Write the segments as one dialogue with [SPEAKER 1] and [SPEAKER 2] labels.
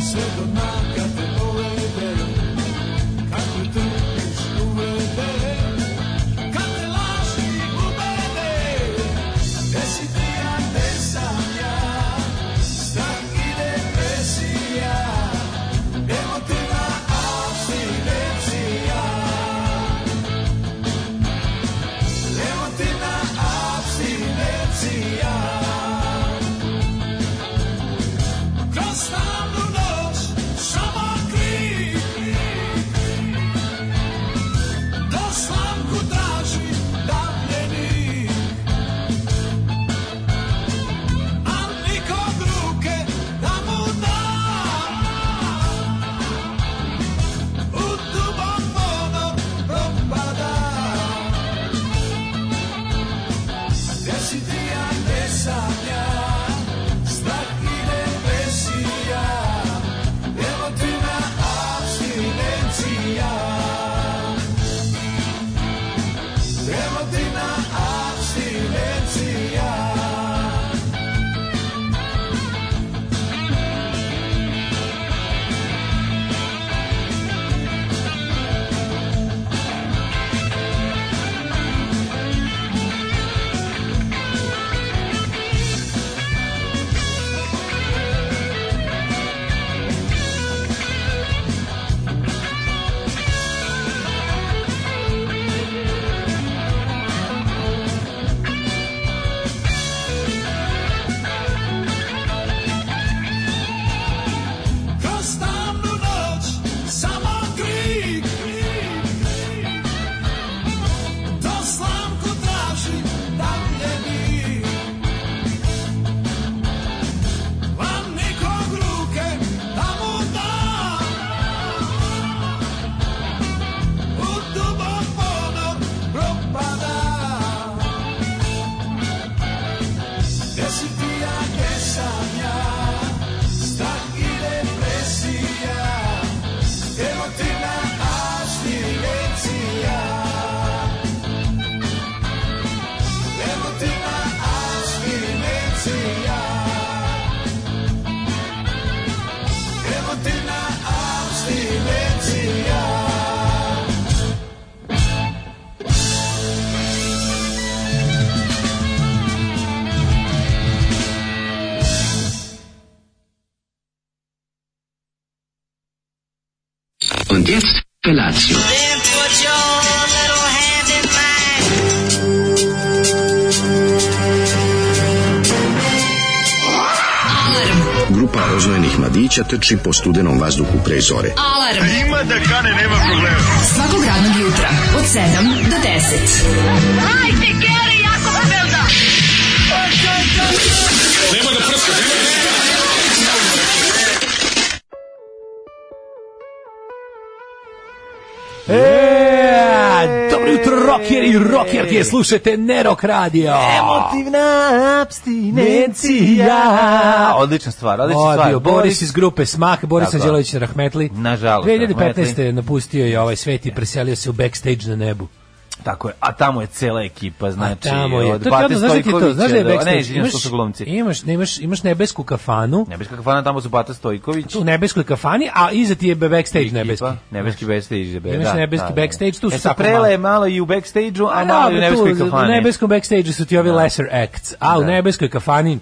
[SPEAKER 1] sve do dna kad te povede Kako trpiš uvede Kad te laži ubede Gde si ti, a gde sam ja Strah i depresija Emotivna abstinencija Emotivna abstinencija kroz tamnu noć samo krik To slamku traži davljenik Al nikog ruke da mu da U dubom vodu propada Gde si ti, a gde sam ja? Strah i depresija, emotivna abstinencija. Emotivna abstinencija. Kroz tamnu noć samo krik To slamku traži davljeni Vam nikog ruke da mu da U dubom ponor propada Gde si ti, a gde sam ja? Strah i depresija, emotivna abstinencija. Emotivna abstinencija. Emotivna abstinencija.
[SPEAKER 2] Und jetzt Felatio.
[SPEAKER 3] Then put your little hand in mine.
[SPEAKER 4] Grupa oznojenih mladića trči po studenom vazduhu pre zore.
[SPEAKER 5] Alarm. A ima da kane, nema problema. Svakog radnog jutra, od 7 do 10. Hajde, Geri, jako se belda.
[SPEAKER 6] E, dobro jutro, rocker i rockerke, slušajte Nerok Radio.
[SPEAKER 7] Eh, Emotivna abstinencija. Odlična stvar, odlična
[SPEAKER 6] Odio,
[SPEAKER 7] stvar.
[SPEAKER 6] Boris iz grupe Smah, Boris
[SPEAKER 7] Tako.
[SPEAKER 6] Anđelović Rahmetli.
[SPEAKER 7] Nažalost,
[SPEAKER 6] 2015. je
[SPEAKER 7] Rahmetli.
[SPEAKER 6] napustio je ovaj svet i preselio se u backstage na nebu.
[SPEAKER 7] Tako je, a tamo je cela ekipa, znači,
[SPEAKER 6] A tamo je.
[SPEAKER 7] od
[SPEAKER 6] To ti
[SPEAKER 7] Bate
[SPEAKER 6] znaš da ti je to,
[SPEAKER 7] Stojkovića
[SPEAKER 6] znaš da je
[SPEAKER 7] do-
[SPEAKER 6] backstage.
[SPEAKER 7] Ne, izvinjam što su glumci.
[SPEAKER 6] Imaš, imaš, imaš nebesku kafanu,
[SPEAKER 7] Nebeska kafana, tamo su Bata Stojković.
[SPEAKER 6] tu u nebeskoj kafani, a iza ti je backstage
[SPEAKER 7] ekipa.
[SPEAKER 6] nebeski.
[SPEAKER 7] Nebeski backstage, da.
[SPEAKER 6] Imaš
[SPEAKER 7] da,
[SPEAKER 6] nebeski
[SPEAKER 7] da, da.
[SPEAKER 6] backstage, tu su
[SPEAKER 7] E, sad
[SPEAKER 6] tako
[SPEAKER 7] Prela
[SPEAKER 6] malo.
[SPEAKER 7] je malo i u backstage-u, a malo i u
[SPEAKER 6] dobro, tu,
[SPEAKER 7] nebeskoj
[SPEAKER 6] U
[SPEAKER 7] kafani.
[SPEAKER 6] nebeskom backstage su ti ovi lesser acts, a u nebeskoj kafani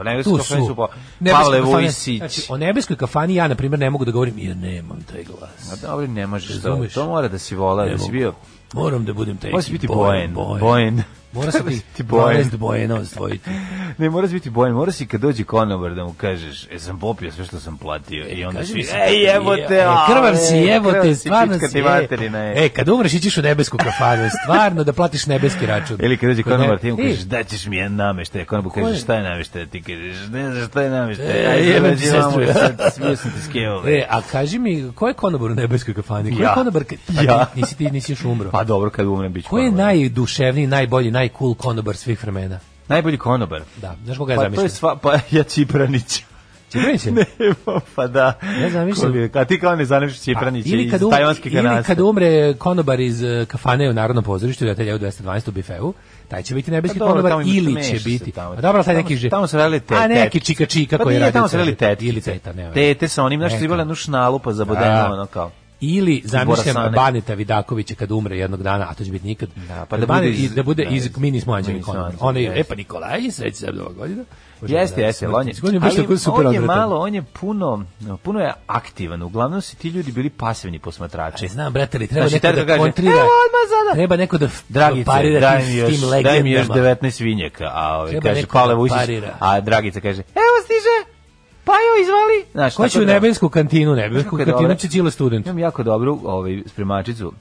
[SPEAKER 7] U nebeskoj
[SPEAKER 6] tu
[SPEAKER 7] kafani su
[SPEAKER 6] su.
[SPEAKER 7] pa,
[SPEAKER 6] Nebeska
[SPEAKER 7] Pavle
[SPEAKER 6] kafana-
[SPEAKER 7] Vujsić.
[SPEAKER 6] Znači, o nebeskoj kafani ja, na primjer, ne mogu da govorim jer nemam taj glas.
[SPEAKER 7] A Dobro, ne možeš to.
[SPEAKER 6] Razumeš?
[SPEAKER 7] To mora da si volao,
[SPEAKER 6] Ne
[SPEAKER 7] da si
[SPEAKER 6] mogu.
[SPEAKER 7] bio...
[SPEAKER 6] Moram da budem taj
[SPEAKER 7] Mora si biti bojen. Bojen.
[SPEAKER 6] Mora se
[SPEAKER 7] Treba si
[SPEAKER 6] ti
[SPEAKER 7] ti bojen.
[SPEAKER 6] 12 bojena osvojiti.
[SPEAKER 7] Ne, moraš biti bojan, moraš i kad dođe konobar da mu kažeš, e, sam popio sve što sam
[SPEAKER 6] E,
[SPEAKER 7] platio i onda
[SPEAKER 6] Kaži
[SPEAKER 7] svi,
[SPEAKER 6] mi sad,
[SPEAKER 7] ej, evo te,
[SPEAKER 6] e,
[SPEAKER 7] a,
[SPEAKER 6] krvav
[SPEAKER 7] e,
[SPEAKER 6] si, evo
[SPEAKER 7] krvav
[SPEAKER 6] te, stvarno
[SPEAKER 7] pička
[SPEAKER 6] si,
[SPEAKER 7] ti
[SPEAKER 6] e.
[SPEAKER 7] materina, je.
[SPEAKER 6] E, kad umreš ićiš u nebesku kafanu, stvarno da platiš nebeski račun.
[SPEAKER 7] Ili kad dođe
[SPEAKER 6] Kod
[SPEAKER 7] konobar,
[SPEAKER 6] nebe-
[SPEAKER 7] ti mu
[SPEAKER 6] E,
[SPEAKER 7] kažeš, da ćeš mi jedan nameštaj, konobar
[SPEAKER 6] Ko
[SPEAKER 7] kaže,
[SPEAKER 6] je?
[SPEAKER 7] šta je nameštaj, ti kažeš, ne znaš šta je nameštaj,
[SPEAKER 6] E,
[SPEAKER 7] aj,
[SPEAKER 6] jebem
[SPEAKER 7] jebem
[SPEAKER 6] ti
[SPEAKER 7] ti mamu,
[SPEAKER 6] sestru, ja.
[SPEAKER 7] sad smio sam ti skeo,
[SPEAKER 6] E, a kaži mi, ko je konobar u nebeskoj kafani? Ko je
[SPEAKER 7] Ja.
[SPEAKER 6] konobar? kad- Pa ti
[SPEAKER 7] Ja.
[SPEAKER 6] Nisi ti, nisi još umro.
[SPEAKER 7] Pa dobro, kad umrem bit ću
[SPEAKER 6] Ko je
[SPEAKER 7] konobar.
[SPEAKER 6] najduševniji, najbolji, najcool konobar svih vremena?
[SPEAKER 7] Najbolji konobar?
[SPEAKER 6] Da, znaš koga ja
[SPEAKER 7] Pa to je
[SPEAKER 6] zamišljam?
[SPEAKER 7] sva, pa ja Čipranić.
[SPEAKER 6] Cipraniće?
[SPEAKER 7] Evo, pa da.
[SPEAKER 6] Ja zamislim.
[SPEAKER 7] Koliko je- A ti kao ne zanemaš Cipranića
[SPEAKER 6] ili kad,
[SPEAKER 7] iz
[SPEAKER 6] um,
[SPEAKER 7] tajvanske
[SPEAKER 6] ili
[SPEAKER 7] kanaste.
[SPEAKER 6] kad umre konobar iz eh, kafane u Narodnom pozorištu, da telja u 212 u Bifeu, taj će biti nebeski
[SPEAKER 7] Pa dobro,
[SPEAKER 6] konobar
[SPEAKER 7] tamo im
[SPEAKER 6] ili
[SPEAKER 7] meša
[SPEAKER 6] će
[SPEAKER 7] se
[SPEAKER 6] biti.
[SPEAKER 7] tamo.
[SPEAKER 6] A dobro, taj
[SPEAKER 7] Tamo-
[SPEAKER 6] neki že.
[SPEAKER 7] tamo su radili te-
[SPEAKER 6] A neki
[SPEAKER 7] tetkice.
[SPEAKER 6] čika čika
[SPEAKER 7] Pa
[SPEAKER 6] koji
[SPEAKER 7] nije,
[SPEAKER 6] radi.
[SPEAKER 7] tamo su radili tetkice.
[SPEAKER 6] Ili teta, ne.
[SPEAKER 7] Tete sa onim, znaš, ti
[SPEAKER 6] Neka.
[SPEAKER 7] bila jednu šnalu pa zabodeno,
[SPEAKER 6] Da.
[SPEAKER 7] ono kao.
[SPEAKER 6] Ili zamišljam
[SPEAKER 7] Borasane.
[SPEAKER 6] Baneta Vidakovića kad umre jednog dana, a to će biti nikad.
[SPEAKER 7] Da, pa da
[SPEAKER 6] Bane-
[SPEAKER 7] bude iz-
[SPEAKER 6] i da bude
[SPEAKER 7] da,
[SPEAKER 6] iz
[SPEAKER 7] iz-
[SPEAKER 6] mini smanjenih
[SPEAKER 7] Mini
[SPEAKER 6] konobar.
[SPEAKER 7] Smanjenih,
[SPEAKER 6] Ona je
[SPEAKER 7] jeste.
[SPEAKER 6] Epa Nikolaj, sreći se mnogo godina. Bože,
[SPEAKER 7] Jeste,
[SPEAKER 6] da,
[SPEAKER 7] jeste, on je,
[SPEAKER 6] smrtni. On je baš
[SPEAKER 7] ali
[SPEAKER 6] tako super
[SPEAKER 7] on je
[SPEAKER 6] odvratan.
[SPEAKER 7] malo, on je puno, puno je aktivan. Uglavnom su ti ljudi bili pasivni posmatrači.
[SPEAKER 6] Ne znam, brate, ali treba
[SPEAKER 7] Znači,
[SPEAKER 6] neko da
[SPEAKER 7] Terko kaže,
[SPEAKER 6] kontrira.
[SPEAKER 7] "Evo, odmah sada."
[SPEAKER 6] Treba neko da
[SPEAKER 7] Dragice,
[SPEAKER 6] parira
[SPEAKER 7] daj
[SPEAKER 6] tim-
[SPEAKER 7] mi
[SPEAKER 6] s
[SPEAKER 7] još,
[SPEAKER 6] tim
[SPEAKER 7] daj mi još
[SPEAKER 6] legendama.
[SPEAKER 7] 19 vinjaka, a ovaj
[SPEAKER 6] Treba
[SPEAKER 7] kaže
[SPEAKER 6] neko da
[SPEAKER 7] Pavle Vujišić,
[SPEAKER 6] parira.
[SPEAKER 7] a Dragica kaže, evo stiže, pa jo, izvali. Znaš,
[SPEAKER 6] Ko će
[SPEAKER 7] tako
[SPEAKER 6] u
[SPEAKER 7] da-
[SPEAKER 6] nebesku kantinu, nebesku
[SPEAKER 7] Kako je
[SPEAKER 6] kantinu
[SPEAKER 7] dobro.
[SPEAKER 6] će Đile student.
[SPEAKER 7] Imam jako dobru ovaj, spremačicu.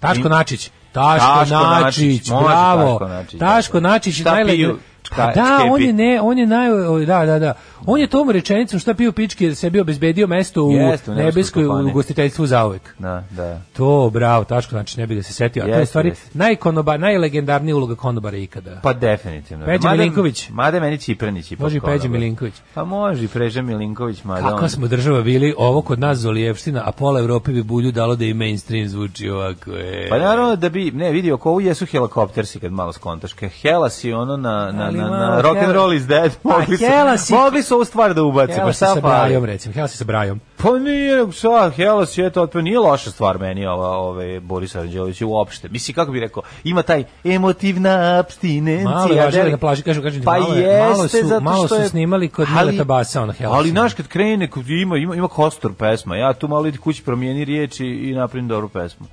[SPEAKER 6] Taško Načić. Taško,
[SPEAKER 7] Taško
[SPEAKER 6] Načić,
[SPEAKER 7] Načić, može
[SPEAKER 6] bravo.
[SPEAKER 7] Taško Načić,
[SPEAKER 6] Taško
[SPEAKER 7] da.
[SPEAKER 6] Načić je
[SPEAKER 7] Šta
[SPEAKER 6] najlepši.
[SPEAKER 7] piju? Čka-
[SPEAKER 6] da,
[SPEAKER 7] čkepi.
[SPEAKER 6] on je ne, on je naj o, da, da, da. On je tom rečenicom šta pio pičke sebi obezbedio mesto u
[SPEAKER 7] Jeste, u nebeskoj
[SPEAKER 6] nebeskoj
[SPEAKER 7] kafani.
[SPEAKER 6] ugostiteljstvu zauvek.
[SPEAKER 7] Da, da.
[SPEAKER 6] To, bravo, Taško Načić ne bi ga se setio. A to je u
[SPEAKER 7] Jeste,
[SPEAKER 6] stvari
[SPEAKER 7] jeste.
[SPEAKER 6] najkonoba, najlegendarnija uloga konobara ikada.
[SPEAKER 7] Pa definitivno.
[SPEAKER 6] Peđa
[SPEAKER 7] Mada-
[SPEAKER 6] Milinković.
[SPEAKER 7] Mada meni Cipranić ipak.
[SPEAKER 6] Može i
[SPEAKER 7] konobar.
[SPEAKER 6] Peđa Milinković.
[SPEAKER 7] Pa može i Preža Milinković, mada
[SPEAKER 6] Kakva
[SPEAKER 7] on-
[SPEAKER 6] smo država bili, ovo kod nas Zolijevština, a pola Evrope bi bulju dalo da i mainstream zvuči ovako. E.
[SPEAKER 7] Pa naravno da bi, ne, vidi, oko ovo jesu helikoptersi kad malo skontaš. Ke Helas i ono na, na,
[SPEAKER 6] Ali
[SPEAKER 7] na,
[SPEAKER 6] malo
[SPEAKER 7] na rock and roll is dead.
[SPEAKER 6] Pa
[SPEAKER 7] Mogli su,
[SPEAKER 6] Helasi-
[SPEAKER 7] mogli su ovu stvar da ubace.
[SPEAKER 6] Hela
[SPEAKER 7] Pa
[SPEAKER 6] se
[SPEAKER 7] šta fali?
[SPEAKER 6] sa brajom, recimo, hela se sa brajom.
[SPEAKER 7] Pa nije, nego šta, Helas je to, otprilike, nije loša stvar meni ova, ove, Boris Aranđelović uopšte. Misli, kako bi rekao, ima taj emotivna abstinencija.
[SPEAKER 6] Malo je važno
[SPEAKER 7] deli-
[SPEAKER 6] na plaži, kažu, kažu,
[SPEAKER 7] pa
[SPEAKER 6] malo, je-
[SPEAKER 7] jeste,
[SPEAKER 6] malo su,
[SPEAKER 7] zato
[SPEAKER 6] malo
[SPEAKER 7] što
[SPEAKER 6] su
[SPEAKER 7] je-
[SPEAKER 6] snimali kod
[SPEAKER 7] ali-
[SPEAKER 6] Mileta Basa, ono, Hellas.
[SPEAKER 7] Ali znaš kad krene, kad ima, ima, ima kostur pesma, ja tu malo idi kući promijeni riječ i, i napravim dobru pesmu.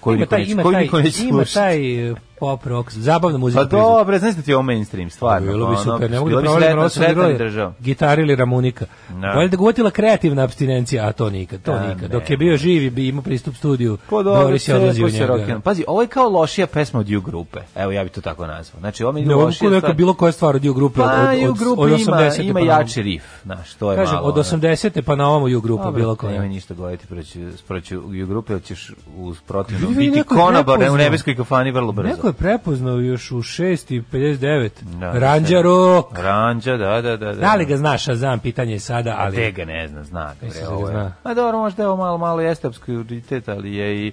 [SPEAKER 7] Koju
[SPEAKER 6] ima
[SPEAKER 7] niko
[SPEAKER 6] taj,
[SPEAKER 7] neće,
[SPEAKER 6] ima
[SPEAKER 7] koju
[SPEAKER 6] taj,
[SPEAKER 7] niko neće
[SPEAKER 6] ima
[SPEAKER 7] slušati.
[SPEAKER 6] taj e, pop rock, zabavna muzika.
[SPEAKER 7] Pa
[SPEAKER 6] proizvodi.
[SPEAKER 7] dobre, znaš da ti je ovo mainstream, stvarno. pa
[SPEAKER 6] Bilo bi
[SPEAKER 7] ono,
[SPEAKER 6] super, ne mogu
[SPEAKER 7] bilo
[SPEAKER 6] da
[SPEAKER 7] bi
[SPEAKER 6] provalim
[SPEAKER 7] sretna-
[SPEAKER 6] prvo sam
[SPEAKER 7] sretan
[SPEAKER 6] igrao
[SPEAKER 7] država.
[SPEAKER 6] gitar ili ramunika.
[SPEAKER 7] Da.
[SPEAKER 6] Bolje da ga uhvatila kreativna abstinencija, a to nikad, to
[SPEAKER 7] A,
[SPEAKER 6] nikad.
[SPEAKER 7] ne.
[SPEAKER 6] Dok je bio živi bi imao pristup studiju,
[SPEAKER 7] Pa dobro,
[SPEAKER 6] Boris je
[SPEAKER 7] sve
[SPEAKER 6] odlazio u
[SPEAKER 7] posle rock
[SPEAKER 6] njega.
[SPEAKER 7] and- Pazi, ovo je kao lošija pesma od U grupe. Evo, ja bih to tako nazvao. Znači, ovo mi je
[SPEAKER 6] Ne mogu
[SPEAKER 7] lošija
[SPEAKER 6] neka
[SPEAKER 7] stvar.
[SPEAKER 6] bilo koja stvar od U grupe, od,
[SPEAKER 7] Pa,
[SPEAKER 6] od,
[SPEAKER 7] U
[SPEAKER 6] od,
[SPEAKER 7] grupe
[SPEAKER 6] od
[SPEAKER 7] ima,
[SPEAKER 6] 80.
[SPEAKER 7] ima
[SPEAKER 6] pa na
[SPEAKER 7] jači riff. Znaš, to je
[SPEAKER 6] Kažem,
[SPEAKER 7] malo.
[SPEAKER 6] od
[SPEAKER 7] ono.
[SPEAKER 6] 80. pa na ovom u grupu
[SPEAKER 7] Dobro,
[SPEAKER 6] bilo
[SPEAKER 7] to Nema
[SPEAKER 6] koja.
[SPEAKER 7] ništa govoriti proći, proći u grupe, jer ćeš u protivnom
[SPEAKER 6] Ljudi,
[SPEAKER 7] biti
[SPEAKER 6] neko je
[SPEAKER 7] konobar
[SPEAKER 6] prepoznao.
[SPEAKER 7] u nebeskoj kafani vrlo brzo.
[SPEAKER 6] Neko je prepoznao još u 6.59.
[SPEAKER 7] Da,
[SPEAKER 6] Da, Ranđa Rock.
[SPEAKER 7] Ranđa, da, da, da.
[SPEAKER 6] Da li ga znaš, Shazam, pitanje je sada,
[SPEAKER 7] Ali te
[SPEAKER 6] ali...
[SPEAKER 7] ga ne zna, zna ga.
[SPEAKER 6] Misliš
[SPEAKER 7] bre,
[SPEAKER 6] da ga
[SPEAKER 7] ovo je.
[SPEAKER 6] zna?
[SPEAKER 7] Ma dobro, možda je ovo malo, malo jeste obskuritet, ali je i...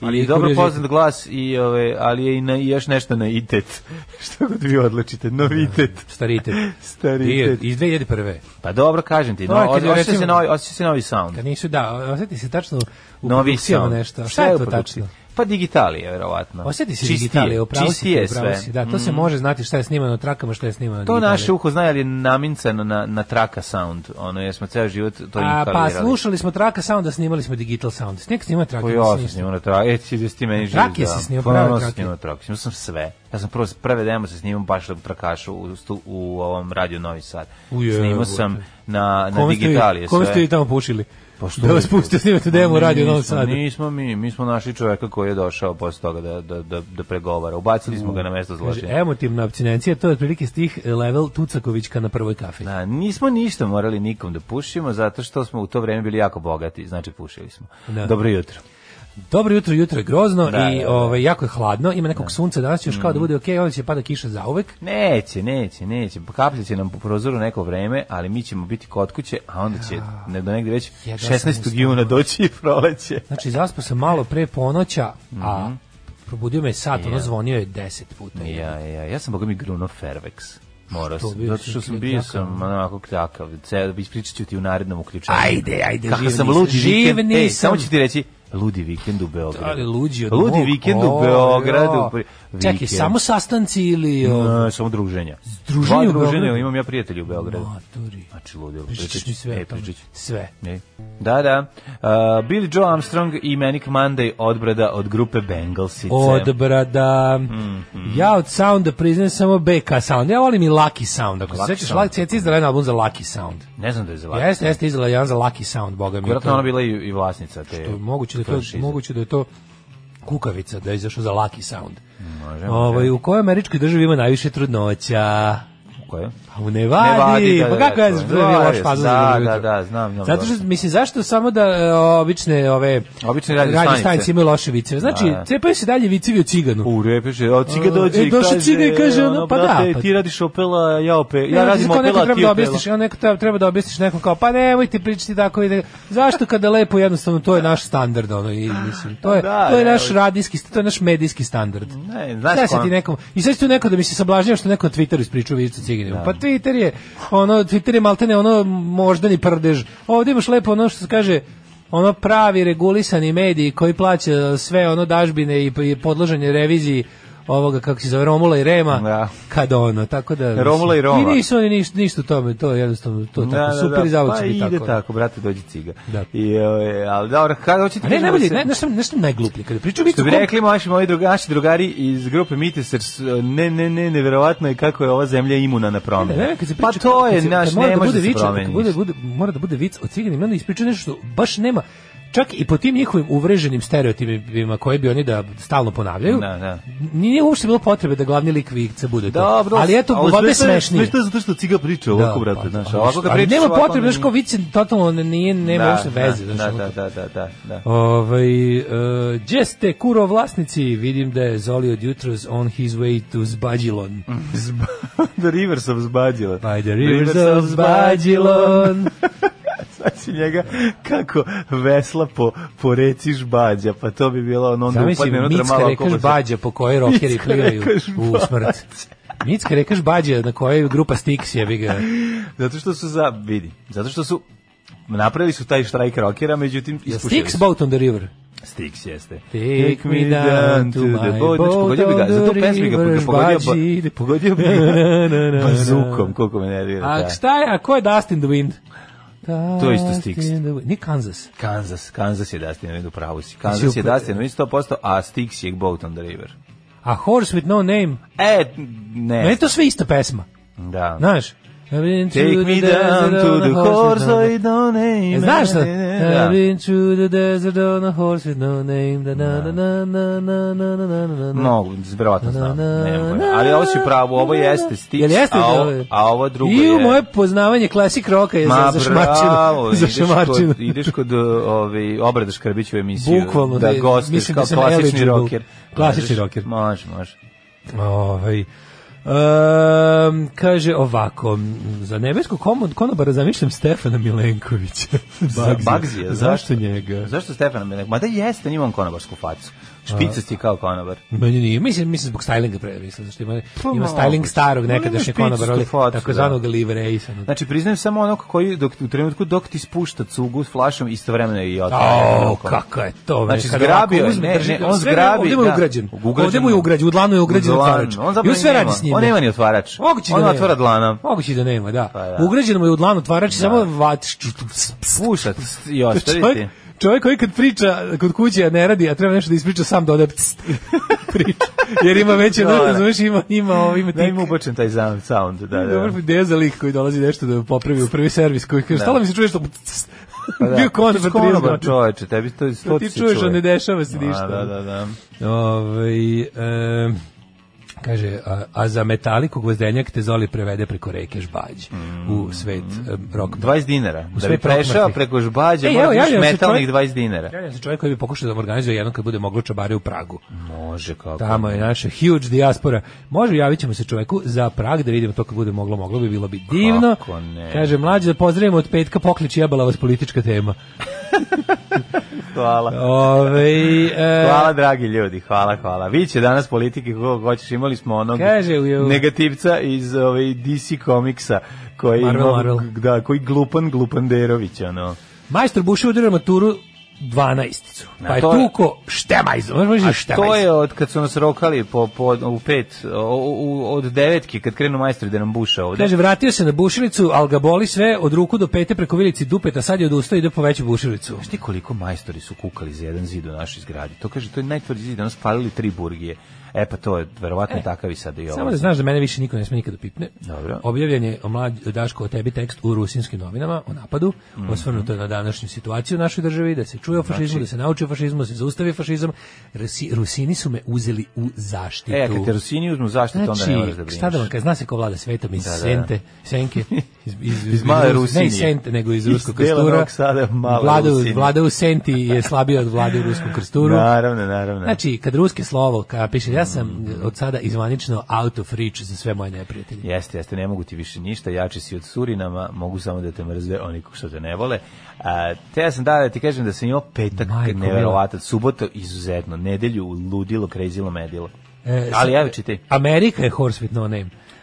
[SPEAKER 6] Ali
[SPEAKER 7] Ali
[SPEAKER 6] i
[SPEAKER 7] je dobro
[SPEAKER 6] kuriozitet.
[SPEAKER 7] poznat glas, i, ove, ali je i, na, i još nešto na itet. Što god vi odlučite,
[SPEAKER 6] Da.
[SPEAKER 7] novitet.
[SPEAKER 6] Staritet.
[SPEAKER 7] Staritet.
[SPEAKER 6] Iz 2001.
[SPEAKER 7] Pa dobro, kažem ti,
[SPEAKER 6] To
[SPEAKER 7] no,
[SPEAKER 6] je kad je
[SPEAKER 7] osjeća,
[SPEAKER 6] recimo-
[SPEAKER 7] se novi, osjeća se novi sound.
[SPEAKER 6] Kad nisu, da, osjeti se tačno u
[SPEAKER 7] Novi
[SPEAKER 6] produkcijama
[SPEAKER 7] sound.
[SPEAKER 6] nešto. Šta je
[SPEAKER 7] u
[SPEAKER 6] to
[SPEAKER 7] produkciji?
[SPEAKER 6] tačno?
[SPEAKER 7] Pa digitalije, verovatno.
[SPEAKER 6] Osjeti se
[SPEAKER 7] Čistije,
[SPEAKER 6] digitalije, upravo si,
[SPEAKER 7] čistije
[SPEAKER 6] ti, upravo
[SPEAKER 7] sve. Mm. Mhm.
[SPEAKER 6] si. Da, to se može znati šta je snimano na trakama, šta je snimano na
[SPEAKER 7] To
[SPEAKER 6] digitalije.
[SPEAKER 7] naše uho zna, ali je namincano na, na traka sound. Ono, jer smo ceo život to
[SPEAKER 6] A,
[SPEAKER 7] inhalirali.
[SPEAKER 6] pa slušali smo traka sounda, snimali smo digital sound. Nek snima traka,
[SPEAKER 7] Pa
[SPEAKER 6] nisam
[SPEAKER 7] ja sam
[SPEAKER 6] ništa.
[SPEAKER 7] snimao na trak, e, ti da si ti meni živiš.
[SPEAKER 6] Trake si snimao, prave
[SPEAKER 7] Pa, ja sam
[SPEAKER 6] trake.
[SPEAKER 7] snimao na trak, snimao sam sve. Ja sam prvo, prve demo se snimao baš na trakašu u, stu, u ovom radiju Novi Sad.
[SPEAKER 6] Ujebote.
[SPEAKER 7] snimao sam na, na
[SPEAKER 6] Kome ste vi-
[SPEAKER 7] digitalije sve.
[SPEAKER 6] Kome ste vi tamo pušili?
[SPEAKER 7] Pa što
[SPEAKER 6] da vas
[SPEAKER 7] vi-
[SPEAKER 6] pustio snimate demo u
[SPEAKER 7] Pa
[SPEAKER 6] radio u Novom
[SPEAKER 7] nismo,
[SPEAKER 6] Sadu.
[SPEAKER 7] Nismo mi, mi smo našli čoveka koji je došao posle toga da, da, da, da pregovara. Ubacili smo ga na mesto
[SPEAKER 6] Kaže,
[SPEAKER 7] zločina.
[SPEAKER 6] emotivna abstinencija, to je otprilike stih e, level Tucakovićka na prvoj kafi.
[SPEAKER 7] Da, nismo ništa morali nikom da pušimo zato što smo u to vreme bili jako bogati, znači pušili smo.
[SPEAKER 6] Da.
[SPEAKER 7] Dobro jutro.
[SPEAKER 6] Dobro jutro, jutro je grozno
[SPEAKER 7] Da,
[SPEAKER 6] i
[SPEAKER 7] da, Mm. da.
[SPEAKER 6] ovaj, jako je hladno, ima nekog sunca, danas će još kao da bude okej, onda će pada kiša zauvek.
[SPEAKER 7] Neće, neće, neće. Kaplje će nam po prozoru neko vreme, ali mi ćemo biti kod kuće, a onda će ne, do negde već
[SPEAKER 6] Jedva sam
[SPEAKER 7] 16.
[SPEAKER 6] ustao.
[SPEAKER 7] juna doći i proleće.
[SPEAKER 6] Znači, zaspao sam malo pre ponoća, a
[SPEAKER 7] Mhm.
[SPEAKER 6] probudio me sat, ono zvonio je deset puta.
[SPEAKER 7] Ja, ja, ja sam boga mi Gruno Fervex. Morao
[SPEAKER 6] Što
[SPEAKER 7] sam,
[SPEAKER 6] bio
[SPEAKER 7] zato
[SPEAKER 6] si
[SPEAKER 7] što sam
[SPEAKER 6] kljak-
[SPEAKER 7] bio
[SPEAKER 6] kljakav?
[SPEAKER 7] sam onako takav. Ispričat ću ti u narednom uključenju.
[SPEAKER 6] Ajde, ajde,
[SPEAKER 7] Kako
[SPEAKER 6] živ
[SPEAKER 7] sam
[SPEAKER 6] nisam.
[SPEAKER 7] lud
[SPEAKER 6] Živ
[SPEAKER 7] vikend. Ej, samo
[SPEAKER 6] nisam.
[SPEAKER 7] ću ti reći, ludi vikend u Beogradu.
[SPEAKER 6] Ali luđi od
[SPEAKER 7] Ludi
[SPEAKER 6] mog.
[SPEAKER 7] vikend u
[SPEAKER 6] O,
[SPEAKER 7] Beogradu.
[SPEAKER 6] jo. Čekaj, samo sastanci ili... o,
[SPEAKER 7] Ne, samo druženja.
[SPEAKER 6] Druženje u
[SPEAKER 7] Dva druženja,
[SPEAKER 6] Beogradu?
[SPEAKER 7] imam ja prijatelji u Beogradu.
[SPEAKER 6] Maturi.
[SPEAKER 7] Znači, ludilo.
[SPEAKER 6] Pričaš mi sve
[SPEAKER 7] E,
[SPEAKER 6] o tome.
[SPEAKER 7] pričat ću.
[SPEAKER 6] Sve.
[SPEAKER 7] E. Da, da. Uh, Billy Joe Armstrong i Manic Monday odbrada od grupe Bengalsice.
[SPEAKER 6] Od brada.
[SPEAKER 7] Mhm.
[SPEAKER 6] Ja od sounda priznajem samo BK sound. Ja volim i Lucky sound. Ako se
[SPEAKER 7] Lucky
[SPEAKER 6] sećaš,
[SPEAKER 7] sound.
[SPEAKER 6] Lucky Ceci izdala jedan album za Lucky sound.
[SPEAKER 7] Ne znam da je zvala.
[SPEAKER 6] Jeste, jeste izdala jedan za Lucky sound, boga mi.
[SPEAKER 7] Vjerojatno
[SPEAKER 6] To-
[SPEAKER 7] ona bila i, i vlasnica te.
[SPEAKER 6] to- Moguće da je to,
[SPEAKER 7] franšize.
[SPEAKER 6] moguće da je to kukavica da je izašao za Lucky sound.
[SPEAKER 7] Može, može.
[SPEAKER 6] Ovaj, u kojoj američkoj državi ima najviše trudnoća?
[SPEAKER 7] U tako je.
[SPEAKER 6] A u Nevadi,
[SPEAKER 7] Nevadi, da,
[SPEAKER 6] pa
[SPEAKER 7] da,
[SPEAKER 6] kako
[SPEAKER 7] da,
[SPEAKER 6] ja
[SPEAKER 7] to
[SPEAKER 6] znam,
[SPEAKER 7] je.
[SPEAKER 6] to je bio
[SPEAKER 7] Da,
[SPEAKER 6] loš fazon za
[SPEAKER 7] da,
[SPEAKER 6] dobro
[SPEAKER 7] da,
[SPEAKER 6] jutro.
[SPEAKER 7] da, znam, znam,
[SPEAKER 6] Zato što,
[SPEAKER 7] dobro.
[SPEAKER 6] mislim, zašto samo da e, obične ove...
[SPEAKER 7] Obične radio stanice.
[SPEAKER 6] imaju loše viceve. Znači,
[SPEAKER 7] Da, da.
[SPEAKER 6] cepaju se dalje vicevi u ciganu.
[SPEAKER 7] Pa, U repeše, a ciga
[SPEAKER 6] E,
[SPEAKER 7] dođe i
[SPEAKER 6] došao ciga i kaže, ono, pa da,
[SPEAKER 7] brate,
[SPEAKER 6] pa-
[SPEAKER 7] Ti radiš opela, ja opela, ja
[SPEAKER 6] Ne,
[SPEAKER 7] radim
[SPEAKER 6] to neko
[SPEAKER 7] opela,
[SPEAKER 6] treba
[SPEAKER 7] ti opela.
[SPEAKER 6] da objasniš, i on neko treba, treba da objasniš nekom kao, pa nemoj ti pričati tako ide. Zašto kada lepo jednostavno to je naš standard ono i mislim to je
[SPEAKER 7] Da,
[SPEAKER 6] to je
[SPEAKER 7] da,
[SPEAKER 6] naš
[SPEAKER 7] da.
[SPEAKER 6] radijski to je naš medijski standard.
[SPEAKER 7] Ne, znaš
[SPEAKER 6] Znaš
[SPEAKER 7] ko-
[SPEAKER 6] ti nekom. I sad si tu neko da mi se sablažnjava što neko na Twitteru ispričao vidicu ciganima.
[SPEAKER 7] Da.
[SPEAKER 6] Pa Twitter je ono Twitter je maltene ono moždani prdež. Ovde imaš lepo ono što se kaže ono pravi regulisani mediji koji plaća sve ono dažbine i i podložanje reviziji ovoga kako se zove Romula i Rema
[SPEAKER 7] Da.
[SPEAKER 6] kad ono tako da mislim,
[SPEAKER 7] Romula i Roma.
[SPEAKER 6] I nisu oni ništa, ništa u tome, to je jednostavno to je tako, super i zavod će
[SPEAKER 7] pa
[SPEAKER 6] biti
[SPEAKER 7] ide
[SPEAKER 6] tako.
[SPEAKER 7] tako. brate, dođe ciga.
[SPEAKER 6] Da.
[SPEAKER 7] I, ove, ali dobro, kada hoćete...
[SPEAKER 6] A ne,
[SPEAKER 7] kažem da
[SPEAKER 6] najbolje,
[SPEAKER 7] se-
[SPEAKER 6] ne, nešto, nešto najgluplje, kada pričaju vicu
[SPEAKER 7] Što bi
[SPEAKER 6] kom-
[SPEAKER 7] rekli moji moji drugaši, drugari iz grupe Mitisers, ne, ne, ne, neverovatno je kako je ova zemlja imuna na
[SPEAKER 6] Ne,
[SPEAKER 7] promjene.
[SPEAKER 6] ne, kad se
[SPEAKER 7] pa
[SPEAKER 6] priča-
[SPEAKER 7] to
[SPEAKER 6] kad
[SPEAKER 7] je,
[SPEAKER 6] se-
[SPEAKER 7] naš,
[SPEAKER 6] kad mora
[SPEAKER 7] ne
[SPEAKER 6] da
[SPEAKER 7] može
[SPEAKER 6] bude
[SPEAKER 7] da se
[SPEAKER 6] vič, kad
[SPEAKER 7] promeni.
[SPEAKER 6] bude, bude, mora da bude vic o ciganima, onda ispričaju nešto što baš nema, čak i po tim njihovim uvreženim stereotipima koje bi oni da stalno ponavljaju,
[SPEAKER 7] Da, da.
[SPEAKER 6] nije uopšte bilo potrebe da glavni lik vikca bude to.
[SPEAKER 7] Dobro,
[SPEAKER 6] ali eto, valjda je
[SPEAKER 7] sve to je-
[SPEAKER 6] smešnije.
[SPEAKER 7] Sve to je zato što ciga priča
[SPEAKER 6] Da,
[SPEAKER 7] ovako, brate,
[SPEAKER 6] pa,
[SPEAKER 7] znaš,
[SPEAKER 6] ali
[SPEAKER 7] ovako
[SPEAKER 6] što-
[SPEAKER 7] ga
[SPEAKER 6] ali
[SPEAKER 7] pričaš.
[SPEAKER 6] Nema
[SPEAKER 7] ovako
[SPEAKER 6] potrebe,
[SPEAKER 7] ne-
[SPEAKER 6] znaš, kao vic totalno nije, nema
[SPEAKER 7] Da,
[SPEAKER 6] uopšte veze.
[SPEAKER 7] Da,
[SPEAKER 6] znaš,
[SPEAKER 7] da,
[SPEAKER 6] ono-
[SPEAKER 7] da, da, da, da, da.
[SPEAKER 6] Ovaj uh, gdje ste kuro vlasnici? Vidim da je Zoli od jutros on his way to Zbađilon.
[SPEAKER 7] Mm. Zba- The Rivers of Zbađilon.
[SPEAKER 6] By the rivers of Zbađilon.
[SPEAKER 7] Sad si njega kako vesla po, po reci Žbađa, pa to bi bilo ono onda
[SPEAKER 6] Zamisli
[SPEAKER 7] upadne unutra
[SPEAKER 6] Micka
[SPEAKER 7] malo
[SPEAKER 6] rekaš
[SPEAKER 7] kokosa.
[SPEAKER 6] Bađa po kojoj rokeri
[SPEAKER 7] Micka
[SPEAKER 6] plivaju
[SPEAKER 7] rekaš
[SPEAKER 6] u smrt. Micka rekaš Bađa na kojoj grupa Stix je bi ga.
[SPEAKER 7] Zato što su za, vidi, zato što su napravili su taj štrajk rokera, međutim ispušili
[SPEAKER 6] Stix
[SPEAKER 7] su.
[SPEAKER 6] boat on the river.
[SPEAKER 7] Stix jeste.
[SPEAKER 6] Take me down to my boat
[SPEAKER 7] Znači, pogodio bi ga,
[SPEAKER 6] on
[SPEAKER 7] za
[SPEAKER 6] the
[SPEAKER 7] tu pesmu bi ga
[SPEAKER 6] river,
[SPEAKER 7] pogodio, ba-
[SPEAKER 6] Žbađi.
[SPEAKER 7] pogodio bi
[SPEAKER 6] Na, na, na,
[SPEAKER 7] ga
[SPEAKER 6] na.
[SPEAKER 7] bazukom, koliko me nervira.
[SPEAKER 6] A
[SPEAKER 7] da.
[SPEAKER 6] šta je, a ko je Dustin the Wind?
[SPEAKER 7] To je isto
[SPEAKER 6] Dust
[SPEAKER 7] Styx.
[SPEAKER 6] in the Wind. Nije Kansas.
[SPEAKER 7] Kansas, Kansas je Dustin, ne idu pravo si.
[SPEAKER 6] Mislim,
[SPEAKER 7] Kansas je
[SPEAKER 6] upravo-
[SPEAKER 7] Dustin, ne 100%, a Stix je Boat on the River.
[SPEAKER 6] A Horse with no name.
[SPEAKER 7] E,
[SPEAKER 6] Meni je
[SPEAKER 7] ne.
[SPEAKER 6] to sve ista pesma.
[SPEAKER 7] Da.
[SPEAKER 6] Znaš? Take
[SPEAKER 7] Take me down to the horse I don't name.
[SPEAKER 6] E, znaš šta? E, I've
[SPEAKER 7] Da.
[SPEAKER 6] been through the desert on a horse with no name. Da, na, na, na, na, na, na, na, na, na, na.
[SPEAKER 7] No, verovatno znam,
[SPEAKER 6] Na, na,
[SPEAKER 7] nemam pojma.
[SPEAKER 6] na,
[SPEAKER 7] Ali ovo si pravo, ovo
[SPEAKER 6] na, na.
[SPEAKER 7] jeste Stix,
[SPEAKER 6] Jel jeste
[SPEAKER 7] a, ovo,
[SPEAKER 6] da-
[SPEAKER 7] a ovo drugo
[SPEAKER 6] I u
[SPEAKER 7] je...
[SPEAKER 6] moje poznavanje klasik roka je za,
[SPEAKER 7] Ma
[SPEAKER 6] za
[SPEAKER 7] bravo,
[SPEAKER 6] šmačinu. za
[SPEAKER 7] ideš
[SPEAKER 6] šmačinu.
[SPEAKER 7] kod, ideš kod uh, ovaj, obrada Škrbića u emisiju,
[SPEAKER 6] Bukvalno,
[SPEAKER 7] da
[SPEAKER 6] ne,
[SPEAKER 7] gostiš
[SPEAKER 6] mislim da
[SPEAKER 7] kao
[SPEAKER 6] sam
[SPEAKER 7] klasični
[SPEAKER 6] eligible.
[SPEAKER 7] roker.
[SPEAKER 6] Klasični
[SPEAKER 7] Možeš,
[SPEAKER 6] roker.
[SPEAKER 7] Može, može.
[SPEAKER 6] Ovaj. Um, kaže ovako, za nebesku komod konobara zamišljam Stefana Milenkovića.
[SPEAKER 7] Bagzija, zašto?
[SPEAKER 6] Zašto njega?
[SPEAKER 7] Zašto Stefana Milenković? Ma da jeste, on konobarsku facu. Špicast je kao konobar.
[SPEAKER 6] Meni nije, mislim, mislim zbog stylinga pre, mislim, zašto ima, ima
[SPEAKER 7] Pa moguće.
[SPEAKER 6] styling starog
[SPEAKER 7] Ma,
[SPEAKER 6] nekadašnje
[SPEAKER 7] imaš
[SPEAKER 6] konobara, ali
[SPEAKER 7] picku facu,
[SPEAKER 6] takozvanog livrejsa.
[SPEAKER 7] da. Znači, priznajem samo onog koji dok, u trenutku dok ti spušta cugu s flašom, istovremeno je i otvara.
[SPEAKER 6] O, kako je to.
[SPEAKER 7] Znači,
[SPEAKER 6] kada
[SPEAKER 7] zgrabio
[SPEAKER 6] ovako
[SPEAKER 7] je,
[SPEAKER 6] uzme,
[SPEAKER 7] ne,
[SPEAKER 6] drži-
[SPEAKER 7] ne, on
[SPEAKER 6] sve
[SPEAKER 7] zgrabi,
[SPEAKER 6] Ovdje mu je
[SPEAKER 7] da.
[SPEAKER 6] ugrađen.
[SPEAKER 7] Ugrađen
[SPEAKER 6] Ovdje mu je
[SPEAKER 7] mu.
[SPEAKER 6] ugrađen, u dlanu je ugrađen
[SPEAKER 7] U dlanu,
[SPEAKER 6] otvarač.
[SPEAKER 7] on zapravo
[SPEAKER 6] I on sve
[SPEAKER 7] nema.
[SPEAKER 6] radi s njim.
[SPEAKER 7] On nema ni otvarač.
[SPEAKER 6] Moguće da
[SPEAKER 7] On
[SPEAKER 6] nema.
[SPEAKER 7] otvara dlanom.
[SPEAKER 6] Moguće da nema, da.
[SPEAKER 7] Pa da.
[SPEAKER 6] Ugrađen mu je u dlanu otvarač i samo vat...
[SPEAKER 7] Pušat i ostaviti.
[SPEAKER 6] Čovjek, čovjek koji kad priča kod kuće, a ne radi, a treba nešto da ispriča, sam dodaje pst. priča. Jer ima veće
[SPEAKER 7] Dobar.
[SPEAKER 6] note, znaš, ima, ima, ovo, ima
[SPEAKER 7] Da
[SPEAKER 6] tik.
[SPEAKER 7] ima ubočen taj zam- sound. Da, da.
[SPEAKER 6] Dobar ideja za lik koji dolazi nešto da popravi u prvi servis, koji kaže, stalo mi se čuje što...
[SPEAKER 7] Da. Pa da.
[SPEAKER 6] Bio
[SPEAKER 7] Ti si
[SPEAKER 6] konobar 30
[SPEAKER 7] konobar,
[SPEAKER 6] godina.
[SPEAKER 7] čoveče, tebi to iz
[SPEAKER 6] Pa ti čuješ, a ne dešava se ništa.
[SPEAKER 7] Da, da, da.
[SPEAKER 6] Ovaj em, kaže, a, a za metaliku gvozdenjak te Zoli prevede preko reke Žbađ
[SPEAKER 7] Mm.
[SPEAKER 6] u svet em, rock.
[SPEAKER 7] 20 dinara. Da bi
[SPEAKER 6] svijetu
[SPEAKER 7] prešao
[SPEAKER 6] rokometnih.
[SPEAKER 7] preko žbađa,
[SPEAKER 6] Ej,
[SPEAKER 7] moraš
[SPEAKER 6] E, evo,
[SPEAKER 7] da imaš
[SPEAKER 6] javljam se
[SPEAKER 7] metalnih
[SPEAKER 6] čovjek-
[SPEAKER 7] 20 dinara.
[SPEAKER 6] Ja se čovjek koji bi pokušao da vam organizuje jednom kad bude moglo čabare u Pragu.
[SPEAKER 7] Može, kako.
[SPEAKER 6] Tamo je naša huge diaspora. Može, javit ćemo se čoveku za Prag da vidimo to kad bude moglo, moglo bi, bilo bi divno.
[SPEAKER 7] Kako ne?
[SPEAKER 6] Kaže, mlađe da pozdravimo od petka, poklič jebala vas politička tema.
[SPEAKER 7] Hvala.
[SPEAKER 6] Ovaj e,
[SPEAKER 7] Hvala, dragi ljudi, hvala, hvala. Vi će danas politike kako hoćeš, imali smo onog
[SPEAKER 6] Kaže, u-
[SPEAKER 7] negativca iz ovaj, DC komiksa koji,
[SPEAKER 6] Marvel,
[SPEAKER 7] ima,
[SPEAKER 6] Marvel.
[SPEAKER 7] Da, koji glupan glupanderović, ono.
[SPEAKER 6] Majstor Buša udario maturu 12. Pa je
[SPEAKER 7] to je-
[SPEAKER 6] tuko štemajz. Može štemajz.
[SPEAKER 7] To je od kad su nas rokali po, po, u pet, o- u, od devetke, kad krenu majstori da nam buša ovde.
[SPEAKER 6] Kaže, vratio se na bušilicu, ali ga boli sve od ruku do pete preko vilici dupeta, sad je odustao i ide po veću bušilicu.
[SPEAKER 7] Znaš ti koliko majstori su kukali za jedan zid u našoj zgradi? To kaže, to je najtvrđi zid, danas palili tri burgije. E pa to je verovatno takav i sad i ovo.
[SPEAKER 6] Samo da znaš da mene više niko ne sme nikada pipne.
[SPEAKER 7] Dobro.
[SPEAKER 6] Objavljen je o mlađ,
[SPEAKER 7] Mhm.
[SPEAKER 6] Daško o tebi tekst u rusinskim novinama o napadu, osvrnuto je na današnju situaciju u našoj državi, da se čuje o fašizmu,
[SPEAKER 7] Znači-
[SPEAKER 6] da se nauči o fašizmu, da se zaustavi fašizam. Rusi, Rusini su me uzeli u zaštitu.
[SPEAKER 7] E, kad te Rusini uzmu zaštitu, onda ne moraš da
[SPEAKER 6] šta da vam
[SPEAKER 7] brineš.
[SPEAKER 6] kažem, zna se ko vlada svetom iz
[SPEAKER 7] Da, da.
[SPEAKER 6] Sente, Senke, iz, iz, iz,
[SPEAKER 7] male
[SPEAKER 6] Rus- Ne
[SPEAKER 7] Rusinije.
[SPEAKER 6] iz Sente, nego iz
[SPEAKER 7] Iz
[SPEAKER 6] Ruskog
[SPEAKER 7] dela
[SPEAKER 6] krstura.
[SPEAKER 7] Novog Sada, male
[SPEAKER 6] vlada, u-
[SPEAKER 7] Rusinije.
[SPEAKER 6] vlada u Senti je slabija od vlade u Ruskom krsturu.
[SPEAKER 7] Naravno, naravno.
[SPEAKER 6] Znači, kad ruske slovo ka, piše, ja sam od sada izvanično out of reach za sve moje neprijatelje.
[SPEAKER 7] Jeste, jeste, ne mogu ti više ništa, jači si od Surinama, mogu samo da te mrzve oni ko što te ne vole. A, te ja sam da, da ti kažem da sam imao petak
[SPEAKER 6] Majko
[SPEAKER 7] neverovatan, subotu izuzetno, nedelju ludilo, krezilo, medilo.
[SPEAKER 6] E,
[SPEAKER 7] Ali
[SPEAKER 6] sad-
[SPEAKER 7] evo čitaj.
[SPEAKER 6] Amerika je horse with no name.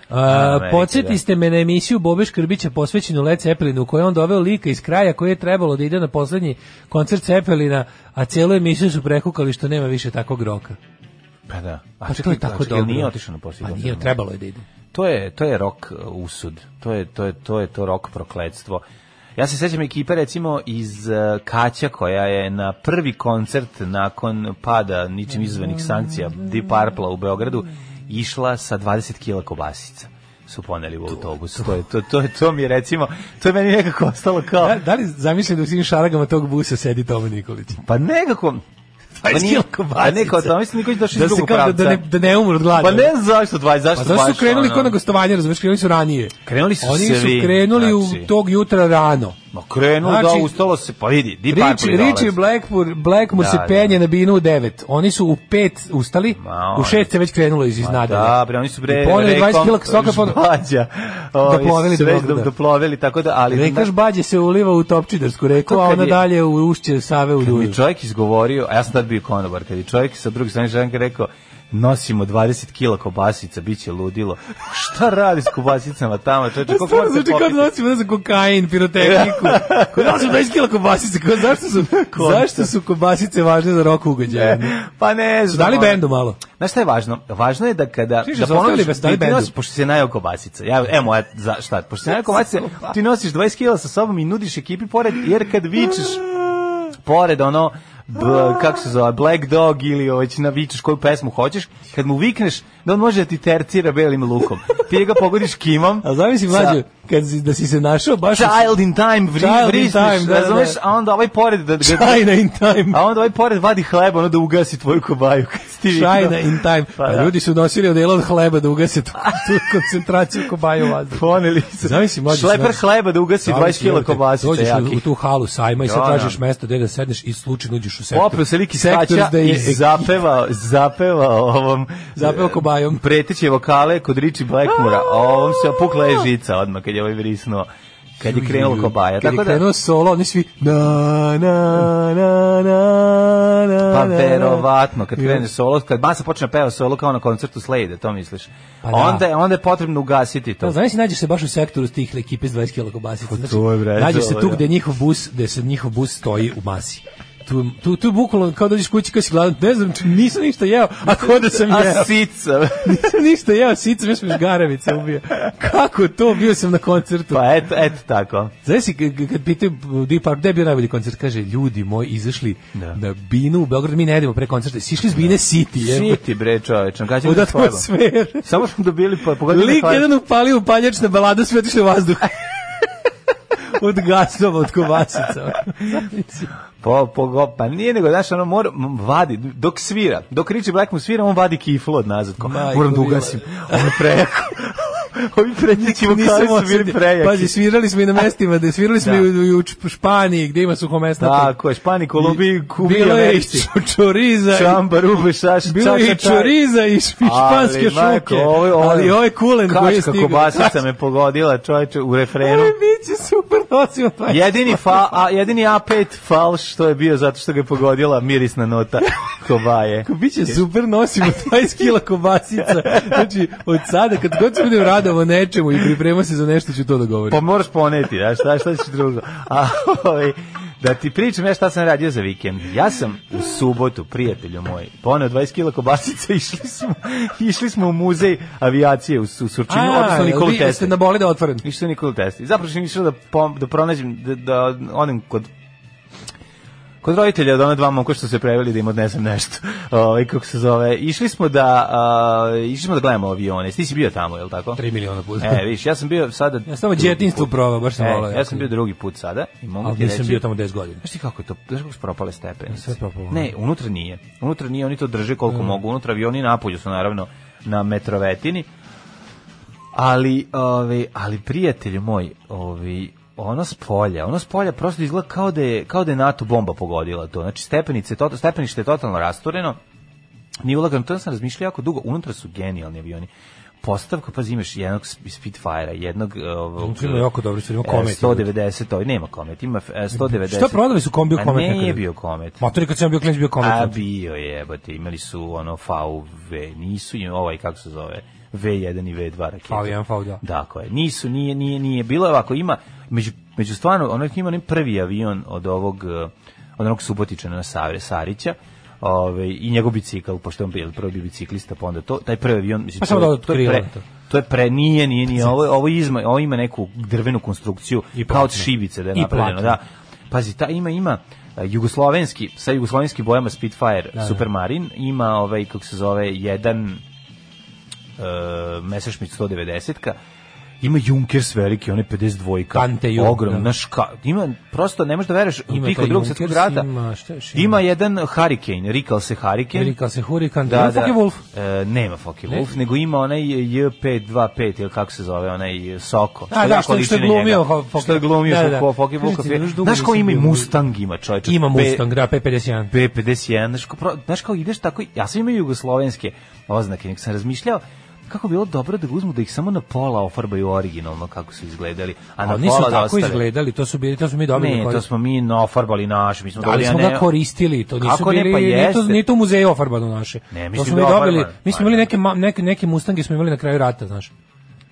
[SPEAKER 6] Uh,
[SPEAKER 7] Amerika,
[SPEAKER 6] podsjeti
[SPEAKER 7] da.
[SPEAKER 6] ste me na emisiju Bobe Škrbića posvećenu Led Zeppelinu koju je on doveo lika iz kraja koji je trebalo da ide na poslednji koncert Zeppelina a celu emisiju su prekukali što nema više takvog roka.
[SPEAKER 7] Pa da. A
[SPEAKER 6] Pa to
[SPEAKER 7] čekaj,
[SPEAKER 6] je tako
[SPEAKER 7] a čekaj, jel
[SPEAKER 6] dobro.
[SPEAKER 7] Nije otišao na posljednji
[SPEAKER 6] Pa
[SPEAKER 7] koncert?
[SPEAKER 6] nije, trebalo je da ide.
[SPEAKER 7] To je to je rok uh, usud. To je to je to je to rok prokletstvo. Ja se sećam ekipe recimo iz uh, Kaća koja je na prvi koncert nakon pada ničim izvanih sankcija Deep Purple u Beogradu išla sa 20 kila kobasica su poneli u autobus. To je to to je to mi je recimo to je meni nekako ostalo kao
[SPEAKER 6] Da, da li zamislite da u svim šaragama tog busa sedi Toma Nikolić?
[SPEAKER 7] pa nekako Pa nije,
[SPEAKER 6] kila
[SPEAKER 7] pa
[SPEAKER 6] kobasica.
[SPEAKER 7] neko o tome, mislim, niko je došao iz
[SPEAKER 6] Da, se
[SPEAKER 7] drugog
[SPEAKER 6] kao, da, da, ne,
[SPEAKER 7] pravca.
[SPEAKER 6] da ne umru od gladi.
[SPEAKER 7] Pa ne znam zašto 20, zašto
[SPEAKER 6] Pa zašto
[SPEAKER 7] baš
[SPEAKER 6] su krenuli
[SPEAKER 7] ono?
[SPEAKER 6] kod na gostovanje, razumiješ, krenuli su ranije.
[SPEAKER 7] Krenuli su
[SPEAKER 6] Oni su
[SPEAKER 7] svi,
[SPEAKER 6] krenuli
[SPEAKER 7] znači.
[SPEAKER 6] u tog jutra rano.
[SPEAKER 7] Ma krenuo
[SPEAKER 6] Znači,
[SPEAKER 7] da ustalo se, pa vidi, Deep
[SPEAKER 6] Rich,
[SPEAKER 7] Purple
[SPEAKER 6] Rich
[SPEAKER 7] dolazi.
[SPEAKER 6] i Blackmore, Blackmore
[SPEAKER 7] Da,
[SPEAKER 6] se
[SPEAKER 7] da.
[SPEAKER 6] penje na binu u 9. Oni su u 5 ustali,
[SPEAKER 7] Ma,
[SPEAKER 6] u 6 se već krenulo iz iznada.
[SPEAKER 7] Da, bre, oni su bre
[SPEAKER 6] I poneli 20 kila soka pod...
[SPEAKER 7] žbađa.
[SPEAKER 6] Doplovili do
[SPEAKER 7] sve
[SPEAKER 6] Beograda.
[SPEAKER 7] do- doplovili, tako da, ali...
[SPEAKER 6] Reka Žbađe se uliva u Topčidarsku reku,
[SPEAKER 7] To
[SPEAKER 6] a
[SPEAKER 7] kad
[SPEAKER 6] ona
[SPEAKER 7] je-
[SPEAKER 6] dalje u ušće Save u
[SPEAKER 7] Kad
[SPEAKER 6] Duju.
[SPEAKER 7] mi čovjek izgovorio, a ja sam tad bio konobar, kad je čovjek sa druge strane ženke rekao, nosimo 20 kila kobasica, bit će ludilo. Šta radi s kobasicama tamo? Čovječe, koliko
[SPEAKER 6] Stvarno
[SPEAKER 7] morate
[SPEAKER 6] zvuči kao
[SPEAKER 7] popiti?
[SPEAKER 6] da nosimo, ne znam, kokain, pirotehniku. Kao da nosimo 20 kila kobasice. Kao, zašto, su,
[SPEAKER 7] Konta.
[SPEAKER 6] zašto su kobasice važne za rock ugođaje?
[SPEAKER 7] Pa ne znam.
[SPEAKER 6] Da li
[SPEAKER 7] ono.
[SPEAKER 6] bendu malo?
[SPEAKER 7] Znaš šta je važno? Važno je da kada
[SPEAKER 6] Sviš,
[SPEAKER 7] da
[SPEAKER 6] su ostavili bez Dali
[SPEAKER 7] ti, ti
[SPEAKER 6] Bendu.
[SPEAKER 7] nosiš, pošto se najao kobasica. Ja, evo moja, za, šta, pošto se najao kobasica, ti nosiš 20 kila sa sobom i nudiš ekipi pored, jer kad vičeš pored ono, b, kako se zove, Black Dog ili oveć navičeš koju pesmu hoćeš, kad mu vikneš da on može da ti tercira belim lukom. Ti ga pogodiš kimom.
[SPEAKER 6] A zamisli
[SPEAKER 7] sa-
[SPEAKER 6] mlađe, kad si, da si se našao baš... u-
[SPEAKER 7] Child in time, vri,
[SPEAKER 6] Child in
[SPEAKER 7] vrižniš,
[SPEAKER 6] time, da, da,
[SPEAKER 7] razumeš,
[SPEAKER 6] da.
[SPEAKER 7] a onda ovaj pored da, da,
[SPEAKER 6] China in time.
[SPEAKER 7] a onda ovaj pored vadi hleba, ono da ugasi tvoju kobaju. kad si ti viknuo.
[SPEAKER 6] China in time.
[SPEAKER 7] Pa
[SPEAKER 6] Pa
[SPEAKER 7] da.
[SPEAKER 6] ljudi su nosili odela od hleba da ugase tu, tu koncentraciju kobaju vazduha.
[SPEAKER 7] Poneli se.
[SPEAKER 6] Zamisli, mlađe,
[SPEAKER 7] Šleper
[SPEAKER 6] znaš-
[SPEAKER 7] hleba da ugasi 20 kila kobasica
[SPEAKER 6] Dođeš u, u
[SPEAKER 7] jakih.
[SPEAKER 6] tu halu sajma i sad
[SPEAKER 7] Da,
[SPEAKER 6] tražiš
[SPEAKER 7] da.
[SPEAKER 6] mesto gde da sedneš i slučajno uđeš u sektor.
[SPEAKER 7] Popio se lik iz
[SPEAKER 6] Sektor
[SPEAKER 7] staća
[SPEAKER 6] da je-
[SPEAKER 7] i zapeva, zapeva ovom...
[SPEAKER 6] Zapeva kobajom.
[SPEAKER 7] e, Preteće vokale kod Riči Blackmura, a ovom se opukla je žica odmah kad je ovaj vrisnuo. Kad je krenulo kobaja.
[SPEAKER 6] Kad
[SPEAKER 7] Tako
[SPEAKER 6] je
[SPEAKER 7] da,
[SPEAKER 6] krenuo solo, oni svi na, na, na, na, na,
[SPEAKER 7] pa
[SPEAKER 6] na, na.
[SPEAKER 7] verovatno, kad
[SPEAKER 6] I
[SPEAKER 7] krene solo, kad masa počne peva solo kao na koncertu Slade, to misliš.
[SPEAKER 6] Pa da.
[SPEAKER 7] Onda, je, onda je potrebno ugasiti to.
[SPEAKER 6] Da, znaš, nađeš se baš u sektoru s tih ekipe s 20 kg kobasica. Znači,
[SPEAKER 7] Pa to je, bre,
[SPEAKER 6] nađeš
[SPEAKER 7] to
[SPEAKER 6] se
[SPEAKER 7] je,
[SPEAKER 6] tu
[SPEAKER 7] da.
[SPEAKER 6] gde je njihov bus, gde se njihov bus stoji u masi. Tu, tu, tu bukvalno kao dođeš kući kao si gladan, ne znam, č- nisam ništa jeo, a ko da sam jeo.
[SPEAKER 7] A sica.
[SPEAKER 6] nisam ništa jeo, sica, mi smo žgaravice ubio. Kako to, bio sam na koncertu.
[SPEAKER 7] Pa eto, eto tako.
[SPEAKER 6] Znaš si, k- k- kad pitaju Deep Park, gde je bio najbolji koncert, kaže, ljudi moji, izašli
[SPEAKER 7] Da.
[SPEAKER 6] na Binu u Beogradu, mi ne idemo pre koncerta, si išli s Bine City, je.
[SPEAKER 7] Siti bre čoveče, kad će
[SPEAKER 6] Od
[SPEAKER 7] biti slabo?
[SPEAKER 6] atmosfere.
[SPEAKER 7] Samo smo dobili pa pogodili
[SPEAKER 6] Lik
[SPEAKER 7] hleb.
[SPEAKER 6] jedan upalio upaljač na baladu, sve otišli u vazduh. od gasova, od kobasica.
[SPEAKER 7] Po, po, go- pa nije nego, znaš, ono, mora, m, vadi, dok svira, dok Richie Black mu svira, on vadi kiflu od nazad, kao,
[SPEAKER 6] Majko
[SPEAKER 7] moram da
[SPEAKER 6] mila.
[SPEAKER 7] ugasim, ono je prejako. Ovi prednjaci vokali su bili
[SPEAKER 6] osetio.
[SPEAKER 7] prejaki.
[SPEAKER 6] Pazi, svirali smo i na mestima, da svirali smo
[SPEAKER 7] Da.
[SPEAKER 6] i u, i u Č- Španiji, gde ima suhomesnate.
[SPEAKER 7] Tako je, Špani, Kolumbi, Kubi,
[SPEAKER 6] Bilo je i
[SPEAKER 7] Americi.
[SPEAKER 6] ču- čoriza, i-
[SPEAKER 7] Čamba, rube, šaš,
[SPEAKER 6] bilo je i
[SPEAKER 7] čača, čaj.
[SPEAKER 6] čoriza i š- i španske
[SPEAKER 7] Ali, majko,
[SPEAKER 6] šuke.
[SPEAKER 7] ovo je- ovo je-
[SPEAKER 6] Ali ovaj kulen koji je
[SPEAKER 7] Kačka
[SPEAKER 6] stigao.
[SPEAKER 7] kobasica me pogodila, čoveče, u refrenu.
[SPEAKER 6] Ovo je biće super nosio taj.
[SPEAKER 7] Jedini, fa, a, jedini A5 falš što je bio zato što ga je pogodila mirisna nota kobaje.
[SPEAKER 6] Biće super nosimo 20 kila kobasica. Znači, od sada, kad god se budem radovao nečemu i pripremao se za nešto, ću to da govorim.
[SPEAKER 7] Pa moraš poneti, a šta, šta ćeš drugo. A, ovaj, da ti pričam ja šta sam radio za vikend. Ja sam u subotu, prijatelju moj, poneo 20 kila kobasica, išli smo, išli smo u muzej avijacije u, Su- Surčinu, odnosno Pa, Nikolu
[SPEAKER 6] vi ste
[SPEAKER 7] Tesli.
[SPEAKER 6] na boli da otvoren.
[SPEAKER 7] Išli smo u Nikolu Tesli. Zapravo sam išao da, pom, da pronađem, da, da odem kod Kod roditelja od ona dva momka što su se preveli da im odnesem nešto. Ovaj kako se zove. Išli smo da a, išli smo da gledamo avione. Ti si bio tamo, je l' tako?
[SPEAKER 6] 3 miliona puta.
[SPEAKER 7] E, vidiš, ja sam bio sada
[SPEAKER 6] Ja sam tamo djetinjstvo probao, baš sam
[SPEAKER 7] E,
[SPEAKER 6] volao.
[SPEAKER 7] ja sam bio drugi put sada i mogu
[SPEAKER 6] Ali
[SPEAKER 7] ti
[SPEAKER 6] nisam
[SPEAKER 7] reći.
[SPEAKER 6] bio tamo 10 godina.
[SPEAKER 7] Znaš ti kako je to? Znaš kako su propale stepenice?
[SPEAKER 6] Sve Mm. je propalo.
[SPEAKER 7] Ne, unutra nije. Unutra nije, oni to drže koliko mogu. Unutra avioni napolju su naravno na metrovetini. Ali, ovaj, ali prijatelju moj, ovaj, ono s polja, ono s polja prosto izgleda kao da je, kao da je NATO bomba pogodila to. Znači, stepenice, to, stepenište je totalno rastureno. Nije ulagano, to sam razmišljao jako dugo. Unutra su genijalni avioni. Postavka, pa imaš jednog Spitfire, jednog... Ovog,
[SPEAKER 6] Unutra ima jako dobri stvari, ima
[SPEAKER 7] e,
[SPEAKER 6] Comet.
[SPEAKER 7] 190, ovaj, nema komet, ima e, 190.
[SPEAKER 6] Šta prodali su kombiju komet?
[SPEAKER 7] A nije
[SPEAKER 6] nekada?
[SPEAKER 7] bio komet.
[SPEAKER 6] Motori kad sam ja bio klinic bio komet. znači.
[SPEAKER 7] A bio je, jebote, imali su ono VV, nisu im ovaj, kako se zove, V1 i V2 rakete.
[SPEAKER 6] V1, V2.
[SPEAKER 7] Dakle, nisu, nije, nije, nije, bilo je ovako, ima, među, među stvarno, ono ima onaj prvi avion od ovog, eh, od onog Subotičana na Savre, Sarića, Ove, i njegov bicikl, pošto je on bio prvi bio biciklista, pa onda to, taj prvi avion, mislim,
[SPEAKER 6] Pa
[SPEAKER 7] to,
[SPEAKER 6] samo da
[SPEAKER 7] to, je
[SPEAKER 6] otkriva
[SPEAKER 7] pre,
[SPEAKER 6] to.
[SPEAKER 7] to je pre, nije, nije, nije, ovo, ovo, izma, ovo ima neku drvenu konstrukciju,
[SPEAKER 6] I
[SPEAKER 7] kao od
[SPEAKER 6] platno.
[SPEAKER 7] šibice da je
[SPEAKER 6] I
[SPEAKER 7] napravljeno,
[SPEAKER 6] platno.
[SPEAKER 7] da, Pazi, ta ima ima a, jugoslovenski, sa jugoslovenskim bojama Spitfire
[SPEAKER 6] Da,
[SPEAKER 7] Supermarin, ima ovaj kako se zove jedan uh, Messerschmitt 190-ka. Ima Junkers veliki, one 52-ka.
[SPEAKER 6] Ante Jun-
[SPEAKER 7] Ogrom,
[SPEAKER 6] da.
[SPEAKER 7] znaš ka, ima, prosto ne možeš da veruješ, u
[SPEAKER 6] Ima
[SPEAKER 7] piku
[SPEAKER 6] taj
[SPEAKER 7] drugog
[SPEAKER 6] Junkers,
[SPEAKER 7] svjetskog rata.
[SPEAKER 6] ima, šta još ima?
[SPEAKER 7] ima jedan Hurricane, rikal se Hurricane.
[SPEAKER 6] Velika se hurikan. Da, da. Fuck Wolf.
[SPEAKER 7] E, nema Fokke
[SPEAKER 6] Ne?
[SPEAKER 7] Wolf, nego ima onaj J525 ili kako se zove, onaj Soko.
[SPEAKER 6] A, da,
[SPEAKER 7] jako
[SPEAKER 6] što je- što je
[SPEAKER 7] liči na
[SPEAKER 6] glumio
[SPEAKER 7] njega.
[SPEAKER 6] Fokke-
[SPEAKER 7] Što je glumio
[SPEAKER 6] Da, da, da.
[SPEAKER 7] Fokke- Fokke
[SPEAKER 6] Kažete,
[SPEAKER 7] Wolfa.
[SPEAKER 6] još dugo
[SPEAKER 7] Znaš ko
[SPEAKER 6] nisam
[SPEAKER 7] ima i
[SPEAKER 6] bio-
[SPEAKER 7] Mustang ima, čovječe.
[SPEAKER 6] Ima
[SPEAKER 7] Pe-
[SPEAKER 6] Mustang, da, P51.
[SPEAKER 7] B51, znaš, ko, pro- znaš kao ideš tako, ja sam imao jugoslovenske oznake, nek sam razmišljao kako bi bilo dobro da ga uzmu da ih samo na pola ofarbaju originalno kako su izgledali, a na
[SPEAKER 6] Ali nisu
[SPEAKER 7] pola da
[SPEAKER 6] tako
[SPEAKER 7] ostave.
[SPEAKER 6] izgledali, to su bili, to su mi dobili.
[SPEAKER 7] Ne,
[SPEAKER 6] kod-
[SPEAKER 7] to smo mi naofarbali naš, mi smo
[SPEAKER 6] Ali
[SPEAKER 7] dobili, a
[SPEAKER 6] Da smo
[SPEAKER 7] ne-
[SPEAKER 6] ga koristili, to nisu
[SPEAKER 7] Kako ne,
[SPEAKER 6] bili,
[SPEAKER 7] pa
[SPEAKER 6] nije, to,
[SPEAKER 7] jeste.
[SPEAKER 6] nije to u muzeju ofarbano naše.
[SPEAKER 7] Ne,
[SPEAKER 6] to
[SPEAKER 7] mislim
[SPEAKER 6] smo
[SPEAKER 7] da
[SPEAKER 6] mi
[SPEAKER 7] je
[SPEAKER 6] dobili,
[SPEAKER 7] ofarbano.
[SPEAKER 6] mi smo
[SPEAKER 7] Pa
[SPEAKER 6] imali
[SPEAKER 7] ne.
[SPEAKER 6] neke, ma- neke, neke mustange smo imali na kraju rata, znaš.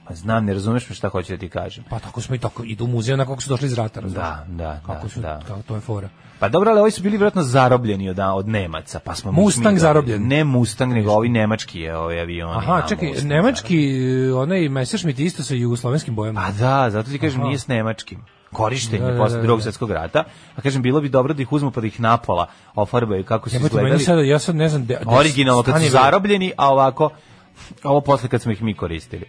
[SPEAKER 7] Pa znam, ne razumeš me šta hoću da ti kažem.
[SPEAKER 6] Pa tako smo i tako, idu u muzej onako kako su došli iz rata, razumiješ?
[SPEAKER 7] Da, da,
[SPEAKER 6] kako
[SPEAKER 7] da,
[SPEAKER 6] su,
[SPEAKER 7] da.
[SPEAKER 6] Kao, to je fora.
[SPEAKER 7] Pa dobro, ali ovi su bili vjerojatno zarobljeni od, od Nemaca, pa smo mi- mi
[SPEAKER 6] Mustang
[SPEAKER 7] dobili.
[SPEAKER 6] zarobljen.
[SPEAKER 7] Ne Mustang, nego ovi nemački je ovi avioni.
[SPEAKER 6] Aha,
[SPEAKER 7] a,
[SPEAKER 6] čekaj,
[SPEAKER 7] Mustang
[SPEAKER 6] nemački, e, onaj Messerschmitt isto sa jugoslovenskim bojama.
[SPEAKER 7] Pa da, zato ti kažem nije s nemačkim. Korištenje
[SPEAKER 6] Da, da,
[SPEAKER 7] posle
[SPEAKER 6] da,
[SPEAKER 7] drugog
[SPEAKER 6] da.
[SPEAKER 7] svjetskog rata. A kažem, bilo bi dobro da ih uzmu pa da ih napola ofarbaju kako su
[SPEAKER 6] Jebote, meni
[SPEAKER 7] izgledali.
[SPEAKER 6] sada, ja sad da ne znam... De, de-
[SPEAKER 7] Originalno kad
[SPEAKER 6] stani,
[SPEAKER 7] su
[SPEAKER 6] bre.
[SPEAKER 7] zarobljeni, a ovako ovo posle kad smo ih mi koristili.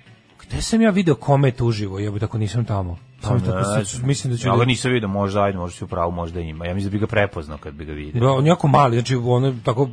[SPEAKER 6] Gde sam ja video komet uživo, jebote, ako nisam tamo? Sam
[SPEAKER 7] Pa,
[SPEAKER 6] tako, sad mislim da ću...
[SPEAKER 7] Ja ga nisam vidio, možda ajde, možda si upravo, možda ima. Ja mislim da bi ga prepoznao kad bi ga vidio.
[SPEAKER 6] Da, on je jako mali, znači on je tako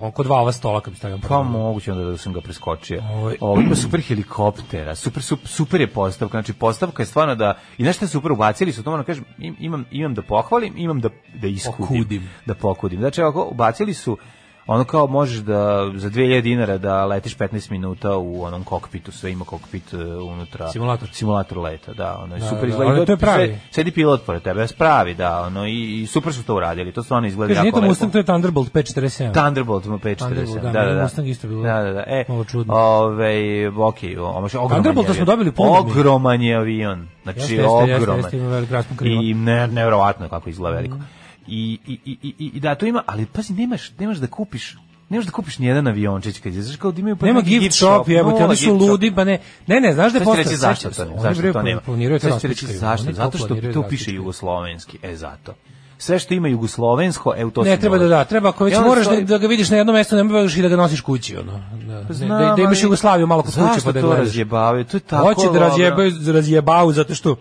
[SPEAKER 6] oko dva ova stola kad bi stavio.
[SPEAKER 7] Pa moguće onda da sam ga preskočio.
[SPEAKER 6] Ovaj-
[SPEAKER 7] Ovo ima super helikoptera, super, super, super je postavka, znači postavka je stvarno da, i znaš šta je super, ubacili su to, ono kažem, im- imam, imam da pohvalim, imam da, da iskudim,
[SPEAKER 6] Okudim.
[SPEAKER 7] da pokudim. Znači, ako ubacili su, ono kao možeš da, za 2000 dinara da letiš 15 minuta u onom kokpitu, sve ima kokpit e, unutra.
[SPEAKER 6] Simulator.
[SPEAKER 7] Simulator leta, da, ono je
[SPEAKER 6] Da,
[SPEAKER 7] super
[SPEAKER 6] da,
[SPEAKER 7] izgleda.
[SPEAKER 6] ali to je pravi.
[SPEAKER 7] Sve- Sedi pilot pored tebe, pravi, da, ono, i, i super su to uradili, to stvarno izgleda
[SPEAKER 6] Kaže, nije
[SPEAKER 7] jako
[SPEAKER 6] to
[SPEAKER 7] lepo.
[SPEAKER 6] Mustang, to je Thunderbolt 547.
[SPEAKER 7] Thunderbolt ima 540.
[SPEAKER 6] Thunderbolt, da,
[SPEAKER 7] Da, da,
[SPEAKER 6] meni
[SPEAKER 7] da.
[SPEAKER 6] Mustang isto bilo
[SPEAKER 7] Da, da, da. E,
[SPEAKER 6] malo čudno.
[SPEAKER 7] Ovaj, okej, o- omaš- ogroman
[SPEAKER 6] Thunderbolta
[SPEAKER 7] je
[SPEAKER 6] smo
[SPEAKER 7] avion.
[SPEAKER 6] dobili puno mi.
[SPEAKER 7] Ogroman je avion. Znači,
[SPEAKER 6] Jeste, jeste, jeste,
[SPEAKER 7] ogroman.
[SPEAKER 6] jeste, ima velik raspon krila. Mm.
[SPEAKER 7] I ne, nevjerovatno kako izgleda veliko. I, i, i, i- i, i da, to ima, ali pazi, nemaš, nemaš da kupiš Nemaš da kupiš nijedan aviončić kad je, znaš kao da imaju pa
[SPEAKER 6] Nema
[SPEAKER 7] neki
[SPEAKER 6] gift shop, jebote,
[SPEAKER 7] nula
[SPEAKER 6] oni su
[SPEAKER 7] gift shop.
[SPEAKER 6] ludi, pa ne. Ne, ne, znaš da je
[SPEAKER 7] Sad ću reći
[SPEAKER 6] postao-
[SPEAKER 7] zašto
[SPEAKER 6] sad
[SPEAKER 7] to
[SPEAKER 6] će-
[SPEAKER 7] nema,
[SPEAKER 6] oni
[SPEAKER 7] zašto
[SPEAKER 6] bre
[SPEAKER 7] to nema.
[SPEAKER 6] Planiraju to
[SPEAKER 7] Sad ću reći
[SPEAKER 6] raspičkaju,
[SPEAKER 7] zašto,
[SPEAKER 6] oni
[SPEAKER 7] zato što
[SPEAKER 6] planiraju da
[SPEAKER 7] to piše
[SPEAKER 6] raspičkaju.
[SPEAKER 7] jugoslovenski, e zato. Sve što ima jugoslovensko, e u to
[SPEAKER 6] Ne
[SPEAKER 7] se
[SPEAKER 6] treba da
[SPEAKER 7] ulazi.
[SPEAKER 6] da, treba ako
[SPEAKER 7] I
[SPEAKER 6] već
[SPEAKER 7] onda
[SPEAKER 6] moraš da,
[SPEAKER 7] stoji-
[SPEAKER 6] da ga vidiš na jednom mestu, ne moraš i da ga nosiš kući, ono. Da,
[SPEAKER 7] Pa
[SPEAKER 6] da-
[SPEAKER 7] znam,
[SPEAKER 6] da, da imaš
[SPEAKER 7] ali-
[SPEAKER 6] Jugoslaviju malo kod kuće pa da je
[SPEAKER 7] Zašto to
[SPEAKER 6] gledaš.
[SPEAKER 7] razjebavaju? To je tako
[SPEAKER 6] Hoće da
[SPEAKER 7] dobro.
[SPEAKER 6] razjebaju, razjebaju zato što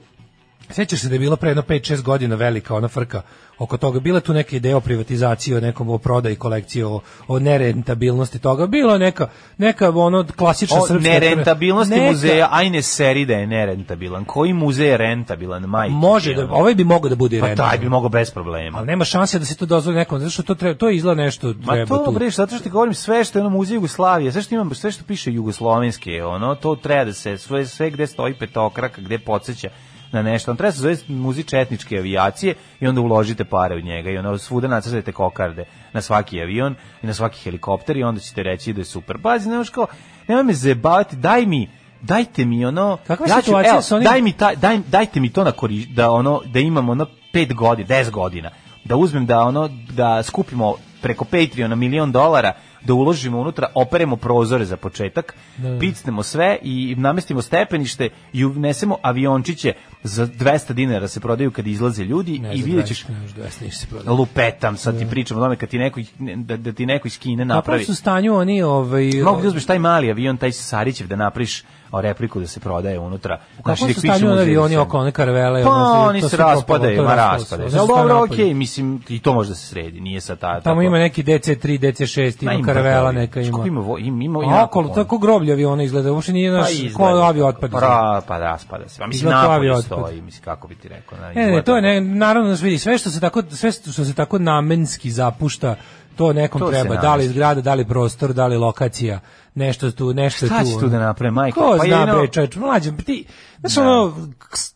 [SPEAKER 6] Sećaš se da je bila pre jedno 5-6 godina velika ona frka oko toga. Bila je tu neka ideja o privatizaciji, o nekom o prodaji kolekcije, o, o nerentabilnosti toga. Bila je neka, neka ono klasična
[SPEAKER 7] O
[SPEAKER 6] srpska...
[SPEAKER 7] nerentabilnosti
[SPEAKER 6] neka-
[SPEAKER 7] muzeja, ajne seri da je nerentabilan. Koji muzej je rentabilan, majke?
[SPEAKER 6] Može da,
[SPEAKER 7] ono?
[SPEAKER 6] ovaj bi mogao da bude
[SPEAKER 7] Pa taj
[SPEAKER 6] rentabilan.
[SPEAKER 7] bi mogao bez problema.
[SPEAKER 6] Ali nema šanse da se to dozvoli nekom, zato što to, treba, to izgleda nešto
[SPEAKER 7] Ma
[SPEAKER 6] treba
[SPEAKER 7] to
[SPEAKER 6] tu.
[SPEAKER 7] bre, zato što ti govorim sve što je ono muzej Jugoslavije, sve što imam, sve što piše jugoslovenski, je ono to treba da se sve sve gde stoji petokrak, gde podseća na nešto. On treba da se zove muzej četničke avijacije i onda uložite pare u njega i ono svuda nacrtajte kokarde na svaki avion i na svaki helikopter i onda ćete reći da je super. Pazi, nemaš kao, nemoj me zebavati, daj mi dajte mi ono
[SPEAKER 6] Kakva je situacija
[SPEAKER 7] evo,
[SPEAKER 6] sa onim-
[SPEAKER 7] daj mi taj daj, dajte mi to na kori, da ono da imam ono 5 godina 10 godina da uzmem da ono da skupimo preko Patreona milion dolara da uložimo unutra, operemo prozore za početak,
[SPEAKER 6] Da,
[SPEAKER 7] picnemo sve i namestimo stepenište i unesemo aviončiće za 200 dinara se prodaju kad izlaze ljudi
[SPEAKER 6] Ne,
[SPEAKER 7] i
[SPEAKER 6] za
[SPEAKER 7] vidjet ćeš
[SPEAKER 6] 20, ne, za 20 ništa se prodaje.
[SPEAKER 7] lupetam, sad ti pričam o tome kad ti neko, da, da ti neko iz Kine
[SPEAKER 6] Napravi
[SPEAKER 7] napravi.
[SPEAKER 6] su u stanju oni ovaj
[SPEAKER 7] Mogu da uzmeš taj mali avion, taj Sarićev da napriš o repliku da se prodaje unutra.
[SPEAKER 6] Kako
[SPEAKER 7] da
[SPEAKER 6] su
[SPEAKER 7] ih
[SPEAKER 6] stanju
[SPEAKER 7] pišemo
[SPEAKER 6] oni
[SPEAKER 7] u
[SPEAKER 6] avioni
[SPEAKER 7] zemlju.
[SPEAKER 6] oko one karavele?
[SPEAKER 7] Pa
[SPEAKER 6] ono,
[SPEAKER 7] oni
[SPEAKER 6] to
[SPEAKER 7] se
[SPEAKER 6] sve propalo,
[SPEAKER 7] raspadaju,
[SPEAKER 6] to
[SPEAKER 7] ma
[SPEAKER 6] raspalo se.
[SPEAKER 7] raspadaju.
[SPEAKER 6] Oni su
[SPEAKER 7] Ali
[SPEAKER 6] stvarno
[SPEAKER 7] dobro,
[SPEAKER 6] napolju.
[SPEAKER 7] okej, mislim, i to može da se sredi, nije sad ta...
[SPEAKER 6] Tamo
[SPEAKER 7] tako-
[SPEAKER 6] ima neki DC3, DC6,
[SPEAKER 7] Ma,
[SPEAKER 6] ima karavela
[SPEAKER 7] toga.
[SPEAKER 6] neka
[SPEAKER 7] Kako
[SPEAKER 6] ima.
[SPEAKER 7] ima, vo- ima, ima,
[SPEAKER 6] A okolo, to je ko groblje aviona izgleda, uopšte nije naš, ko avio otpad.
[SPEAKER 7] Pa, pa raspada se. Pa, mislim,
[SPEAKER 6] Izgleda kao
[SPEAKER 7] napolje
[SPEAKER 6] avio otpad.
[SPEAKER 7] stoji, mislim, kako bi ti rekao. na,
[SPEAKER 6] Ne, ne,
[SPEAKER 7] izgleda
[SPEAKER 6] E, to je ne, naravno znaš, vidi sve što se tako sve što se tako namenski zapušta, to nekom
[SPEAKER 7] To se
[SPEAKER 6] treba, da li
[SPEAKER 7] namenski.
[SPEAKER 6] zgrada, da li prostor, da li lokacija, nešto tu, nešto
[SPEAKER 7] Šta
[SPEAKER 6] tu.
[SPEAKER 7] će tu
[SPEAKER 6] ono.
[SPEAKER 7] da naprave, majko?
[SPEAKER 6] Ko
[SPEAKER 7] Pa
[SPEAKER 6] zna
[SPEAKER 7] jedino- Da.
[SPEAKER 6] bre, čoveč, mlađe, pa ti, znaš, ono, ks-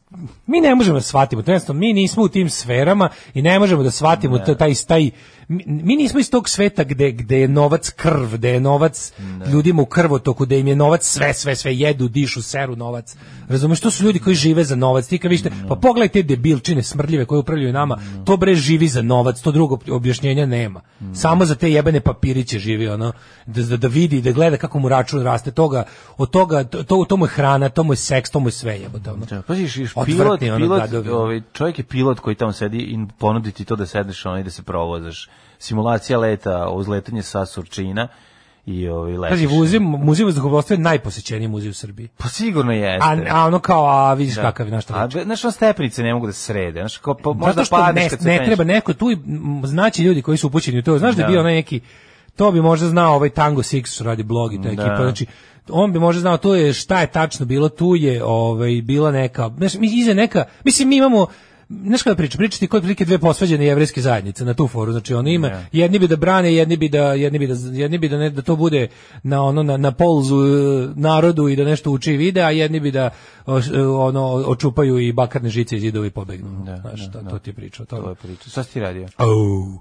[SPEAKER 6] mi ne možemo da shvatimo, to jednostavno, mi nismo u tim sferama i ne možemo da shvatimo to- taj, taj, mi, mi nismo iz tog sveta gde, gde je novac krv, gde je novac
[SPEAKER 7] Da.
[SPEAKER 6] ljudima u krvotoku, gde im je novac sve, sve, sve, jedu, dišu, seru novac. Razumeš, to su ljudi koji žive za novac, ti kad vidite,
[SPEAKER 7] Mm.
[SPEAKER 6] pa pogledaj te debilčine smrdljive koje upravljaju nama, to bre živi za novac, to drugo objašnjenja nema.
[SPEAKER 7] Mm.
[SPEAKER 6] Samo za te jebene papiriće živi, ono, da, da, da vidi, da gleda kako mu račun raste, toga, od toga, to, to, to mu je hrana, to mu je seks, to mu je sve jebote, ono.
[SPEAKER 7] Da, Paziš, iš
[SPEAKER 6] Odvratni,
[SPEAKER 7] pilot,
[SPEAKER 6] ono,
[SPEAKER 7] pilot,
[SPEAKER 6] gadovi.
[SPEAKER 7] ovaj, čovjek je pilot koji tamo sedi i ponudi ti to da sedneš ono i da se provozaš. Simulacija leta, uzletanje sa Surčina i ovaj, letiš.
[SPEAKER 6] Kaže, muzej, muzej vazduhoplovstva je najposećeniji muzej u Srbiji.
[SPEAKER 7] Pa sigurno jeste. Da.
[SPEAKER 6] A, a ono kao, a vidiš kakav je naš
[SPEAKER 7] A,
[SPEAKER 6] reč.
[SPEAKER 7] be- znaš, ono stepnice ne mogu da se srede. Znaš, kao, pa, možda
[SPEAKER 6] Zato što
[SPEAKER 7] padneš
[SPEAKER 6] ne,
[SPEAKER 7] kad se
[SPEAKER 6] ne
[SPEAKER 7] penješ.
[SPEAKER 6] treba neko tu, i, m, znači ljudi koji su upućeni u to, znaš da, je
[SPEAKER 7] Da.
[SPEAKER 6] bio onaj neki, to bi možda znao ovaj Tango Six što radi blog
[SPEAKER 7] Da.
[SPEAKER 6] i ta ekipa, znači on bi možda znao to je šta je tačno bilo, tu je ovaj, bila neka, znaš, mi iza neka, mislim mi imamo, Znaš kada priča, priča ti kod prilike dve posvađene jevrejske zajednice na tu foru, znači oni ima, jedni bi da brane, jedni bi da, jedni bi da, jedni bi da, ne, da to bude na ono na, na polzu e, narodu i da nešto uči i vide, a jedni bi da o, š- e, ono očupaju i bakarne žice iz zidova i pobegnu. Znaš, to, to ti je priča. o tome.
[SPEAKER 7] To je priča. Šta si ti radio?
[SPEAKER 6] Au.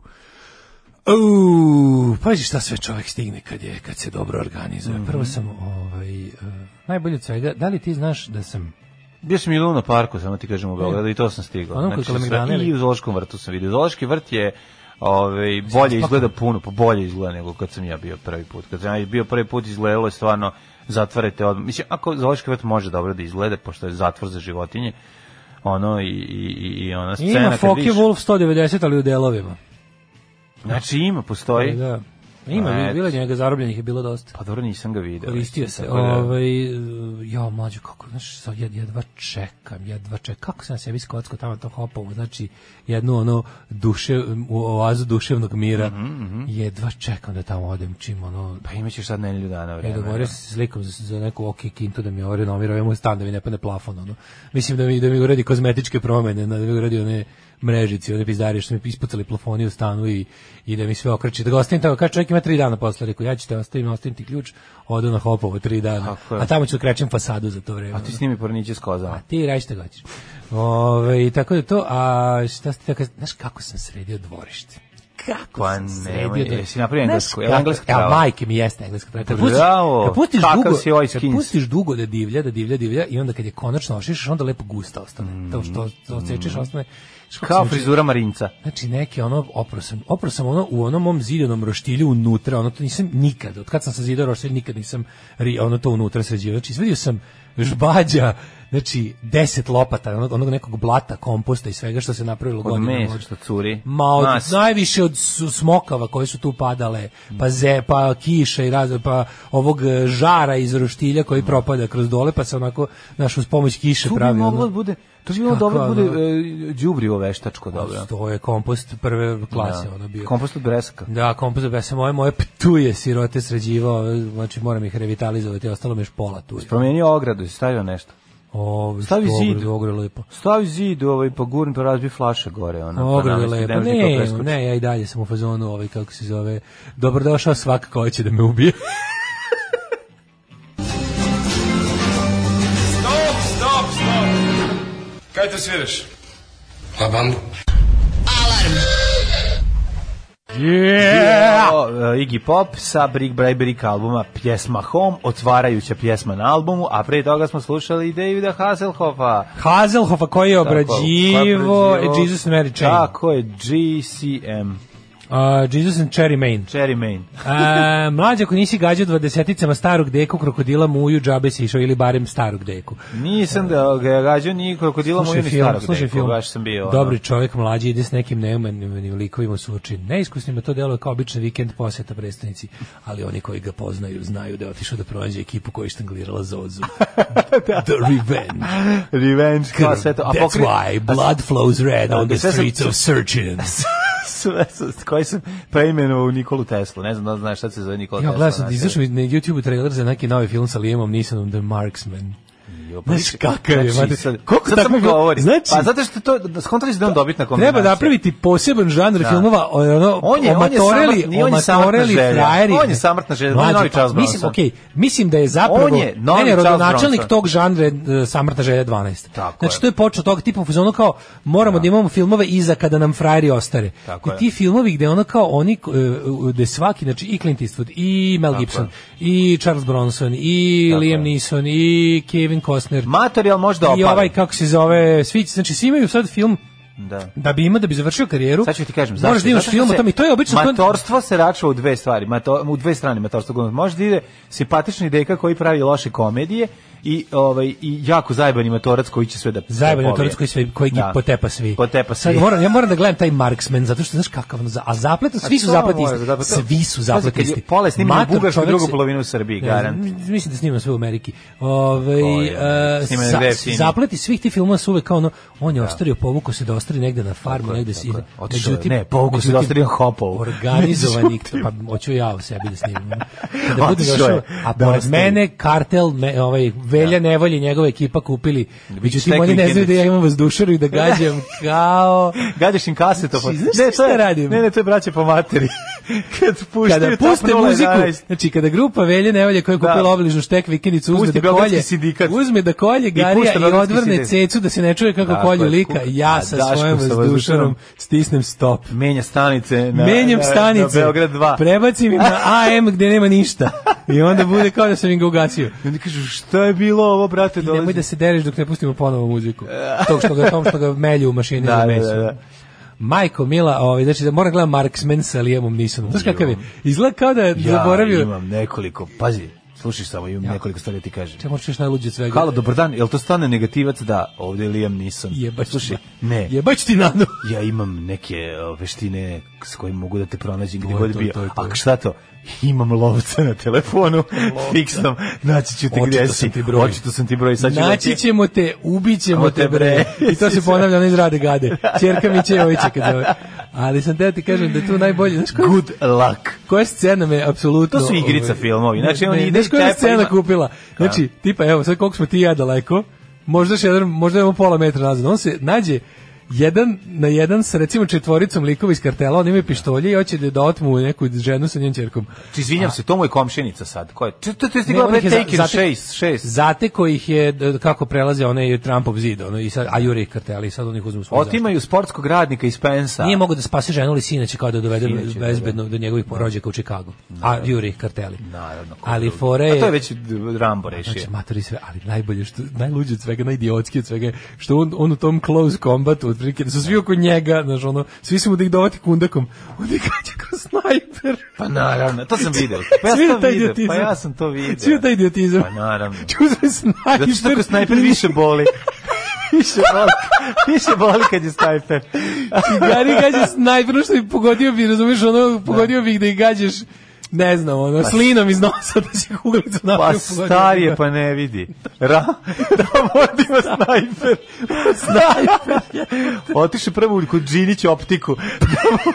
[SPEAKER 6] Au, pazi šta sve čovjek stigne kad je kad se dobro organizuje.
[SPEAKER 7] Mhm.
[SPEAKER 6] Prvo sam ovaj e, najbolje od svega, da li ti znaš da sam
[SPEAKER 7] Bio sam i u Luna parku, samo ti kažem u Beogradu, i to sam stigao.
[SPEAKER 6] Ono kod
[SPEAKER 7] sve-
[SPEAKER 6] Kalemegdana ili?
[SPEAKER 7] I u Zološkom vrtu sam vidio. Zološki vrt je Ove, bolje izgleda puno, pa bolje izgleda nego kad sam ja bio prvi put. Kad sam ja bio prvi put izgledalo je stvarno zatvarate odmah. Mislim, ako Zološki vrt može dobro da izgleda, pošto je zatvor za životinje, ono i, i, i- i ona scena
[SPEAKER 6] ima
[SPEAKER 7] kad
[SPEAKER 6] Focke
[SPEAKER 7] vidiš-
[SPEAKER 6] Wolf 190 ali u delovima.
[SPEAKER 7] Znači ima, postoji.
[SPEAKER 6] Da. Ima,
[SPEAKER 7] A,
[SPEAKER 6] bilo-
[SPEAKER 7] eto.
[SPEAKER 6] bilo je njega zarobljenih je bilo dosta.
[SPEAKER 7] Pa dobro, nisam ga vidio.
[SPEAKER 6] Koristio se.
[SPEAKER 7] Tako da-
[SPEAKER 6] Ovaj e, ja mlađu kako, znaš, sad jed, jedva čekam, jedva čekam. Kako sam sebi skocko tamo to hopovo, znači jednu ono duše u oazu duševnog mira.
[SPEAKER 7] Mhm,
[SPEAKER 6] Jedva čekam da tamo odem čim ono
[SPEAKER 7] Pa imaćeš sad nedelju dana
[SPEAKER 6] Ja
[SPEAKER 7] vremena.
[SPEAKER 6] dogovorio sam se s likom za, za neku OK Kintu da mi ovo renovira, ovaj moj stan da mi ne pane plafon, ono. Mislim da mi, da mi uradi kozmetičke promene, da mi uradi one mrežici, one pizdarije što mi ispucali plafoni u stanu i, i da mi sve okreći. Da ga ostavim tamo, kaže čovjek ima tri dana posle, rekao ja ću te ostavim, ostavim ti ključ, odu na hopovo tri dana,
[SPEAKER 7] Tako je.
[SPEAKER 6] a tamo ću da krećem fasadu za to vreme.
[SPEAKER 7] A Pa ti snimi porniće s kozama.
[SPEAKER 6] A ti radi šta hoćeš. Ove, i tako da to, a šta ste tako, znaš kako sam sredio dvorište? Kako
[SPEAKER 7] Pa
[SPEAKER 6] sam
[SPEAKER 7] nemoj,
[SPEAKER 6] sredio
[SPEAKER 7] jesi napravio
[SPEAKER 6] Znaš
[SPEAKER 7] englesku? Je li
[SPEAKER 6] kako-
[SPEAKER 7] engleska
[SPEAKER 6] Ja,
[SPEAKER 7] trava?
[SPEAKER 6] majke mi jeste engleska trava. Kad pustiš,
[SPEAKER 7] Bravo,
[SPEAKER 6] kad pustiš
[SPEAKER 7] kakav
[SPEAKER 6] dugo,
[SPEAKER 7] si ovaj
[SPEAKER 6] kad
[SPEAKER 7] skins.
[SPEAKER 6] pustiš dugo da divlja, da divlja, divlja i onda kad je konačno ošišaš, onda lepo gusta ostane. To što to odsečeš, ostane. Znaš kako
[SPEAKER 7] Kao
[SPEAKER 6] sam juče-
[SPEAKER 7] frizura Marinca.
[SPEAKER 6] Znači neki ono oprosam, oprosam ono u onom mom zidanom roštilju unutra, ono to nisam nikad, od kad sam sa zidao roštilj nikad nisam ri- ono to unutra sređivao. Znači izvedio sam žbađa, znači 10 lopata onog, onog nekog blata, komposta i svega što se napravilo
[SPEAKER 7] Od
[SPEAKER 6] godinama.
[SPEAKER 7] mesa da, što curi.
[SPEAKER 6] da Ma od,
[SPEAKER 7] Mas.
[SPEAKER 6] najviše od su- smokava koje su tu padale, pa ze, pa kiše i razne, pa ovog e, žara iz roštilja koji propada kroz dole, pa se onako, znaš, uz pomoć
[SPEAKER 7] Mm.
[SPEAKER 6] kiše
[SPEAKER 7] Tu bi
[SPEAKER 6] pravi.
[SPEAKER 7] moglo
[SPEAKER 6] ono-
[SPEAKER 7] da bude, tu bi bilo
[SPEAKER 6] Kako,
[SPEAKER 7] dobro da bude
[SPEAKER 6] ono?
[SPEAKER 7] e, đubrivo veštačko dobro. Da.
[SPEAKER 6] To je kompost prve klase, da ono bio.
[SPEAKER 7] Kompost od bresaka.
[SPEAKER 6] Da, kompost ja sam moje, moje ptuje sirote sređivao, znači moram ih revitalizovati, ostalo mi je špola tu.
[SPEAKER 7] Promijenio ogradu, i stavio nešto.
[SPEAKER 6] O,
[SPEAKER 7] Stavi
[SPEAKER 6] što
[SPEAKER 7] zid.
[SPEAKER 6] ogradu, ogradu je lepo.
[SPEAKER 7] Stavi zid, ovaj, pa gurni, pa razbi flaše gore. Ona,
[SPEAKER 6] Ograd je
[SPEAKER 7] namesti,
[SPEAKER 6] lepo.
[SPEAKER 7] može niko
[SPEAKER 6] Ne,
[SPEAKER 7] preskočiti.
[SPEAKER 6] ne, ja i dalje sam u fazonu ovaj, kako se zove, dobrodošao svak ko će da me ubije.
[SPEAKER 8] Stop, stop, stop. Kaj to sviraš?
[SPEAKER 7] O, e, Iggy Pop sa Brick by Brick albuma Pjesma Home, otvarajuća pjesma na albumu, a pre toga smo slušali i Davida Hasselhoffa.
[SPEAKER 6] Hazelhofa koji je
[SPEAKER 7] Tako, ko je
[SPEAKER 6] obrađivo,
[SPEAKER 7] obrađivao?
[SPEAKER 6] e, Jesus and Mary Chain.
[SPEAKER 7] Tako je, GCM.
[SPEAKER 6] Uh, Jesus and Cherry Main.
[SPEAKER 7] Cherry Main.
[SPEAKER 6] E, mlađe, ako nisi gađao dvadeseticama starog deku, krokodila muju, džabe si išao ili barem starog deku.
[SPEAKER 7] Nisam ga ga gađao ni krokodila mu
[SPEAKER 6] Slušaj
[SPEAKER 7] ni
[SPEAKER 6] film,
[SPEAKER 7] starog.
[SPEAKER 6] slušaj
[SPEAKER 7] nekog,
[SPEAKER 6] film.
[SPEAKER 7] Baš sam bio. ono.
[SPEAKER 6] Dobri čovjek mlađi ide s nekim neumenim likovima u suči. Neiskusnima to deluje kao običan vikend posjeta predstavnici, ali oni koji ga poznaju znaju da je otišao da pronađe ekipu koja je štanglirala Zozu. The Revenge.
[SPEAKER 7] Revenge, Da. kao sve to. A
[SPEAKER 6] That's
[SPEAKER 7] pokri-
[SPEAKER 6] why blood flows red
[SPEAKER 7] Da,
[SPEAKER 6] on the
[SPEAKER 7] sve sam-
[SPEAKER 6] streets of Surgeon.
[SPEAKER 7] sve sam, koji sam preimenovao u Nikolu Teslu. Ne znam da li znaš šta se zove Nikola
[SPEAKER 6] Ja
[SPEAKER 7] Tesla.
[SPEAKER 6] gledao sam, da
[SPEAKER 7] znaš.
[SPEAKER 6] izašao mi na YouTube trailer za neki novi film sa Liamom Nisanom, The Marksman.
[SPEAKER 7] Jo, pa
[SPEAKER 6] Znaš
[SPEAKER 7] više-
[SPEAKER 6] kakav je,
[SPEAKER 7] znači,
[SPEAKER 6] mate,
[SPEAKER 7] sad-
[SPEAKER 6] koliko
[SPEAKER 7] sad samo
[SPEAKER 6] takvih-
[SPEAKER 7] govori.
[SPEAKER 6] znači-
[SPEAKER 7] pa zato što to, skontali ste da je on dobitna kombinacija.
[SPEAKER 6] Treba napraviti poseban žanr
[SPEAKER 7] Da.
[SPEAKER 6] filmova, o- ono,
[SPEAKER 7] On je- on je
[SPEAKER 6] omatoreli,
[SPEAKER 7] samrtna- nije, on je samrtna
[SPEAKER 6] omatoreli
[SPEAKER 7] želja.
[SPEAKER 6] frajeri.
[SPEAKER 7] On je samrtna želja, on je
[SPEAKER 6] Mlađe,
[SPEAKER 7] novi
[SPEAKER 6] pa
[SPEAKER 7] Charles
[SPEAKER 6] Mislim,
[SPEAKER 7] Bronson.
[SPEAKER 6] okej, mislim da je zapravo,
[SPEAKER 7] On je novi
[SPEAKER 6] ne, ne,
[SPEAKER 7] Charles
[SPEAKER 6] rodonačelnik
[SPEAKER 7] Bronson.
[SPEAKER 6] tog žanra je e, samrtna želja 12.
[SPEAKER 7] Tako
[SPEAKER 6] znači,
[SPEAKER 7] je.
[SPEAKER 6] to je počeo tog tipa u fazonu kao, moramo da. imamo filmove iza kada nam frajeri ostare.
[SPEAKER 7] Tako
[SPEAKER 6] I
[SPEAKER 7] je.
[SPEAKER 6] ti filmovi gde ono kao oni, e, e, gde svaki, znači i Clint Eastwood, i Mel Gibson, i Charles Bronson, i
[SPEAKER 7] Tako
[SPEAKER 6] Liam
[SPEAKER 7] je. da, pa-
[SPEAKER 6] Neeson, i Kevin Costner,
[SPEAKER 7] Materijal možda opali.
[SPEAKER 6] i ovaj, kako se zove, svi, znači svi imaju sad film
[SPEAKER 7] Da.
[SPEAKER 6] da bi imao da bi završio karijeru.
[SPEAKER 7] Sad ću ti kažem
[SPEAKER 6] Moraš da imaš
[SPEAKER 7] Zato što
[SPEAKER 6] film o
[SPEAKER 7] se-
[SPEAKER 6] tome i to je obično
[SPEAKER 7] Matorstvo se račva u dve stvari, mato, u dve strane matorstvo. govno. Može da ide simpatični deka koji pravi loše komedije i ovaj i jako zajebani matorac koji će sve da
[SPEAKER 6] Zajebani
[SPEAKER 7] da
[SPEAKER 6] autorac
[SPEAKER 7] pobije.
[SPEAKER 6] koji sve koji da.
[SPEAKER 7] Da.
[SPEAKER 6] potepa svi.
[SPEAKER 7] Potepa
[SPEAKER 6] Sad
[SPEAKER 7] svi.
[SPEAKER 6] moram ja moram da gledam taj Marksman zato što znaš kakav on za a zapleta svi su
[SPEAKER 7] to
[SPEAKER 6] zapleti
[SPEAKER 7] mora
[SPEAKER 6] isti.
[SPEAKER 7] da- da-
[SPEAKER 6] Svi su
[SPEAKER 7] Pazi,
[SPEAKER 6] zapleti
[SPEAKER 7] kad je
[SPEAKER 6] isti.
[SPEAKER 7] Pola snimljen u
[SPEAKER 6] Mator
[SPEAKER 7] Bugarskoj,
[SPEAKER 6] čovek
[SPEAKER 7] drugu
[SPEAKER 6] se-
[SPEAKER 7] polovinu u Srbiji,
[SPEAKER 6] Ne znam,
[SPEAKER 7] garant.
[SPEAKER 6] Mislim da snima sve u Ameriki. Ovaj
[SPEAKER 7] je,
[SPEAKER 6] e,
[SPEAKER 7] snima
[SPEAKER 6] sa-
[SPEAKER 7] negde jeftinije.
[SPEAKER 6] zapleti svih tih filmova su uvek kao ono on je ostario povuko se da ostari negde na farmu, negde se ide.
[SPEAKER 7] Otišao je, ne, povukao se da
[SPEAKER 6] međutim,
[SPEAKER 7] ostari na Hopovu.
[SPEAKER 6] Organizovani,
[SPEAKER 7] Međutim.
[SPEAKER 6] pa hoću ja u sebi da snimim. Da budem
[SPEAKER 7] Otišao
[SPEAKER 6] došao,
[SPEAKER 7] je
[SPEAKER 6] a
[SPEAKER 7] da
[SPEAKER 6] pored
[SPEAKER 7] ostari.
[SPEAKER 6] mene kartel, me, ovaj Velja
[SPEAKER 7] Da.
[SPEAKER 6] Nevolje i njegova ekipa kupili. Međutim
[SPEAKER 7] štekli
[SPEAKER 6] oni ne znaju
[SPEAKER 7] vikendicu.
[SPEAKER 6] da ja imam vazdušaru i da gađam kao
[SPEAKER 7] Gađaš im kasetofon.
[SPEAKER 6] Znači, znaš
[SPEAKER 7] Ne,
[SPEAKER 6] šta
[SPEAKER 7] to je-
[SPEAKER 6] radim?
[SPEAKER 7] Ne, ne, to je braće po materi. Kad
[SPEAKER 6] kada
[SPEAKER 7] puštaju
[SPEAKER 6] puste
[SPEAKER 7] top 011,
[SPEAKER 6] muziku, znači kada grupa Velje Nevolje koja je
[SPEAKER 7] Da.
[SPEAKER 6] kupila obližnu štek vikendicu uzme
[SPEAKER 7] Pusti
[SPEAKER 6] da
[SPEAKER 7] Beogradski
[SPEAKER 6] kolje,
[SPEAKER 7] sindikat.
[SPEAKER 6] uzme da kolje Garija
[SPEAKER 7] pušta
[SPEAKER 6] i,
[SPEAKER 7] Beogradski
[SPEAKER 6] odvrne
[SPEAKER 7] sindikat.
[SPEAKER 6] cecu da se ne čuje kako
[SPEAKER 7] Tako
[SPEAKER 6] kolju
[SPEAKER 7] je,
[SPEAKER 6] lika,
[SPEAKER 7] kuka.
[SPEAKER 6] ja
[SPEAKER 7] A
[SPEAKER 6] sa
[SPEAKER 7] Daško
[SPEAKER 6] svojom
[SPEAKER 7] sa
[SPEAKER 6] vazdušanom
[SPEAKER 7] vazdušanom
[SPEAKER 6] stisnem stop.
[SPEAKER 7] Menja stanice na,
[SPEAKER 6] Menjam
[SPEAKER 7] na-
[SPEAKER 6] stanice,
[SPEAKER 7] Na Beograd 2.
[SPEAKER 6] prebacim im na AM gde nema ništa i onda bude kao da sam im ga ugasio.
[SPEAKER 7] I onda kažu, šta je bilo ovo, brate,
[SPEAKER 6] I nemoj
[SPEAKER 7] dolazi?
[SPEAKER 6] da se dereš dok ne pustimo ponovo muziku. Tog što ga, tom što ga melju u mašini
[SPEAKER 7] Da,
[SPEAKER 6] za
[SPEAKER 7] da,
[SPEAKER 6] meso.
[SPEAKER 7] da, da.
[SPEAKER 6] Majko Mila, ovaj, znači da moram gledati Marksman sa Lijemom Nisonom. Znaš kakav je? Izgleda kao da je
[SPEAKER 7] Ja
[SPEAKER 6] zaboravio.
[SPEAKER 7] imam nekoliko, pazi, slušaj samo, imam nekoliko stvari da ti kažem.
[SPEAKER 6] Čemu ćeš najluđe od svega?
[SPEAKER 7] Halo, dobar dan, jel to stane negativac? Da, ovde je da. Liam Neeson.
[SPEAKER 6] Jebać
[SPEAKER 7] Slušaj,
[SPEAKER 6] ti na-
[SPEAKER 7] ne,
[SPEAKER 6] Jebać ti nadu.
[SPEAKER 7] ja imam neke o, veštine s kojim mogu da te pronađem gdje
[SPEAKER 6] je
[SPEAKER 7] god
[SPEAKER 6] to,
[SPEAKER 7] bio.
[SPEAKER 6] to je to.
[SPEAKER 7] A šta to? Imam lovca na telefonu, fiksnom, naći ću te gdje
[SPEAKER 6] Očito
[SPEAKER 7] si.
[SPEAKER 6] sam ti broj.
[SPEAKER 7] Očito sam ti broj, sad ću da
[SPEAKER 6] Naći
[SPEAKER 7] ti-
[SPEAKER 6] ćemo te, ubićemo
[SPEAKER 7] Samo
[SPEAKER 6] te
[SPEAKER 7] te,
[SPEAKER 6] bre.
[SPEAKER 7] bre.
[SPEAKER 6] I to se ponavlja onaj iz rade gade. Ćerka mi će oviće kad zove. Ali sam teo ti kažem da je tu najbolje. Znaš koja,
[SPEAKER 7] Good luck.
[SPEAKER 6] koja scena me apsolutno...
[SPEAKER 7] To su igrica
[SPEAKER 6] ovaj,
[SPEAKER 7] filmovi. Znači,
[SPEAKER 6] ne,
[SPEAKER 7] on
[SPEAKER 6] ne,
[SPEAKER 7] ide
[SPEAKER 6] Znaš koja
[SPEAKER 7] i
[SPEAKER 6] je
[SPEAKER 7] tepa
[SPEAKER 6] scena
[SPEAKER 7] ima- Da.
[SPEAKER 6] kupila? Znači, tipa, evo, sad koliko smo ti i ja daleko, možda še jedan, možda imamo pola metra nazad. On se nađe jedan na jedan sa recimo četvoricom likova iz kartela, on ima pištolje i hoće da da otmu neku ženu sa njenom ćerkom.
[SPEAKER 7] Či, Izvinjam se, to mu je komšenica sad. Ko je? Či, to, to je
[SPEAKER 6] Ne,
[SPEAKER 7] stigla
[SPEAKER 6] on
[SPEAKER 7] pre
[SPEAKER 6] ih je za-
[SPEAKER 7] Take It
[SPEAKER 6] zatek-
[SPEAKER 7] 6, 6.
[SPEAKER 6] Zate kojih je d- kako prelaze onaj Trumpov zid, ono i sad a Jure i karteli, sad oni ih uzmu u svoju zaštitu.
[SPEAKER 7] Otimaju sportskog radnika iz Pensa.
[SPEAKER 6] Nije mogu da spase ženu ili sina će kao da dovede
[SPEAKER 7] Sina će, da,
[SPEAKER 6] bezbedno do njegovih porođaka u Čikagu. A Jure i karteli.
[SPEAKER 7] Naravno. ko
[SPEAKER 6] Ali
[SPEAKER 7] drugi.
[SPEAKER 6] fore
[SPEAKER 7] A to je
[SPEAKER 6] je
[SPEAKER 7] već d- Rambo rešio.
[SPEAKER 6] Znači, matori sve, ali najbolje, što, najluđe od svega, najidiotski od svega je što on, on u tom close combatu, otprilike, da su svi oko njega, znaš, ono, svi su mu da ih dovati kundakom, on ih gađa kao snajper.
[SPEAKER 7] pa naravno, to sam video. Pa ja
[SPEAKER 6] Svi na
[SPEAKER 7] sam
[SPEAKER 6] taj
[SPEAKER 7] video, pa
[SPEAKER 6] idiotizam.
[SPEAKER 7] ja sam to video.
[SPEAKER 6] Svi na taj idiotizam.
[SPEAKER 7] Pa naravno.
[SPEAKER 6] Uzme snajper.
[SPEAKER 7] Zato što tako snajper više boli. više boli. Više boli kad je snajper.
[SPEAKER 6] I Gari gađa snajper, ono što bi pogodio bi, razumiješ, ono, pogodio bih da ih gađaš, ne znam, ono, slinom iz nosa da će kuglicu
[SPEAKER 7] Pa
[SPEAKER 6] napraviti.
[SPEAKER 7] star
[SPEAKER 6] da-
[SPEAKER 7] je, pa ne vidi. Ra, da vodimo snajper.
[SPEAKER 6] Snajper.
[SPEAKER 7] Otiše prvo u- kod Džinić optiku. Da mu,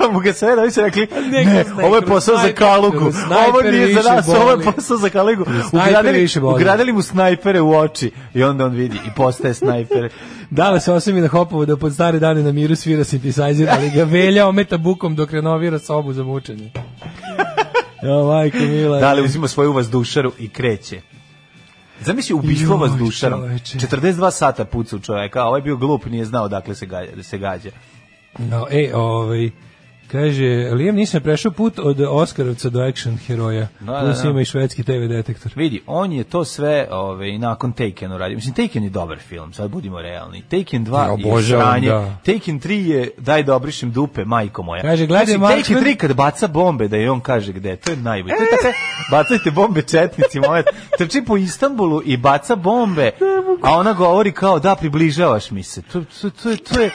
[SPEAKER 7] da mu ga sve da se rekli,
[SPEAKER 6] Ne,
[SPEAKER 7] ne, ovo je posao za
[SPEAKER 6] snajper,
[SPEAKER 7] kalugu.
[SPEAKER 6] snajper
[SPEAKER 7] Ovo nije
[SPEAKER 6] više
[SPEAKER 7] za nas, ovo je
[SPEAKER 6] boli.
[SPEAKER 7] posao za kalugu.
[SPEAKER 6] Snajper
[SPEAKER 7] Ugradili,
[SPEAKER 6] više boli.
[SPEAKER 7] ugradili mu snajpere u oči i onda on vidi i postaje snajper.
[SPEAKER 6] Dala se osami na hopovo da pod stare dane na miru svira synthesizer, ali ga velja ometa bukom dok renovira sobu za mučenje. Jo, majko mila.
[SPEAKER 7] Da li uzima svoju vazdušaru i kreće. Zamisli ubistvo
[SPEAKER 6] Joj,
[SPEAKER 7] vazdušarom.
[SPEAKER 6] čoveče.
[SPEAKER 7] 42 sata puca u čoveka, a ovaj bio glup, nije znao dakle se gađa. Da se gađa.
[SPEAKER 6] No, e, ovaj, Kaže, Liam nisam prešao put od Oskarovca do action heroja.
[SPEAKER 7] Da,
[SPEAKER 6] Plus
[SPEAKER 7] da, da.
[SPEAKER 6] ima i švedski TV detektor.
[SPEAKER 7] Vidi, on je to sve ove, nakon Taken uradio. Mislim, Taken je dobar film, sad budimo realni. Taken 2
[SPEAKER 6] Ja
[SPEAKER 7] je
[SPEAKER 6] obožavam,
[SPEAKER 7] sranje.
[SPEAKER 6] da.
[SPEAKER 7] Taken 3 je daj da obrišem dupe, majko moja.
[SPEAKER 6] Kaže, gledaj,
[SPEAKER 7] Mislim,
[SPEAKER 6] Marks-
[SPEAKER 7] Taken 3 kad baca bombe, da je on kaže gde, to je najbolje. To je tako, bacajte bombe četnici, moja. Trči po Istanbulu i baca bombe, a ona govori kao da, približavaš mi se. To, to, to, je, to je...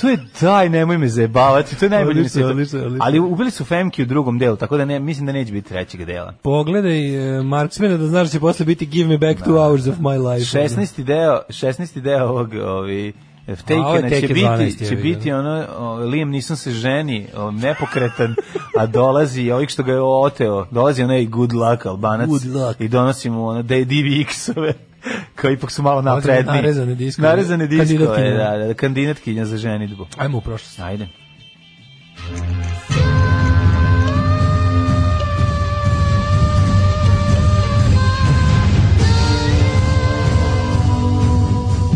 [SPEAKER 7] To je, daj, nemoj me zajebavati, to je najbolje na
[SPEAKER 6] Odlično,
[SPEAKER 7] svijetu.
[SPEAKER 6] odlično, odlično.
[SPEAKER 7] Ali ubili su Femke u drugom delu, tako da ne, mislim da neće biti trećeg dela.
[SPEAKER 6] Pogledaj e, Marksmana da znaš da će posle biti Give me back two
[SPEAKER 7] Da.
[SPEAKER 6] hours of my life.
[SPEAKER 7] 16. deo, 16. deo ovog ovi
[SPEAKER 6] A, ovo je
[SPEAKER 7] Tekena će
[SPEAKER 6] Taken
[SPEAKER 7] biti,
[SPEAKER 6] 12 je,
[SPEAKER 7] će
[SPEAKER 6] vidim.
[SPEAKER 7] biti ono, o, Liam nisam se ženi, o, nepokretan, a dolazi ovih što ga je oteo, dolazi onaj good luck albanac
[SPEAKER 6] Good luck.
[SPEAKER 7] i donosi mu ono DDVX-ove koji ipak su malo
[SPEAKER 6] Dolazi
[SPEAKER 7] napredni.
[SPEAKER 6] narezane diskove.
[SPEAKER 7] Narezane diskove,
[SPEAKER 6] Kandidatkinje.
[SPEAKER 7] da, da, kandidatkinja za ženitbu.
[SPEAKER 6] Ajmo u prošlost.
[SPEAKER 7] Ajde.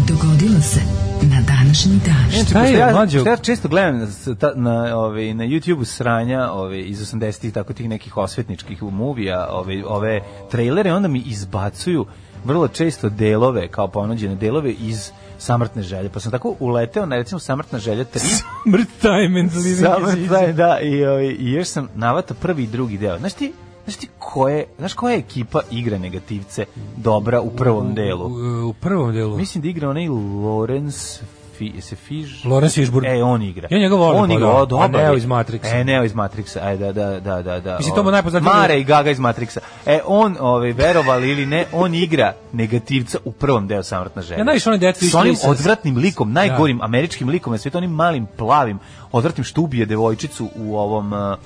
[SPEAKER 9] Dogodilo se na današnji dan.
[SPEAKER 6] Šta
[SPEAKER 7] Pošto
[SPEAKER 6] je,
[SPEAKER 7] ja,
[SPEAKER 6] mlađo?
[SPEAKER 7] pošto ja često gledam s- ta- na, ove, na YouTube-u sranja ove, iz 80-ih, tako tih nekih osvetničkih movija, ove, ove trailere, onda mi izbacuju vrlo često delove, kao ponuđene delove iz Samrtne želje. Pa sam tako uleteo na recimo Samrtna želja 3.
[SPEAKER 6] Mrt time and living
[SPEAKER 7] Samrtna,
[SPEAKER 6] is easy.
[SPEAKER 7] želja, da, i, ove, i još sam navata prvi i drugi deo. Znaš ti, Znaš ti koje, znaš koja ekipa igra negativce dobra u prvom
[SPEAKER 6] U,
[SPEAKER 7] delu?
[SPEAKER 6] u prvom delu.
[SPEAKER 7] Mislim da igra onaj Lorenz Fi, se Fiš...
[SPEAKER 6] Lawrence Fishburne.
[SPEAKER 7] E, on igra.
[SPEAKER 6] Ja njega volim,
[SPEAKER 7] On
[SPEAKER 6] pa
[SPEAKER 7] igra,
[SPEAKER 6] da.
[SPEAKER 7] o, dobar.
[SPEAKER 6] A
[SPEAKER 7] je.
[SPEAKER 6] Neo iz Matrixa.
[SPEAKER 7] E, Neo iz Matrixa, aj, da, da, da, da. da
[SPEAKER 6] Mislim, to mu
[SPEAKER 7] Ovaj,
[SPEAKER 6] najpoznatiji-
[SPEAKER 7] Mara i Gaga iz Matrixa. E, on, ove, verovali ili ne, on igra negativca u prvom deo Samrtna želja.
[SPEAKER 6] Ja najviše onaj Death Wish
[SPEAKER 7] S onim
[SPEAKER 6] Lisa.
[SPEAKER 7] odvratnim
[SPEAKER 6] Da.
[SPEAKER 7] likom, najgorim američkim likom na svijetu, onim malim, plavim, odvratnim što ubije devojčicu u ovom... Uh,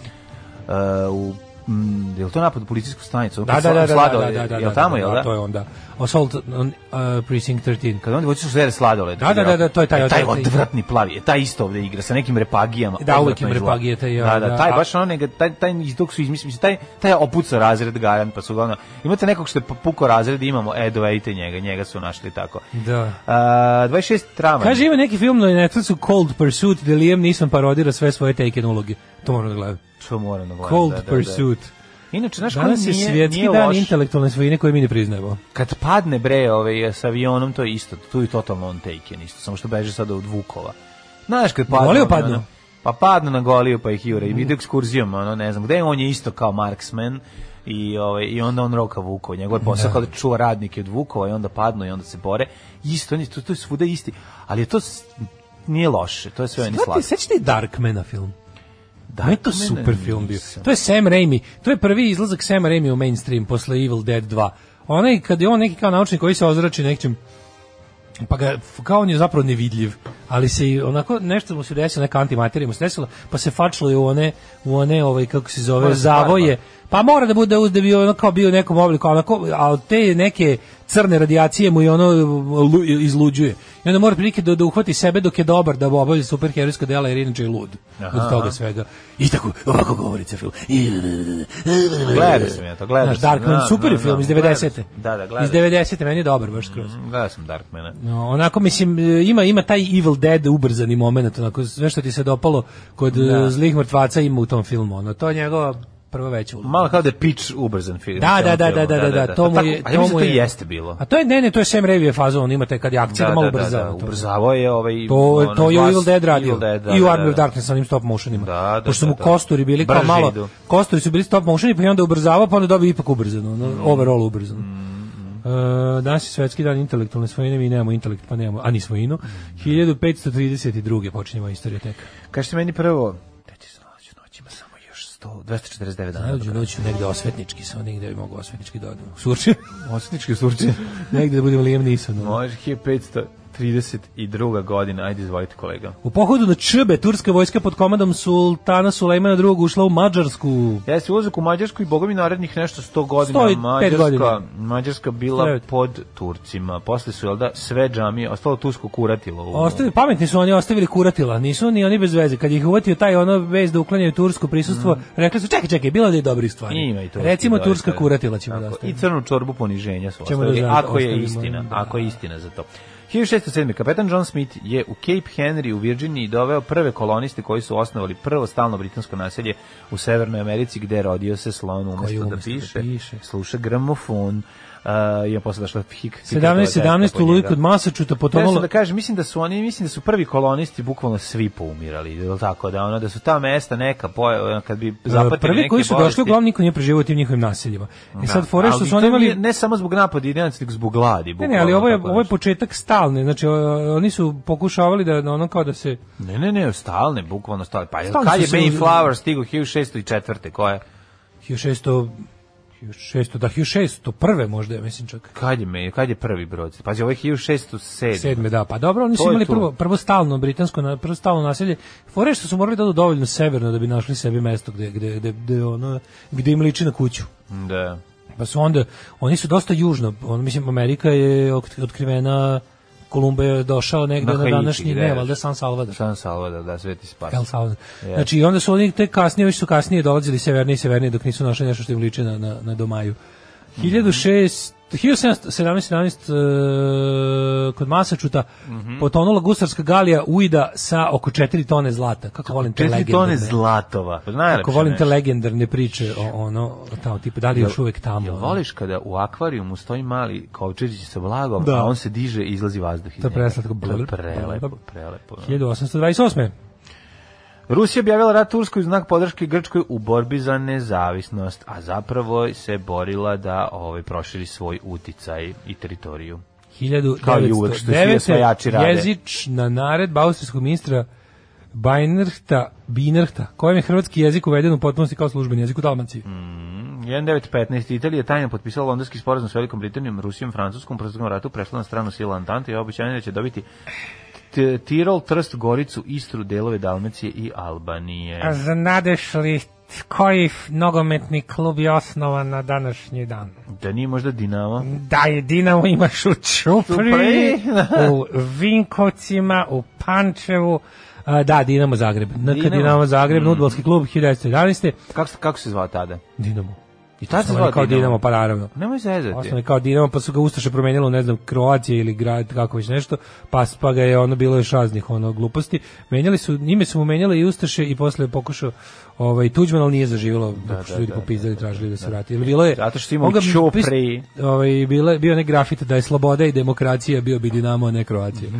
[SPEAKER 7] uh, u Mm, je li to napad u policijsku stanicu?
[SPEAKER 6] Da, da, da, da, da,
[SPEAKER 7] Sladoled,
[SPEAKER 6] da, da, da,
[SPEAKER 7] je li tamo,
[SPEAKER 6] da,
[SPEAKER 7] je li
[SPEAKER 6] da,
[SPEAKER 7] da?
[SPEAKER 6] To je onda. Assault on uh, Precinct 13.
[SPEAKER 7] Kad oni hoće sve sladoled.
[SPEAKER 6] Da, da, da, da, to je taj
[SPEAKER 7] E, taj
[SPEAKER 6] odvratni.
[SPEAKER 7] odvratni plavi. E, taj isto ovde igra sa nekim repagijama.
[SPEAKER 6] Da, uvek
[SPEAKER 7] odvratno
[SPEAKER 6] im
[SPEAKER 7] izgleda.
[SPEAKER 6] repagije, taj,
[SPEAKER 7] Da, da,
[SPEAKER 6] da,
[SPEAKER 7] taj
[SPEAKER 6] a-
[SPEAKER 7] baš ono nega, taj, taj iz dok su izmislili, mislim, taj, taj je opucao razred garan, pa su ga ono, imate nekog što je pu- puko razred, imamo, e, dovedite njega, njega su našli tako.
[SPEAKER 6] Da.
[SPEAKER 7] A, 26 trama.
[SPEAKER 6] Kaže, ima neki film na Netflixu Cold Pursuit gde Liam Neeson parodira sve svoje taken uloge. To moram da gledam.
[SPEAKER 7] Što moram da gledam,
[SPEAKER 6] Cold
[SPEAKER 7] da, da, da.
[SPEAKER 6] Pursuit.
[SPEAKER 7] Inače, znaš, koji
[SPEAKER 6] Danas je
[SPEAKER 7] nije,
[SPEAKER 6] svjetski
[SPEAKER 7] nije
[SPEAKER 6] dan
[SPEAKER 7] loš,
[SPEAKER 6] intelektualne svojine koje mi ne priznajemo.
[SPEAKER 7] kad padne bre ovaj, sa avionom, to je isto, tu je totalno on taken isto, samo što beže sada od Vukova. Znaš kad padne...
[SPEAKER 6] Goliju
[SPEAKER 7] ono,
[SPEAKER 6] padnu?
[SPEAKER 7] pa padnu na goliju pa ih jure i vide ekskurzijom, ono, ne znam, gde on je isto kao marksman i, ovaj, i onda on roka Vukova, njegov je posao kao da čuva radnike od Vukova i onda padnu i onda se bore. Isto, on je, to, to je svuda isti, ali je to s- nije loše, to je sve oni
[SPEAKER 6] Znate,
[SPEAKER 7] slatko.
[SPEAKER 6] sećate i Darkmana film? Da, je to
[SPEAKER 7] Darkmana
[SPEAKER 6] super film bio.
[SPEAKER 7] nisam.
[SPEAKER 6] To je Sam Raimi. To je prvi izlazak Sam Raimi u mainstream posle Evil Dead 2. Onaj kad je on neki kao naučnik koji se ozrači nekim pa ga, f- kao on je zapravo nevidljiv, ali se i onako nešto mu se desilo, neka antimaterija mu se desila, pa se fačilo je u one, u one ovaj, kako se zove,
[SPEAKER 7] Mora se
[SPEAKER 6] zavoje. Pa mora da bude uz da bi ono kao bio u nekom obliku, onako, a od te neke crne radijacije mu i ono lu- izluđuje. I onda mora prilike da, da uhvati sebe dok je dobar da obavlja superherojsko dela jer inače je lud od toga svega. I tako, ovako govori se film. I-
[SPEAKER 7] Gledao sam ja to, gledao
[SPEAKER 6] Znaš,
[SPEAKER 7] sam,
[SPEAKER 6] Darkman,
[SPEAKER 7] da,
[SPEAKER 6] super je
[SPEAKER 7] da,
[SPEAKER 6] film
[SPEAKER 7] da,
[SPEAKER 6] iz
[SPEAKER 7] gledao
[SPEAKER 6] 90.
[SPEAKER 7] sam, da, da, gledao
[SPEAKER 6] Iz 90. meni je dobar baš skroz.
[SPEAKER 7] Gledao sam Darkmana.
[SPEAKER 6] No, onako mislim e, ima ima taj Evil Dead ubrzani momenat, onako sve što ti se dopalo kod e, zlih mrtvaca ima u tom filmu. Ono to je njegova prva veća uloga.
[SPEAKER 7] Malo kao da je Pitch ubrzan film.
[SPEAKER 6] Da, da, da,
[SPEAKER 7] film,
[SPEAKER 6] da, da, da, da, to mu
[SPEAKER 7] tako-
[SPEAKER 6] je,
[SPEAKER 7] A ja mislim
[SPEAKER 6] mu
[SPEAKER 7] da to jeste bilo.
[SPEAKER 6] A to je ne, ne, to je Sam Raimi faza, on ima taj kad je akcija da, malo brza.
[SPEAKER 7] Da, ubrzavao je ovaj...
[SPEAKER 6] To, je-
[SPEAKER 7] ono,
[SPEAKER 6] to je u
[SPEAKER 7] glas-
[SPEAKER 6] Evil Dead radio.
[SPEAKER 7] Evil Dead, da,
[SPEAKER 6] I u
[SPEAKER 7] da,
[SPEAKER 6] Army
[SPEAKER 7] da,
[SPEAKER 6] of
[SPEAKER 7] da.
[SPEAKER 6] Darkness sa onim stop motionima.
[SPEAKER 7] Da, da,
[SPEAKER 6] Pošto
[SPEAKER 7] da,
[SPEAKER 6] mu
[SPEAKER 7] da.
[SPEAKER 6] kosturi bili kao
[SPEAKER 7] Brže
[SPEAKER 6] malo...
[SPEAKER 7] idu.
[SPEAKER 6] Kosturi su bili stop motion i pa je onda ubrzavao, pa onda dobio ipak ubrzano. Ono,
[SPEAKER 7] Mm.
[SPEAKER 6] Overall ubrzano. E, danas je svetski dan intelektualne svojine, mi nemamo intelekt, pa nemamo, a ni svojinu.
[SPEAKER 7] Mm.
[SPEAKER 6] 1532. počinjemo istoriju teka.
[SPEAKER 7] Kažete meni prvo, da ti znađu noćima samo još 100, 249 dana.
[SPEAKER 6] Najluđu noću negde osvetnički, samo negde bi mogu osvetnički da odem. Surče,
[SPEAKER 7] Osnički surčin.
[SPEAKER 6] negde da budem Liam Neeson. ono.
[SPEAKER 7] Može 1532. godina, ajde izvolite kolega.
[SPEAKER 6] U pohodu na Čbe, turska vojska pod komandom Sultana Sulejmana II ušla u Mađarsku.
[SPEAKER 7] Ja se ulazak u Mađarsku i bogovi narednih nešto 100 godina.
[SPEAKER 6] Sto i pet
[SPEAKER 7] Mađarska,
[SPEAKER 6] godina.
[SPEAKER 7] Mađarska bila
[SPEAKER 6] Devet.
[SPEAKER 7] pod Turcima. Posle su, jel da, sve džamije, ostalo Tursko kuratilo. u-
[SPEAKER 6] Ostavi, pametni su oni ostavili kuratila, nisu ni oni bez veze. Kad ih uvatio taj ono vez da uklanjaju tursko prisustvo, rekli su čekaj, čekaj, bilo da je dobrih stvari.
[SPEAKER 7] Mm. Ima i to.
[SPEAKER 6] Recimo
[SPEAKER 7] Da,
[SPEAKER 6] turska
[SPEAKER 7] da.
[SPEAKER 6] kuratila ćemo
[SPEAKER 7] Tako,
[SPEAKER 6] da
[SPEAKER 7] I
[SPEAKER 6] ostavimo.
[SPEAKER 7] crnu čorbu poniženja su
[SPEAKER 6] Ćemo da
[SPEAKER 7] ostavili,
[SPEAKER 6] za-
[SPEAKER 7] ako je
[SPEAKER 6] ostavimo,
[SPEAKER 7] istina,
[SPEAKER 6] da.
[SPEAKER 7] ako je istina za to. 1607. kapetan John Smith je u Cape Henry u Virginiji doveo prve koloniste koji su osnovali prvo stalno britansko naselje u Severnoj Americi gde je rodio se slon
[SPEAKER 6] Koji
[SPEAKER 7] umesto da
[SPEAKER 6] umesto da
[SPEAKER 7] piše,
[SPEAKER 6] piše.
[SPEAKER 7] sluša gramofon. Uh, je posle došla hik.
[SPEAKER 6] 1717 u Luji kod Masačuta
[SPEAKER 7] Potomalo...
[SPEAKER 6] potonulo
[SPEAKER 7] da kažem, mislim da su oni, mislim da su prvi kolonisti bukvalno svi poumirali, je li tako da ono da su ta mesta neka poje- ono, kad bi zapatili
[SPEAKER 6] prvi
[SPEAKER 7] neke
[SPEAKER 6] koji su
[SPEAKER 7] bolesti-
[SPEAKER 6] došli, uglavnom niko nije preživio u tim njihovim naseljima. E sad,
[SPEAKER 7] Da,
[SPEAKER 6] fore što
[SPEAKER 7] ali
[SPEAKER 6] su oni
[SPEAKER 7] to nije-
[SPEAKER 6] imali...
[SPEAKER 7] ne samo zbog napada Indianaca, nego zbog gladi,
[SPEAKER 6] Ne,
[SPEAKER 7] bukvalno.
[SPEAKER 6] ne, ali ovo je,
[SPEAKER 7] tako da.
[SPEAKER 6] ovo je
[SPEAKER 7] nešto.
[SPEAKER 6] početak stalne, znači o- oni su pokušavali da da ono kao da se...
[SPEAKER 7] Ne, ne, ne, stalne, bukvalno stalne. Pa je,
[SPEAKER 6] Stalno
[SPEAKER 7] kad
[SPEAKER 6] su
[SPEAKER 7] je
[SPEAKER 6] se uz-
[SPEAKER 7] Mayflower stigao 1604. Koje?
[SPEAKER 6] 1600, 1600, da, 1601. možda, ja mislim čak.
[SPEAKER 7] Kad je, May- kad je prvi brod? Pazi, ovo je 1607.
[SPEAKER 6] Sedme, da, pa dobro, oni
[SPEAKER 7] To
[SPEAKER 6] su
[SPEAKER 7] je
[SPEAKER 6] imali
[SPEAKER 7] to.
[SPEAKER 6] prvo, prvo stalno britansko, na- prvo stalno naselje. Fore što su morali da odu dovoljno severno da bi našli sebi mesto gde, gde, gde, gde, ono, gde im liči na kuću.
[SPEAKER 7] Da.
[SPEAKER 6] Pa su onda, oni su dosta južno, on, mislim, Amerika je ok- otkrivena, Kolumba je došao negde na,
[SPEAKER 7] Haiti,
[SPEAKER 6] današnji,
[SPEAKER 7] gde
[SPEAKER 6] ne,
[SPEAKER 7] je?
[SPEAKER 6] valjda San Salvador.
[SPEAKER 7] San Salvador, da, Sveti Spas.
[SPEAKER 6] El Salvador.
[SPEAKER 7] Jeste.
[SPEAKER 6] Znači, onda su oni te kasnije, ovi su kasnije dolazili severnije i severnije dok nisu našli nešto što im liče na, na, na domaju.
[SPEAKER 7] Mhm.
[SPEAKER 6] 1600 1717 uh, kod Masačuta
[SPEAKER 7] Mhm.
[SPEAKER 6] potonula gusarska galija Uida sa oko 4 tone zlata. Kako volim te
[SPEAKER 7] 4
[SPEAKER 6] legendarne.
[SPEAKER 7] tone zlatova. Pa najlepše.
[SPEAKER 6] Kako volim te
[SPEAKER 7] nešto.
[SPEAKER 6] legendarne priče o ono, o tamo, tipa, da li je još uvek tamo.
[SPEAKER 7] Jel
[SPEAKER 6] ono?
[SPEAKER 7] voliš kada u akvarijumu stoji mali kovčežić sa blagom,
[SPEAKER 6] Da.
[SPEAKER 7] a on se diže i izlazi vazduh iz
[SPEAKER 6] To je
[SPEAKER 7] njega?
[SPEAKER 6] preslatko.
[SPEAKER 7] To je prelepo, prelepo.
[SPEAKER 6] 1828.
[SPEAKER 7] Rusija objavila rat Turskoj u znak podrške Grčkoj u borbi za nezavisnost, a zapravo se borila da ovaj proširi svoj uticaj i teritoriju. Kao i uvek, što svi
[SPEAKER 6] 1909.
[SPEAKER 7] osvajači rade.
[SPEAKER 6] Jezična naredba austrijskog ministra Bajnerhta, Binerhta, kojem je hrvatski jezik uveden u potpunosti kao službeni jezik u Dalmaciji.
[SPEAKER 7] 1915. Italija je tajno potpisala londonski sporazum s Velikom Britanijom, Rusijom, Francuskom, u Prvostokom ratu prešla na stranu sila Antante i obećanje da će dobiti T- Tirol, Trst, Goricu, Istru, delove Dalmacije i Albanije.
[SPEAKER 10] A znadeš li koji f- nogometni klub je osnovan na današnji dan?
[SPEAKER 7] Da nije možda Dinamo?
[SPEAKER 6] Mm.
[SPEAKER 10] Da je Dinamo imaš u Čupri,
[SPEAKER 7] Čupri.
[SPEAKER 10] u Vinkovcima, u Pančevu,
[SPEAKER 6] A, da, Dinamo Zagreb. NK Dinamo,
[SPEAKER 7] Dinamo.
[SPEAKER 6] Zagreb, mm. klub 1911.
[SPEAKER 7] Kako, se- kako se zvao tada?
[SPEAKER 6] Dinamo.
[SPEAKER 7] I tad se
[SPEAKER 6] Osnovan je
[SPEAKER 7] zvao
[SPEAKER 6] kao Dinamo,
[SPEAKER 7] Dinamo.
[SPEAKER 6] pa naravno.
[SPEAKER 7] Nemoj zezati.
[SPEAKER 6] Osnovan je kao Dinamo, pa su ga Ustaše promenjalo, u, ne znam, Kroacije ili grad, kako već nešto, pa, pa ga je ono bilo još raznih ono, gluposti. Menjali su, ime su mu menjali i Ustaše i posle je pokušao ovaj, Tuđman, ali nije zaživjelo, da, što su ljudi popizdali, tražili da se vrati. Ili bilo je,
[SPEAKER 7] Zato što ima u
[SPEAKER 6] Ovoga bi
[SPEAKER 7] Ćupri.
[SPEAKER 6] pis- Ovaj, bila, je- bio je onaj grafit da je sloboda i demokracija, bio bi Dinamo, a ne Kroacija.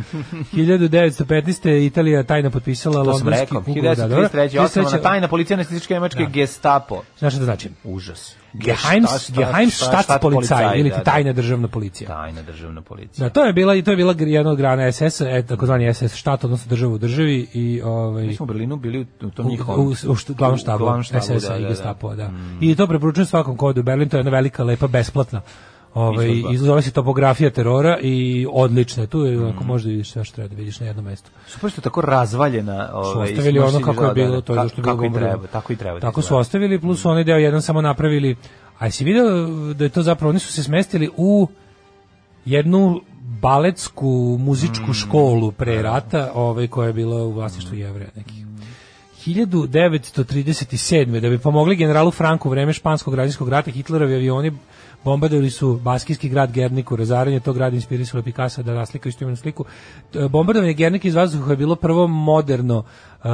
[SPEAKER 6] 1915. je Italija tajno potpisala
[SPEAKER 7] To sam
[SPEAKER 6] londonski
[SPEAKER 7] rekao.
[SPEAKER 6] ugovor, da, dobro.
[SPEAKER 7] 1933. osnovana
[SPEAKER 6] 33.
[SPEAKER 7] tajna policija nacističke nemačke Gestapo.
[SPEAKER 6] Znaš šta to znači?
[SPEAKER 7] Užas. Šta-
[SPEAKER 6] Geheims,
[SPEAKER 7] šta-
[SPEAKER 6] Geheimstaatspolizei ili ti
[SPEAKER 7] da, da.
[SPEAKER 6] tajna državna policija.
[SPEAKER 7] Tajna državna policija.
[SPEAKER 6] Da, to je bila i to je bila gr- jedna od grana SS-a, e, takozvani SS štat, odnosno država u državi i ovaj
[SPEAKER 7] Mi smo u Berlinu bili u- u tom
[SPEAKER 6] u,
[SPEAKER 7] njihovom...
[SPEAKER 6] u, u št- glavnom štabu,
[SPEAKER 7] glavnom štabu,
[SPEAKER 6] SS-a
[SPEAKER 7] da,
[SPEAKER 6] i
[SPEAKER 7] da, da.
[SPEAKER 6] Gestapo, da. I to preporučujem svakom kodu u Berlin, to je jedna velika, lepa, besplatna. Ovaj
[SPEAKER 7] Izložba.
[SPEAKER 6] i zove se topografija terora i odlična je. Tu je
[SPEAKER 7] Mm.
[SPEAKER 6] ako možda vidiš sve što treba da vidiš na jednom mestu.
[SPEAKER 7] Super što je tako razvaljena.
[SPEAKER 6] Su
[SPEAKER 7] Ovaj,
[SPEAKER 6] ostavili
[SPEAKER 7] smo
[SPEAKER 6] ono
[SPEAKER 7] se
[SPEAKER 6] kako je
[SPEAKER 7] igrali, da,
[SPEAKER 6] bilo,
[SPEAKER 7] da.
[SPEAKER 6] to je
[SPEAKER 7] Ka-
[SPEAKER 6] zašto je bilo
[SPEAKER 7] Kako i
[SPEAKER 6] bombardovano.
[SPEAKER 7] treba, tako i treba. da
[SPEAKER 6] Tako su
[SPEAKER 7] izgleda. Mhm.
[SPEAKER 6] ostavili, plus onaj deo jedan samo napravili, a jesi video da je to zapravo, oni su se smestili u jednu baletsku
[SPEAKER 7] Mm,
[SPEAKER 6] muzičku školu pre rata, ovaj, koja je bila u vlasništvu jevreja nekih. 1937. da bi pomogli generalu Franku u vreme španskog građanskog rata Hitlerovi avioni bombardovali su baskijski grad Gerniku, razaranje tog grada inspirisalo Picasso da naslika istomenu sliku. E, Bombardovanje Gernike iz vazduha je bilo prvo moderno e,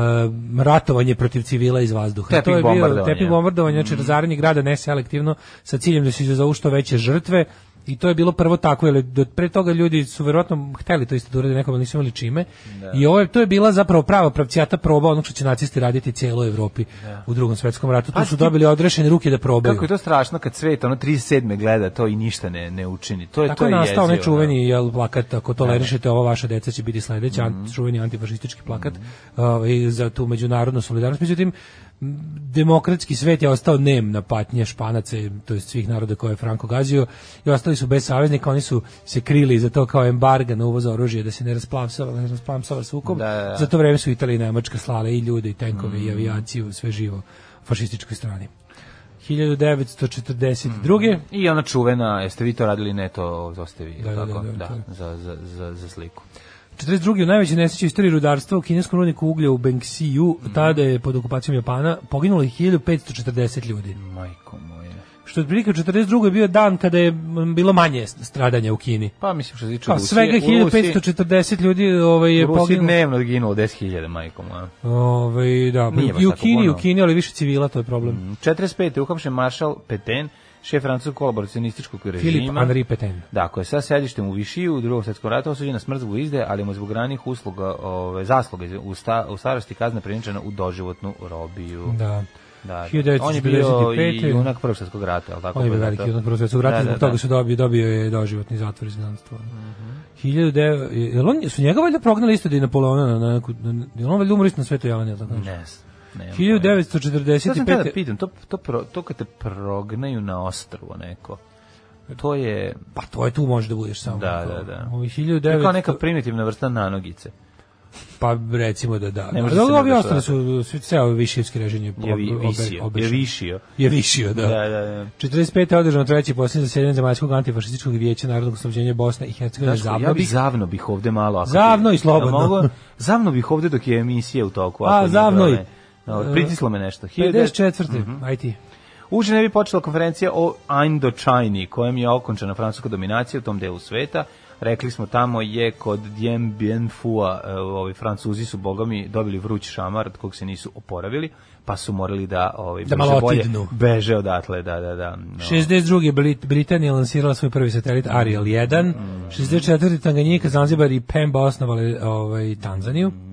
[SPEAKER 6] ratovanje protiv civila iz vazduha.
[SPEAKER 7] Tepih
[SPEAKER 6] to je bio
[SPEAKER 7] bombardovanja. da.
[SPEAKER 6] tepih bombardovanja, znači
[SPEAKER 7] Mhm.
[SPEAKER 6] razaranje grada neselektivno sa ciljem da se izazovu što veće žrtve i to je bilo prvo tako, jer do, pre toga ljudi su verovatno hteli to isto da urade nekom, ali nisu imali čime.
[SPEAKER 7] Da.
[SPEAKER 6] I ovo je, to je bila zapravo prava pravcijata proba onog što će nacisti raditi cijeloj Evropi u drugom svetskom ratu. Tu su dobili odrešene ruke da probaju.
[SPEAKER 7] Da. Kako je to strašno kad svet ono 37. gleda to i ništa ne, ne učini. To je,
[SPEAKER 6] Tako
[SPEAKER 7] to
[SPEAKER 6] je
[SPEAKER 7] je
[SPEAKER 6] nastao onaj
[SPEAKER 7] jezivo, da.
[SPEAKER 6] čuveni jel, plakat, ako tolerišete ovo, vaša deca će biti sledeća,
[SPEAKER 7] Mhm.
[SPEAKER 6] anti- čuveni antifašistički plakat ovaj, za tu međunarodnu solidarnost. Međutim, m, demokratski svet je ostao nem na patnje španaca, i- to jest svih naroda koje je Franko gazio, i ostali su bez saveznika, oni su se krili za to kao embarga na uvoz oružja, da se ne rasplamsava, ne rasplamsava sukob.
[SPEAKER 7] Da, da, Mhm. da.
[SPEAKER 6] Za to vreme su Italija i Nemačka slale i ljude, i tenkove, i avijaciju, sve živo fašističkoj strani. 1942.
[SPEAKER 7] I ona čuvena, jeste vi to radili, ne to ostavi,
[SPEAKER 6] Da,
[SPEAKER 7] da,
[SPEAKER 6] da,
[SPEAKER 7] tako?
[SPEAKER 6] da,
[SPEAKER 7] Da,
[SPEAKER 6] da, to
[SPEAKER 7] za, za, za, za sliku.
[SPEAKER 6] 42. u najvećoj nesreći u istoriji rudarstva u kineskom rudniku uglja u
[SPEAKER 7] Mhm.
[SPEAKER 6] Bengxiju, tada je pod okupacijom Japana, poginulo je 1540 ljudi.
[SPEAKER 7] Majko moje.
[SPEAKER 6] što je otprilike u 42. je bio dan kada je m, bilo manje stradanja u Kini.
[SPEAKER 7] Pa mislim što se tiče
[SPEAKER 6] Kao,
[SPEAKER 7] Rusije,
[SPEAKER 6] svega
[SPEAKER 7] u Rusiji-
[SPEAKER 6] 1540 ljudi ovaj,
[SPEAKER 7] u
[SPEAKER 6] je
[SPEAKER 7] Rusiji
[SPEAKER 6] poginulo.
[SPEAKER 7] dnevno ginulo 10.000, majko moja.
[SPEAKER 6] Ovaj, da,
[SPEAKER 7] Nije baš
[SPEAKER 6] i u
[SPEAKER 7] tako Mm.
[SPEAKER 6] Kini,
[SPEAKER 7] puno.
[SPEAKER 6] u Kini, ali više civila, to je problem.
[SPEAKER 7] 45. je uhapšen maršal Peten, šef francuskog kolaboracionističkog režima.
[SPEAKER 6] Filip Henri Petain.
[SPEAKER 7] Da, koji je sa sedištem u Višiju u drugom svetskom ratu osuđen na smrt zbog izde, ali mu je zbog ranih usluga, ove, zasluga iz- u, sta, u starosti kazna preničena u doživotnu robiju.
[SPEAKER 6] Da.
[SPEAKER 7] Da,
[SPEAKER 6] 1945.
[SPEAKER 7] on je bio i junak prvog svetskog rata, al tako
[SPEAKER 6] On je bio
[SPEAKER 7] Pa
[SPEAKER 6] veliki
[SPEAKER 7] zato-
[SPEAKER 6] junak Prvog svetskog rata,
[SPEAKER 7] Da,
[SPEAKER 6] zbog
[SPEAKER 7] da, Mhm.
[SPEAKER 6] toga
[SPEAKER 7] da.
[SPEAKER 6] su dobio, dobio je doživotni zatvor iz znanstva. Mm jel on, su njega valjda prognali isto da je Napoleona na, na, neku- na, jel on valjda umro isto na Svetoj Jovani, jel tako nešto?
[SPEAKER 7] Ne znam, nemam pojma. Sad sam tada
[SPEAKER 6] 1945.
[SPEAKER 7] pitam, to, to, pro, to kad te prognaju na ostrovo neko, to je,
[SPEAKER 6] Pa to je tu može da budeš samo.
[SPEAKER 7] Da, da, da.
[SPEAKER 6] Ovi
[SPEAKER 7] to je kao
[SPEAKER 6] 1900,
[SPEAKER 7] neka primitivna vrsta nanogice.
[SPEAKER 6] Pa recimo da da.
[SPEAKER 7] Ne može
[SPEAKER 6] da,
[SPEAKER 7] se
[SPEAKER 6] ali ovi
[SPEAKER 7] ne
[SPEAKER 6] ostali su, su ceo višijevski režim je,
[SPEAKER 7] Je, vi,
[SPEAKER 6] ob- obe-
[SPEAKER 7] visio, je
[SPEAKER 6] obešen.
[SPEAKER 7] višio.
[SPEAKER 6] Je višio, da.
[SPEAKER 7] Da, da, da.
[SPEAKER 6] 45. je održano treći posljednje zasedanje Zemaljskog antifašističkog vijeća Narodnog oslobođenja Bosne i Hercegovine.
[SPEAKER 7] Znaš,
[SPEAKER 6] Zabavno
[SPEAKER 7] ja
[SPEAKER 6] bi
[SPEAKER 7] bih zavno bih ovde malo. ako-
[SPEAKER 6] Zavno i slobodno.
[SPEAKER 7] Da mogu- zavno bih ovde dok je emisija u toku. ako
[SPEAKER 6] A,
[SPEAKER 7] nije
[SPEAKER 6] zavno i-
[SPEAKER 7] problem.
[SPEAKER 6] E,
[SPEAKER 7] Dobro, pritislo me nešto. Mhm.
[SPEAKER 6] 54. IT.
[SPEAKER 7] Uže ne bi počela konferencija o Indochini, kojom je okončena francuska dominacija u tom delu sveta. Rekli smo tamo je kod Dien Bien Phua, e, ovi Francuzi su bogami dobili vruć šamar od kog se nisu oporavili, pa su morali da ovaj
[SPEAKER 6] Da
[SPEAKER 7] brže
[SPEAKER 6] malo
[SPEAKER 7] bolje
[SPEAKER 6] otidnu.
[SPEAKER 7] beže odatle, da da da. No.
[SPEAKER 6] 62. Brit- Britanija lansirala svoj prvi satelit Ariel 1.
[SPEAKER 7] Mhm.
[SPEAKER 6] 64. Tanganjika, Zanzibar i Pemba osnovali ovaj, Tanzaniju.
[SPEAKER 7] Mhm.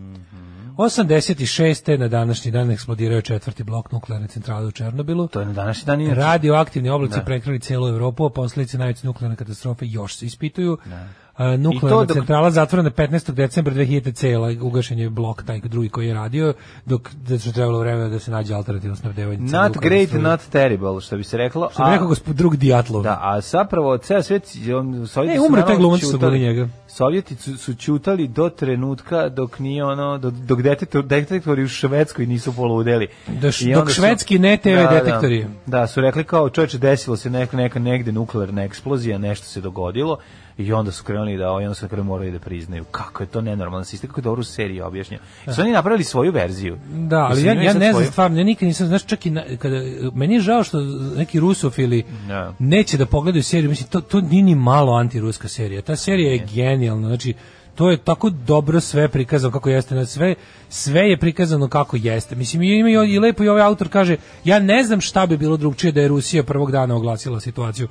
[SPEAKER 6] 86. na današnji dan eksplodirao je četvrti blok nuklearne centrale u Černobilu.
[SPEAKER 7] To je na današnji dan inače.
[SPEAKER 6] Radioaktivni oblaci
[SPEAKER 7] Da.
[SPEAKER 6] prekrili celu Evropu, a posledice najveće nuklearne katastrofe još se ispituju. A,
[SPEAKER 7] Da. I to
[SPEAKER 6] Nuklearna
[SPEAKER 7] dok-
[SPEAKER 6] centrala zatvorena 15. decembra 2000. cela, ugašen je blok taj drugi koji je radio, dok da su trebalo vremena da se nađe alternativno snabdevanje. cele
[SPEAKER 7] Not
[SPEAKER 6] nuklearne
[SPEAKER 7] great,
[SPEAKER 6] struje.
[SPEAKER 7] not terrible, što bi se reklo.
[SPEAKER 6] Što bi
[SPEAKER 7] a-
[SPEAKER 6] rekao gospod drug Dijatlov.
[SPEAKER 7] Da, a zapravo ceo svet on Sovjeti
[SPEAKER 6] E,
[SPEAKER 7] su
[SPEAKER 6] umre taj
[SPEAKER 7] naravno
[SPEAKER 6] glumac što
[SPEAKER 7] ćutali.
[SPEAKER 6] glumi njega.
[SPEAKER 7] Sovjeti su, su ćutali do trenutka dok nije ono dok, dok detektor, detektori u Švedskoj nisu poludeli.
[SPEAKER 6] Da š-
[SPEAKER 7] I
[SPEAKER 6] dok
[SPEAKER 7] onda
[SPEAKER 6] švedski ne TV
[SPEAKER 7] da,
[SPEAKER 6] detektori.
[SPEAKER 7] Da, da, su rekli kao čoveče desilo se neka neka negde nuklearna eksplozija, nešto se dogodilo i onda su krenuli da i onda su krenuli morali da priznaju kako je to nenormalno sistem kako je dobro u seriji objašnjeno. I Su oni napravili svoju verziju.
[SPEAKER 6] Da, ali
[SPEAKER 7] Mislim,
[SPEAKER 6] ja,
[SPEAKER 7] imaju
[SPEAKER 6] ja
[SPEAKER 7] sad
[SPEAKER 6] ne znam
[SPEAKER 7] svoju-
[SPEAKER 6] stvarno, ja nikad nisam, znaš, čak i na, kada, meni je žao što neki rusofili
[SPEAKER 7] Da.
[SPEAKER 6] neće da pogledaju seriju, mislim, to, to nije ni malo antiruska serija, ta serija je genijalna, znači, to je tako dobro sve prikazano kako jeste, na sve, sve je prikazano kako jeste. Mislim, i, ima i, i lepo i ovaj autor kaže, ja ne znam šta bi bilo drugčije da je Rusija prvog dana oglasila situaciju.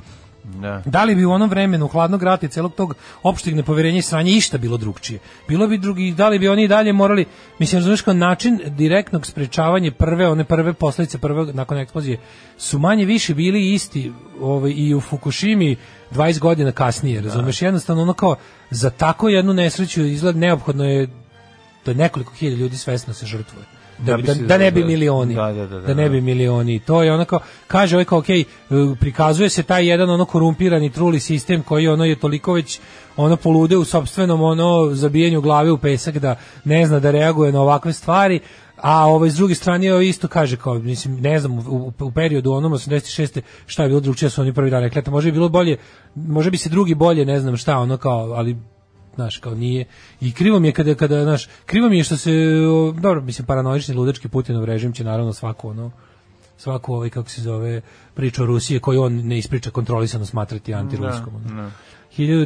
[SPEAKER 7] Da.
[SPEAKER 6] Da li bi u onom vremenu hladnog rata i celog tog opšteg nepoverenja i sranja išta bilo drugčije? Bilo bi drugi, da li bi oni i dalje morali, mislim, razumiješ kao način direktnog sprečavanja prve, one prve posljedice, prve nakon eksplozije, su manje više bili isti ovaj, i u Fukushimi 20 godina kasnije, razumiješ? Jednostavno ono kao, za tako jednu nesreću izgled neophodno je da nekoliko hiljada ljudi svesno se žrtvuje. Da,
[SPEAKER 7] Da
[SPEAKER 6] bi-
[SPEAKER 7] bi
[SPEAKER 6] da,
[SPEAKER 7] se-
[SPEAKER 6] da ne bi
[SPEAKER 7] da-
[SPEAKER 6] milioni.
[SPEAKER 7] da, da, da, da,
[SPEAKER 6] ne bi
[SPEAKER 7] da.
[SPEAKER 6] milioni. To je onako, kaže ovaj kao, okej, eh, prikazuje se taj jedan ono korumpirani truli sistem koji ono je toliko već ono polude u sopstvenom ono zabijanju glave u pesak da ne zna da reaguje na ovakve stvari, a ovaj s druge strane ovaj isto kaže kao mislim ne znam u, u periodu onom 86. šta je bilo drugčije da su oni prvi dan rekli eto možda bi bilo bolje možda bi se drugi bolje ne znam šta ono kao ali znaš, kao nije. I krivo mi je kada, kada, znaš, krivo mi je što se, o, dobro, mislim, paranoični ludački Putinov režim će naravno svaku, ono, svaku ovaj, kako se zove, priču o Rusiji koju on ne ispriča kontrolisano smatrati antiruskom. ono.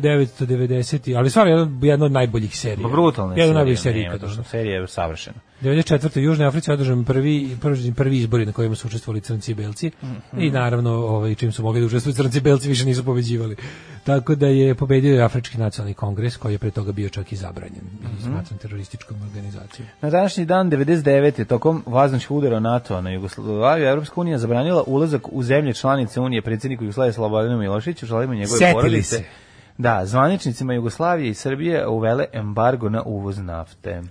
[SPEAKER 6] 1990. Ali stvarno jedna, jedna od najboljih serija.
[SPEAKER 7] Pa brutalna
[SPEAKER 6] Jedna od najboljih serija.
[SPEAKER 7] serija,
[SPEAKER 6] ikada, ono.
[SPEAKER 7] serija je savršena.
[SPEAKER 6] 94. u Južnoj Africi održan prvi, prvi, prvi izbori na kojima su učestvovali crnci i belci i naravno ovaj, čim su mogli da učestvuju crnci i belci više nisu pobeđivali. Tako da je pobedio i Afrički nacionalni kongres koji je pre toga bio čak i zabranjen i smatran terorističkom organizacijom.
[SPEAKER 7] Na današnji dan 99. je tokom vaznoćih udara NATO-a na Jugoslaviju Evropska unija zabranila ulazak u zemlje članice unije predsjedniku Jugoslavije Slobodanu Miloševiću, želimo njegove
[SPEAKER 6] Setili
[SPEAKER 7] porodice.
[SPEAKER 6] se.
[SPEAKER 7] Da, zvaničnicima Jugoslavije i Srbije uvele embargo na uvoz nafte.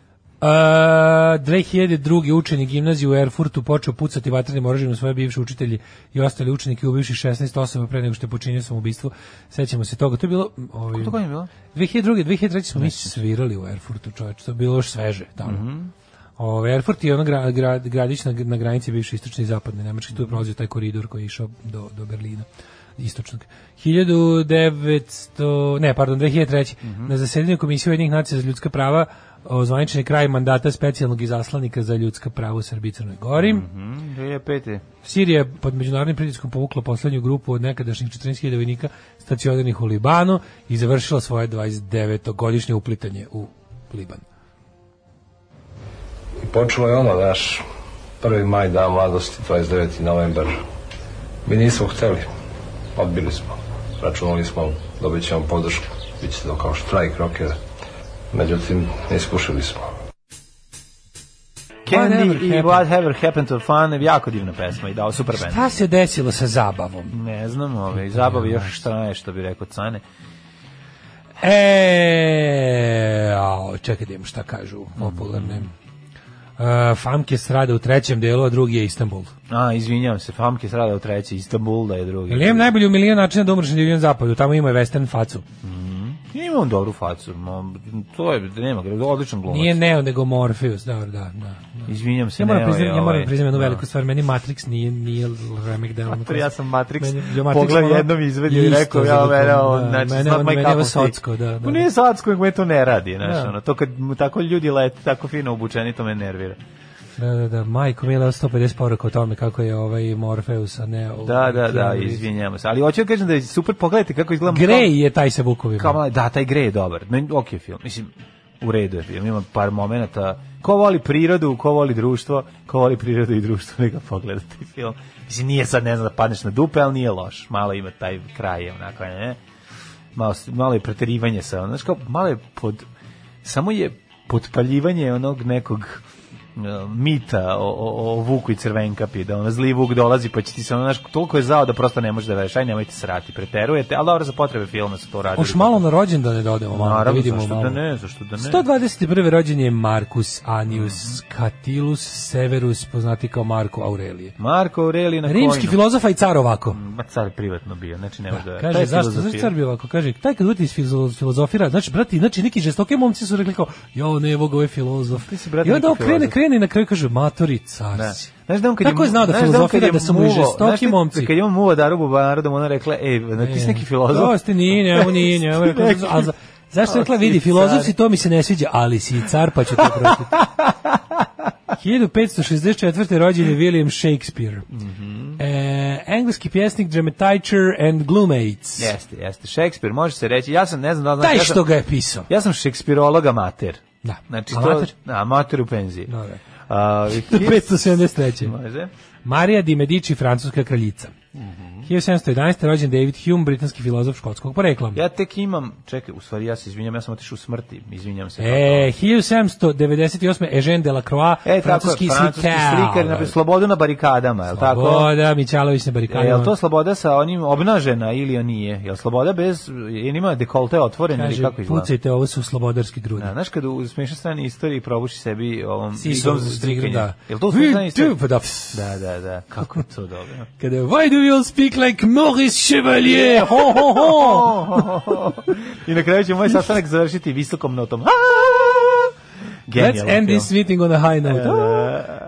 [SPEAKER 6] Uh, 2002. učenik gimnazije u Erfurtu počeo pucati vatrenim oružjem na svoje bivše učitelji i ostali učenike u bivših 16 osoba pre nego što je počinio samoubistvo. Sećamo se toga. To je bilo... mm, Ovaj,
[SPEAKER 7] To je bilo?
[SPEAKER 6] 2002. 2003. smo mi svirali u Erfurtu, čoveč, to je bilo još sveže tamo. Ove, Erfurt je ono gra, grad- gradić na, na granici bivše istočne i zapadne Nemačke, tu je prolazio taj koridor koji je išao do, do Berlina. istočnog. 1900, ne, pardon, 2003. Na zasedanju Komisije Ujedinjenih nacija za ljudska prava ozvaničen je kraj mandata specijalnog izaslanika za ljudska prava u Srbiji i Crnoj Gori.
[SPEAKER 7] Mm, 2005.
[SPEAKER 6] Sirija je pod međunarodnim pritiskom povukla poslednju grupu od nekadašnjih 14.000 vojnika stacioniranih u Libanu i završila svoje 29-godišnje uplitanje u Liban.
[SPEAKER 11] I počelo je ono, naš prvi maj dan mladosti, 29. novembar. Mi nismo hteli, odbili smo. Računali smo, dobit ćemo podršku, bit će to kao štrajk rokera. Međutim, ne iskušali smo.
[SPEAKER 7] Candy
[SPEAKER 6] Whatever
[SPEAKER 7] i
[SPEAKER 6] happened.
[SPEAKER 7] Whatever Happened to Fun, jako divna pesma i dao super band.
[SPEAKER 6] Šta se desilo sa zabavom?
[SPEAKER 7] Ne znam, ove, zabavi još šta je, što bi rekao Cane.
[SPEAKER 6] E, ao, čekaj da im šta kažu popularne. E, famke strada u trećem delu, a drugi je Istanbul.
[SPEAKER 7] A, izvinjavam se, Famke srada u treći, Istanbul da je drugi.
[SPEAKER 6] Ili imam najbolji u milion načina da umreš na divljem zapadu, tamo ima i western facu.
[SPEAKER 7] Ima on dobru facu, ma, to je, nema, ga, odličan glumac.
[SPEAKER 6] Nije Neo, nego Morpheus, da, da, da. da.
[SPEAKER 7] Izvinjam se,
[SPEAKER 6] Ja moram
[SPEAKER 7] Neo je
[SPEAKER 6] priznati, ja moram
[SPEAKER 7] ovaj,
[SPEAKER 6] priznati jednu
[SPEAKER 7] da.
[SPEAKER 6] veliku stvar, meni Matrix nije nije remek da dela.
[SPEAKER 7] Matrix, ja sam Matrix
[SPEAKER 6] ja
[SPEAKER 7] pogledao
[SPEAKER 6] ono,
[SPEAKER 7] jednom izvedio i
[SPEAKER 6] isto
[SPEAKER 7] rekao, ja,
[SPEAKER 6] zalikuje,
[SPEAKER 7] mene ovo,
[SPEAKER 6] da,
[SPEAKER 7] znači, it's
[SPEAKER 6] mene
[SPEAKER 7] not
[SPEAKER 6] ono-
[SPEAKER 7] my
[SPEAKER 6] mene
[SPEAKER 7] cup
[SPEAKER 6] ovo
[SPEAKER 7] of tea.
[SPEAKER 6] socko, da, da.
[SPEAKER 7] Pa nije sacko, nego me to ne radi, znaš,
[SPEAKER 6] Da.
[SPEAKER 7] ono, to kad mu tako ljudi lete, tako fino obučeni, to me nervira.
[SPEAKER 6] Da, da, da, majko mila 150 poruka o tome kako je ovaj Morpheus, a ne... ovaj
[SPEAKER 7] Da, da, da,
[SPEAKER 6] izvinjam.
[SPEAKER 7] izvinjamo se. Ali hoću da kažem da je super, pogledajte kako izgleda.
[SPEAKER 6] Grey je taj sa vukovima.
[SPEAKER 7] Kao, kao, da, taj Grey je dobar. Meni, ok je film. Mislim, u redu je film. Ima par momenata. Ko voli prirodu, ko voli društvo, ko voli prirodu i društvo, neka pogleda taj film. Mislim, nije sad, ne znam, da padneš na dupe, ali nije loš. Malo ima taj kraj, onako, ne? Malo, malo je preterivanje sa, ono, znaš, kao, malo je pod... Samo je potpaljivanje onog nekog e, mita o, o, o Vuku i Crvenkapi, da ono zli Vuk dolazi pa će ti se ono, znaš, toliko je zao da prosto ne može da veriš, aj nemojte srati, preterujete, ali dobro za potrebe filma su to radili.
[SPEAKER 6] Hoš malo na rođendane da odemo, malo, da
[SPEAKER 7] Naravno,
[SPEAKER 6] vidimo
[SPEAKER 7] zašto da
[SPEAKER 6] malo.
[SPEAKER 7] ne, zašto da ne.
[SPEAKER 6] 121. rođen je Marcus Anius Catilus Severus, poznati kao Marko Aurelije.
[SPEAKER 7] Marko Aurelij na
[SPEAKER 6] Rimski
[SPEAKER 7] kojnu.
[SPEAKER 6] filozofa i car ovako.
[SPEAKER 7] Ma car je privatno bio, znači ne može da... taj
[SPEAKER 6] Kaže, zašto, zašto
[SPEAKER 7] filozofija.
[SPEAKER 6] car bi ovako? Kaže, taj kad uti iz fizo- filozofira, znači, brati, znači, neki žestoke momci su rekli kao, jo, ne, evo ga, ovo je filozof.
[SPEAKER 7] Ti si, brate,
[SPEAKER 6] I onda
[SPEAKER 7] neki
[SPEAKER 6] on krene,
[SPEAKER 7] filozof.
[SPEAKER 6] krene i na kraju kaže, matori, car
[SPEAKER 7] Da.
[SPEAKER 6] si.
[SPEAKER 7] Znaš da on kad
[SPEAKER 6] Tako je znao da
[SPEAKER 7] znaš on kad
[SPEAKER 6] filozofira,
[SPEAKER 7] je
[SPEAKER 6] da su mu i
[SPEAKER 7] muvao-
[SPEAKER 6] žestoki
[SPEAKER 7] znaš ti
[SPEAKER 6] momci.
[SPEAKER 7] Kad je on muvao Darubu Banarodom, ona rekla, ej, ti si neki filozof.
[SPEAKER 6] To ste Da, nije, ne, ovo nije, ne, ovo je
[SPEAKER 7] Neki-
[SPEAKER 6] a za- Zašto je rekla,
[SPEAKER 7] A,
[SPEAKER 6] vidi,
[SPEAKER 7] si car.
[SPEAKER 6] filozof si, to mi se ne sviđa, ali si i car, pa ću to pročiti. 1564. rođen je William Shakespeare.
[SPEAKER 7] Mhm.
[SPEAKER 6] e, engleski pjesnik, dramatizer and glumates.
[SPEAKER 7] Jeste, jeste. Shakespeare, može se reći. Ja sam, ne znam da... li znaš,
[SPEAKER 6] Taj
[SPEAKER 7] ja sam-
[SPEAKER 6] što ga je pisao.
[SPEAKER 7] Ja sam šekspirolog amater.
[SPEAKER 6] Da.
[SPEAKER 7] Znači,
[SPEAKER 6] Amater?
[SPEAKER 7] To, amater u penziji.
[SPEAKER 6] Da, da.
[SPEAKER 7] A,
[SPEAKER 6] Do
[SPEAKER 7] hit-
[SPEAKER 6] 573.
[SPEAKER 7] Može.
[SPEAKER 6] Marija di Medici, francuska kraljica. 1711. rođen David Hume, britanski filozof škotskog porekla.
[SPEAKER 7] Ja tek imam, čekaj, u stvari ja se izvinjam, ja sam otišao u smrti, izvinjam se.
[SPEAKER 6] E, 1798. Eugène Delacroix,
[SPEAKER 7] E,
[SPEAKER 6] francuski,
[SPEAKER 7] tako, je, francuski slikar,
[SPEAKER 6] Da.
[SPEAKER 7] na slobodu na barikadama, je li tako?
[SPEAKER 6] Sloboda Mićalović na
[SPEAKER 7] E,
[SPEAKER 6] barikadama.
[SPEAKER 7] je li to sloboda sa onim obnažena ili nije? Je li sloboda bez, je li ima dekolte otvorene ili
[SPEAKER 6] Kaže,
[SPEAKER 7] kako izgleda?
[SPEAKER 6] pucajte, ovo su slobodarski grudi.
[SPEAKER 7] Da, znaš kad u smiješan strani istoriji probuši sebi ovom
[SPEAKER 6] Sisom
[SPEAKER 7] igom
[SPEAKER 6] za
[SPEAKER 7] za strikanje.
[SPEAKER 6] da.
[SPEAKER 7] Je li to u
[SPEAKER 6] We
[SPEAKER 7] smiješan strani istoriji?
[SPEAKER 6] do, pa da, pss.
[SPEAKER 7] Da, da, da. Kako je to dobro?
[SPEAKER 6] Kada, why do you all speak like Maurice Chevalier? Ho, ho, ho!
[SPEAKER 7] I na kraju će moj sastanak završiti visokom notom.
[SPEAKER 6] Let's
[SPEAKER 7] Genijalno.
[SPEAKER 6] end this meeting on a high
[SPEAKER 7] E,
[SPEAKER 6] note.
[SPEAKER 7] da,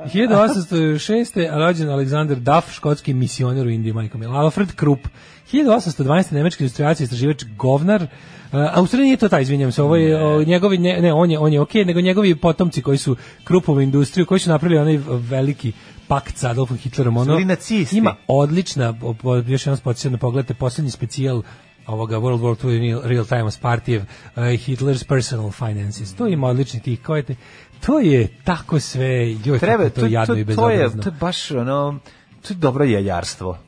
[SPEAKER 6] Ah. 1806. rođen Alexander Duff, škotski misioner u Indiji, majko mila. Alfred Krupp. 1812. nemački industrijac i istraživač Govnar. A u stvari nije to taj, izvinjam se, ovo je o, njegovi, ne, ne, on je, on je okej, nego njegovi potomci koji su Kruppovu industriju, koji su napravili onaj veliki pakt sa Adolfom Hitlerom. Ono,
[SPEAKER 7] bili nacisti.
[SPEAKER 6] Ima odlična, po- po- još jedan podsjetno pogledajte, da posljednji specijal ovoga World War II Real- Real Time Spartijev uh, Hitler's Personal Finances. To ima odlični tih, koje te, to je tako sve, joj,
[SPEAKER 7] Treba,
[SPEAKER 6] kako je
[SPEAKER 7] to,
[SPEAKER 6] to jadno i
[SPEAKER 7] to, to, je,
[SPEAKER 6] bezobrazno.
[SPEAKER 7] to je baš ono, to je dobro jejarstvo.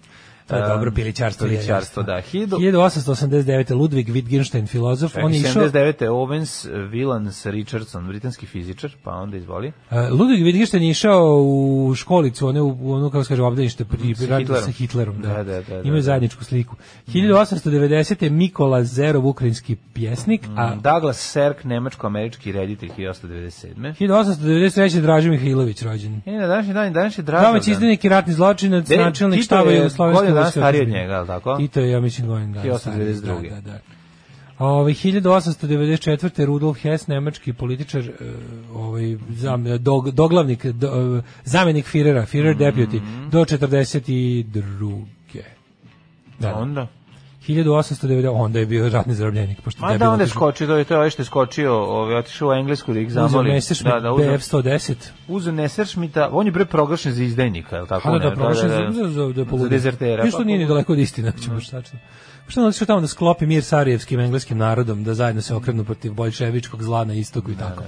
[SPEAKER 6] To je
[SPEAKER 7] Um,
[SPEAKER 6] dobro pilićarstvo. i
[SPEAKER 7] Pilićarstvo, da.
[SPEAKER 6] jajarstvo.
[SPEAKER 7] Hiljadu-
[SPEAKER 6] 1889. Ludwig Wittgenstein, filozof,
[SPEAKER 7] Čekaj,
[SPEAKER 6] on je išao...
[SPEAKER 7] 79. Owens, Willans, Richardson, britanski fizičar, pa onda izvoli.
[SPEAKER 6] Uh, Ludwig Wittgenstein je išao u školicu, one u ono kako se kaže obdanište pri
[SPEAKER 7] Sa
[SPEAKER 6] sa Hitlerom,
[SPEAKER 7] Hitlerom.
[SPEAKER 6] sa Hitlerom da.
[SPEAKER 7] Da, da, da, da,
[SPEAKER 6] Imaju
[SPEAKER 7] da. Mhm.
[SPEAKER 6] zajedničku sliku. 1890. Mikola Zerov, ukrajinski pjesnik, a
[SPEAKER 7] Douglas Serk, nemačko-američki reditelj 1897.
[SPEAKER 6] 1893. Dražen Mihajlović rođen.
[SPEAKER 7] E, na današnji dan, današnji dražan.
[SPEAKER 6] Domać izdenik i ratni zločinac,
[SPEAKER 7] E,
[SPEAKER 6] načelnik
[SPEAKER 7] Tito
[SPEAKER 6] štaba
[SPEAKER 7] da. je
[SPEAKER 6] Jugoslovenske
[SPEAKER 7] godinu dana
[SPEAKER 6] vojske.
[SPEAKER 7] stariji od
[SPEAKER 6] otadžbine.
[SPEAKER 7] njega, je li tako?
[SPEAKER 6] Tito je, ja mislim, godin dana stariji.
[SPEAKER 7] 1892..
[SPEAKER 6] Da, da, da. Ove, 1894. Rudolf Hess, nemački političar, e, ovaj, zam, dog, doglavnik, do, e,
[SPEAKER 7] Mhm.
[SPEAKER 6] zamenik Firera, Firer deputy, do 42. Da.
[SPEAKER 7] Pa Onda?
[SPEAKER 6] 1890, onda je bio ratni zarobljenik. Pošto
[SPEAKER 7] Ma da, onda je skočio, to je to je ovaj što je skočio, ovaj, otišao u Englesku da ih
[SPEAKER 6] Zamoli.
[SPEAKER 7] zamoli.
[SPEAKER 6] Uzeo
[SPEAKER 7] Da, da, uzeo,
[SPEAKER 6] BF-110.
[SPEAKER 7] uzeo Neseršmita, on je bre proglašen za izdajnika, je li tako?
[SPEAKER 6] Pa da,
[SPEAKER 7] ne?
[SPEAKER 6] da, prošao da, da, da, da,
[SPEAKER 7] za dezertera.
[SPEAKER 6] Isto
[SPEAKER 7] Pa,
[SPEAKER 6] nije ni daleko od istine, znači baš tačno. Što je otišao tamo da sklopi mir sa arijevskim engleskim narodom, da zajedno se okrenu protiv bolševičkog zla na istoku
[SPEAKER 7] Da,
[SPEAKER 6] i tako.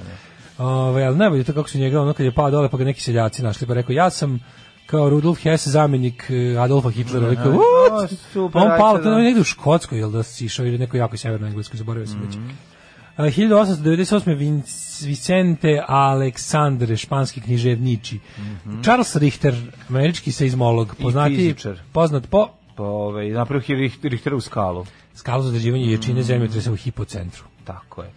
[SPEAKER 6] Ovaj, ali najbolje je to kako su njega, ono kad je pao dole, pa ga neki seljaci našli, pa rekao, ja sam kao Rudolf Hess, zamjenik eh, Adolfa Hitlera, rekao,
[SPEAKER 7] O,
[SPEAKER 6] "What?"
[SPEAKER 7] Da, super,
[SPEAKER 6] on palo,
[SPEAKER 7] ajde,
[SPEAKER 6] to
[SPEAKER 7] da.
[SPEAKER 6] je negdje u Škotskoj, jel da si išao, ili neko jako severno engleskoj, zaboravio sam
[SPEAKER 7] Mm.
[SPEAKER 6] već. A, 1898. Vinc- Vicente Aleksandre, španski književniči. Charles Richter, američki seizmolog, poznati,
[SPEAKER 7] Mhm. fizičar.
[SPEAKER 6] poznat po
[SPEAKER 7] Pa, ovaj, napravio je Richt- Richterovu skalu.
[SPEAKER 6] skalu za određivanje
[SPEAKER 7] Mhm.
[SPEAKER 6] jačine zemljotresa u hipocentru.
[SPEAKER 7] Tako je.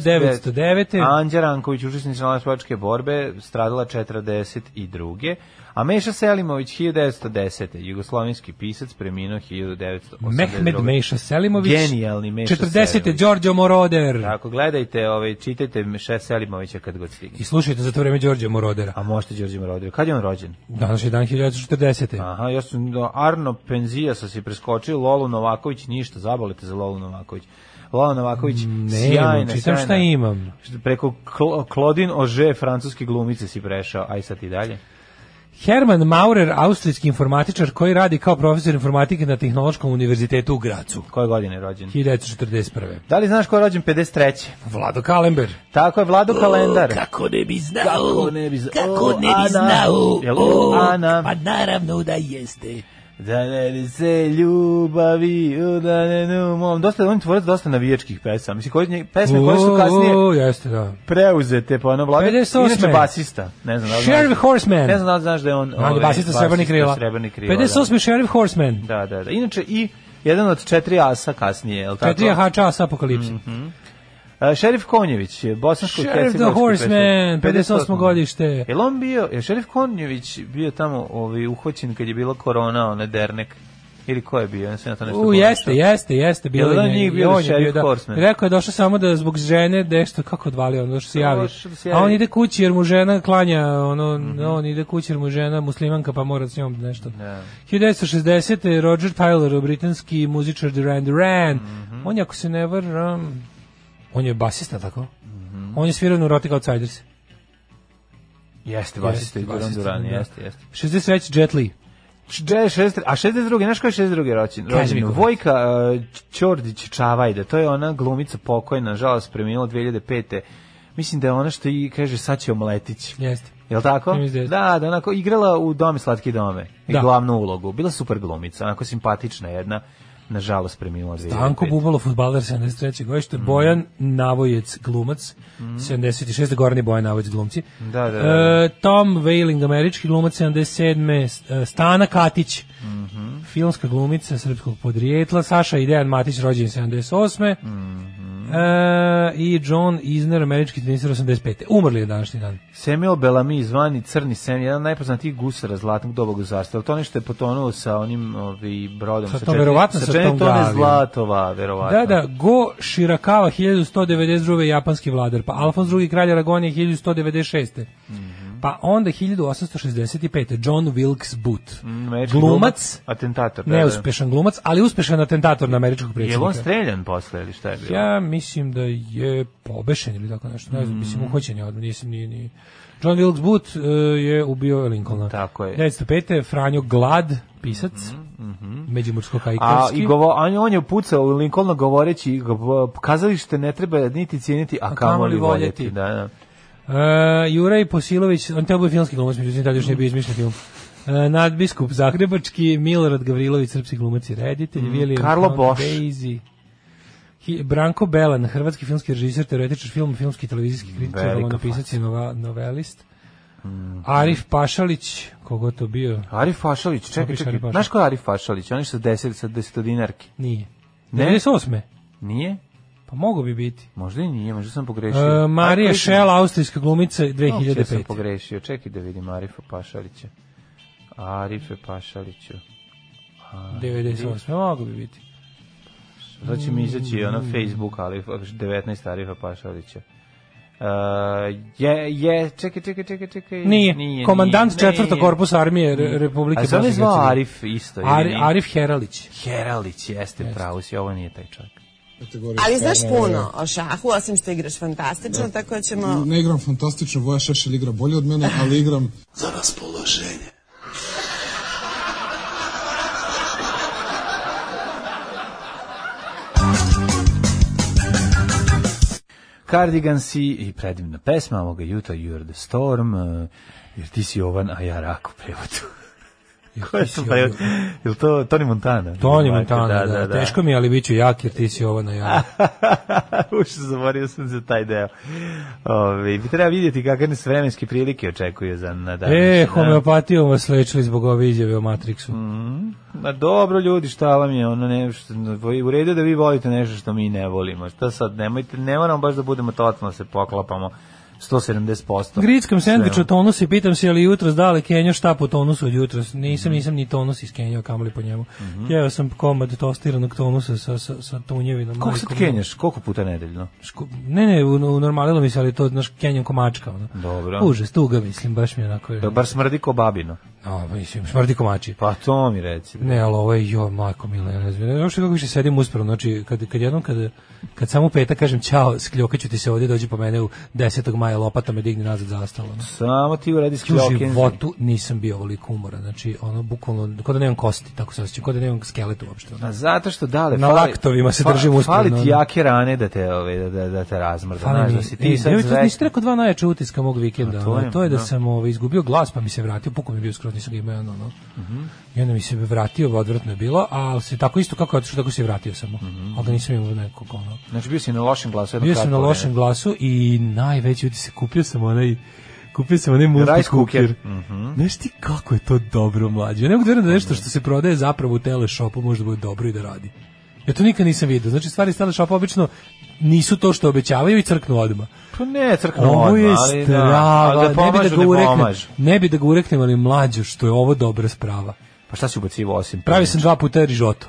[SPEAKER 6] 1909.
[SPEAKER 7] Anđa Ranković, učesnica nalačvačke borbe, stradala 42. A Meša Selimović, 1910. Jugoslovenski pisac, preminuo 1982.
[SPEAKER 6] Mehmed Meša Selimović,
[SPEAKER 7] Genijalni Meša
[SPEAKER 6] 40.
[SPEAKER 7] Selimović.
[SPEAKER 6] Giorgio Moroder.
[SPEAKER 7] Tako, gledajte, ovaj, čitajte Meša Selimovića kad god stigne.
[SPEAKER 6] I slušajte za to vreme Đorđe Morodera.
[SPEAKER 7] A možete Đorđe Morodir. Kad je on rođen?
[SPEAKER 6] Danas je dan 1940.
[SPEAKER 7] Aha, ja sam do Arno Penzija sa se preskočio, Lolu Novaković ništa, zabolite za Lolu Novaković. Lola Novaković,
[SPEAKER 6] Ne,
[SPEAKER 7] sjajna,
[SPEAKER 6] imam, čitam šta
[SPEAKER 7] sjajna.
[SPEAKER 6] imam.
[SPEAKER 7] Preko Cl- Claudine Auger, francuske glumice si prešao, aj sad i dalje.
[SPEAKER 6] Herman Maurer, austrijski informatičar koji radi kao profesor informatike na Tehnološkom univerzitetu u Gracu.
[SPEAKER 7] Koje godine je rođen?
[SPEAKER 6] 1941.
[SPEAKER 7] Da li znaš ko je rođen 53.
[SPEAKER 6] Vlado Kalember. Da,
[SPEAKER 7] Tako je, Vlado Kalendar.
[SPEAKER 2] Kako ne bi znao?
[SPEAKER 7] Kako ne bi, zna-
[SPEAKER 2] Kako
[SPEAKER 7] O,
[SPEAKER 2] ne bi
[SPEAKER 7] Ana.
[SPEAKER 2] znao?
[SPEAKER 7] Jel
[SPEAKER 2] O,
[SPEAKER 7] Ana?
[SPEAKER 2] Pa naravno da jeste.
[SPEAKER 7] Da ne li se ljubavi, u da ne nu mom. Dosta, on je tvorac dosta navijačkih pesama. Mislim, koje, nje- pesme koje su kasnije
[SPEAKER 6] O, jeste, da.
[SPEAKER 7] preuzete, pa ono, Vlado,
[SPEAKER 6] 58.
[SPEAKER 7] inače basista. Ne znam, da li znaš.
[SPEAKER 6] Sheriff Horseman.
[SPEAKER 7] Ne znam da li znaš da je on...
[SPEAKER 6] On je
[SPEAKER 7] ovaj,
[SPEAKER 6] basista Srebrni krila. da.
[SPEAKER 7] Srebrni krila,
[SPEAKER 6] 58. Sheriff Horseman.
[SPEAKER 7] Da, da, da. Inače, i jedan od četiri asa kasnije, je li tako?
[SPEAKER 6] Četiri hača sa apokalipsi.
[SPEAKER 7] A, šerif Konjević, je bosansko
[SPEAKER 6] Sheriff the Horseman, 58. godište.
[SPEAKER 7] Jel on bio, je šerif Konjević bio tamo ovaj, uhvaćen kad je bila korona, onaj dernek? Ili ko je bio? Ja sam ja to nešto
[SPEAKER 6] U,
[SPEAKER 7] pomešao.
[SPEAKER 6] jeste, jeste, jeste. Bilo
[SPEAKER 7] Jel
[SPEAKER 6] je
[SPEAKER 7] on
[SPEAKER 6] njega-
[SPEAKER 7] njih
[SPEAKER 6] i
[SPEAKER 7] bio
[SPEAKER 6] on je
[SPEAKER 7] Sheriff
[SPEAKER 6] da.
[SPEAKER 7] Horseman?
[SPEAKER 6] Rekao je došao samo da zbog žene nešto, kako odvalio, on došao se javi.
[SPEAKER 7] Došao da se javi. Mhm.
[SPEAKER 6] A on ide kući jer mu žena klanja, ono, on ide kući jer mu žena muslimanka pa mora s njom nešto.
[SPEAKER 7] Da.
[SPEAKER 6] 1960. Roger Taylor, britanski muzičar Duran Duran.
[SPEAKER 7] Mhm.
[SPEAKER 6] On je, ako se ne varam, on je basista, tako?
[SPEAKER 7] Mhm.
[SPEAKER 6] On je svirao u Neurotic Outsiders.
[SPEAKER 7] Jeste, basista i
[SPEAKER 6] Jeste,
[SPEAKER 7] Duran
[SPEAKER 6] basista,
[SPEAKER 7] Duran,
[SPEAKER 6] da.
[SPEAKER 7] jeste, jeste.
[SPEAKER 6] 63. Jet Li.
[SPEAKER 7] Če- šest- A 62. Znaš ko je 62. rođen?
[SPEAKER 6] Kaži mi
[SPEAKER 7] rođen?
[SPEAKER 6] ko.
[SPEAKER 7] Vojka uh, Ćordić Čavajda, to je ona glumica pokojna, nažalost, preminula 2005. Mislim da je ona što i kaže sad će omletić.
[SPEAKER 6] Jeste.
[SPEAKER 7] Jel tako?
[SPEAKER 6] Ja mislim da
[SPEAKER 7] Da, da, onako igrala u Dome slatki dome. I
[SPEAKER 6] Da.
[SPEAKER 7] glavnu ulogu. Bila super glumica, onako simpatična jedna. Nažalost preminula 2005.
[SPEAKER 6] Anko Bubalo, futbaler 73.
[SPEAKER 7] Mm.
[SPEAKER 6] godište, Bojan Navojec, glumac, 76. Gorni Bojan Navojec, glumci.
[SPEAKER 7] Da, da, da.
[SPEAKER 6] E, Tom Wailing, američki glumac, 77. S- e, Stana Katić,
[SPEAKER 7] Mhm.
[SPEAKER 6] filmska glumica srpskog podrijetla, Saša i Dejan Matić, rođen 78.
[SPEAKER 7] Mhm.
[SPEAKER 6] E, I John Isner, američki tenisar 85. Umrli je današnji dan.
[SPEAKER 7] Samuel Bellamy, zvani Crni Sam, jedan od najpoznatijih gusara Zlatnog dobog zarstva. To nešto je potonuo sa onim ovi, brodom.
[SPEAKER 6] Sa tom, verovatno sa tom
[SPEAKER 7] tone
[SPEAKER 6] gavijom.
[SPEAKER 7] zlatova, verovatno.
[SPEAKER 6] Da, da, Go Shirakawa 1192. japanski vladar, pa Alfons II. kralj Aragonije 1196.
[SPEAKER 7] Mhm.
[SPEAKER 6] Pa onda 1865. John Wilkes Booth.
[SPEAKER 7] Američki
[SPEAKER 6] glumac,
[SPEAKER 7] atentator. Mhm, Da,
[SPEAKER 6] neuspešan glumac, ali uspešan atentator na američkog
[SPEAKER 7] Da. Je on
[SPEAKER 6] predsjednika.
[SPEAKER 7] streljan posle ili šta je bilo?
[SPEAKER 6] Ja mislim da je pobešen ili tako nešto, ne znam,
[SPEAKER 7] Mhm.
[SPEAKER 6] mislim uhoćen je odmah, nisam ni... ni... John Wilkes Booth e, je ubio Lincolna.
[SPEAKER 7] Tako je. Mhm,
[SPEAKER 6] 1905. Franjo Glad, pisac,
[SPEAKER 7] A
[SPEAKER 6] međimursko-kajkarski.
[SPEAKER 7] i govo, on, je- on je pucao u Lincolna govoreći go- kazalište ne treba niti cijeniti, a kamoli voljeti. Da, da.
[SPEAKER 6] Uh, Juraj Posilović, on teo bio filmski glumac, međutim tad još nije bio izmišljen film. Uh, nadbiskup Zagrebački, Milorad Gavrilović, srpski glumac i reditelj, William
[SPEAKER 7] Mm, Karlo
[SPEAKER 6] Count
[SPEAKER 7] Boš.
[SPEAKER 6] Basie, Hi- Branko Belan, hrvatski filmski režisir, teoretičar film, filmski i televizijski kritičar,
[SPEAKER 7] Velika
[SPEAKER 6] romanopisac i nova, novelist.
[SPEAKER 7] Mm.
[SPEAKER 6] Arif Pašalić, kogo to bio?
[SPEAKER 7] Arif Fašalić, čekaj,
[SPEAKER 6] Napiši
[SPEAKER 7] čekaj.
[SPEAKER 6] Arif Fašalić.
[SPEAKER 7] Znaš ko je Arif Fašalić? Oni su deset, sa desetodinarki.
[SPEAKER 6] Nije.
[SPEAKER 7] Ne?
[SPEAKER 6] 98.
[SPEAKER 7] Nije?
[SPEAKER 6] Pa mogu bi biti.
[SPEAKER 7] Možda i nije, možda sam pogrešio.
[SPEAKER 6] Uh, Marija
[SPEAKER 7] A,
[SPEAKER 6] Šel, austrijska glumica,
[SPEAKER 7] koji sam- Uopće sam
[SPEAKER 6] 2005.
[SPEAKER 7] pogrešio. Čekaj da vidim Arifa Pašalića. Arife Pašaliću.
[SPEAKER 6] 98. Mogu bi biti. Mm.
[SPEAKER 7] Sad će mi izaći ono Facebook, ali 19 Arifa Pašalića. Uh, je, je, čekaj, čekaj, čekaj, čekaj.
[SPEAKER 6] Nije. Komandant četvrtog korpusa armije Re- Republike
[SPEAKER 7] A zove
[SPEAKER 6] Bosne i
[SPEAKER 7] zvao
[SPEAKER 6] Hercegovine.
[SPEAKER 7] Arif isto. ili
[SPEAKER 6] Ari,
[SPEAKER 7] nije?
[SPEAKER 6] Arif Heralić.
[SPEAKER 7] Heralić, jeste, pravo si, ovo nije taj čovjek.
[SPEAKER 12] Ali znaš puno o šahu, osim što igraš fantastično, tako da ćemo...
[SPEAKER 13] Ne igram fantastično, Voja Šešelj igra bolje od mene, ali igram...
[SPEAKER 1] Za raspoloženje.
[SPEAKER 7] Cardigan si i predivna pesma ovoga jutra, You're the Storm, eh, jer ti si Jovan, a ja rak u prevodu. Ko je to prevod? Jel to Tony Montana?
[SPEAKER 6] Toni Montana, da, Teško mi, je, ali bit ću jak jer ti si ovo na ja.
[SPEAKER 7] Ušte zaboravio sam za taj deo. Ove, bi treba vidjeti kakve se vremenske prilike očekuju za na dan.
[SPEAKER 6] e, homeopatijom vas lečili zbog ove izjave o Matrixu.
[SPEAKER 7] Mm. Ma dobro ljudi, šta vam je, ono ne, što, u redu je da vi volite nešto što mi ne volimo. Šta sad, nemojte, ne moramo baš da budemo totalno da se poklapamo 170%.
[SPEAKER 6] Grickam sandvič
[SPEAKER 7] Sve.
[SPEAKER 6] u tonusu i pitam se je li jutros dale Kenja šta po tonusu od jutros. Nisam, nisam ni tonus iz Kenja, kamoli po njemu.
[SPEAKER 7] Mhm.
[SPEAKER 6] Jeo sam komad tostiranog tonusa sa, sa, sa tunjevinom.
[SPEAKER 7] Koliko sad
[SPEAKER 6] majkom.
[SPEAKER 7] kenjaš? Koliko puta nedeljno?
[SPEAKER 6] Ne, ne, u, u normalilo mi se, ali to, znaš, Kenjom komačka. Ono.
[SPEAKER 7] Dobro.
[SPEAKER 6] Užas, tuga, mislim, baš mi je onako...
[SPEAKER 7] Da bar smrdi ko babino.
[SPEAKER 6] No, mislim, smrdi komači.
[SPEAKER 7] Pa to mi reci.
[SPEAKER 6] Ne, ali ovo je jo, majko mila, ja ne znam. Ja Još kako više sedim uspravno, znači kad, kad jednom, kad, kad samo peta kažem ćao, skljokaću ti se ovdje, dođi po mene u 10. maja lopata me digni nazad zastalo. ono.
[SPEAKER 7] Samo ti uradi
[SPEAKER 6] U
[SPEAKER 7] skljokenzi.
[SPEAKER 6] životu nisam bio ovoliko umoran, znači ono bukvalno, kod da nemam kosti, tako se osjećam, kod da nemam skelet uopšte. ono.
[SPEAKER 7] A Pa zato što dale,
[SPEAKER 6] Na laktovima se
[SPEAKER 7] fa-
[SPEAKER 6] držim uspravno,
[SPEAKER 7] Fali ti
[SPEAKER 6] ono.
[SPEAKER 7] jake rane da te, ove, da, da, da te razmrda.
[SPEAKER 6] Hvala
[SPEAKER 7] znaš,
[SPEAKER 6] mi.
[SPEAKER 7] da si ti
[SPEAKER 6] E,
[SPEAKER 7] sad
[SPEAKER 6] evo, to
[SPEAKER 7] zvek-
[SPEAKER 6] niste rekao dva najjača utiska mog vikenda.
[SPEAKER 7] A
[SPEAKER 6] To
[SPEAKER 7] to
[SPEAKER 6] je,
[SPEAKER 7] je,
[SPEAKER 6] to je da,
[SPEAKER 7] da.
[SPEAKER 6] sam ovaj, izgubio glas, pa mi se vratio, puko mi je bio skroz, nisam ga imao, ono, ono.
[SPEAKER 7] Mhm.
[SPEAKER 6] I onda mi se vratio, odvratno je bilo, ali se tako isto kako je otišao, tako se i vratio samo.
[SPEAKER 7] Mhm.
[SPEAKER 6] Ali ga nisam imao nekog, ono.
[SPEAKER 7] Znači bio si na lošem glasu. jedno
[SPEAKER 6] Bio sam
[SPEAKER 7] kratko
[SPEAKER 6] na
[SPEAKER 7] vreme.
[SPEAKER 6] lošem glasu i najveći utisak, kupio sam onaj kupio sam onaj multi
[SPEAKER 7] Rice cooker. Mhm.
[SPEAKER 6] cooker. Znaš ti kako je to dobro mlađe. Ja ne mogu da verujem da nešto što se prodaje zapravo u teleshopu može da bude dobro i da radi. Ja to nikad nisam vidio. Znači stvari iz teleshopa obično nisu to što obećavaju i crknu odmah.
[SPEAKER 7] Pa ne, crknu
[SPEAKER 6] Ovo je
[SPEAKER 7] odmah, ali da,
[SPEAKER 6] strava.
[SPEAKER 7] ali da
[SPEAKER 6] ne bi da
[SPEAKER 7] pomažu,
[SPEAKER 6] ga
[SPEAKER 7] ne
[SPEAKER 6] ureknem,
[SPEAKER 7] pomažu.
[SPEAKER 6] ne bi da ga ureknem, ali mlađe što je ovo dobra sprava.
[SPEAKER 7] Pa šta si ubacivo osim?
[SPEAKER 6] Pravi sam dva puta rižoto.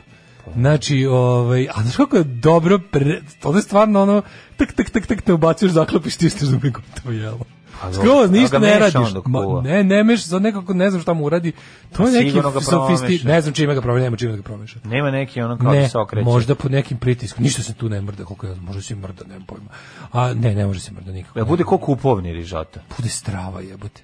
[SPEAKER 6] Znači, ovaj, a znaš kako je dobro, pre, to je stvarno ono, tak, tak, tak, tak, te ubacuješ, zaklopiš, stisneš da bi gotovo jelo.
[SPEAKER 7] Pa dobro,
[SPEAKER 6] Skroz,
[SPEAKER 7] ali
[SPEAKER 6] ništa
[SPEAKER 7] ga
[SPEAKER 6] ne
[SPEAKER 7] meša
[SPEAKER 6] radiš.
[SPEAKER 7] onda
[SPEAKER 6] Ma,
[SPEAKER 7] kuva.
[SPEAKER 6] ne, ne meš, za nekako ne znam šta mu uradi. To
[SPEAKER 7] Pa
[SPEAKER 6] je neki
[SPEAKER 7] sigurno ga
[SPEAKER 6] sofisti,
[SPEAKER 7] promeša.
[SPEAKER 6] ne znam čime ga promeša, nema čime da ga promeša.
[SPEAKER 7] Nema neki ono kao da
[SPEAKER 6] Ne,
[SPEAKER 7] se okreće.
[SPEAKER 6] možda pod nekim pritiskom, ništa se tu ne mrda, koliko ja, znam, može se i mrda, nemam pojma. A ne, ne može se mrda nikako.
[SPEAKER 7] Da bude ko kupovni rižata.
[SPEAKER 6] Bude strava jebote.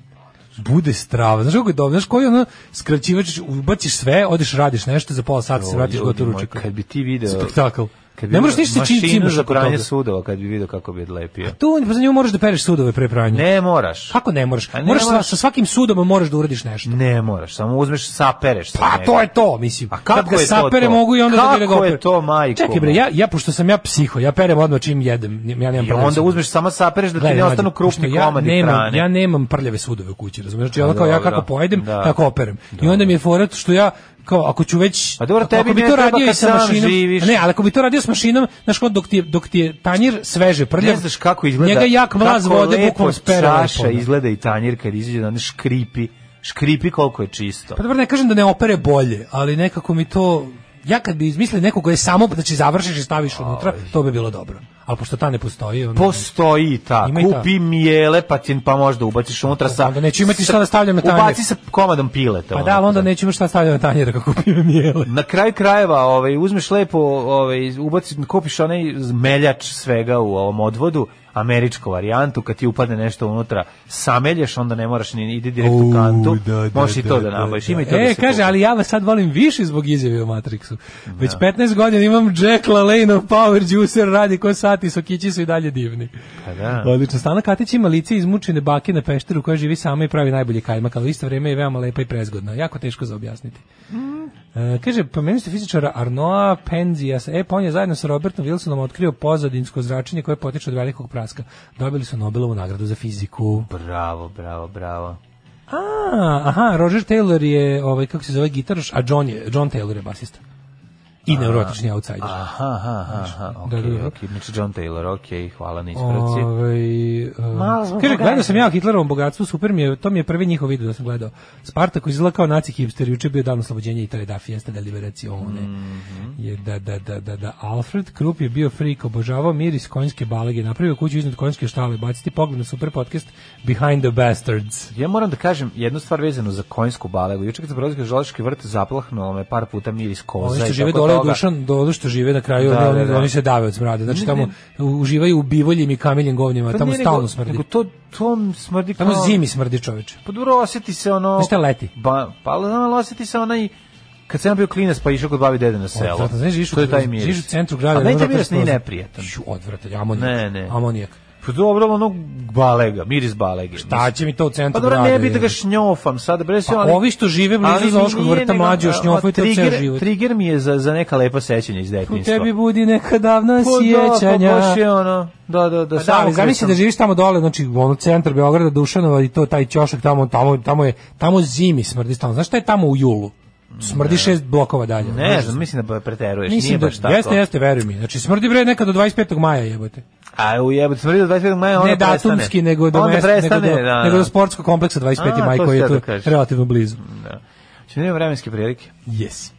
[SPEAKER 6] Bude strava. Znaš kako je dobro? Znaš koji je ono skraćivač, ubaciš sve, odeš radiš nešto, za pola sata Pa se
[SPEAKER 7] Joj,
[SPEAKER 6] vratiš
[SPEAKER 7] ljudi
[SPEAKER 6] gotov
[SPEAKER 7] moji,
[SPEAKER 6] ručak.
[SPEAKER 7] Kad bi ti video...
[SPEAKER 6] Spektakl.
[SPEAKER 7] Kad bi
[SPEAKER 6] Ne
[SPEAKER 7] video
[SPEAKER 6] moraš ništa čim
[SPEAKER 7] Mašinu
[SPEAKER 6] cimaš
[SPEAKER 7] za
[SPEAKER 6] oko
[SPEAKER 7] pranje
[SPEAKER 6] toga.
[SPEAKER 7] sudova, kad bi video kako bi odlepio.
[SPEAKER 6] Tu pa za nju moraš da pereš sudove pre pranja.
[SPEAKER 7] Ne moraš.
[SPEAKER 6] Kako ne moraš?
[SPEAKER 7] A ne
[SPEAKER 6] moraš, sa-
[SPEAKER 7] moraš.
[SPEAKER 6] sa svakim sudom moraš da uradiš nešto.
[SPEAKER 7] Ne moraš, samo uzmeš sapereš. sa
[SPEAKER 6] Pa
[SPEAKER 7] njega.
[SPEAKER 6] to je to, mislim. A
[SPEAKER 7] kako
[SPEAKER 6] Kad ga
[SPEAKER 7] je to
[SPEAKER 6] sapere
[SPEAKER 7] to?
[SPEAKER 6] mogu i onda da bi ga
[SPEAKER 7] Kako je
[SPEAKER 6] opere.
[SPEAKER 7] to, majko
[SPEAKER 6] Čekaj bre,
[SPEAKER 7] moja?
[SPEAKER 6] ja, ja pošto sam ja psiho, ja perem odmah čim jedem. Ja nemam
[SPEAKER 7] I
[SPEAKER 6] problem
[SPEAKER 7] onda
[SPEAKER 6] sa-
[SPEAKER 7] uzmeš samo sapereš da ti
[SPEAKER 6] Gledaj,
[SPEAKER 7] ne
[SPEAKER 6] mlađe,
[SPEAKER 7] ostanu krupni
[SPEAKER 6] pošto ja
[SPEAKER 7] komadi
[SPEAKER 6] nemam,
[SPEAKER 7] hrane.
[SPEAKER 6] Ja nemam prljave sudove u kući, razumiješ? Znači,
[SPEAKER 7] A,
[SPEAKER 6] ono kao ja
[SPEAKER 7] dobro.
[SPEAKER 6] kako pojedem,
[SPEAKER 7] Da.
[SPEAKER 6] tako operem. I onda mi je forat što ja kao ako ću
[SPEAKER 7] A
[SPEAKER 6] već
[SPEAKER 7] Pa dobro, tebi
[SPEAKER 6] ako bi
[SPEAKER 7] ne
[SPEAKER 6] to
[SPEAKER 7] treba
[SPEAKER 6] radio i
[SPEAKER 7] kad
[SPEAKER 6] sa
[SPEAKER 7] sam
[SPEAKER 6] mašinom
[SPEAKER 7] živiš.
[SPEAKER 6] ne ali ako bi to radio s mašinom znaš kao dok ti je, dok ti je tanjir sveže prljav
[SPEAKER 7] Pa Ne znaš kako izgleda.
[SPEAKER 6] njega jak mlaz
[SPEAKER 7] kako
[SPEAKER 6] vode
[SPEAKER 7] lepo
[SPEAKER 6] bukvalno spere
[SPEAKER 7] Čaša
[SPEAKER 6] lepo, da.
[SPEAKER 7] izgleda i tanjir kad izađe da ne škripi. Škripi koliko je čisto.
[SPEAKER 6] Pa dobro, ne kažem da ne opere bolje, ali nekako mi to... Ja kad bi izmislili nekog je samo, znači završiš i staviš unutra, to bi bilo dobro. Ali pošto ta ne postoji... Onda...
[SPEAKER 7] Postoji ta.
[SPEAKER 6] Ima i ta.
[SPEAKER 7] Kupi mijele, pa ti pa možda ubaciš unutra sa...
[SPEAKER 6] Onda neću imati šta da stavljam na
[SPEAKER 7] tanjir.
[SPEAKER 6] tanjir.
[SPEAKER 7] Ubaci sa komadom pileta.
[SPEAKER 6] Pa
[SPEAKER 7] ono.
[SPEAKER 6] da, ali onda nećemo šta stavljam na tanjera kako kupim mijele.
[SPEAKER 7] Na kraju krajeva, ovaj uzmeš lepo, ovaj ubaci kupiš onaj meljač svega u ovom odvodu, američku varijantu, kad ti upadne nešto unutra, samelješ, onda ne moraš ni ide direkt u kantu. Možeš i to da, nabaviš. Ima i to
[SPEAKER 6] e,
[SPEAKER 7] da se
[SPEAKER 6] kaže,
[SPEAKER 7] kupi.
[SPEAKER 6] ali ja vas sad volim više zbog izjave o Matrixu. Već
[SPEAKER 7] Da.
[SPEAKER 6] 15 godina imam Jack LaLanne Power Juicer, radi ko sati, sokići su i dalje divni.
[SPEAKER 7] Pa da.
[SPEAKER 6] Odlično. Stana Katić ima lice izmučene bake na pešteru koja živi sama i pravi najbolji kajmak, ali u isto vrijeme je veoma lepa i prezgodna. Jako teško za objasniti. E, kaže, pomenuli ste fizičara Arnoa Penzias. E, pa on je zajedno sa Robertom Wilsonom otkrio pozadinsko zračenje koje potiče od velikog praska. Dobili su Nobelovu nagradu za fiziku.
[SPEAKER 7] Bravo, bravo, bravo.
[SPEAKER 6] A, aha, Roger Taylor je, ovaj, kako se zove, gitaraš, a John, je, John Taylor je basista. i neurotični outsider.
[SPEAKER 7] Aha, aha, aha, okej,
[SPEAKER 6] da, da.
[SPEAKER 7] okej. Znači John Taylor, okej, hvala na ispravci.
[SPEAKER 6] Ovaj,
[SPEAKER 7] Malo smo
[SPEAKER 6] uh, kaže, gledao sam ja o Hitlerovom bogatstvu, super mi je, to mi je prvi njihov video da sam gledao. Spartak izgleda kao naci hipster, juče je bio dan oslobođenja Italije, da, fiesta da liberacione. je, da, da, da, da, da. Alfred Krupp je bio freak, obožavao miris konjske balege, napravio kuću iznad konjske štale, baciti pogled na super podcast Behind the Bastards.
[SPEAKER 7] Ja moram da kažem jednu stvar vezanu za konjsku balegu. Juče kad sam prolazio kroz Žalački vrt, zaplahnulo me par puta miris koza.
[SPEAKER 6] Oni
[SPEAKER 7] i tako
[SPEAKER 6] što Pa žive dole u
[SPEAKER 7] toga.
[SPEAKER 6] dušan, dole što žive na kraju,
[SPEAKER 7] Da,
[SPEAKER 6] oni,
[SPEAKER 7] da, da.
[SPEAKER 6] oni se dave od smrade. Znači
[SPEAKER 7] Ne,
[SPEAKER 6] tamo uživaju u bivoljim i kamiljim govnjima,
[SPEAKER 7] Pa
[SPEAKER 6] tamo
[SPEAKER 7] nije
[SPEAKER 6] stalno
[SPEAKER 7] nego-
[SPEAKER 6] smrdi.
[SPEAKER 7] Nego to, to smrdi kao...
[SPEAKER 6] Tamo zimi smrdi čoveče.
[SPEAKER 7] Pa dobro, osjeti se ono...
[SPEAKER 6] Znaš šta leti?
[SPEAKER 7] Ba, pa ali ono, osjeti se onaj... Kad sam ja bio klinac pa išao kod babi i dede na selo.
[SPEAKER 6] Odvratno, znaš, živiš u,
[SPEAKER 7] to je taj miris.
[SPEAKER 6] živiš u centru grada.
[SPEAKER 7] A meni taj
[SPEAKER 6] ono
[SPEAKER 7] miris nije
[SPEAKER 6] prozor.
[SPEAKER 7] neprijatan.
[SPEAKER 6] Ju, odvratan, amonijak.
[SPEAKER 7] Ne, ne.
[SPEAKER 6] Amonijak.
[SPEAKER 7] Pa dobro, ali ono balega, miris balege.
[SPEAKER 6] Šta će mi to u
[SPEAKER 7] Pa
[SPEAKER 6] centru grada?
[SPEAKER 7] dobro, ne bi da
[SPEAKER 6] jebe?
[SPEAKER 7] ga šnjofam sad, bre, sve,
[SPEAKER 6] Pa ovi što žive blizu
[SPEAKER 7] ali mi
[SPEAKER 6] zoološkog
[SPEAKER 7] nije
[SPEAKER 6] vrta,
[SPEAKER 7] nego-
[SPEAKER 6] mlađi, još
[SPEAKER 7] a,
[SPEAKER 6] šnjofaju to ceo
[SPEAKER 7] trigger-
[SPEAKER 6] život.
[SPEAKER 7] Trigger mi je za, za neka lepa sećanja iz
[SPEAKER 6] U
[SPEAKER 7] detinjstva.
[SPEAKER 6] tebi budi neka davna
[SPEAKER 7] Pa da,
[SPEAKER 6] sjećanja.
[SPEAKER 7] Pa baš je ono, da, da, da.
[SPEAKER 6] Pa da, ali zamisli da živiš tamo dole, znači u ono centar Beograda, Dušanova i to taj ćošak tamo, tamo, tamo je, tamo zimi smrdi stalno. Znaš šta je tamo u julu? Smrdi šest blokova dalje.
[SPEAKER 7] Ne znam, mislim da preteruješ, nije
[SPEAKER 6] Mislim da,
[SPEAKER 7] baš tako.
[SPEAKER 6] jeste, jeste, veruj mi. Znači, smrdi bre nekad do 25. maja jebote.
[SPEAKER 7] A u jebote, smrdi do 25. da maja, Da, onda
[SPEAKER 6] ne
[SPEAKER 7] prestane.
[SPEAKER 6] datumski, nego do,
[SPEAKER 7] onda
[SPEAKER 6] mesta,
[SPEAKER 7] prestane,
[SPEAKER 6] nego do,
[SPEAKER 7] da,
[SPEAKER 6] nego do
[SPEAKER 7] da.
[SPEAKER 6] sportskog kompleksa 25.
[SPEAKER 7] A,
[SPEAKER 6] maj
[SPEAKER 7] to
[SPEAKER 6] koji
[SPEAKER 7] si teo
[SPEAKER 6] je tu
[SPEAKER 7] da kažeš.
[SPEAKER 6] relativno blizu.
[SPEAKER 7] Da. Znači, nema vremenske prilike.
[SPEAKER 6] Yes.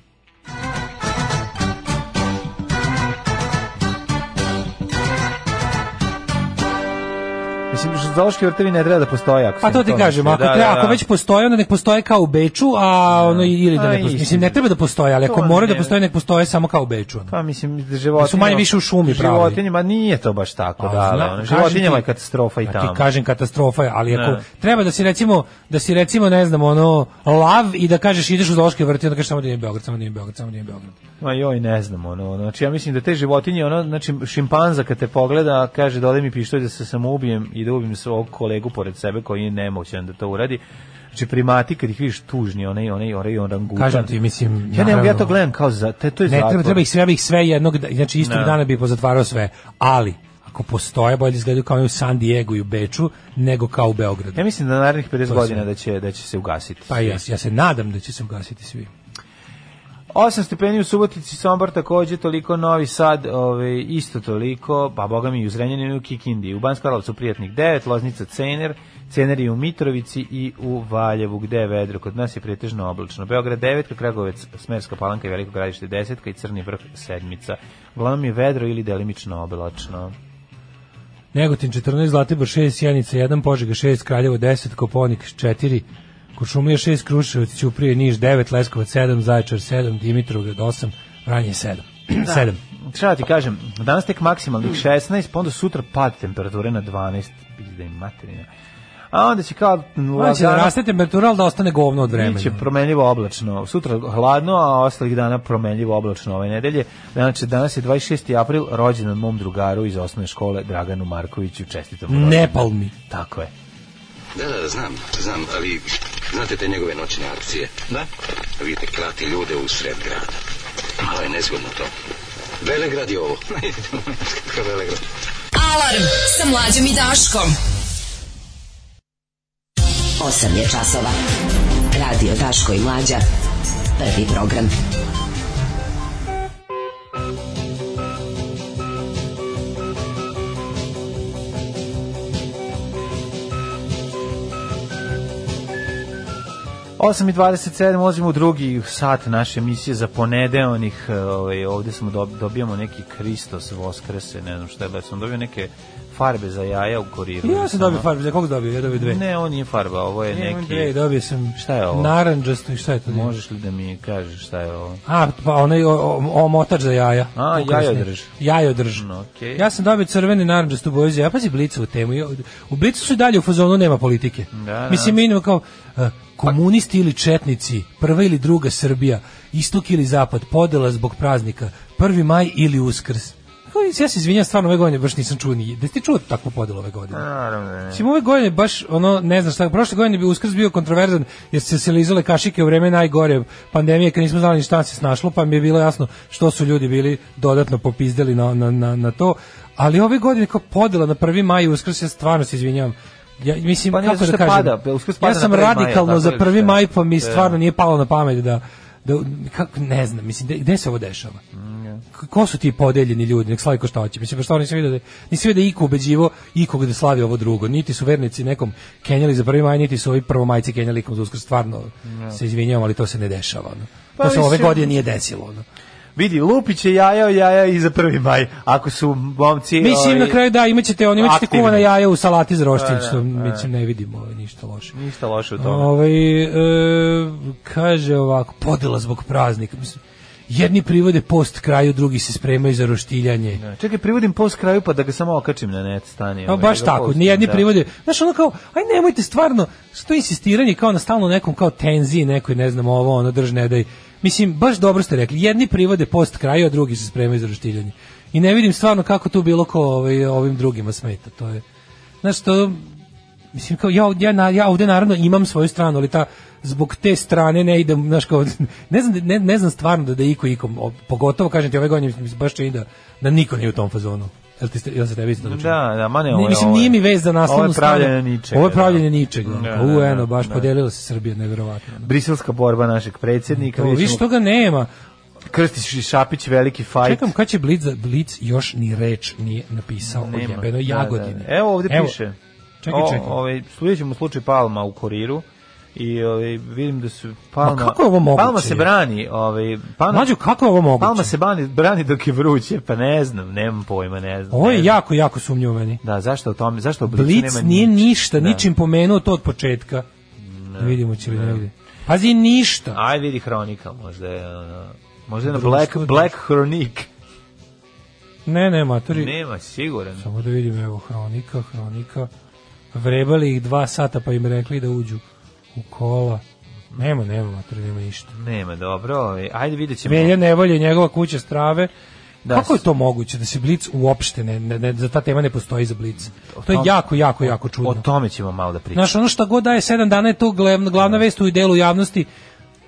[SPEAKER 7] Mislim, zoološki vrtevi ne treba da postoje. Ako sam
[SPEAKER 6] Pa to ti kažem,
[SPEAKER 7] mislio.
[SPEAKER 6] ako,
[SPEAKER 7] Da,
[SPEAKER 6] treba,
[SPEAKER 7] da,
[SPEAKER 6] ako
[SPEAKER 7] da.
[SPEAKER 6] već postoje, onda nek postoje kao u Beču, a ono ili da
[SPEAKER 7] A,
[SPEAKER 6] ne postoje.
[SPEAKER 7] istina.
[SPEAKER 6] Mislim, ne treba da postoje, ali ako
[SPEAKER 7] To
[SPEAKER 6] mora da
[SPEAKER 7] ne.
[SPEAKER 6] postoje, nek postoje samo kao u Beču. ono.
[SPEAKER 7] Pa mislim, da životinje...
[SPEAKER 6] Su manje više u šumi pravili.
[SPEAKER 7] Životinjima nije to baš tako,
[SPEAKER 6] Pa,
[SPEAKER 7] da,
[SPEAKER 6] zna-
[SPEAKER 7] da. ono,
[SPEAKER 6] kažem
[SPEAKER 7] Životinjama
[SPEAKER 6] ti-
[SPEAKER 7] je katastrofa i
[SPEAKER 6] Pa
[SPEAKER 7] tamo.
[SPEAKER 6] Ti kažem katastrofa je, ali ako
[SPEAKER 7] Ne.
[SPEAKER 6] treba da si recimo da si recimo ne znam ono lav i da kažeš ideš u zoološki vrt i onda kažeš samo da nije Beograd, samo da nije Beograd, samo da nije Beograd.
[SPEAKER 7] Ma joj, ne znam, ono, ono, znači ja mislim da te životinje, ono, znači šimpanza kad te pogleda, kaže da mi pištolj da se samoubijem i da ubijem svog kolegu pored sebe koji je nemoćan da to uradi. Znači primati kad ih vidiš tužni, onaj, onaj, onaj orangutan.
[SPEAKER 6] Kažem ti, mislim,
[SPEAKER 7] Ja, ne, mogu, ja to
[SPEAKER 6] naravno.
[SPEAKER 7] gledam kao za, te, to je
[SPEAKER 6] Ne treba,
[SPEAKER 7] zatvor.
[SPEAKER 6] treba ih sve, ja bih sve jednog, da- znači istog
[SPEAKER 7] Ne.
[SPEAKER 6] dana bi pozatvarao sve, ali ako postoje bolje da izgledaju kao i u San Diego i u Beču nego kao u Beogradu.
[SPEAKER 7] Ja mislim da narednih 50
[SPEAKER 6] sve.
[SPEAKER 7] godina da će, da će se ugasiti.
[SPEAKER 6] Pa jes, ja se nadam da će se ugasiti svi.
[SPEAKER 7] 8 stepeni u Subotici, Sombor takođe, toliko Novi Sad, ovaj, isto toliko, pa boga mi i u Zrenjaninu i u Kikindi. U Banskoj Karlovcu Prijatnik 9, Loznica Cener, Cener je u Mitrovici i u Valjevu, gde je vedro. Kod nas je pretežno oblačno. Beograd 9, Kragovec, Smerska palanka i Veliko gradište 10, i Crni vrh 7. Uglavnom je vedro ili delimično oblačno.
[SPEAKER 6] Negotin 14, Zlatibor 6, Sjenica 1, Požega 6, Kraljevo 10, Koponik 4, Kočumlija 6, Kruševac, Ćuprije, Niš 9, Leskovac 7, Zaječar 7, Dimitrovgrad 8, Vranje 7. 7.
[SPEAKER 7] Šta da ti kažem, danas tek maksimalnih 16, pa onda sutra pad temperature na 12, pizda im materina. A onda će kao
[SPEAKER 6] Znači da
[SPEAKER 7] lagano
[SPEAKER 6] raste temperatura, ali da ostane govno od vremena.
[SPEAKER 7] Biće promenljivo oblačno. Sutra hladno, a ostalih dana promenljivo oblačno ove nedelje. Znači, danas je 26. april, rođendan mom drugaru iz osnovne škole, Draganu Markoviću. Čestitam. mu rođendan.
[SPEAKER 6] Nepal mi.
[SPEAKER 7] Tako je.
[SPEAKER 14] Da, da, da, znam, znam, ali znate te njegove noćne akcije? Da. Vidite, klati ljude u sred grada. Malo je nezgodno to. Velegrad je ovo. Kakav Velegrad?
[SPEAKER 5] Alarm sa mlađom i Daškom.
[SPEAKER 9] 8 je časova. Radio Daško i Mlađa. Prvi program.
[SPEAKER 7] osam i 27, ulazimo u drugi sat naše emisije za ponedeonih. E, Ovaj, ovde smo dob- dobijamo neki Kristos Voskrese, ne znam šta je, da sam dobio neke farbe za jaja u kuriru.
[SPEAKER 6] Ja sam dobio farbe, za koliko dobio? Ja dobio dve.
[SPEAKER 7] Ne, on nije farba, ovo je
[SPEAKER 6] Ne, on
[SPEAKER 7] neki...
[SPEAKER 6] dve, dobio sam
[SPEAKER 7] Šta je ovo?
[SPEAKER 6] Naranđasto i šta je to?
[SPEAKER 7] Možeš li da mi kažeš šta je ovo?
[SPEAKER 6] A, pa onaj o- o- omotač za jaja.
[SPEAKER 7] A,
[SPEAKER 6] Ukrasni.
[SPEAKER 7] jajodrž.
[SPEAKER 6] Jajodrž.
[SPEAKER 7] okej.
[SPEAKER 6] Ja sam dobio crveni naranđastu boju za jaja. Pazi Blicu u temu. Ja- U Blicu su i dalje u fazonu nema politike.
[SPEAKER 7] da.
[SPEAKER 6] Mislim, minimo kao e, komunisti ili četnici, prva ili druga Srbija, istok ili zapad, podela zbog praznika, prvi maj ili uskrs. Kao, Ja se izvinjam, stvarno ove godine baš nisam čuo ni... Da ti čuo takvu podelu ove godine?
[SPEAKER 7] Naravno, ne.
[SPEAKER 6] Mislim, ove godine baš, ono, ne znam šta, prošle godine bi uskrs bio kontroverzan, jer su se lizale kašike u vreme najgore pandemije, kad nismo znali ni šta se snašlo, pa mi je bilo jasno što su ljudi bili dodatno popizdeli na, na, na, na to. Ali ove godine kao podela na 1. maj i uskrs, ja stvarno se izvinjavam. Ja, mislim,
[SPEAKER 7] Pa ne,
[SPEAKER 6] kako
[SPEAKER 7] zato
[SPEAKER 6] da
[SPEAKER 7] što
[SPEAKER 6] kažem,
[SPEAKER 7] pada, Uskrs
[SPEAKER 6] ja
[SPEAKER 7] pada na
[SPEAKER 6] sam
[SPEAKER 7] 1. maja,
[SPEAKER 6] radikalno
[SPEAKER 7] tako
[SPEAKER 6] za
[SPEAKER 7] ili
[SPEAKER 6] 1.
[SPEAKER 7] šta?
[SPEAKER 6] maj, pa mi
[SPEAKER 7] Da.
[SPEAKER 6] stvarno nije palo na pamet da da kako ne znam, mislim gde, gde se ovo dešava?
[SPEAKER 7] Mm,
[SPEAKER 6] K- Ko su ti podeljeni ljudi? Nek slavi ko šta hoće. Mislim, pa što nisam vidio da, nisam vidio da je iko ubeđivo ikog da slavi ovo drugo. Niti su vernici nekom kenjali za prvi maj, niti su ovi prvomajci kenjali nekom za uskrs. Stvarno
[SPEAKER 7] Ne.
[SPEAKER 6] se izvinjavam, ali to se ne dešava. Ono.
[SPEAKER 7] Pa
[SPEAKER 6] to se ove
[SPEAKER 7] mislim-
[SPEAKER 6] godine nije desilo. Ono.
[SPEAKER 7] Vidi, Lupić je jajao jaja i za prvi maj, ako su momci... ovaj,
[SPEAKER 6] Mislim, na kraju da, imaćete ćete, on, imat ćete
[SPEAKER 7] aktivni.
[SPEAKER 6] kuvana jaja u salati za roštilj,
[SPEAKER 7] Da, da,
[SPEAKER 6] što
[SPEAKER 7] da.
[SPEAKER 6] mislim, ne vidimo ovaj, ništa loše.
[SPEAKER 7] Ništa loše u tome.
[SPEAKER 6] Ovaj e, kaže ovako, podela zbog praznika. Mislim, jedni privode post kraju, drugi se spremaju za roštiljanje.
[SPEAKER 7] Da, Čekaj, privodim post kraju pa da ga samo okačim na net, stani.
[SPEAKER 6] A
[SPEAKER 7] ovaj,
[SPEAKER 6] baš
[SPEAKER 7] da ga
[SPEAKER 6] tako,
[SPEAKER 7] postim,
[SPEAKER 6] ni jedni
[SPEAKER 7] da.
[SPEAKER 6] privode. Znaš, ono kao, aj nemojte stvarno, što je insistiranje kao na stalno nekom kao tenziji, nekoj ne znam ovo, ono drž ne daj. Mislim, baš dobro ste rekli, jedni privode post kraju, a drugi se spremaju za roštiljanje. I ne vidim stvarno kako tu bilo ko ovaj, ovim drugima smeta. To je, znaš, to, mislim, kao, ja, ovdje- ja, na- ja ovdje naravno imam svoju stranu, ali ta, zbog te strane ne idem, znaš, kao, ne znam, ne, ne znam stvarno da, da iko ikom, o, pogotovo, kažem ti, ove godine mi se baš čini da, da niko nije u tom fazonu. Jel ti ste, jel se tebi isto dočinilo?
[SPEAKER 7] Da, da, ma ne, ovo je-
[SPEAKER 6] mislim,
[SPEAKER 7] ovo je-
[SPEAKER 6] nije mi vez za naslovnu
[SPEAKER 7] ovo je pravljenje
[SPEAKER 6] stranu.
[SPEAKER 7] ničega,
[SPEAKER 6] Ovo je pravljenje ničega.
[SPEAKER 7] Da,
[SPEAKER 6] Da,
[SPEAKER 7] da,
[SPEAKER 6] U,
[SPEAKER 7] da,
[SPEAKER 6] eno, baš
[SPEAKER 7] da.
[SPEAKER 6] podelila se Srbija, nevjerovatno.
[SPEAKER 7] Briselska borba našeg predsjednika.
[SPEAKER 6] To,
[SPEAKER 7] Da, vidjet ćemo-
[SPEAKER 6] više toga nema.
[SPEAKER 7] Krstić i Šapić, veliki fajt.
[SPEAKER 6] Čekam kad će Blic, Blic još ni reč nije napisao o
[SPEAKER 7] Nema.
[SPEAKER 6] jebenoj
[SPEAKER 7] Da,
[SPEAKER 6] Jagodini.
[SPEAKER 7] da, da. Evo ovdje piše.
[SPEAKER 6] Čekaj,
[SPEAKER 7] O,
[SPEAKER 6] čekaj.
[SPEAKER 7] Ovaj, sljedeći ćemo slučaj Palma u kuriru i ovaj, vidim da su Palma...
[SPEAKER 6] Ma kako je ovo moguće?
[SPEAKER 7] Palma se brani. Ovaj, Palma,
[SPEAKER 6] Mlađo, kako je ovo moguće?
[SPEAKER 7] Palma se brani, brani dok je vruće, pa ne znam, nemam pojma, ne znam.
[SPEAKER 6] Ovo
[SPEAKER 7] ne
[SPEAKER 6] je
[SPEAKER 7] znam.
[SPEAKER 6] jako, jako sumnjivo meni.
[SPEAKER 7] Da, zašto o tome, zašto o Blicu
[SPEAKER 6] Blic
[SPEAKER 7] nema
[SPEAKER 6] nije ništa,
[SPEAKER 7] Da.
[SPEAKER 6] ničim pomenuo to od početka. Da vidimo će li negdje. Pazi, ništa.
[SPEAKER 7] Aj vidi hronika, možda je, ono, možda je na
[SPEAKER 6] Društvo,
[SPEAKER 7] Black,
[SPEAKER 6] društvo.
[SPEAKER 7] Black Hronik.
[SPEAKER 6] Ne, ne, matori.
[SPEAKER 7] Nema, siguran.
[SPEAKER 6] Samo da vidim, evo, hronika, hronika. Vrebali ih dva sata pa im rekli da uđu u kola. Nema, nema, matori, nema ništa.
[SPEAKER 7] Nema, dobro. ovaj, Ajde vidjet ćemo.
[SPEAKER 6] Velja nevolje, njegova kuća strave.
[SPEAKER 7] Da,
[SPEAKER 6] Kako je
[SPEAKER 7] s-
[SPEAKER 6] to moguće da se Blic uopšte ne, ne, ne- za ta tema ne postoji za Blic?
[SPEAKER 7] O
[SPEAKER 6] To je
[SPEAKER 7] tom-
[SPEAKER 6] jako, jako, jako čudno.
[SPEAKER 7] O tome ćemo malo da pričamo.
[SPEAKER 6] Znaš, ono šta god daje sedam dana je to glavna,
[SPEAKER 7] Da.
[SPEAKER 6] glavna vest u delu javnosti.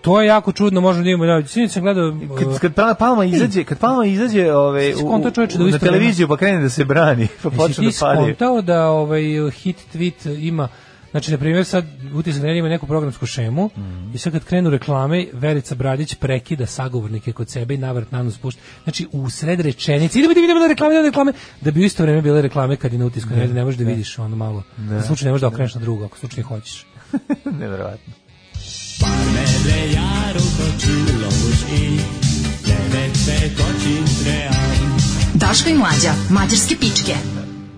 [SPEAKER 6] To je jako čudno, možemo da imamo. Da, sinoć sam gledao...
[SPEAKER 7] Kad,
[SPEAKER 6] uh,
[SPEAKER 7] kad Palma- Palma izađe, kad Palma izađe ove,
[SPEAKER 6] Jesi skontao, čoveče, da u
[SPEAKER 7] na
[SPEAKER 6] isto
[SPEAKER 7] televiziju pa krene da se brani, pa
[SPEAKER 6] Jesi
[SPEAKER 7] počne da
[SPEAKER 6] ti
[SPEAKER 7] pali.
[SPEAKER 6] skontao da ovaj hit tweet ima Znači, na primjer, sad utisak nedelje ima neku programsku šemu i sad kad krenu reklame, Verica Bradić prekida sagovornike kod sebe i navrat na nos pušta. Znači, u sred rečenice, idemo da vidimo da reklame, idemo na reklame, da bi u isto vrijeme bile reklame kad je na utisku nedelje, ne možeš da vidiš ono malo. Na slučaj ne možeš da okreneš na drugo, ako slučajno hoćeš.
[SPEAKER 7] Nevjerovatno.
[SPEAKER 1] Parmele jár otočil lobuš i nevece kočin trean.
[SPEAKER 5] Daško i mlađa, mađarske pičke.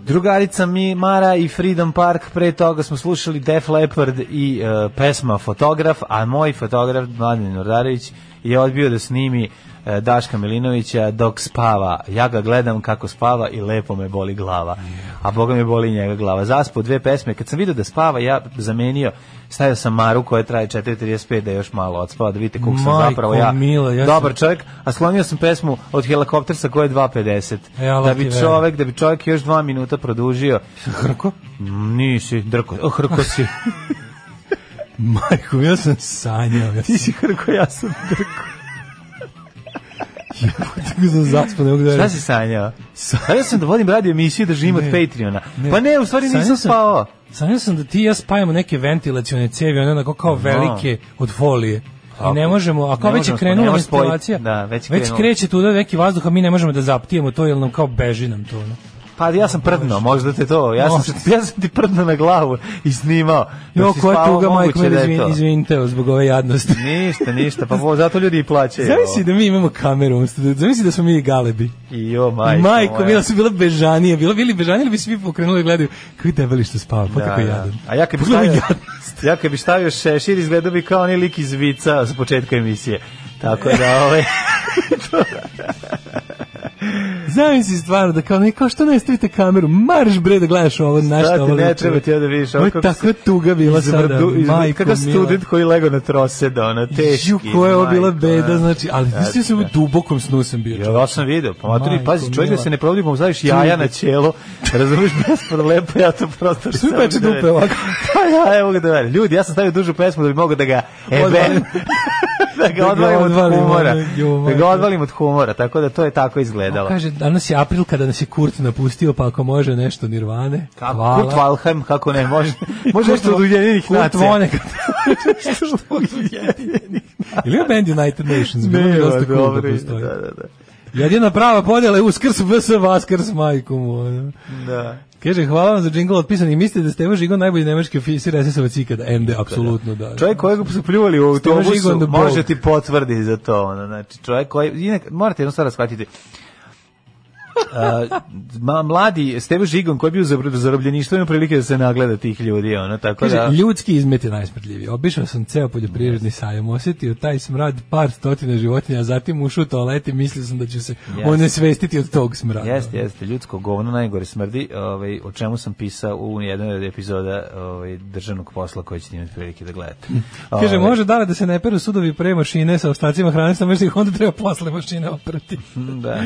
[SPEAKER 7] Drugarica mi Mara i Freedom Park, pre toga smo slušali Def Leppard i e, pesma Fotograf, a moj fotograf Mladen Nordarević je odbio da snimi e, Daška Milinovića dok spava. Ja ga gledam kako spava i lepo me boli glava. A boga me boli i njega glava. Zaspo dve pesme. Kad sam vidio da spava, ja zamenio, stavio sam Maru koja traje 4.35 da još malo odspava, da vidite koliko sam
[SPEAKER 6] Majko
[SPEAKER 7] zapravo ja,
[SPEAKER 6] mila, ja sam-
[SPEAKER 7] dobar Pa čovjek, a slonio sam pesmu od helikoptersa koja je 2.50.
[SPEAKER 6] E, Allah
[SPEAKER 7] da
[SPEAKER 6] ti
[SPEAKER 7] bi
[SPEAKER 6] verujem.
[SPEAKER 7] čovjek, da bi čovjek još dva minuta produžio.
[SPEAKER 6] Hrko?
[SPEAKER 7] Mm, Nisi, drko, o, hrko si.
[SPEAKER 6] Majko, ja sam sanjao. Ja
[SPEAKER 7] Ti si hrko, ja sam drko.
[SPEAKER 6] tako sam zaspao, ne mogu
[SPEAKER 7] Šta
[SPEAKER 6] da verujem.
[SPEAKER 7] si sanjao? Sanjao sam da vodim radio emisiju da živim od Patreona.
[SPEAKER 6] Ne.
[SPEAKER 7] Pa ne, u stvari
[SPEAKER 6] Sanjao
[SPEAKER 7] nisam
[SPEAKER 6] sam-
[SPEAKER 7] spao.
[SPEAKER 6] Sanjao sam da ti i ja spajamo neke ventilacione cevi, one onako kao velike od folije. I ne možemo, ako
[SPEAKER 7] Da. Ne
[SPEAKER 6] već je
[SPEAKER 7] možemo, ne
[SPEAKER 6] krenula
[SPEAKER 7] možeš spojiti.
[SPEAKER 6] ventilacija,
[SPEAKER 7] Da, već je
[SPEAKER 6] već
[SPEAKER 7] krenulo.
[SPEAKER 6] kreće tu da neki vazduh, a mi ne možemo da zaptijemo to, jer nam kao beži nam to. ono.
[SPEAKER 7] Pa ja sam prdno, možda te to. Ja sam, se- ja sam ti prdno na glavu i snimao. Dok
[SPEAKER 6] Jo,
[SPEAKER 7] Da si
[SPEAKER 6] koja
[SPEAKER 7] spavao,
[SPEAKER 6] tuga, majko,
[SPEAKER 7] moguće
[SPEAKER 6] mene
[SPEAKER 7] da je
[SPEAKER 6] izvin,
[SPEAKER 7] to.
[SPEAKER 6] izvinite evo, zbog ove jadnosti.
[SPEAKER 7] Ništa, ništa, pa vo- zato ljudi i plaćaju.
[SPEAKER 6] Zamisli da mi imamo kameru, umjesto da- zamisli da smo mi galebi.
[SPEAKER 7] I jo, majko.
[SPEAKER 6] Majko, majko
[SPEAKER 7] moja.
[SPEAKER 6] bila su bila bežanije, bila bili bežanije, ili bi svi pokrenuli i gledaju, kako je debeli što spava, pa
[SPEAKER 7] Da,
[SPEAKER 6] kako je
[SPEAKER 7] da.
[SPEAKER 6] jadan.
[SPEAKER 7] A ja kad bi
[SPEAKER 6] Pogledaj
[SPEAKER 7] stavio,
[SPEAKER 6] jadan.
[SPEAKER 7] ja kad bi stavio šešir, izgledao bi kao onaj lik iz Vica s početka emisije. Tako da, ovaj,
[SPEAKER 6] Zamisli stvarno da kao neko što ne stavite kameru, marš bre da gledaš ovo na
[SPEAKER 7] Šta
[SPEAKER 6] šta
[SPEAKER 7] ti
[SPEAKER 6] ovo.
[SPEAKER 7] ne
[SPEAKER 6] liči.
[SPEAKER 7] treba ti ovo da vidiš, ovo
[SPEAKER 6] Ovo je
[SPEAKER 7] kako
[SPEAKER 6] takva
[SPEAKER 7] se-
[SPEAKER 6] tuga bila sada.
[SPEAKER 7] izvrdu- izvrdu-
[SPEAKER 6] Majko
[SPEAKER 7] kakav
[SPEAKER 6] mila.
[SPEAKER 7] student koji lego na trose da ono, teški.
[SPEAKER 6] Ju, koja je ovo bila
[SPEAKER 7] majko,
[SPEAKER 6] beda,
[SPEAKER 7] ono.
[SPEAKER 6] znači, ali
[SPEAKER 7] Da,
[SPEAKER 6] mislim se u
[SPEAKER 7] da.
[SPEAKER 6] dubokom snu sam bio.
[SPEAKER 7] Ja, ja sam video, pa maturi,
[SPEAKER 6] Majko
[SPEAKER 7] pazi, čovjek da
[SPEAKER 6] mila. da
[SPEAKER 7] se ne provodi, mu zaviš jaja na ćelo, razumiješ, bez lepo, ja to prosto...
[SPEAKER 6] Što mi
[SPEAKER 7] samo
[SPEAKER 6] peče
[SPEAKER 7] da vidim.
[SPEAKER 6] dupe ovako? E,
[SPEAKER 7] Pa ja, evo ga da velim. Ljudi, ja sam stavio dužu pesmu da bi mogao da ga
[SPEAKER 6] Ovo je
[SPEAKER 7] ebem. da ga odvalimo od
[SPEAKER 6] odvalimo,
[SPEAKER 7] humora.
[SPEAKER 6] ono, jo,
[SPEAKER 7] Da
[SPEAKER 6] majko.
[SPEAKER 7] ga odvalimo od humora, tako da to je tako izgledalo.
[SPEAKER 6] Kaže, danas je april kada nas je Kurt napustio, pa ako može nešto Nirvane, kako, hvala.
[SPEAKER 7] Kurt Valheim, kako ne, može, može
[SPEAKER 6] Kurt
[SPEAKER 7] nešto od
[SPEAKER 6] Wa-
[SPEAKER 7] Ujedinjenih
[SPEAKER 6] Kurt
[SPEAKER 7] nacija.
[SPEAKER 6] Vonnegut. Ili je band United Nations, bilo je
[SPEAKER 7] Nema,
[SPEAKER 6] dosta cool da
[SPEAKER 7] dobro,
[SPEAKER 6] postoji.
[SPEAKER 7] da, da, da.
[SPEAKER 6] Jedina prava podjela je uskrs vs. vaskrs majkom. Ono.
[SPEAKER 7] Da.
[SPEAKER 6] Kaže, hvala vam za džingl otpisani. Mislite da Stevo Žigon najbolji nemački oficir SS-ovac ikada? MD, apsolutno da.
[SPEAKER 7] Čovjek kojeg su pljuvali u
[SPEAKER 6] Steve Žigon
[SPEAKER 7] autobusu,
[SPEAKER 6] the
[SPEAKER 7] može
[SPEAKER 6] Bog.
[SPEAKER 7] ti potvrdi za to. Ono, znači, čovjek koji, inak, morate jednu stvar shvatiti. Uh, ma, mladi Steve Žigon koji je bio za zarobljeništvo ima prilike da se nagleda tih ljudi ono tako
[SPEAKER 6] Kaže,
[SPEAKER 7] da
[SPEAKER 6] ljudski izmet je najsmrdljiviji. Obišao sam ceo poljoprivredni sajam, osjetio taj smrad par stotina životinja, a zatim ušao u toalet i mislio sam da ću se
[SPEAKER 7] Jeste.
[SPEAKER 6] onesvestiti od tog smrada.
[SPEAKER 7] Jeste, jeste, ljudsko govno najgore smrdi, ovaj, o čemu sam pisao u jednoj od epizoda ovaj, državnog posla koji ćete imati prilike da gledate.
[SPEAKER 6] Kaže,
[SPEAKER 7] Ovaj,
[SPEAKER 6] može dale da se ne peru sudovi pre mašine sa ostacima hrane, samo što ih onda treba posle mašine oprati.
[SPEAKER 7] Da,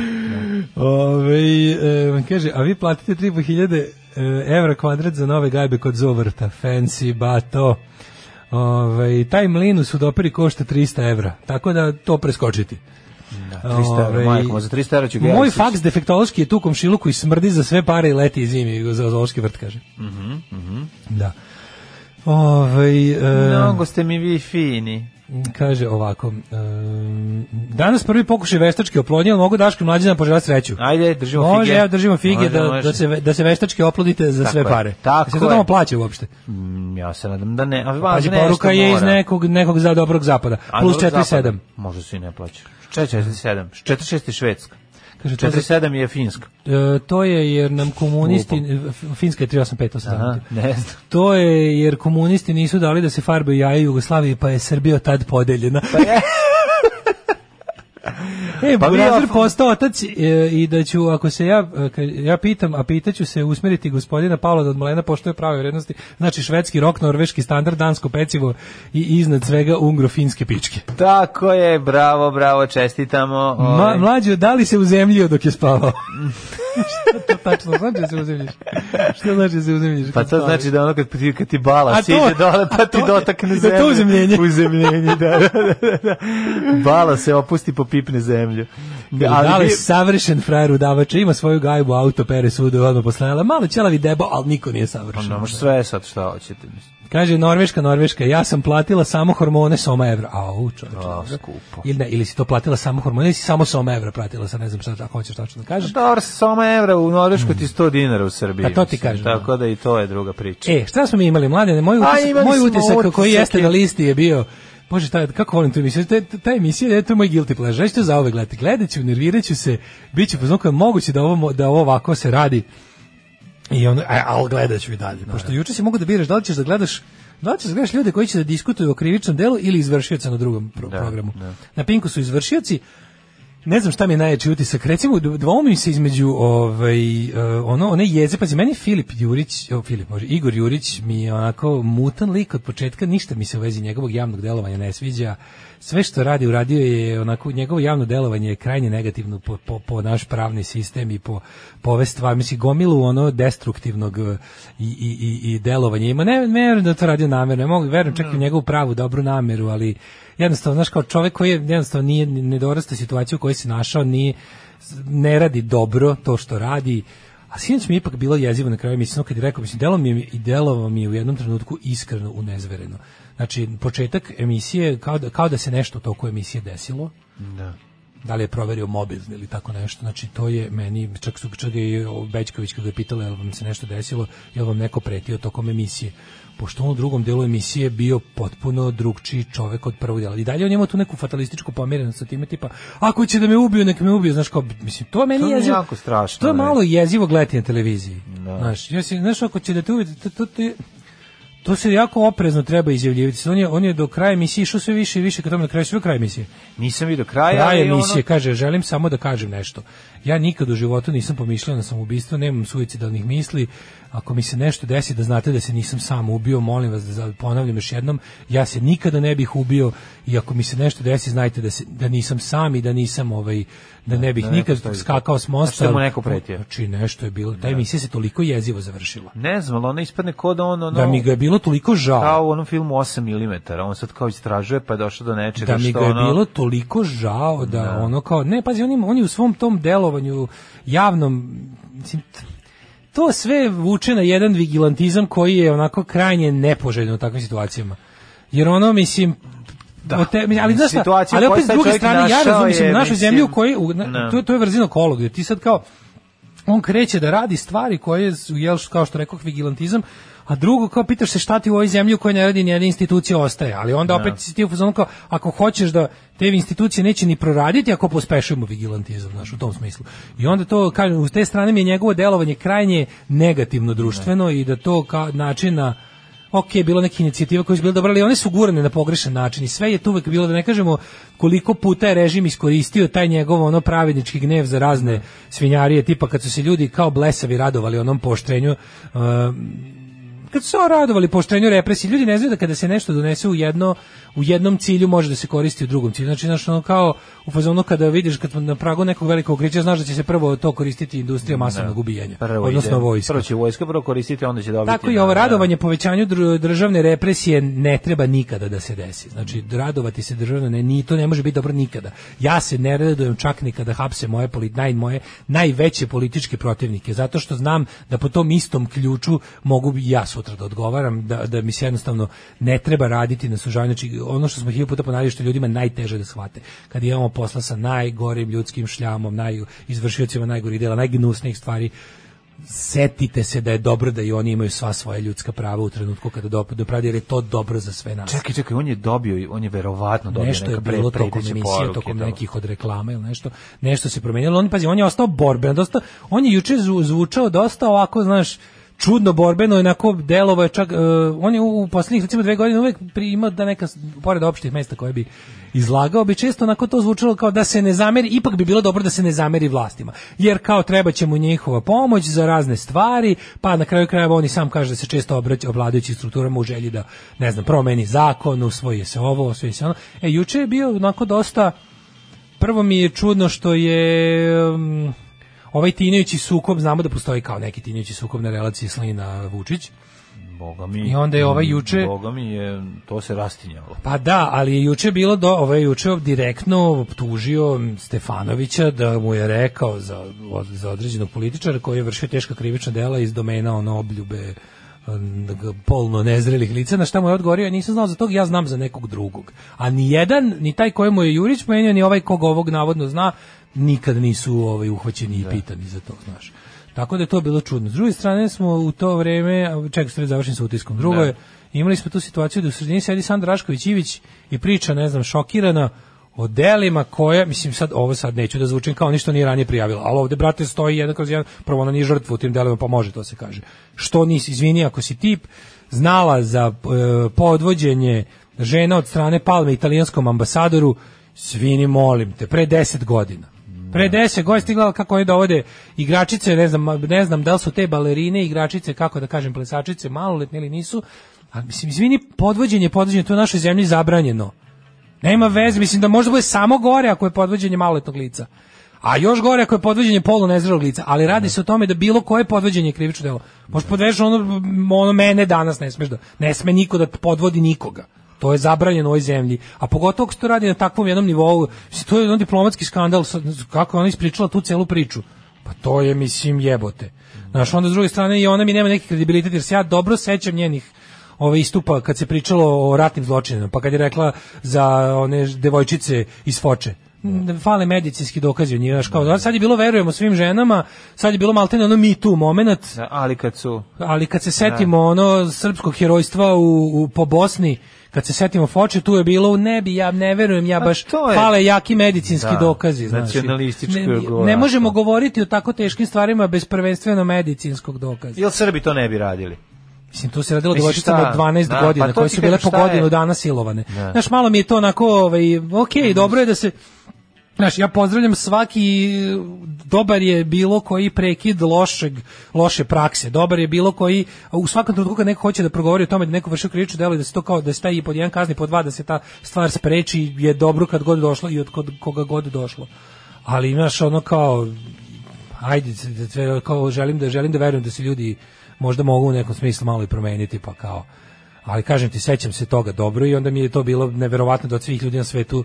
[SPEAKER 6] Ove, e, kaže, a vi platite 3500 e, evra kvadrat za nove gajbe kod Zovrta. Fancy bato. Ove, taj mlin u sudoperi košta 300 evra, tako da to preskočiti.
[SPEAKER 7] da, 300 evra,
[SPEAKER 6] Ovaj,
[SPEAKER 7] majko, za 300 evra ću ga ja
[SPEAKER 6] Moj
[SPEAKER 7] iseći.
[SPEAKER 6] faks defektološki je tu komšilu koji smrdi za sve pare i leti i zimi za zoološki vrt, kaže.
[SPEAKER 7] Mhm, mhm.
[SPEAKER 6] Da. Ovaj, e,
[SPEAKER 7] Mnogo ste mi vi fini.
[SPEAKER 6] Kaže ovako, em, danas prvi pokušaj veštačke oplodnje, ali mogu Daško i mlađi nam poželati sreću.
[SPEAKER 7] Ajde, držimo
[SPEAKER 6] može,
[SPEAKER 7] fige.
[SPEAKER 6] evo, držimo fige
[SPEAKER 7] Može,
[SPEAKER 6] da,
[SPEAKER 7] može.
[SPEAKER 6] da, se, ve- da se veštačke oplodite za
[SPEAKER 7] Tako
[SPEAKER 6] sve
[SPEAKER 7] je,
[SPEAKER 6] pare.
[SPEAKER 7] tako
[SPEAKER 6] se to
[SPEAKER 7] je.
[SPEAKER 6] tamo plaća uopšte.
[SPEAKER 7] Mm, ja se nadam da ne. A
[SPEAKER 6] Pazi,
[SPEAKER 7] važno nešto
[SPEAKER 6] poruka je iz
[SPEAKER 7] mora.
[SPEAKER 6] nekog, nekog za dobrog zapada.
[SPEAKER 7] A
[SPEAKER 6] Plus
[SPEAKER 7] dobro,
[SPEAKER 6] 4,7.
[SPEAKER 7] zapadno. Možda se i ne plaća. 4,47. 4,6 je švedska.
[SPEAKER 6] Kaže, to je-
[SPEAKER 7] 4,7 je finska.
[SPEAKER 6] E, to je jer nam komunisti, F- Finska je 385, to sam
[SPEAKER 7] Aha,
[SPEAKER 6] zapamtio.
[SPEAKER 7] ne znam.
[SPEAKER 6] To je jer komunisti nisu dali da se farbaju jaja Jugoslaviji, pa je Srbija tad podeljena. Pa je. E,
[SPEAKER 7] Pa
[SPEAKER 6] pa
[SPEAKER 7] vi
[SPEAKER 6] Burazer
[SPEAKER 7] of-
[SPEAKER 6] postao otac e, i da ću, ako se ja, e, ka- ja pitam, a pitaću se usmeriti gospodina Pavla da od malena poštoje prave vrednosti, znači švedski rok, norveški standard, dansko pecivo i iznad svega ungro-finske pičke.
[SPEAKER 7] Tako je, bravo, bravo, čestitamo.
[SPEAKER 6] Ma,
[SPEAKER 7] ovaj.
[SPEAKER 6] mlađo, da li se uzemljio dok je spavao? Šta to tačno znači da se uzemljiš? Šta znači da se uzemljiš?
[SPEAKER 7] Pa
[SPEAKER 6] kad
[SPEAKER 7] to
[SPEAKER 6] spavaš?
[SPEAKER 7] znači da ono kad, ti- kad ti bala
[SPEAKER 6] A to-
[SPEAKER 7] siđe dole, pa
[SPEAKER 6] a
[SPEAKER 7] ti
[SPEAKER 6] to-
[SPEAKER 7] dotakne
[SPEAKER 6] da
[SPEAKER 7] zemlju.
[SPEAKER 6] to uzemljenje.
[SPEAKER 7] Uzemljenje, da, da, da, da. Bala se opusti, popipne zemlju. Da,
[SPEAKER 6] Ali da li
[SPEAKER 7] vi-
[SPEAKER 6] savršen frajer udavača, ima svoju gajbu, auto, pere svuda, odmah posle najela, malo ćelavi debo, ali niko nije savršen.
[SPEAKER 7] Ono, može Pa sve sad šta hoćete. mislim.
[SPEAKER 6] Kaže, Norveška, Norveška, ja sam platila samo hormone soma evra. Au, čovječe.
[SPEAKER 7] A,
[SPEAKER 6] dobro.
[SPEAKER 7] skupo.
[SPEAKER 6] Ili, ne, ili si to platila samo hormone, ili si samo soma evra platila, sad ne znam šta, ako hoćeš tačno da kažeš.
[SPEAKER 7] Pa Dobro, samo evra u Norveškoj ti 100 dinara u Srbiji.
[SPEAKER 6] Pa to ti
[SPEAKER 7] mislim.
[SPEAKER 6] kažem, da.
[SPEAKER 7] Tako da i to je druga priča.
[SPEAKER 6] E, šta smo mi imali, mlade? Moj
[SPEAKER 7] A,
[SPEAKER 6] utisak,
[SPEAKER 7] imali
[SPEAKER 6] moj
[SPEAKER 7] smo
[SPEAKER 6] utisak koji
[SPEAKER 7] utisak
[SPEAKER 6] jeste
[SPEAKER 7] je-
[SPEAKER 6] na listi je bio Bože, taj, kako volim tu emisiju, ta, ta emisija, je, to je moj guilty pleasure, ja ću to zaovek gledati, gledat ću, nervirat ću se, bit ću poznan je moguće da ovo, mo- da ovo ovako se radi, i ono, a, ali gledat ću i dalje, pošto juče si mogu da biraš da li ćeš da gledaš Da li ćeš da gledaš ljude koji će da diskutuju o krivičnom delu ili izvršioca na drugom
[SPEAKER 7] Da,
[SPEAKER 6] pro- programu? Na Pinku su izvršioci, ne znam šta mi je najjači utisak. Recimo, dv- dvoumim se između ovaj, e, ono, one jeze. Pazi, meni Filip Jurić, o, Filip, može, Igor Jurić mi je onako mutan lik od početka. Ništa mi se u vezi njegovog javnog delovanja ne sviđa. Sve što radi, uradio je onako, njegovo javno delovanje je krajnje negativno po, po, po naš pravni sistem i po, po ove stvari. Mislim, gomilu ono destruktivnog e, i, i, i, i delovanja ima. Ne, ne verujem da je to radio namerno. Ja mogu, verujem čak i u njegovu pravu, dobru nameru, ali jednostavno, znaš, kao čovjek koji je, jednostavno nije, ne dorasta situaciju u kojoj se našao, nije, ne radi dobro to što radi, a sinoć mi je ipak bilo jezivo na kraju mislim kad je rekao mislim delo mi je i delovao mi je u jednom trenutku iskreno unezvereno. Znači početak emisije kao da, kao da se nešto u toku emisije desilo.
[SPEAKER 7] Da.
[SPEAKER 6] Da li je proverio mobilni ili tako nešto. Znači to je meni čak su čak je i Bećković kad ga je pitala jel vam se nešto desilo, jel vam neko pretio tokom emisije. Pošto on u drugom delu emisije je bio potpuno drugčiji čovek od prvog dela. I dalje on ima tu neku fatalističku pomerenost sa time tipa ako će da me ubiju, nek me ubiju, znaš kao mislim to meni
[SPEAKER 7] To mi je
[SPEAKER 6] jezivo.
[SPEAKER 7] jako strašno,
[SPEAKER 6] To je
[SPEAKER 7] ne.
[SPEAKER 6] malo jezivo gledati na televiziji.
[SPEAKER 7] Da.
[SPEAKER 6] Znaš, ja si, znaš, ako će da te uvidi, to, to, to, je- to se jako oprezno treba izjavljivati. Sad On je, on je do kraja emisije išao sve više i više, kad tome na kraju sve kraj emisije.
[SPEAKER 7] Nisam vidio kraja,
[SPEAKER 6] Kraj
[SPEAKER 7] ali ono-
[SPEAKER 6] emisije, kaže, želim samo da kažem nešto. Ja nikad u životu nisam pomišljao na samoubistvo, nemam suicidalnih misli. Ako mi se nešto desi, da znate da se nisam sam ubio, molim vas da za- ponavljam još jednom, ja se nikada ne bih ubio i ako mi se nešto desi, znajte da, se, da nisam sam i da nisam ovaj, da ne bih
[SPEAKER 7] da ne
[SPEAKER 6] nikad
[SPEAKER 7] postoji.
[SPEAKER 6] skakao s mosta.
[SPEAKER 7] Znači da mu neko pretio. Da.
[SPEAKER 6] Znači nešto je bilo, ta emisija se toliko jezivo završila.
[SPEAKER 7] Ne znam, ali ona ispadne kod ono... ono
[SPEAKER 6] Da mi ga je bilo bilo toliko žao.
[SPEAKER 7] Kao u onom filmu 8 mm, on sad kao istražuje pa je došao do nečega
[SPEAKER 6] da mi
[SPEAKER 7] što
[SPEAKER 6] ga je
[SPEAKER 7] ono...
[SPEAKER 6] bilo toliko žao da ono kao ne pazi oni oni u svom tom delovanju javnom mislim t- to sve vuče na jedan vigilantizam koji je onako krajnje nepoželjan u takvim situacijama. Jer ono mislim
[SPEAKER 7] Da.
[SPEAKER 6] o te- ali znaš šta,
[SPEAKER 7] Situacija u
[SPEAKER 6] ali
[SPEAKER 7] kojoj
[SPEAKER 6] opet s
[SPEAKER 7] taj
[SPEAKER 6] druge
[SPEAKER 7] čovjek
[SPEAKER 6] strane ja
[SPEAKER 7] našao
[SPEAKER 6] razumem mislim,
[SPEAKER 7] je,
[SPEAKER 6] našu
[SPEAKER 7] mislim,
[SPEAKER 6] zemlju koji u, na-
[SPEAKER 7] ne.
[SPEAKER 6] to, je- to je vrzino kolog jer ti sad kao on kreće da radi stvari koje su jel kao što rekoh vigilantizam a drugo kao pitaš se šta ti u ovoj zemlji u kojoj ne radi nijedna institucija ostaje ali onda
[SPEAKER 7] Da.
[SPEAKER 6] opet si ti u fazonu kao ako hoćeš da te institucije neće ni proraditi ako pospešujemo vigilantizam znaš u tom smislu i onda to kažem u te strane mi je njegovo delovanje krajnje negativno društveno i da to kao načina ok, bilo neke inicijative koje su bile dobre, ali one su gurane na pogrešan način i sve je tu uvek bilo, da ne kažemo koliko puta je režim iskoristio taj njegov ono pravednički gnev za razne svinjarije, tipa kad su se ljudi kao blesavi radovali onom poštrenju ehm, kad su se radovali poštenju represiji, ljudi ne znaju da kada se nešto donese u jedno u jednom cilju može da se koristi u drugom cilju. Znači, znaš, ono kao u fazonu kada vidiš kad smo na pragu nekog velikog krića, znaš da će se prvo to koristiti industrija masovnog ubijanja,
[SPEAKER 7] Prvo
[SPEAKER 6] odnosno
[SPEAKER 7] ide-
[SPEAKER 6] vojska.
[SPEAKER 7] Prvo će vojska prvo koristiti, a onda će dobiti. da,
[SPEAKER 6] Tako i ovo radovanje povećanju dr- državne represije ne treba nikada da se desi. Znači, radovati se državno, ne, ni, to ne može biti dobro nikada. Ja se ne radujem čak ni kada hapse moje, poli- naj, moje najveće političke protivnike, zato što znam da po tom istom ključu mogu i ja sutra da odgovaram, da, da mi se jednostavno ne treba raditi na sužavanju. Znači, ono što smo hiljadu puta ponavljali što je ljudima najteže da shvate. Kad imamo posla sa najgorim ljudskim šljamom, naj, izvršiocima najgorih dela, najgnusnijih stvari, setite se da je dobro da i oni imaju sva svoja ljudska prava u trenutku kada dop- doprade, jer je to dobro za sve nas.
[SPEAKER 7] Čekaj, čekaj, on je dobio, on je verovatno dobio
[SPEAKER 6] Nešto je
[SPEAKER 7] neka pre-
[SPEAKER 6] bilo tokom
[SPEAKER 7] preteće
[SPEAKER 6] emisije,
[SPEAKER 7] poruke,
[SPEAKER 6] tokom
[SPEAKER 7] da.
[SPEAKER 6] nekih od reklama ili nešto, nešto se promenilo. On, pazi, on je ostao borben, dosta, on je juče zvu- zvučao dosta ovako, znaš, čudno borbeno, onako delovo je čak, e, on je u, u poslednjih recimo dve godine uvek pri- imao da neka, s- pored opštih mesta koje bi izlagao, bi često onako to zvučalo kao da se ne zameri, ipak bi bilo dobro da se ne zameri vlastima, jer kao treba će mu njihova pomoć za razne stvari, pa na kraju krajeva oni sam kaže da se često obraća vladajućim strukturama u želji da, ne znam, promeni zakon, usvoji se ovo, usvoji se ono. E, juče je bio onako dosta, prvo mi je čudno što je um, ovaj tinajući sukob, znamo da postoji kao neki tinajući sukob na relaciji Slina-Vučić.
[SPEAKER 7] Boga mi.
[SPEAKER 6] I onda je ovaj juče-
[SPEAKER 7] Boga mi je, to se rastinjalo.
[SPEAKER 6] Pa da, ali je juče bilo do, ovaj je juče direktno optužio Stefanovića da mu je rekao za od- za određenog političara koji je vršio teška krivična dela iz domena ono obljube em, g- polno nezrelih lica, na šta mu je odgovorio, ja nisam znao za tog, ja znam za nekog drugog. A ni jedan, ni taj kojemu je Jurić pomenio, ni ovaj kog ovog navodno zna, nikad nisu ovaj, uhvaćeni i pitani za to, znaš. Tako da je to bilo čudno. S druge strane smo u to vreme, a, čekaj, sve završim sa utiskom. Drugo
[SPEAKER 7] Da.
[SPEAKER 6] je, imali smo tu situaciju da u sredini sedi Sandra Rašković Ivić i priča, ne znam, šokirana o delima koje, mislim sad, ovo sad neću da zvučim kao ništa nije ranije prijavila, ali ovde, brate, stoji jedan kroz jedan, prvo ona nije žrtva u tim delima, pa može to se kaže. Što nisi, izvini, ako si tip, znala za e, podvođenje žena od strane Palme italijanskom ambasadoru, svini, molim te, pre 10 godina. Pre 10 godina stigla kako oni dovode igračice, ne znam, ne znam da li su te balerine, igračice, kako da kažem, plesačice, maloletne ili nisu. A mislim, izvini, podvođenje, podvođenje, to je u našoj zemlji zabranjeno. Nema veze, mislim da može da bude samo gore ako je podvođenje maloletnog lica. A još gore ako je podvođenje polu nezrelog lica, ali radi se o tome da bilo koje podvođenje je krivično delo. Možeš podveš ono, ono mene danas ne smeš da, ne sme niko da podvodi nikoga. To je zabranjeno u ovoj zemlji. A pogotovo ako se to radi na takvom jednom nivou, mislim, to je jedan diplomatski skandal, sad, kako je ona ispričala tu celu priču. Pa to je, mislim, jebote. Znaš, onda s druge strane i ona mi nema neki kredibilitet, jer se ja dobro sećam njenih ove istupa kad se pričalo o ratnim zločinima, pa kad je rekla za one ž- devojčice iz Foče. Mm, Fale medicinski dokazi o njima, znaš,
[SPEAKER 7] Da.
[SPEAKER 6] kao, sad je bilo verujemo svim ženama, sad je bilo maltene ono me too moment,
[SPEAKER 7] Da, ali kad su...
[SPEAKER 6] ali kad se setimo
[SPEAKER 7] Da.
[SPEAKER 6] ono srpskog herojstva u, u po Bosni, kad se setimo Foče, tu je bilo u nebi, ja ne verujem, ja baš
[SPEAKER 7] Pa to je-
[SPEAKER 6] fale jaki medicinski
[SPEAKER 7] Da,
[SPEAKER 6] dokazi, znaš.
[SPEAKER 7] nacionalističko
[SPEAKER 6] Ne-
[SPEAKER 7] je
[SPEAKER 6] ne,
[SPEAKER 7] govoraštvo.
[SPEAKER 6] možemo govoriti o tako teškim stvarima bez prvenstveno medicinskog dokaza.
[SPEAKER 7] Jel Srbi to ne bi radili?
[SPEAKER 6] Mislim, tu se radilo o
[SPEAKER 7] Mislim,
[SPEAKER 6] devojčicama od
[SPEAKER 7] šta?
[SPEAKER 6] 12
[SPEAKER 7] Da,
[SPEAKER 6] godina,
[SPEAKER 7] pa to
[SPEAKER 6] koje
[SPEAKER 7] ti
[SPEAKER 6] su bile po
[SPEAKER 7] kažem, šta je?
[SPEAKER 6] godinu dana silovane.
[SPEAKER 7] Da. Mhm.
[SPEAKER 6] Znaš, malo mi je to onako, ovaj, ok, dobro je da se... Znaš, ja pozdravljam svaki, dobar je bilo koji prekid lošeg, loše prakse, dobar je bilo koji, u svakom trenutku kad neko hoće da progovori o tome da neko vrši krivično delo i da se to kao, da se taj i pod jedan kazni, pod dva, da se ta stvar spreči, je dobro kad god došlo i od kod, koga god došlo. Ali imaš ono kao, ajde, s- da sve, kao želim da želim da verujem da se ljudi možda mogu u nekom smislu malo i promeniti, pa kao ali kažem ti, sećam se toga dobro i onda mi je to bilo neverovatno da od svih ljudi na svetu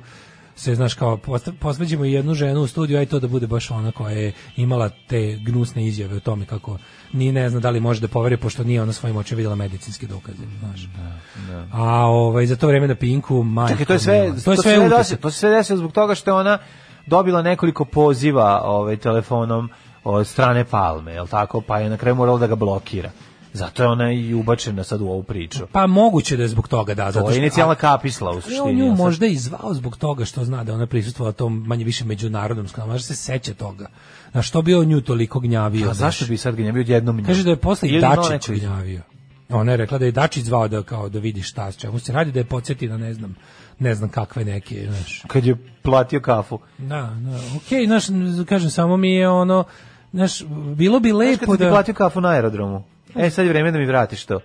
[SPEAKER 6] se, znaš, kao, posta- posvađamo i jednu ženu u studiju, aj to da bude baš ona koja je imala te gnusne izjave o tome kako ni ne zna da li može da poveruje, pošto nije ona svojim očima vidjela medicinske dokaze, znaš.
[SPEAKER 7] Da.
[SPEAKER 6] A ovaj, za to vreme na Pinku, majko
[SPEAKER 7] Čekaj, to je sve,
[SPEAKER 6] mila,
[SPEAKER 7] to je sve
[SPEAKER 6] utisak.
[SPEAKER 7] desilo, to se sve desilo zbog toga što je ona dobila nekoliko poziva ovaj, telefonom od strane Palme, je tako? Pa je na kraju morala da ga blokira. Zato je ona i ubačena sad u ovu priču.
[SPEAKER 6] Pa moguće da je zbog toga, da.
[SPEAKER 7] to je inicijalna kapisla u
[SPEAKER 6] Ali
[SPEAKER 7] suštini.
[SPEAKER 6] on nju
[SPEAKER 7] jel sad?
[SPEAKER 6] možda i zvao zbog toga što zna da ona prisustvovala tom manje više međunarodnom skandalu, možda se seća toga. Na što bi on nju toliko gnjavio?
[SPEAKER 7] A
[SPEAKER 6] znaš?
[SPEAKER 7] zašto bi sad gnjavio jednom nju?
[SPEAKER 6] Kaže da je posle i
[SPEAKER 7] Ili na
[SPEAKER 6] Dačić
[SPEAKER 7] nekoj-
[SPEAKER 6] gnjavio. Ona je rekla da je Dačić zvao da kao da vidi šta s čemu se radi, da je podsjeti na ne znam, ne znam kakve neke, znaš.
[SPEAKER 7] Kad je platio kafu.
[SPEAKER 6] Da, da, okej, znaš, kažem, samo mi je ono, znaš, bilo bi
[SPEAKER 7] Znaš kad
[SPEAKER 6] lepo
[SPEAKER 7] sam ti
[SPEAKER 6] da...
[SPEAKER 7] platio kafu na aerodromu? E, sad je vreme da mi vratiš to.
[SPEAKER 6] Ne,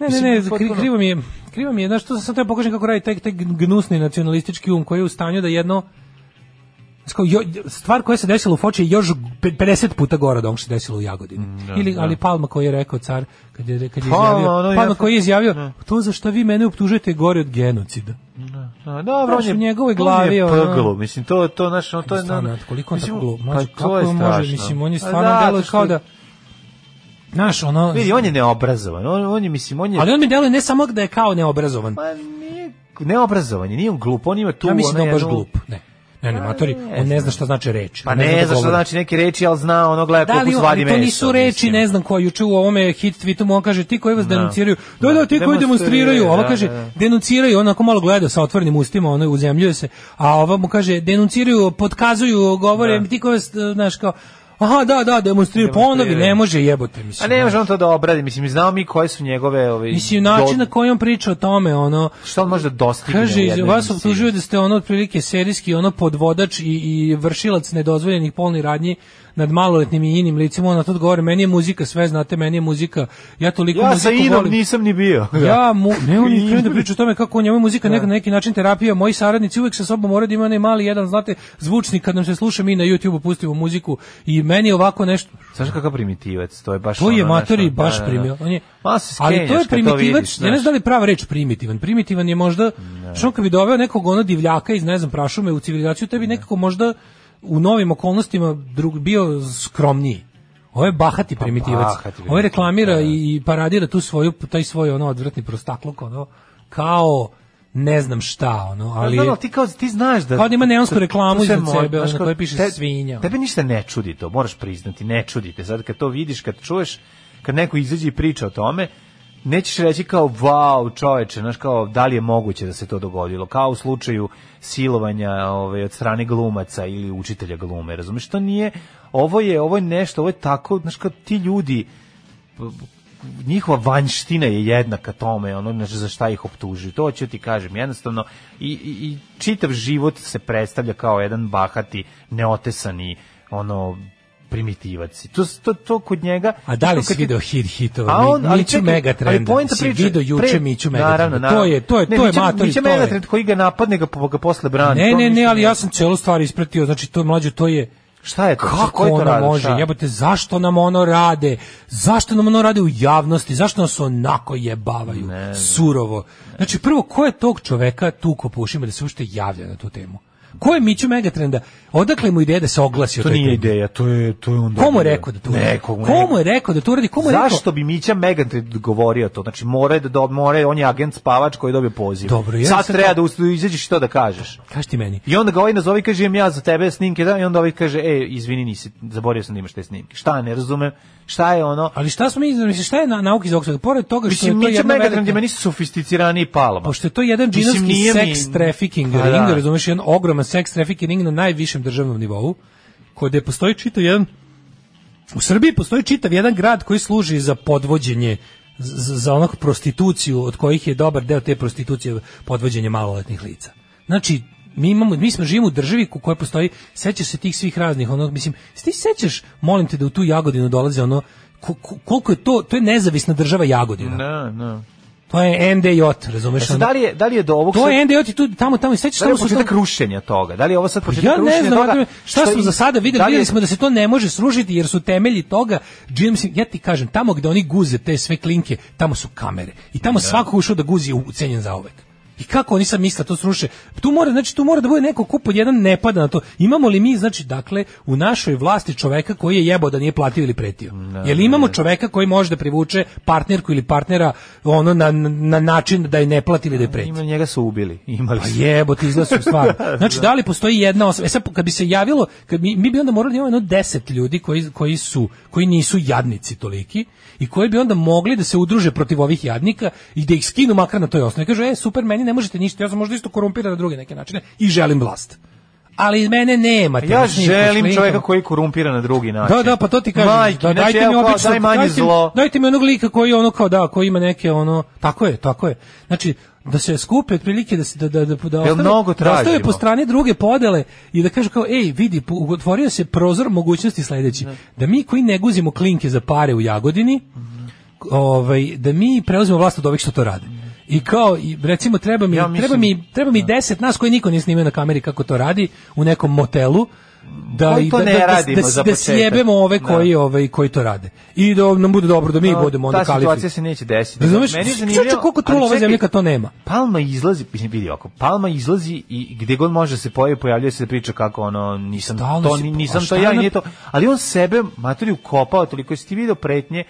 [SPEAKER 6] ne,
[SPEAKER 7] Mislim,
[SPEAKER 6] ne,
[SPEAKER 7] potpuno-
[SPEAKER 6] kri- krivo mi je, krivo mi je, znaš, to sam sad treba pokažem kako radi taj, taj gnusni nacionalistički um koji je u stanju da jedno, znaš, kao jo- stvar koja se desila u Foči je još pe- 50 puta gora od onog što se desilo u Jagodini.
[SPEAKER 7] da,
[SPEAKER 6] Ili,
[SPEAKER 7] da.
[SPEAKER 6] ali Palma koji je rekao car, kad je, kad je
[SPEAKER 7] Palma,
[SPEAKER 6] izjavio,
[SPEAKER 7] ono da. je
[SPEAKER 6] Palma
[SPEAKER 7] jasno-
[SPEAKER 6] koji je izjavio, to za što vi mene optužujete je gore od genocida.
[SPEAKER 7] A, dobro,
[SPEAKER 6] Znaš,
[SPEAKER 7] on je,
[SPEAKER 6] u njegovoj
[SPEAKER 7] on je
[SPEAKER 6] glavi, ono-
[SPEAKER 7] pglo, mislim, to, to, znaš, ono, to je... da,
[SPEAKER 6] Stvarno, koliko on
[SPEAKER 7] mislim,
[SPEAKER 6] tako glup,
[SPEAKER 7] pa
[SPEAKER 6] mlađe,
[SPEAKER 7] to
[SPEAKER 6] kako
[SPEAKER 7] je
[SPEAKER 6] on može,
[SPEAKER 7] strašno.
[SPEAKER 6] mislim, on je
[SPEAKER 7] Pa
[SPEAKER 6] stvarno
[SPEAKER 7] da,
[SPEAKER 6] deluje
[SPEAKER 7] zato
[SPEAKER 6] kao
[SPEAKER 7] što-
[SPEAKER 6] da, znaš, ono,
[SPEAKER 7] Vidi, on je neobrazovan, on, on je, mislim, on je...
[SPEAKER 6] ali on mi deluje ne samo da je kao neobrazovan,
[SPEAKER 7] Pa nije, neobrazovan je, nije on glup, on ima tu...
[SPEAKER 6] ja mislim da
[SPEAKER 7] ono
[SPEAKER 6] je baš
[SPEAKER 7] jednu-
[SPEAKER 6] glup, ne. Ne, ne, matori, on ne zna šta znači reč.
[SPEAKER 7] Pa
[SPEAKER 6] on
[SPEAKER 7] ne,
[SPEAKER 6] da
[SPEAKER 7] znaš što
[SPEAKER 6] govori.
[SPEAKER 7] znači neke reči, ali zna, ono, gleda
[SPEAKER 6] Da
[SPEAKER 7] koliko
[SPEAKER 6] li on-
[SPEAKER 7] svadi
[SPEAKER 6] ali
[SPEAKER 7] meso.
[SPEAKER 6] to nisu reči, ne znam ko juče u ovome hit tweetu mu on kaže ti koji vas
[SPEAKER 7] Da.
[SPEAKER 6] denunciraju. Da, da, ti koji
[SPEAKER 7] Demonstriraju,
[SPEAKER 6] demonstriraju. Ova
[SPEAKER 7] da,
[SPEAKER 6] kaže
[SPEAKER 7] da, da.
[SPEAKER 6] denunciraju, onako malo gleda sa otvorenim ustima, ono uzemljuje se. A ova mu kaže denunciraju, potkazuju, govore ti koji vas, eh, znaš kao Aha, da, da, demonstriraju, ponovi,
[SPEAKER 7] Da. Demonstriraju.
[SPEAKER 6] ne može jebote, mislim.
[SPEAKER 7] A ne može on to da obradi, mislim, znamo mi koje su njegove... Ove,
[SPEAKER 6] Mislim, način
[SPEAKER 7] do-
[SPEAKER 6] na koji on priča o tome, ono,
[SPEAKER 7] Što on može da dostigne? u
[SPEAKER 6] Kaže, iz-
[SPEAKER 7] jednoj
[SPEAKER 6] vas
[SPEAKER 7] emisiji?
[SPEAKER 6] optužuju da ste ono otprilike serijski ono podvodač i, i vršilac nedozvoljenih polnih radnji nad maloletnim i inim licima, ona to odgovore, meni je muzika, sve znate, meni je muzika, ja toliko
[SPEAKER 7] Ja sa
[SPEAKER 6] da muziku
[SPEAKER 7] Inom
[SPEAKER 6] volim.
[SPEAKER 7] nisam ni bio.
[SPEAKER 6] Ja, mu, ne, on je krenuo da priča o tome kako njemu je
[SPEAKER 7] Da.
[SPEAKER 6] muzika neka, na neki način terapija, moji saradnici uvek sa sobom moraju da imaju onaj mali jedan, znate, zvučnik, kad nam se sluša, mi na YouTube-u pustimo muziku i meni je ovako nešto,
[SPEAKER 7] Znaš kakav primitivac, to je baš...
[SPEAKER 6] to je
[SPEAKER 7] ono, znaš,
[SPEAKER 6] matori
[SPEAKER 7] ono,
[SPEAKER 6] baš
[SPEAKER 7] da, da, da.
[SPEAKER 6] primio. On je,
[SPEAKER 7] Malo se
[SPEAKER 6] ali to
[SPEAKER 7] skenjaš
[SPEAKER 6] je
[SPEAKER 7] kad to
[SPEAKER 6] primitivac,
[SPEAKER 7] vidiš,
[SPEAKER 6] ja ne
[SPEAKER 7] znaš.
[SPEAKER 6] znam da li je prava reč primitivan. Primitivan je možda, što on kad bi doveo nekog ono divljaka iz, ne znam, prašume u civilizaciju, tebi nekako možda u novim okolnostima drug, bio skromniji. Ovo je bahati primitivac.
[SPEAKER 7] Pa bahati da,
[SPEAKER 6] Ovo je reklamira i i paradira tu svoju, taj svoj ono odvratni prostakluk, ono, kao ne znam šta, ono, ali...
[SPEAKER 7] Znam, ali Da, ti kao ti znaš da
[SPEAKER 6] Kao da ima neonsku reklamu
[SPEAKER 7] to sve
[SPEAKER 6] iznad
[SPEAKER 7] mo-
[SPEAKER 6] sebe,
[SPEAKER 7] znaš
[SPEAKER 6] ono,
[SPEAKER 7] kao,
[SPEAKER 6] koja piše svinja.
[SPEAKER 7] Tebe ništa ne čudi to, moraš priznati, ne čudi te. Sad kad to vidiš, kad čuješ, kad neko izađe i priča o tome, nećeš reći kao wow, čoveče, znaš kao da li je moguće da se to dogodilo, kao u slučaju silovanja ovaj od strane glumaca ili učitelja glume, razumeš? To nije ovo je ovo je nešto, ovo je tako, znaš kao ti ljudi njihova vanština je jednaka tome, ono znači za šta ih optužuju. To ću ti kažem, jednostavno i, i, i čitav život se predstavlja kao jedan bahati, neotesani ono primitivac. I To, to, to kod njega...
[SPEAKER 6] A da li
[SPEAKER 7] to
[SPEAKER 6] si
[SPEAKER 7] kad ti-
[SPEAKER 6] video hit hitova?
[SPEAKER 7] A on-
[SPEAKER 6] Mi-
[SPEAKER 7] ali
[SPEAKER 6] Miću
[SPEAKER 7] čekaj, ali
[SPEAKER 6] Megatrenda.
[SPEAKER 7] poenta
[SPEAKER 6] Si
[SPEAKER 7] priče-
[SPEAKER 6] video juče
[SPEAKER 7] pre-
[SPEAKER 6] Miću
[SPEAKER 7] Naravno,
[SPEAKER 6] Megatrenda. To
[SPEAKER 7] naravno.
[SPEAKER 6] je, to je,
[SPEAKER 7] Ne,
[SPEAKER 6] to je
[SPEAKER 7] Mića-
[SPEAKER 6] matori,
[SPEAKER 7] Mića
[SPEAKER 6] to je.
[SPEAKER 7] Megatrend koji ga napadne, ga, po- ga posle brani.
[SPEAKER 6] Ne,
[SPEAKER 7] to da
[SPEAKER 6] ne, ne,
[SPEAKER 7] ništa
[SPEAKER 6] ali
[SPEAKER 7] nije.
[SPEAKER 6] ja sam celu stvar ispratio, znači to mlađe, to je
[SPEAKER 7] Šta je to?
[SPEAKER 6] kako
[SPEAKER 7] Koji to
[SPEAKER 6] ona
[SPEAKER 7] radi?
[SPEAKER 6] može,
[SPEAKER 7] Šta?
[SPEAKER 6] jebote, zašto nam ono rade, zašto nam ono rade u javnosti, zašto nas onako jebavaju, surovo. Znači, prvo, ko je tog čoveka tu ko pušima da se uopšte javlja na tu temu? Ko je Miću Megatrenda? Odakle mu ideja da se oglasi o
[SPEAKER 7] To
[SPEAKER 6] toj
[SPEAKER 7] nije
[SPEAKER 6] temi?
[SPEAKER 7] ideja, to je, to je onda...
[SPEAKER 6] Komu je rekao da to uradi?
[SPEAKER 7] Nekog,
[SPEAKER 6] Komu je rekao da to uradi? Komu je rekao?
[SPEAKER 7] Zašto bi Mića Megatrend govorio to? Znači, mora je da, da mora, je- on je agent spavač koji je dobio poziv.
[SPEAKER 6] Dobro, ja
[SPEAKER 7] Sad
[SPEAKER 6] sam
[SPEAKER 7] treba
[SPEAKER 6] kao-
[SPEAKER 7] da usta- izađeš i to da kažeš.
[SPEAKER 6] Kaži ti meni.
[SPEAKER 7] I onda ga ovaj nazove i kaže, imam ja za tebe snimke, da, i onda ovaj kaže, e, izvini, nisi, zaborio sam da imaš te snimke. Šta, ne razumem, šta je ono...
[SPEAKER 6] Ali šta smo mi, mislim, šta je na, nauka iz ovog svega? Pored toga što
[SPEAKER 7] Mislim,
[SPEAKER 6] je to
[SPEAKER 7] Mića
[SPEAKER 6] jedna
[SPEAKER 7] Megatrend
[SPEAKER 6] velika-
[SPEAKER 7] je meni sofisticiraniji palma.
[SPEAKER 6] Pošto je to jedan
[SPEAKER 7] Mislim,
[SPEAKER 6] džinovski
[SPEAKER 7] nije mi-
[SPEAKER 6] seks trafficking
[SPEAKER 7] Pa da.
[SPEAKER 6] ring, razumeš, jedan ogroman seks trafficking ring na najvišem državnom nivou, kod postoji čitav jedan u Srbiji postoji čitav jedan grad koji služi za podvođenje z- za onog prostituciju od kojih je dobar deo te prostitucije podvođenje maloletnih lica. Znači, mi imamo mi smo živimo u državi u kojoj postoji sećaš se tih svih raznih ono mislim se ti sećaš molim te da
[SPEAKER 7] Da,
[SPEAKER 6] u tu Jagodinu dolaze ono ko- ko- koliko je to to je nezavisna država Jagodina
[SPEAKER 7] Ne, ne.
[SPEAKER 6] To je NDJ, razumeš?
[SPEAKER 7] Jesu,
[SPEAKER 6] ono?
[SPEAKER 7] da li je da li je do ovog
[SPEAKER 6] To
[SPEAKER 7] sad-
[SPEAKER 6] je NDJ i tu tamo tamo i sećaš
[SPEAKER 7] Da li je
[SPEAKER 6] tamo su
[SPEAKER 7] početak rušenja toga? Da li je ovo sad početak
[SPEAKER 6] Ja
[SPEAKER 7] rušenja
[SPEAKER 6] ne znam,
[SPEAKER 7] toga?
[SPEAKER 6] Adrian, šta
[SPEAKER 7] što
[SPEAKER 6] smo
[SPEAKER 7] i-
[SPEAKER 6] za sada videli,
[SPEAKER 7] li je-
[SPEAKER 6] videli smo da se to ne može srušiti jer su temelji toga, Jim, Sim- ja ti kažem, tamo gde oni guze te sve klinke, tamo su kamere i tamo svako ušao da guzi je ucenjen zauvek. I kako oni sad misle da to sruše? Tu mora, znači tu mora da bude neko kup pod jedan ne pada na to. Imamo li mi znači dakle u našoj vlasti čoveka koji je jebao da nije platio ili pretio?
[SPEAKER 7] Da,
[SPEAKER 6] Jel imamo čoveka koji može da privuče partnerku ili partnera ono na, na način da je ne plati ili da je preti?
[SPEAKER 7] Ima njega su ubili. Imali
[SPEAKER 6] Pa
[SPEAKER 7] su.
[SPEAKER 6] jebote, izgleda su stvarno. Znači, da li postoji jedna osoba? E sad, kad bi se javilo, kad mi, mi bi onda morali da imamo jedno deset ljudi koji, koji, su, koji nisu jadnici toliki i koji bi onda mogli da se udruže protiv ovih jadnika i da ih skinu makar na toj osnovi. Kažu, e, super, meni ne možete ništa, ja sam možda isto korumpiran na druge neke načine i želim vlast. Ali mene nemate.
[SPEAKER 7] Ja
[SPEAKER 6] mislim,
[SPEAKER 7] želim
[SPEAKER 6] mislim,
[SPEAKER 7] čoveka koji korumpira na drugi način.
[SPEAKER 6] pa Da, da, pa to ti kažem.
[SPEAKER 7] Majke,
[SPEAKER 6] da,
[SPEAKER 7] znači,
[SPEAKER 6] dajte mi
[SPEAKER 7] evo, kao,
[SPEAKER 6] obično,
[SPEAKER 7] daj manje
[SPEAKER 6] dajte mi-
[SPEAKER 7] zlo.
[SPEAKER 6] Dajte mi onog lika koji ono kao da, koji ima neke ono, tako je, tako je. Znači da se skupe otprilike da se da da da da ostave,
[SPEAKER 7] mnogo
[SPEAKER 6] da ostave
[SPEAKER 7] tražimo?
[SPEAKER 6] po strani druge podele i da kažu kao ej vidi po- otvorio se prozor mogućnosti sledeći da mi koji ne guzimo klinke za pare u Jagodini ovaj da mi preuzmemo vlast od ovih što to rade. I kao i recimo treba mi
[SPEAKER 7] Ja mislim-
[SPEAKER 6] treba mi treba mi 10 nas koji niko nije snimio na kameri kako to radi u nekom motelu da
[SPEAKER 7] Koji
[SPEAKER 6] i
[SPEAKER 7] to
[SPEAKER 6] da,
[SPEAKER 7] ne
[SPEAKER 6] da, da-
[SPEAKER 7] radimo
[SPEAKER 6] da,
[SPEAKER 7] za
[SPEAKER 6] da
[SPEAKER 7] početak.
[SPEAKER 6] sjebemo ove koji ovaj koji to rade. I da nam bude dobro da mi
[SPEAKER 7] To-
[SPEAKER 6] budemo onda
[SPEAKER 7] Pa, ta
[SPEAKER 6] kalifi. Da
[SPEAKER 7] situacija se neće desiti.
[SPEAKER 6] Razumeš?
[SPEAKER 7] Meni je
[SPEAKER 6] Čuče,
[SPEAKER 7] zanimljivo-
[SPEAKER 6] koliko trula
[SPEAKER 7] ali
[SPEAKER 6] ova
[SPEAKER 7] čekaj,
[SPEAKER 6] zemlja kad to nema.
[SPEAKER 7] Palma izlazi, mislim, vidi oko, Palma izlazi i gdje god može da se pojavi, pojavljuje se da priča kako ono, nisam
[SPEAKER 6] Stalno
[SPEAKER 7] to,
[SPEAKER 6] si-
[SPEAKER 7] ni-
[SPEAKER 6] a
[SPEAKER 7] nisam
[SPEAKER 6] šta
[SPEAKER 7] to ja,
[SPEAKER 6] je na-
[SPEAKER 7] i nije to. Ali on sebe, maturi, ukopao, toliko si ti video pretnje,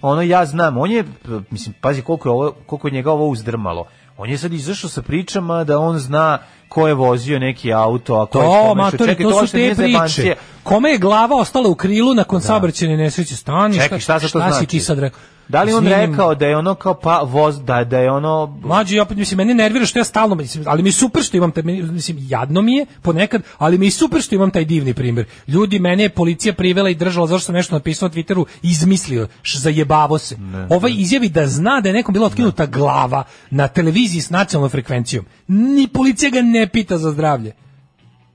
[SPEAKER 7] ono, ja znam, on je, p- mislim, pazi koliko je, ovo, koliko je njega ovo uzdrmalo. On je sad izašao sa pričama da on zna ko je vozio neki auto, a ko je
[SPEAKER 6] To,
[SPEAKER 7] pomešao.
[SPEAKER 6] matori,
[SPEAKER 7] Čekaj,
[SPEAKER 6] Da, to su
[SPEAKER 7] uopšte nije
[SPEAKER 6] te priče.
[SPEAKER 7] zebancija.
[SPEAKER 6] Kome je glava ostala u krilu nakon da. saobraćajne nesreće stani?
[SPEAKER 7] Čekaj, šta sad to
[SPEAKER 6] si
[SPEAKER 7] znači?
[SPEAKER 6] ti sad rekao?
[SPEAKER 7] Da li on
[SPEAKER 6] Mislim,
[SPEAKER 7] rekao da je ono kao pa voz, da, da je ono
[SPEAKER 6] Mlađi, opet, mislim, mene nervira što ja stalno, mislim, ali mi je super što imam, taj, meni, mislim, jadno mi je ponekad, ali mi je super što imam taj divni primjer. Ljudi, mene je policija privela i držala zašto sam nešto napisao na Twitteru, izmislio, š, zajebavo se. ovaj izjavi da zna da je nekom bila otkinuta glava na televiziji s nacionalnom frekvencijom. Ni policija ga ne pita za zdravlje.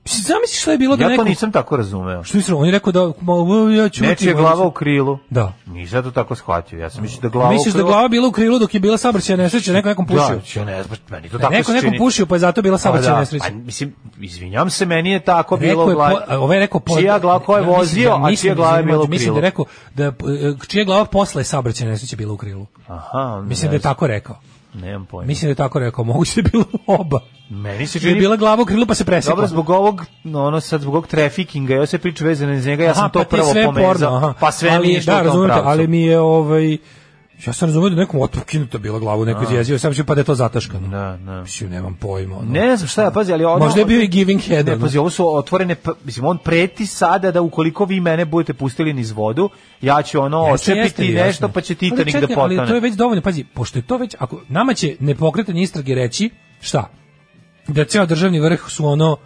[SPEAKER 6] Mislim, Zamisli što je bilo da
[SPEAKER 7] Ja to
[SPEAKER 6] neko...
[SPEAKER 7] nisam tako razumeo.
[SPEAKER 6] Što mislim, on je rekao da... ma, o, ja ću
[SPEAKER 7] Nečija glava u krilu.
[SPEAKER 6] Da.
[SPEAKER 7] Nisam to tako shvatio. Ja sam mislio da glava
[SPEAKER 6] Misliš
[SPEAKER 7] u
[SPEAKER 6] da
[SPEAKER 7] krilu...
[SPEAKER 6] glava bila u krilu dok je bila saobraćajna nesreća, neko nekom pušio?
[SPEAKER 7] Da, ja ne znam, meni to
[SPEAKER 6] Da,
[SPEAKER 7] tako
[SPEAKER 6] neko
[SPEAKER 7] se
[SPEAKER 6] nekom
[SPEAKER 7] čini.
[SPEAKER 6] pušio, pa je zato bila
[SPEAKER 7] Pa
[SPEAKER 6] saobraćajna
[SPEAKER 7] da,
[SPEAKER 6] nesreća.
[SPEAKER 7] pa mislim, izvinjam se, meni je tako bilo
[SPEAKER 6] Rekao je,
[SPEAKER 7] glava.
[SPEAKER 6] po- a, ovaj je rekao po-
[SPEAKER 7] Čija glava ko je
[SPEAKER 6] Ja mislim
[SPEAKER 7] vozio,
[SPEAKER 6] da-
[SPEAKER 7] a
[SPEAKER 6] mislim
[SPEAKER 7] čija
[SPEAKER 6] da-
[SPEAKER 7] glava je bila u
[SPEAKER 6] Mislim
[SPEAKER 7] krilu.
[SPEAKER 6] da je rekao da e, čija glava posle saobraćajne nesreće bila u krilu.
[SPEAKER 7] Aha,
[SPEAKER 6] Mislim da je
[SPEAKER 7] ne znam,
[SPEAKER 6] tako rekao.
[SPEAKER 7] Nemam pojma.
[SPEAKER 6] Mislim da je tako rekao, moguće da je bilo oba.
[SPEAKER 7] meni se
[SPEAKER 6] Da je
[SPEAKER 7] čini...
[SPEAKER 6] bila glava u krilu pa se presekla.
[SPEAKER 7] Dobro, zbog ovog, no, ono sad, zbog ovog trafikinga, ja se priču vezane iz njega, ja sam
[SPEAKER 6] Aha,
[SPEAKER 7] to
[SPEAKER 6] pa ti je
[SPEAKER 7] prvo
[SPEAKER 6] sve porno,
[SPEAKER 7] pomezao.
[SPEAKER 6] aha.
[SPEAKER 7] Pa sve
[SPEAKER 6] ali,
[SPEAKER 7] mi je išlo
[SPEAKER 6] da,
[SPEAKER 7] u tom
[SPEAKER 6] razumete,
[SPEAKER 7] pravcu.
[SPEAKER 6] ali mi je ovaj Ja sam razumio da nekom otpuk kinuta bila glavu, neko izjezio, sam ću pa da je to zataškano.
[SPEAKER 7] Da, da.
[SPEAKER 6] Mislim, nemam pojma. ono.
[SPEAKER 7] Ne znam šta je, pazi, ali ono...
[SPEAKER 6] Možda je bio i giving head.
[SPEAKER 7] Ne,
[SPEAKER 6] ono.
[SPEAKER 7] pazi, ovo su otvorene, p- mislim, on preti sada da ukoliko vi mene budete pustili niz vodu, ja ću ono
[SPEAKER 6] Jeste, jeste,
[SPEAKER 7] očepiti
[SPEAKER 6] jasno
[SPEAKER 7] nešto,
[SPEAKER 6] je.
[SPEAKER 7] pa će
[SPEAKER 6] Ali
[SPEAKER 7] Titanik da
[SPEAKER 6] čekaj,
[SPEAKER 7] potane.
[SPEAKER 6] Ali to je već dovoljno, pazi, pošto je to već, ako nama će nepokretanje istrage reći, šta? Da ceo državni vrh su ono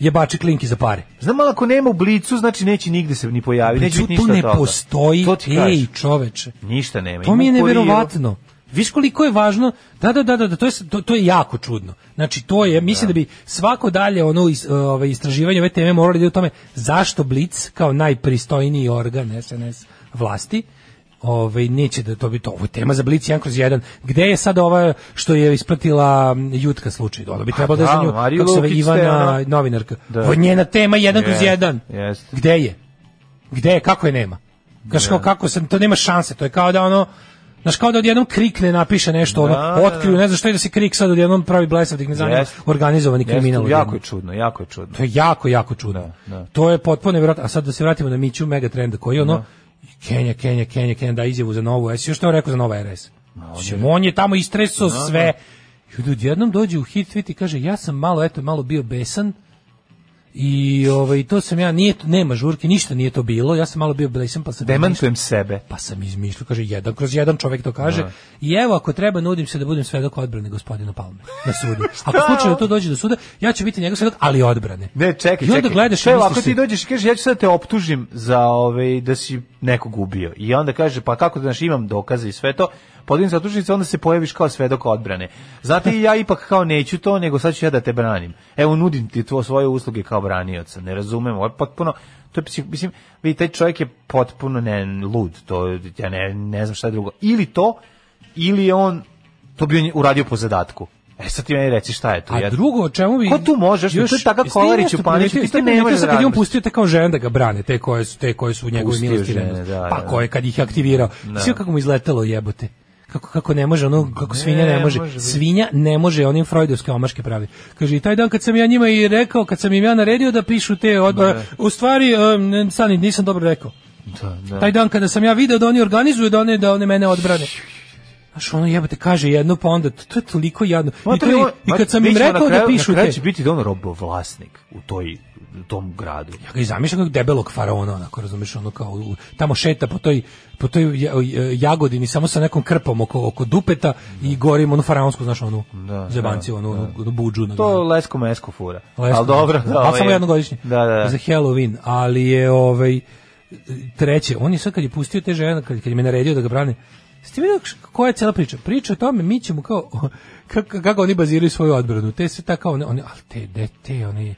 [SPEAKER 6] jebači klinki za pare.
[SPEAKER 7] Znam, ali ako nema u blicu, znači neće nigde se ni pojaviti, Pa neće
[SPEAKER 6] Znači,
[SPEAKER 7] biti
[SPEAKER 6] tu
[SPEAKER 7] ništa
[SPEAKER 6] ne
[SPEAKER 7] toga.
[SPEAKER 6] postoji,
[SPEAKER 7] To ti
[SPEAKER 6] ej
[SPEAKER 7] kažem.
[SPEAKER 6] čoveče.
[SPEAKER 7] Ništa nema.
[SPEAKER 6] To mi je
[SPEAKER 7] Ima u kuriru.
[SPEAKER 6] neverovatno. Viš koliko je važno, da, da, da, da, da, to, je, s- to, to je jako čudno. Znači, to je, mislim da, bi svako dalje ono is, ove, istraživanje ove teme morali da ide u tome zašto Blic kao najpristojniji organ SNS vlasti Ovaj neće da to bi to. Ovo je tema za Blic 1 kroz 1. Gde je sad ova što je ispratila m, Jutka slučaj? Ona bi trebalo da je
[SPEAKER 7] da,
[SPEAKER 6] za nju
[SPEAKER 7] Mariju
[SPEAKER 6] kako se zove,
[SPEAKER 7] Lukić, te
[SPEAKER 6] Ivana
[SPEAKER 7] ona-
[SPEAKER 6] novinarka.
[SPEAKER 7] Da.
[SPEAKER 6] Ovo je njena tema 1 kroz
[SPEAKER 7] Jeste,
[SPEAKER 6] 1.
[SPEAKER 7] jeste.
[SPEAKER 6] Gde je? Gde je, kako je nema? Znaš
[SPEAKER 7] Da.
[SPEAKER 6] kao kako se, to nema šanse, to je kao da ono, znaš kao da odjednom krik ne napiše nešto, ono,
[SPEAKER 7] Da, da,
[SPEAKER 6] otkriju, ne znam što je da se krik sad odjednom pravi blesav, da ih ne zanima,
[SPEAKER 7] Jeste.
[SPEAKER 6] organizovani
[SPEAKER 7] Jeste,
[SPEAKER 6] da kriminal.
[SPEAKER 7] Jako
[SPEAKER 6] odjednom.
[SPEAKER 7] je čudno, jako je čudno.
[SPEAKER 6] To je jako, jako čudno.
[SPEAKER 7] da.
[SPEAKER 6] To je potpuno nevjerojatno. A sad da se vratimo na Miću Megatrenda, koji je ono, Kenja, Kenja, Kenja, Kenja, da izjavu za novu S. Još što je on rekao za nova RS? Mislim, on je tamo istresao sve. I onda odjednom dođe u hit tweet i kaže, ja sam malo, eto, malo bio besan, I ovaj to sam ja nije nema žurke, ništa nije to bilo. Ja sam malo bio blesan pa sam
[SPEAKER 7] Demantujem sebe.
[SPEAKER 6] pa sam izmišljao, kaže jedan kroz jedan čovjek to kaže.
[SPEAKER 7] Da.
[SPEAKER 6] I evo ako treba nudim se da budem svedok odbrane gospodina Palme na sudu. ako slučajno to dođe do suda, ja ću biti njegov svedok, ali odbrane.
[SPEAKER 7] Ne, čekaj,
[SPEAKER 6] I onda
[SPEAKER 7] čekaj.
[SPEAKER 6] gledaš i
[SPEAKER 7] Evo,
[SPEAKER 6] misliš
[SPEAKER 7] ako ti
[SPEAKER 6] si,
[SPEAKER 7] dođeš i kažeš, ja ću sad da te optužim za ovaj, da si nekog ubio. I onda kaže, pa kako da znaš, imam dokaze i sve to. Podignem se optužnicu, onda se pojaviš kao svedok odbrane. Znate, i ja ipak kao neću to, nego sad ću ja da te branim. Evo, nudim ti tvo, svoje usluge kao branioca. Ne razumem, ovo je potpuno... To je, psi- mislim, vidi, taj čovjek je potpuno ne, lud. To, ja ne, ne znam šta drugo. Ili to, ili je on to bi on uradio po zadatku. E sad ti meni reci šta je tu.
[SPEAKER 6] A drugo, o čemu bi...
[SPEAKER 7] Ko tu možeš? To je taka kolarić u paniću, ti to ne možeš da
[SPEAKER 6] Kad je on
[SPEAKER 7] radiš.
[SPEAKER 6] pustio te kao žene da ga brane, te koje su, te koje su u njegovoj
[SPEAKER 7] Pustio
[SPEAKER 6] milosti. i
[SPEAKER 7] žene,
[SPEAKER 6] nedosti.
[SPEAKER 7] da,
[SPEAKER 6] pa
[SPEAKER 7] da.
[SPEAKER 6] koje kad ih je aktivirao.
[SPEAKER 7] Da.
[SPEAKER 6] Sve kako mu izletelo jebote. Kako, kako ne može, ono, kako svinja ne,
[SPEAKER 7] Ne
[SPEAKER 6] može.
[SPEAKER 7] može biti.
[SPEAKER 6] Svinja ne može, onim freudovske omaške pravi. Kaže, i taj dan kad sam ja njima i rekao, kad sam im ja naredio da pišu te odbore,
[SPEAKER 7] Da.
[SPEAKER 6] u stvari, um, ne, stani, nisam dobro rekao.
[SPEAKER 7] Da, da.
[SPEAKER 6] Taj dan kada sam ja video da oni organizuju da one, da one mene odbrane. Znaš, ono jebote kaže jedno, pa onda, to, to je toliko jadno. I, to, je- i kad sam im rekao da pišu
[SPEAKER 7] te. Na kraju
[SPEAKER 6] te...
[SPEAKER 7] će biti da on robovlasnik u, toj, u tom gradu.
[SPEAKER 6] Ja ga i zamišljam kako debelog faraona, onako, razumiješ, ono kao, u- tamo šeta po toj, po toj ja- e, jagodini, samo sa nekom krpom oko, oko dupeta i gorim onu faraonsku, znaš, onu
[SPEAKER 7] Da,
[SPEAKER 6] zebanci,
[SPEAKER 7] da,
[SPEAKER 6] onu,
[SPEAKER 7] da.
[SPEAKER 6] onu, onu buđu. ono,
[SPEAKER 7] To lesko mesko fura.
[SPEAKER 6] Lesko,
[SPEAKER 7] Ali dobro. Da,
[SPEAKER 6] ali
[SPEAKER 7] ovaj-
[SPEAKER 6] samo jednogodišnje.
[SPEAKER 7] Da, da.
[SPEAKER 6] Za Halloween, ali je ovaj treće, on je sad kad je pustio te žene, kad, kad je me naredio da ga brane, ste vidio kš- koja je cela priča? Priča o tome, mi ćemo kao, kako, kako oni baziraju svoju odbranu, te se ta kao, one, one, ali te, de, te, oni,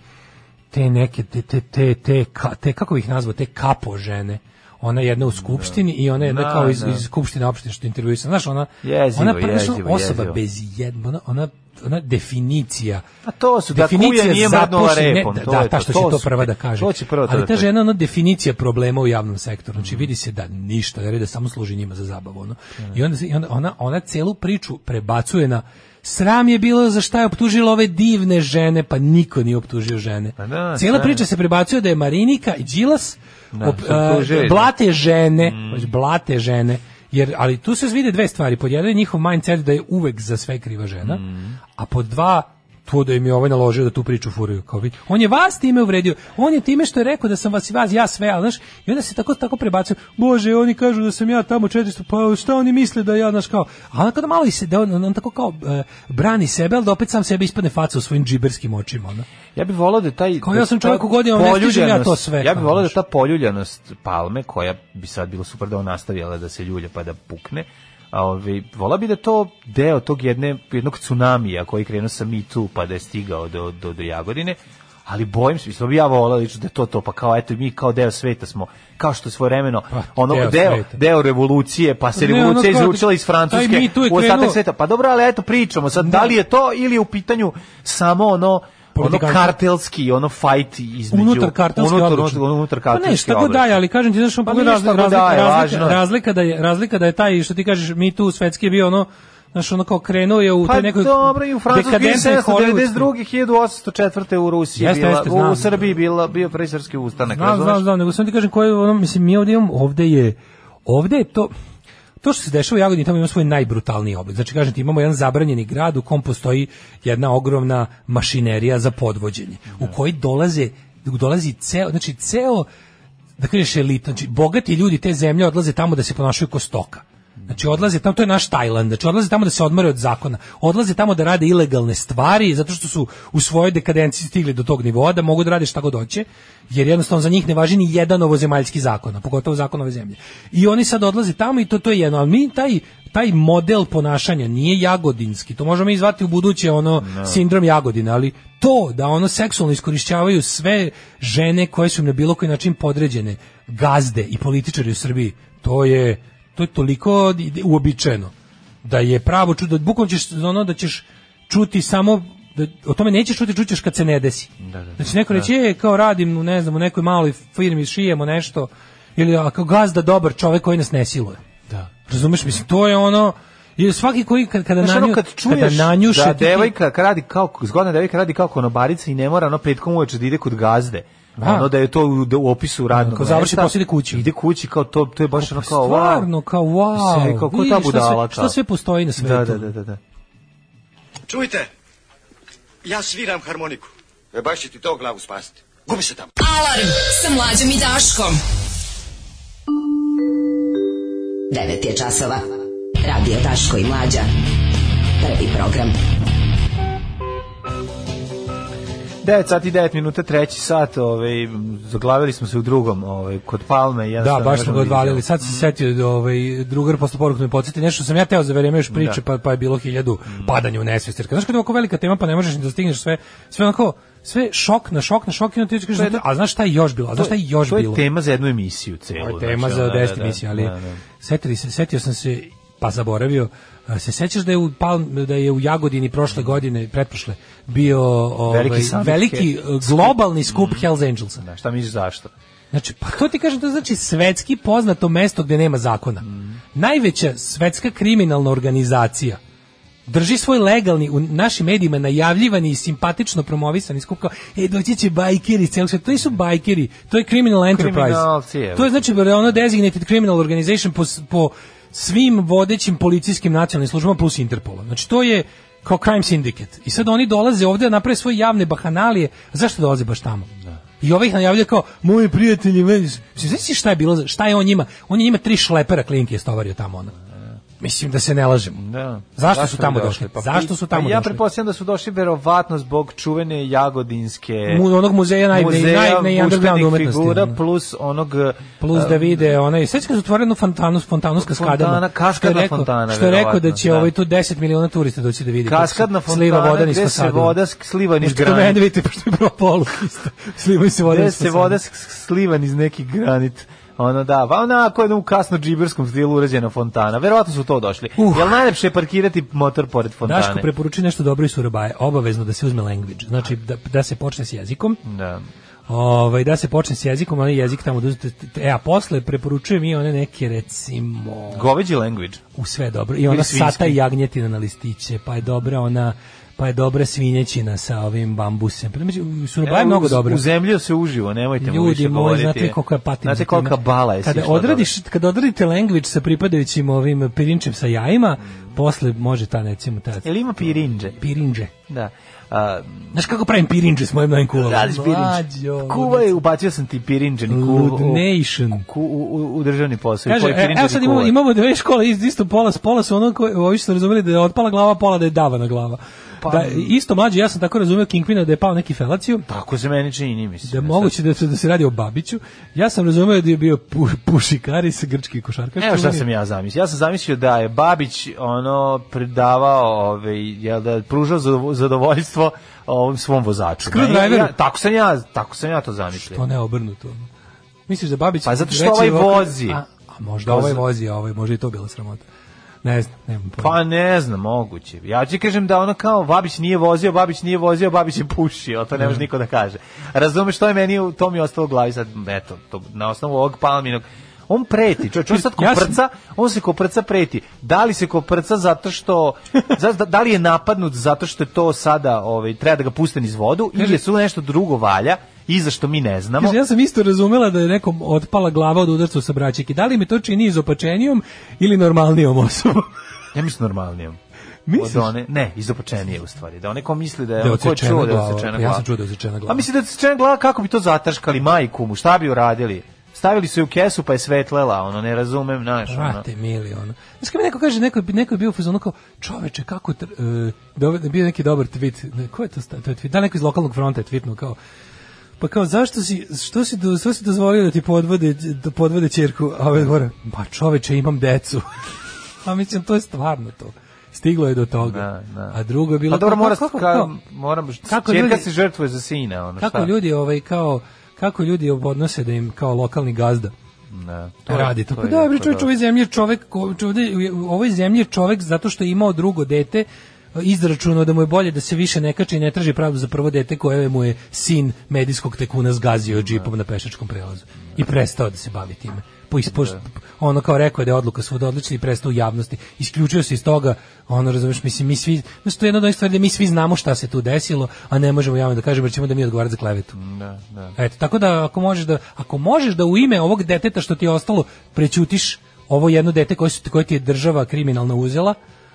[SPEAKER 6] te neke, te, te, te, te, ka- te, kako bih nazvao, te kapo žene, ona je jedna u skupštini i ona je jedna
[SPEAKER 7] Da,
[SPEAKER 6] kao iz,
[SPEAKER 7] da.
[SPEAKER 6] iz skupštine opštine što intervjuje znaš, ona,
[SPEAKER 7] Jezivo,
[SPEAKER 6] ona prvo su
[SPEAKER 7] jezivo,
[SPEAKER 6] osoba
[SPEAKER 7] jezivo.
[SPEAKER 6] bez jedne, ona, ona, ona definicija
[SPEAKER 7] A to su da kuja nije mrdnula
[SPEAKER 6] zaposlene-
[SPEAKER 7] repom,
[SPEAKER 6] Da,
[SPEAKER 7] to
[SPEAKER 6] da,
[SPEAKER 7] je
[SPEAKER 6] ta
[SPEAKER 7] to,
[SPEAKER 6] što će
[SPEAKER 7] to
[SPEAKER 6] to
[SPEAKER 7] su-
[SPEAKER 6] prva da kaže.
[SPEAKER 7] to će prvo to
[SPEAKER 6] Ali
[SPEAKER 7] da
[SPEAKER 6] ta
[SPEAKER 7] kaže. Mm.
[SPEAKER 6] žena ono definicija problema u javnom sektoru. Znači vidi se da ništa, ne radi, da samo služi njima za zabavu. Ono.
[SPEAKER 7] Da,
[SPEAKER 6] I onda, se- i onda ona, ona celu priču prebacuje na Sram je bilo za šta je optužila ove divne žene, pa niko nije optužio žene.
[SPEAKER 7] Pa da,
[SPEAKER 6] Cijela
[SPEAKER 7] šta
[SPEAKER 6] priča se prebacuje da je Marinika i Đilas
[SPEAKER 7] Da,
[SPEAKER 6] op-
[SPEAKER 7] su optužili,
[SPEAKER 6] e,
[SPEAKER 7] da.
[SPEAKER 6] blate žene, blate žene, jer, ali tu se vide dve stvari. Pod jedan je njihov mindset da je uvek za sve kriva žena,
[SPEAKER 7] Mm.
[SPEAKER 6] a pod dva to da im je ovaj naložio da tu priču furaju. Kao vi. On je vas time uvredio. On je time što je rekao da sam vas i vas, ja sve, ali znaš, i onda se tako tako prebacuju. Bože, oni kažu da sam ja tamo 400, pa šta oni misle da ja, znaš, kao. A onda kada malo i se, da on, on tako kao e, brani sebe, ali da opet sam sebe ispadne faca u svojim džiberskim očima. Ono.
[SPEAKER 7] Ja bih volao da taj
[SPEAKER 6] Kao ja
[SPEAKER 7] da
[SPEAKER 6] sam
[SPEAKER 7] ta
[SPEAKER 6] čovjek u godinama, ne stižem ja to sve,
[SPEAKER 7] Ja bih
[SPEAKER 6] kao,
[SPEAKER 7] volao da
[SPEAKER 6] znaš.
[SPEAKER 7] ta poljuljanost palme koja bi sad bilo super da on nastavila da se ljulja pa da pukne. A ovaj vola bi da to deo tog jedne jednog tsunamija koji je krenuo sa Me Too pa da je stigao do do, do Jagodine. Ali bojim se, mislim, bi ja volao lično da je to to, pa kao, eto, mi kao deo sveta smo, kao što svojevremeno,
[SPEAKER 6] Pa,
[SPEAKER 7] ono,
[SPEAKER 6] deo
[SPEAKER 7] deo,
[SPEAKER 6] sveta.
[SPEAKER 7] deo, revolucije, pa se
[SPEAKER 6] Ne, ono
[SPEAKER 7] revolucija
[SPEAKER 6] kao-
[SPEAKER 7] izručila iz
[SPEAKER 6] taj
[SPEAKER 7] Francuske
[SPEAKER 6] Me Too je
[SPEAKER 7] u ostatak
[SPEAKER 6] krenuo-
[SPEAKER 7] sveta. Pa dobro, ali eto, pričamo sad, da li je to ili je u pitanju samo ono, ono
[SPEAKER 6] Politikantstvo.
[SPEAKER 7] kartelski, ono fight između
[SPEAKER 6] unutar kartonske
[SPEAKER 7] unutar,
[SPEAKER 6] odlično.
[SPEAKER 7] unutar, unutar
[SPEAKER 6] pa ne,
[SPEAKER 7] kartelski
[SPEAKER 6] šta god
[SPEAKER 7] obračun.
[SPEAKER 6] daje, ali kažem ti znaš on
[SPEAKER 7] Pa
[SPEAKER 6] pogleda
[SPEAKER 7] nije
[SPEAKER 6] razlika,
[SPEAKER 7] šta god
[SPEAKER 6] razlika,
[SPEAKER 7] daje,
[SPEAKER 6] razlika,
[SPEAKER 7] važno je.
[SPEAKER 6] razlika da je razlika da je taj što ti kažeš mi tu svetski je bio ono znaš ono kao krenuo je u
[SPEAKER 7] Pa
[SPEAKER 6] taj nekoj
[SPEAKER 7] dobro, i u Francuskoj
[SPEAKER 6] dekadentnoj hollywoodskoj-
[SPEAKER 7] 1792. 1804. u Rusiji
[SPEAKER 6] Jeste,
[SPEAKER 7] bila,
[SPEAKER 6] jeste, znam.
[SPEAKER 7] u Srbiji bila, bio presarski ustanak,
[SPEAKER 6] Znam,
[SPEAKER 7] razumeš?
[SPEAKER 6] znam, znam, nego sam ti kažem koji ono mislim mi ovdje imamo ovdje je ovdje je to to što se dešava u Jagodini tamo ima svoj najbrutalniji oblik. Znači kažem ti imamo jedan zabranjeni grad u kom postoji jedna ogromna mašinerija za podvođenje u
[SPEAKER 7] Da.
[SPEAKER 6] koji dolaze dolazi ceo znači ceo da kažeš elita, znači bogati ljudi te zemlje odlaze tamo da se ponašaju ko stoka. Znači odlaze tamo, to je naš Tajland, znači odlaze tamo da se odmore od zakona, odlaze tamo da rade ilegalne stvari, zato što su u svojoj dekadenciji stigli do tog nivoa da mogu da rade šta god hoće, jer jednostavno za njih ne važi ni jedan ovozemaljski zakon, a pogotovo zakon ove zemlje. I oni sad odlaze tamo i to, to je jedno, ali mi taj, taj model ponašanja nije jagodinski, to možemo mi zvati u buduće ono sindrom Jagodina, ali to da ono seksualno iskorišćavaju sve žene koje su im na bilo koji način podređene, gazde i političari u Srbiji, to je to je toliko uobičajeno da je pravo čudo, bukvalno ćeš ono da ćeš čuti samo da, o tome nećeš čuti, čućeš kad se ne desi. Da, da, će neko reći, e, kao radim, u, ne znam, u nekoj maloj firmi, šijemo nešto, ili a, kao gazda dobar čovjek koji nas ne siluje. Da. Razumeš, mislim, to je ono, jer svaki koji kad, kada,
[SPEAKER 7] Znaš,
[SPEAKER 6] nanju,
[SPEAKER 7] ono kad
[SPEAKER 6] kada
[SPEAKER 7] čuješ
[SPEAKER 6] nanjuše,
[SPEAKER 7] da
[SPEAKER 6] ti-
[SPEAKER 7] devojka kad radi kao zgodna devojka radi kao konobarica i ne mora ono petkom uveče da ide kod gazde.
[SPEAKER 6] Da.
[SPEAKER 7] Ono da je to u, da u opisu radnog.
[SPEAKER 6] Ako završi
[SPEAKER 7] mesta,
[SPEAKER 6] posao ide kući.
[SPEAKER 7] Ide kući kao to to je baš ono kao
[SPEAKER 6] stvarno,
[SPEAKER 7] wow.
[SPEAKER 6] kao, wow,
[SPEAKER 7] Sve, kao, ko ta
[SPEAKER 6] vidi šta sve-
[SPEAKER 7] budala,
[SPEAKER 6] šta
[SPEAKER 7] kao.
[SPEAKER 6] sve postoji na svetu.
[SPEAKER 7] Da, da, da, da, da.
[SPEAKER 15] Čujte, ja sviram harmoniku. E baš će ti to glavu spasiti. Gubi se tamo.
[SPEAKER 9] Alarm sa mlađom i Daškom. 9 je časova. Radio Daško i Mlađa. Prvi program.
[SPEAKER 7] 9 sati 9 minuta, treći sat, ovaj zaglavili smo se u drugom, ovaj kod Palme i ja
[SPEAKER 6] Da, baš smo ga odvalili. Sad sam se setio da ovaj drugar posle poruke me podsjeti nešto sam ja teo za vreme još priče,
[SPEAKER 7] Da.
[SPEAKER 6] pa pa je bilo hiljadu padanja u nesvest. Jer kad- Znaš kad je ovako velika tema, pa ne možeš ni da stigneš sve, sve onako sve šok na šok na šok i onda ti kažeš,
[SPEAKER 7] To je jedna-
[SPEAKER 6] a znaš šta je još bilo? A znaš šta je još
[SPEAKER 7] to je
[SPEAKER 6] bilo?
[SPEAKER 7] tema za jednu emisiju celu.
[SPEAKER 6] Ovo je tema
[SPEAKER 7] znači,
[SPEAKER 6] za
[SPEAKER 7] ono, da,
[SPEAKER 6] 10
[SPEAKER 7] da,
[SPEAKER 6] emisija, ali
[SPEAKER 7] da, da.
[SPEAKER 6] setili se, setio sam se pa zaboravio. A, Se sećaš da je u Pal, da je u Jagodini prošle godine, pretprošle, bio ovaj,
[SPEAKER 7] Veliki
[SPEAKER 6] veliki, e,
[SPEAKER 7] summit Hel-
[SPEAKER 6] globalni skup Hells Angelsa.
[SPEAKER 7] Da, šta misliš zašto?
[SPEAKER 6] Znači, pa to ti kažem, to znači svetski poznato mesto gde nema zakona.
[SPEAKER 7] Mhm.
[SPEAKER 6] Najveća svetska kriminalna organizacija drži svoj legalni, u našim medijima najavljivani i simpatično promovisani skup kao, e, doći će bajkeri, iz celog sveta. to nisu bajkeri, to je criminal enterprise.
[SPEAKER 7] Kriminalci, evo.
[SPEAKER 6] To je znači da je ono designated criminal organization po, s- po svim vodećim policijskim nacionalnim službama plus Interpola. Znači, to je kao crime syndicate. I sad oni dolaze ovde, da naprave svoje javne bahanalije. Zašto dolaze baš tamo?
[SPEAKER 7] Da.
[SPEAKER 6] I ovaj ih najavlja kao, moji prijatelji, meni su... Mislim, znaš ti šta je bilo, za- šta je on njima? On je njima tri šlepera klinke stovario tamo, ono. Mislim da se ne lažemo.
[SPEAKER 7] Da.
[SPEAKER 6] Zašto su tamo
[SPEAKER 7] bi
[SPEAKER 6] došli? Zašto su tamo
[SPEAKER 7] pa ja
[SPEAKER 6] došli?
[SPEAKER 7] pretpostavljam da su došli verovatno zbog čuvene jagodinske
[SPEAKER 6] Mu- onog muzeja naj- naj- naj- underground
[SPEAKER 7] muškanih
[SPEAKER 6] umetnosti,
[SPEAKER 7] figura
[SPEAKER 6] ono.
[SPEAKER 7] plus onog
[SPEAKER 6] Plus
[SPEAKER 7] e,
[SPEAKER 6] da vide onaj sećaš kad su otvorili onu fontanu fontanuska
[SPEAKER 7] Fontana,
[SPEAKER 6] skadana. što je
[SPEAKER 7] kaskadna
[SPEAKER 6] rekao-
[SPEAKER 7] fontana,
[SPEAKER 6] Što je rekao da
[SPEAKER 7] verovatno,
[SPEAKER 6] će
[SPEAKER 7] da.
[SPEAKER 6] ovaj tu 10 miliona turista doći da vidi. kako se
[SPEAKER 7] Kaskadna
[SPEAKER 6] sliva
[SPEAKER 7] fontana
[SPEAKER 6] voda niz
[SPEAKER 7] gde se
[SPEAKER 6] fasade.
[SPEAKER 7] voda sk- sliva niz
[SPEAKER 6] Pošto
[SPEAKER 7] granit.
[SPEAKER 6] mene vidite pošto je propalo isto. Sliva se voda
[SPEAKER 7] gde
[SPEAKER 6] niz
[SPEAKER 7] se
[SPEAKER 6] fasade.
[SPEAKER 7] voda sk- slivan iz neki granit. Ono da, pa onako jednom u kasno džiberskom stilu urađena fontana. Verovatno su to došli. Jel najlepše je parkirati motor pored fontane?
[SPEAKER 6] Daško preporuči nešto dobro iz Surabaje, obavezno da se uzme language. Znači da, da se počne s jezikom.
[SPEAKER 7] Da.
[SPEAKER 6] Ovaj da se počne s jezikom, onaj jezik tamo da uzete, e a posle preporučujem i one neke recimo
[SPEAKER 7] Goveđi language.
[SPEAKER 6] u sve dobro. I
[SPEAKER 7] Ili
[SPEAKER 6] ona
[SPEAKER 7] svinjski.
[SPEAKER 6] sata i jagnjetina na listiće, pa je dobra ona pa je dobra svinjećina sa ovim bambusem. Pa, Surabaj E, je
[SPEAKER 7] Evo,
[SPEAKER 6] mnogo
[SPEAKER 7] uz-
[SPEAKER 6] dobro.
[SPEAKER 7] U zemlju se uživo, nemojte mu više
[SPEAKER 6] Ljudi moji,
[SPEAKER 7] govoriti.
[SPEAKER 6] znate koliko je patim. za
[SPEAKER 7] Znate
[SPEAKER 6] time.
[SPEAKER 7] kolika bala je
[SPEAKER 6] Kada
[SPEAKER 7] sišla
[SPEAKER 6] odradiš, kada odradite language sa pripadajućim ovim pirinčem sa jajima, posle može ta recimo ta.
[SPEAKER 7] Jel ima pirinđe?
[SPEAKER 6] Pirinđe.
[SPEAKER 7] Da. A,
[SPEAKER 6] Znaš kako pravim pirinđe s mojim novim kuvom?
[SPEAKER 7] Radiš pirinđe. Pa
[SPEAKER 6] Mlađo,
[SPEAKER 7] Kuvaj, ubacio sam ti pirinđeni kuv
[SPEAKER 6] Lud
[SPEAKER 7] u,
[SPEAKER 6] Nation.
[SPEAKER 7] ku, u, u, u državni posao.
[SPEAKER 6] Kaže,
[SPEAKER 7] Kaže,
[SPEAKER 6] e, evo sad imamo, imamo dve škole, iz- isto pola, pola su ono koji, ovi što su razumeli da je otpala glava, pola da je davana glava.
[SPEAKER 7] Pa,
[SPEAKER 6] da, isto mlađe, ja sam tako razumio Kingpina da je pao neki felaciju.
[SPEAKER 7] Tako se meni čini, mislim.
[SPEAKER 6] Da je moguće da se, da se radi o Babiću. Ja sam razumio da je bio pu, pušikaris, grčki košarkaš.
[SPEAKER 7] Evo šta
[SPEAKER 6] čuveni.
[SPEAKER 7] sam ja zamislio. Ja sam zamislio da je Babić ono predavao, ovaj jel da pružao zado- zadovoljstvo ovom svom vozaču.
[SPEAKER 6] Screwdriveru.
[SPEAKER 7] Ja- ja- tako sam ja, tako sam ja to zamislio.
[SPEAKER 6] To ne obrnuto. Misliš da Babić...
[SPEAKER 7] Pa zato što
[SPEAKER 6] reče
[SPEAKER 7] ovaj
[SPEAKER 6] ovako-
[SPEAKER 7] vozi.
[SPEAKER 6] A, a možda ovaj vozi, a ovaj možda i to bila sramota. Ne znam, nemam pojma.
[SPEAKER 7] Pa ne znam, moguće. Ja ti kažem da ono kao Babić nije vozio, Babić nije vozio, Babić je pušio, to ne
[SPEAKER 6] Mhm.
[SPEAKER 7] može niko da kaže. Razumeš, to je meni, u- to mi je ostalo u glavi sad, eto, to, na osnovu ovog palminog. On preti, čovječ, on sad
[SPEAKER 6] Ja sam-
[SPEAKER 7] koprca, on se koprca preti. Da li se koprca zato što, za- da, da li je napadnut zato što je to sada, ovaj, treba da ga puste iz vodu, ili su nešto drugo valja, i za što mi ne znamo.
[SPEAKER 6] Kaže, ja sam isto razumela da je nekom otpala glava od udarca u sabraćike. Da li mi to čini izopačenijom ili normalnijom osobom?
[SPEAKER 7] Ja mislim normalnijom.
[SPEAKER 6] Misliš?
[SPEAKER 7] Od one, ne, izopačenije u stvari. Da onaj ko misli da je,
[SPEAKER 6] Da je
[SPEAKER 7] on ko
[SPEAKER 6] odsečena
[SPEAKER 7] čuo da je
[SPEAKER 6] glava.
[SPEAKER 7] odsečena
[SPEAKER 6] Pa ja
[SPEAKER 7] glava.
[SPEAKER 6] sam čuo da je odsečena glava.
[SPEAKER 7] A misli da je odsečena glava, kako bi to zataškali majku mu? Šta bi uradili? Stavili su je u kesu pa je svetlela, ono, ne razumem, znaš, Pa ono.
[SPEAKER 6] Brate, mili, ono. Znaš kad mi neko kaže, neko, je bi- neko je bio u fazonu kao, čoveče, kako, tr, e, dobar- bio je neki dobar tweet, ne, ko je to, sta- to je tweet, da neko iz lokalnog fronta je tweetnuo kao, pa kao, zašto si, što si, do, što si dozvolio da ti podvode, da podvode čerku, a ovaj odgovara, pa čoveče, imam decu. a mislim, to je stvarno to. Stiglo je do toga. A drugo je bilo...
[SPEAKER 7] Pa dobro,
[SPEAKER 6] kao,
[SPEAKER 7] mora,
[SPEAKER 6] kako-
[SPEAKER 7] ka,
[SPEAKER 6] kao-
[SPEAKER 7] moram,
[SPEAKER 6] kako
[SPEAKER 7] čerka
[SPEAKER 6] ljudi-
[SPEAKER 7] se žrtvuje za sina, ono,
[SPEAKER 6] kako
[SPEAKER 7] šta?
[SPEAKER 6] ljudi ovaj kao kako ljudi odnose da im kao lokalni gazda
[SPEAKER 7] Ne,
[SPEAKER 6] to radi tako. Da,
[SPEAKER 7] je
[SPEAKER 6] bre,
[SPEAKER 7] jako
[SPEAKER 6] čovjek, u ovoj zemlji je čovjek, ko- čovjek- u ovoj zemlji je čovjek zato što je imao drugo dete, izračunao da mu je bolje da se više ne kače i ne traži pravdu za prvo dete koje mu je sin medijskog tekuna zgazio džipom na pešačkom prelazu i prestao da se bavi time. Po ispo- ono kao rekao je da je odluka svuda odlična i prestao u javnosti. Isključio se iz toga, ono razumeš, mislim, mi svi, znači to je jedna od onih stvari da mi svi znamo šta se tu desilo, a ne možemo javno da kažemo jer ćemo da mi odgovarati za klevetu.
[SPEAKER 7] Da, da.
[SPEAKER 6] Eto, tako da ako možeš da ako možeš da u ime ovog deteta što ti je ostalo prećutiš ovo jedno dete koje su koje ti je država kriminalno uzela,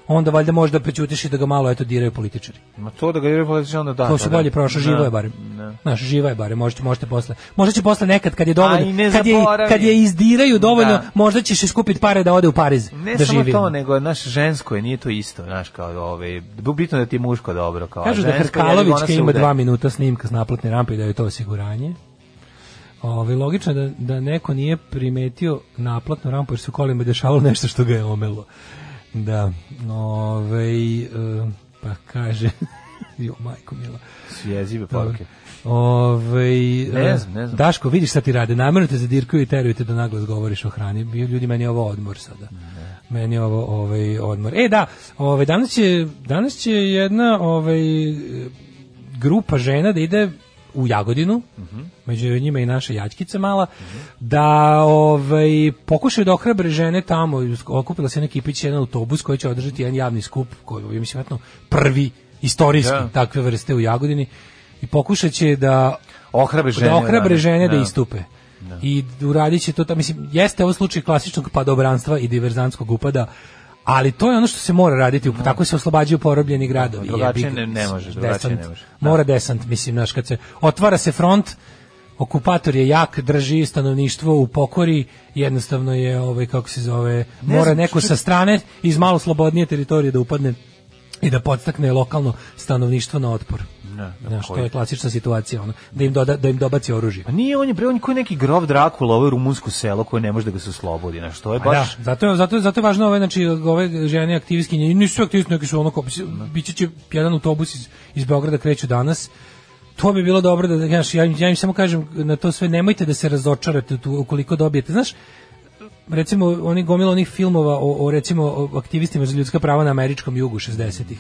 [SPEAKER 6] onda valjda možeš da prećutiš i da ga malo eto diraju političari.
[SPEAKER 7] Ma to da ga je politično onda da.
[SPEAKER 6] to su
[SPEAKER 7] da.
[SPEAKER 6] bolje prošlo, živo
[SPEAKER 7] Da,
[SPEAKER 6] je barem.
[SPEAKER 7] da.
[SPEAKER 6] Znaš, živa je barem, možete, možete posle. Možda će posle nekad kad je dovoljno,
[SPEAKER 7] A i ne
[SPEAKER 6] kad, je,
[SPEAKER 7] zaboravi.
[SPEAKER 6] kad je izdiraju dovoljno,
[SPEAKER 7] Da.
[SPEAKER 6] možda ćeš iskupiti pare da ode u Pariz.
[SPEAKER 7] Ne
[SPEAKER 6] da
[SPEAKER 7] samo
[SPEAKER 6] živi.
[SPEAKER 7] to, nego naš žensko je, nije to isto, znaš, kao ove, bitno da ti je muško dobro, kao. a
[SPEAKER 6] Kažu da
[SPEAKER 7] žensko, jebi ga, ona
[SPEAKER 6] Hrkalovićka
[SPEAKER 7] se
[SPEAKER 6] ima
[SPEAKER 7] ude.
[SPEAKER 6] dva minuta snimka s naplatne rampe i da je to osiguranje. Ove, logično je da, da neko nije primetio naplatnu rampu jer su kolima dešavalo nešto što ga je omelo. Da, ove, pa kaže, jo, majko mila.
[SPEAKER 7] Su jezive poruke.
[SPEAKER 6] Da. Dobro. Ove,
[SPEAKER 7] Ne znam, ne znam.
[SPEAKER 6] eh, Daško, vidiš šta ti rade, namjerno te zadirkuju i teruju te da naglas govoriš o hrani. Ljudi, meni je ovo odmor sada. Meni je ovo ovaj, odmor. E, da, ovaj, danas, će, danas će jedna ovaj, grupa žena da ide u Jagodinu, među njima i naša Jačkica mala, da ovaj, pokušaju da ohrabre žene tamo, okupila se jedna kipić, jedan autobus koji će održati jedan javni skup, koji je, mislim, vjerojatno prvi istorijski
[SPEAKER 7] Da.
[SPEAKER 6] takve vrste u Jagodini i pokušat će da
[SPEAKER 7] Ohrabre žene,
[SPEAKER 6] da, ohrabre
[SPEAKER 7] da.
[SPEAKER 6] žene da,
[SPEAKER 7] Da.
[SPEAKER 6] istupe. I uradit će to, ta, mislim, jeste ovo slučaj klasičnog padobranstva i diverzantskog upada, ali to je ono što se mora raditi, tako se oslobađaju porobljeni gradovi.
[SPEAKER 7] Da. Drugačije
[SPEAKER 6] jebi ga,
[SPEAKER 7] ne- ne može,
[SPEAKER 6] mislim,
[SPEAKER 7] drugačije
[SPEAKER 6] desant.
[SPEAKER 7] ne može. da.
[SPEAKER 6] Mora desant, mislim, znaš, kad se otvara se front, okupator je jak, drži stanovništvo u pokori, jednostavno je, ovaj, kako se zove,
[SPEAKER 7] Ne
[SPEAKER 6] mora
[SPEAKER 7] znam,
[SPEAKER 6] neko
[SPEAKER 7] što-
[SPEAKER 6] sa strane iz malo slobodnije teritorije da upadne i da podstakne lokalno stanovništvo na otpor.
[SPEAKER 7] Ne, na
[SPEAKER 6] Znaš, to
[SPEAKER 7] koji?
[SPEAKER 6] je klasična situacija, ono, da im, doda, da im dobaci oružje.
[SPEAKER 7] Pa nije on je bre, on je koji neki grof Drakula, ovo je rumunsko selo koje ne može da ga se oslobodi, znači to je
[SPEAKER 6] Pa
[SPEAKER 7] baš
[SPEAKER 6] Da, zato je, zato, je- zato je važno ove, znači, ove žene aktivistkinje, nisu aktivistkinje, neki su ono, kao, biće će jedan autobus iz, iz Beograda kreću danas, to bi bilo dobro da, znaš, ja, im- ja im samo kažem na to sve, nemojte da se razočarate tu, ukoliko dobijete, znaš, recimo, oni gomila onih filmova o, o, recimo, o aktivistima za ljudska prava na američkom jugu 60-ih,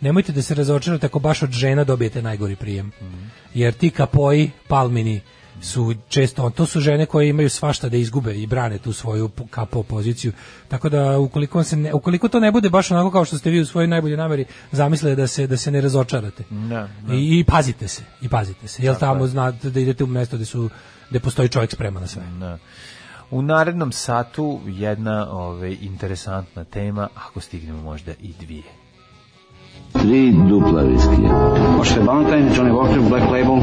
[SPEAKER 6] nemojte da se razočarate ako baš od žena dobijete najgori prijem,
[SPEAKER 7] Mhm.
[SPEAKER 6] jer ti kapoji, palmini, su često, to su žene koje imaju svašta da izgube i brane tu svoju pu- kapo poziciju. Tako da ukoliko, vam se ne- ukoliko to ne bude baš onako kao što ste vi u svojoj najboljoj nameri zamislili da se da se ne razočarate.
[SPEAKER 7] Da, da.
[SPEAKER 6] I, i pazite se, i pazite se. Jel
[SPEAKER 7] Tako
[SPEAKER 6] tamo
[SPEAKER 7] je.
[SPEAKER 6] znate da idete u mesto gde su gde postoji čovjek spreman na sve.
[SPEAKER 7] Da. U narednom satu jedna ove, interesantna tema, ako stignemo možda i dvije.
[SPEAKER 16] Tri dupla viskija. Možete Valentine, Johnny Walker, Black Label,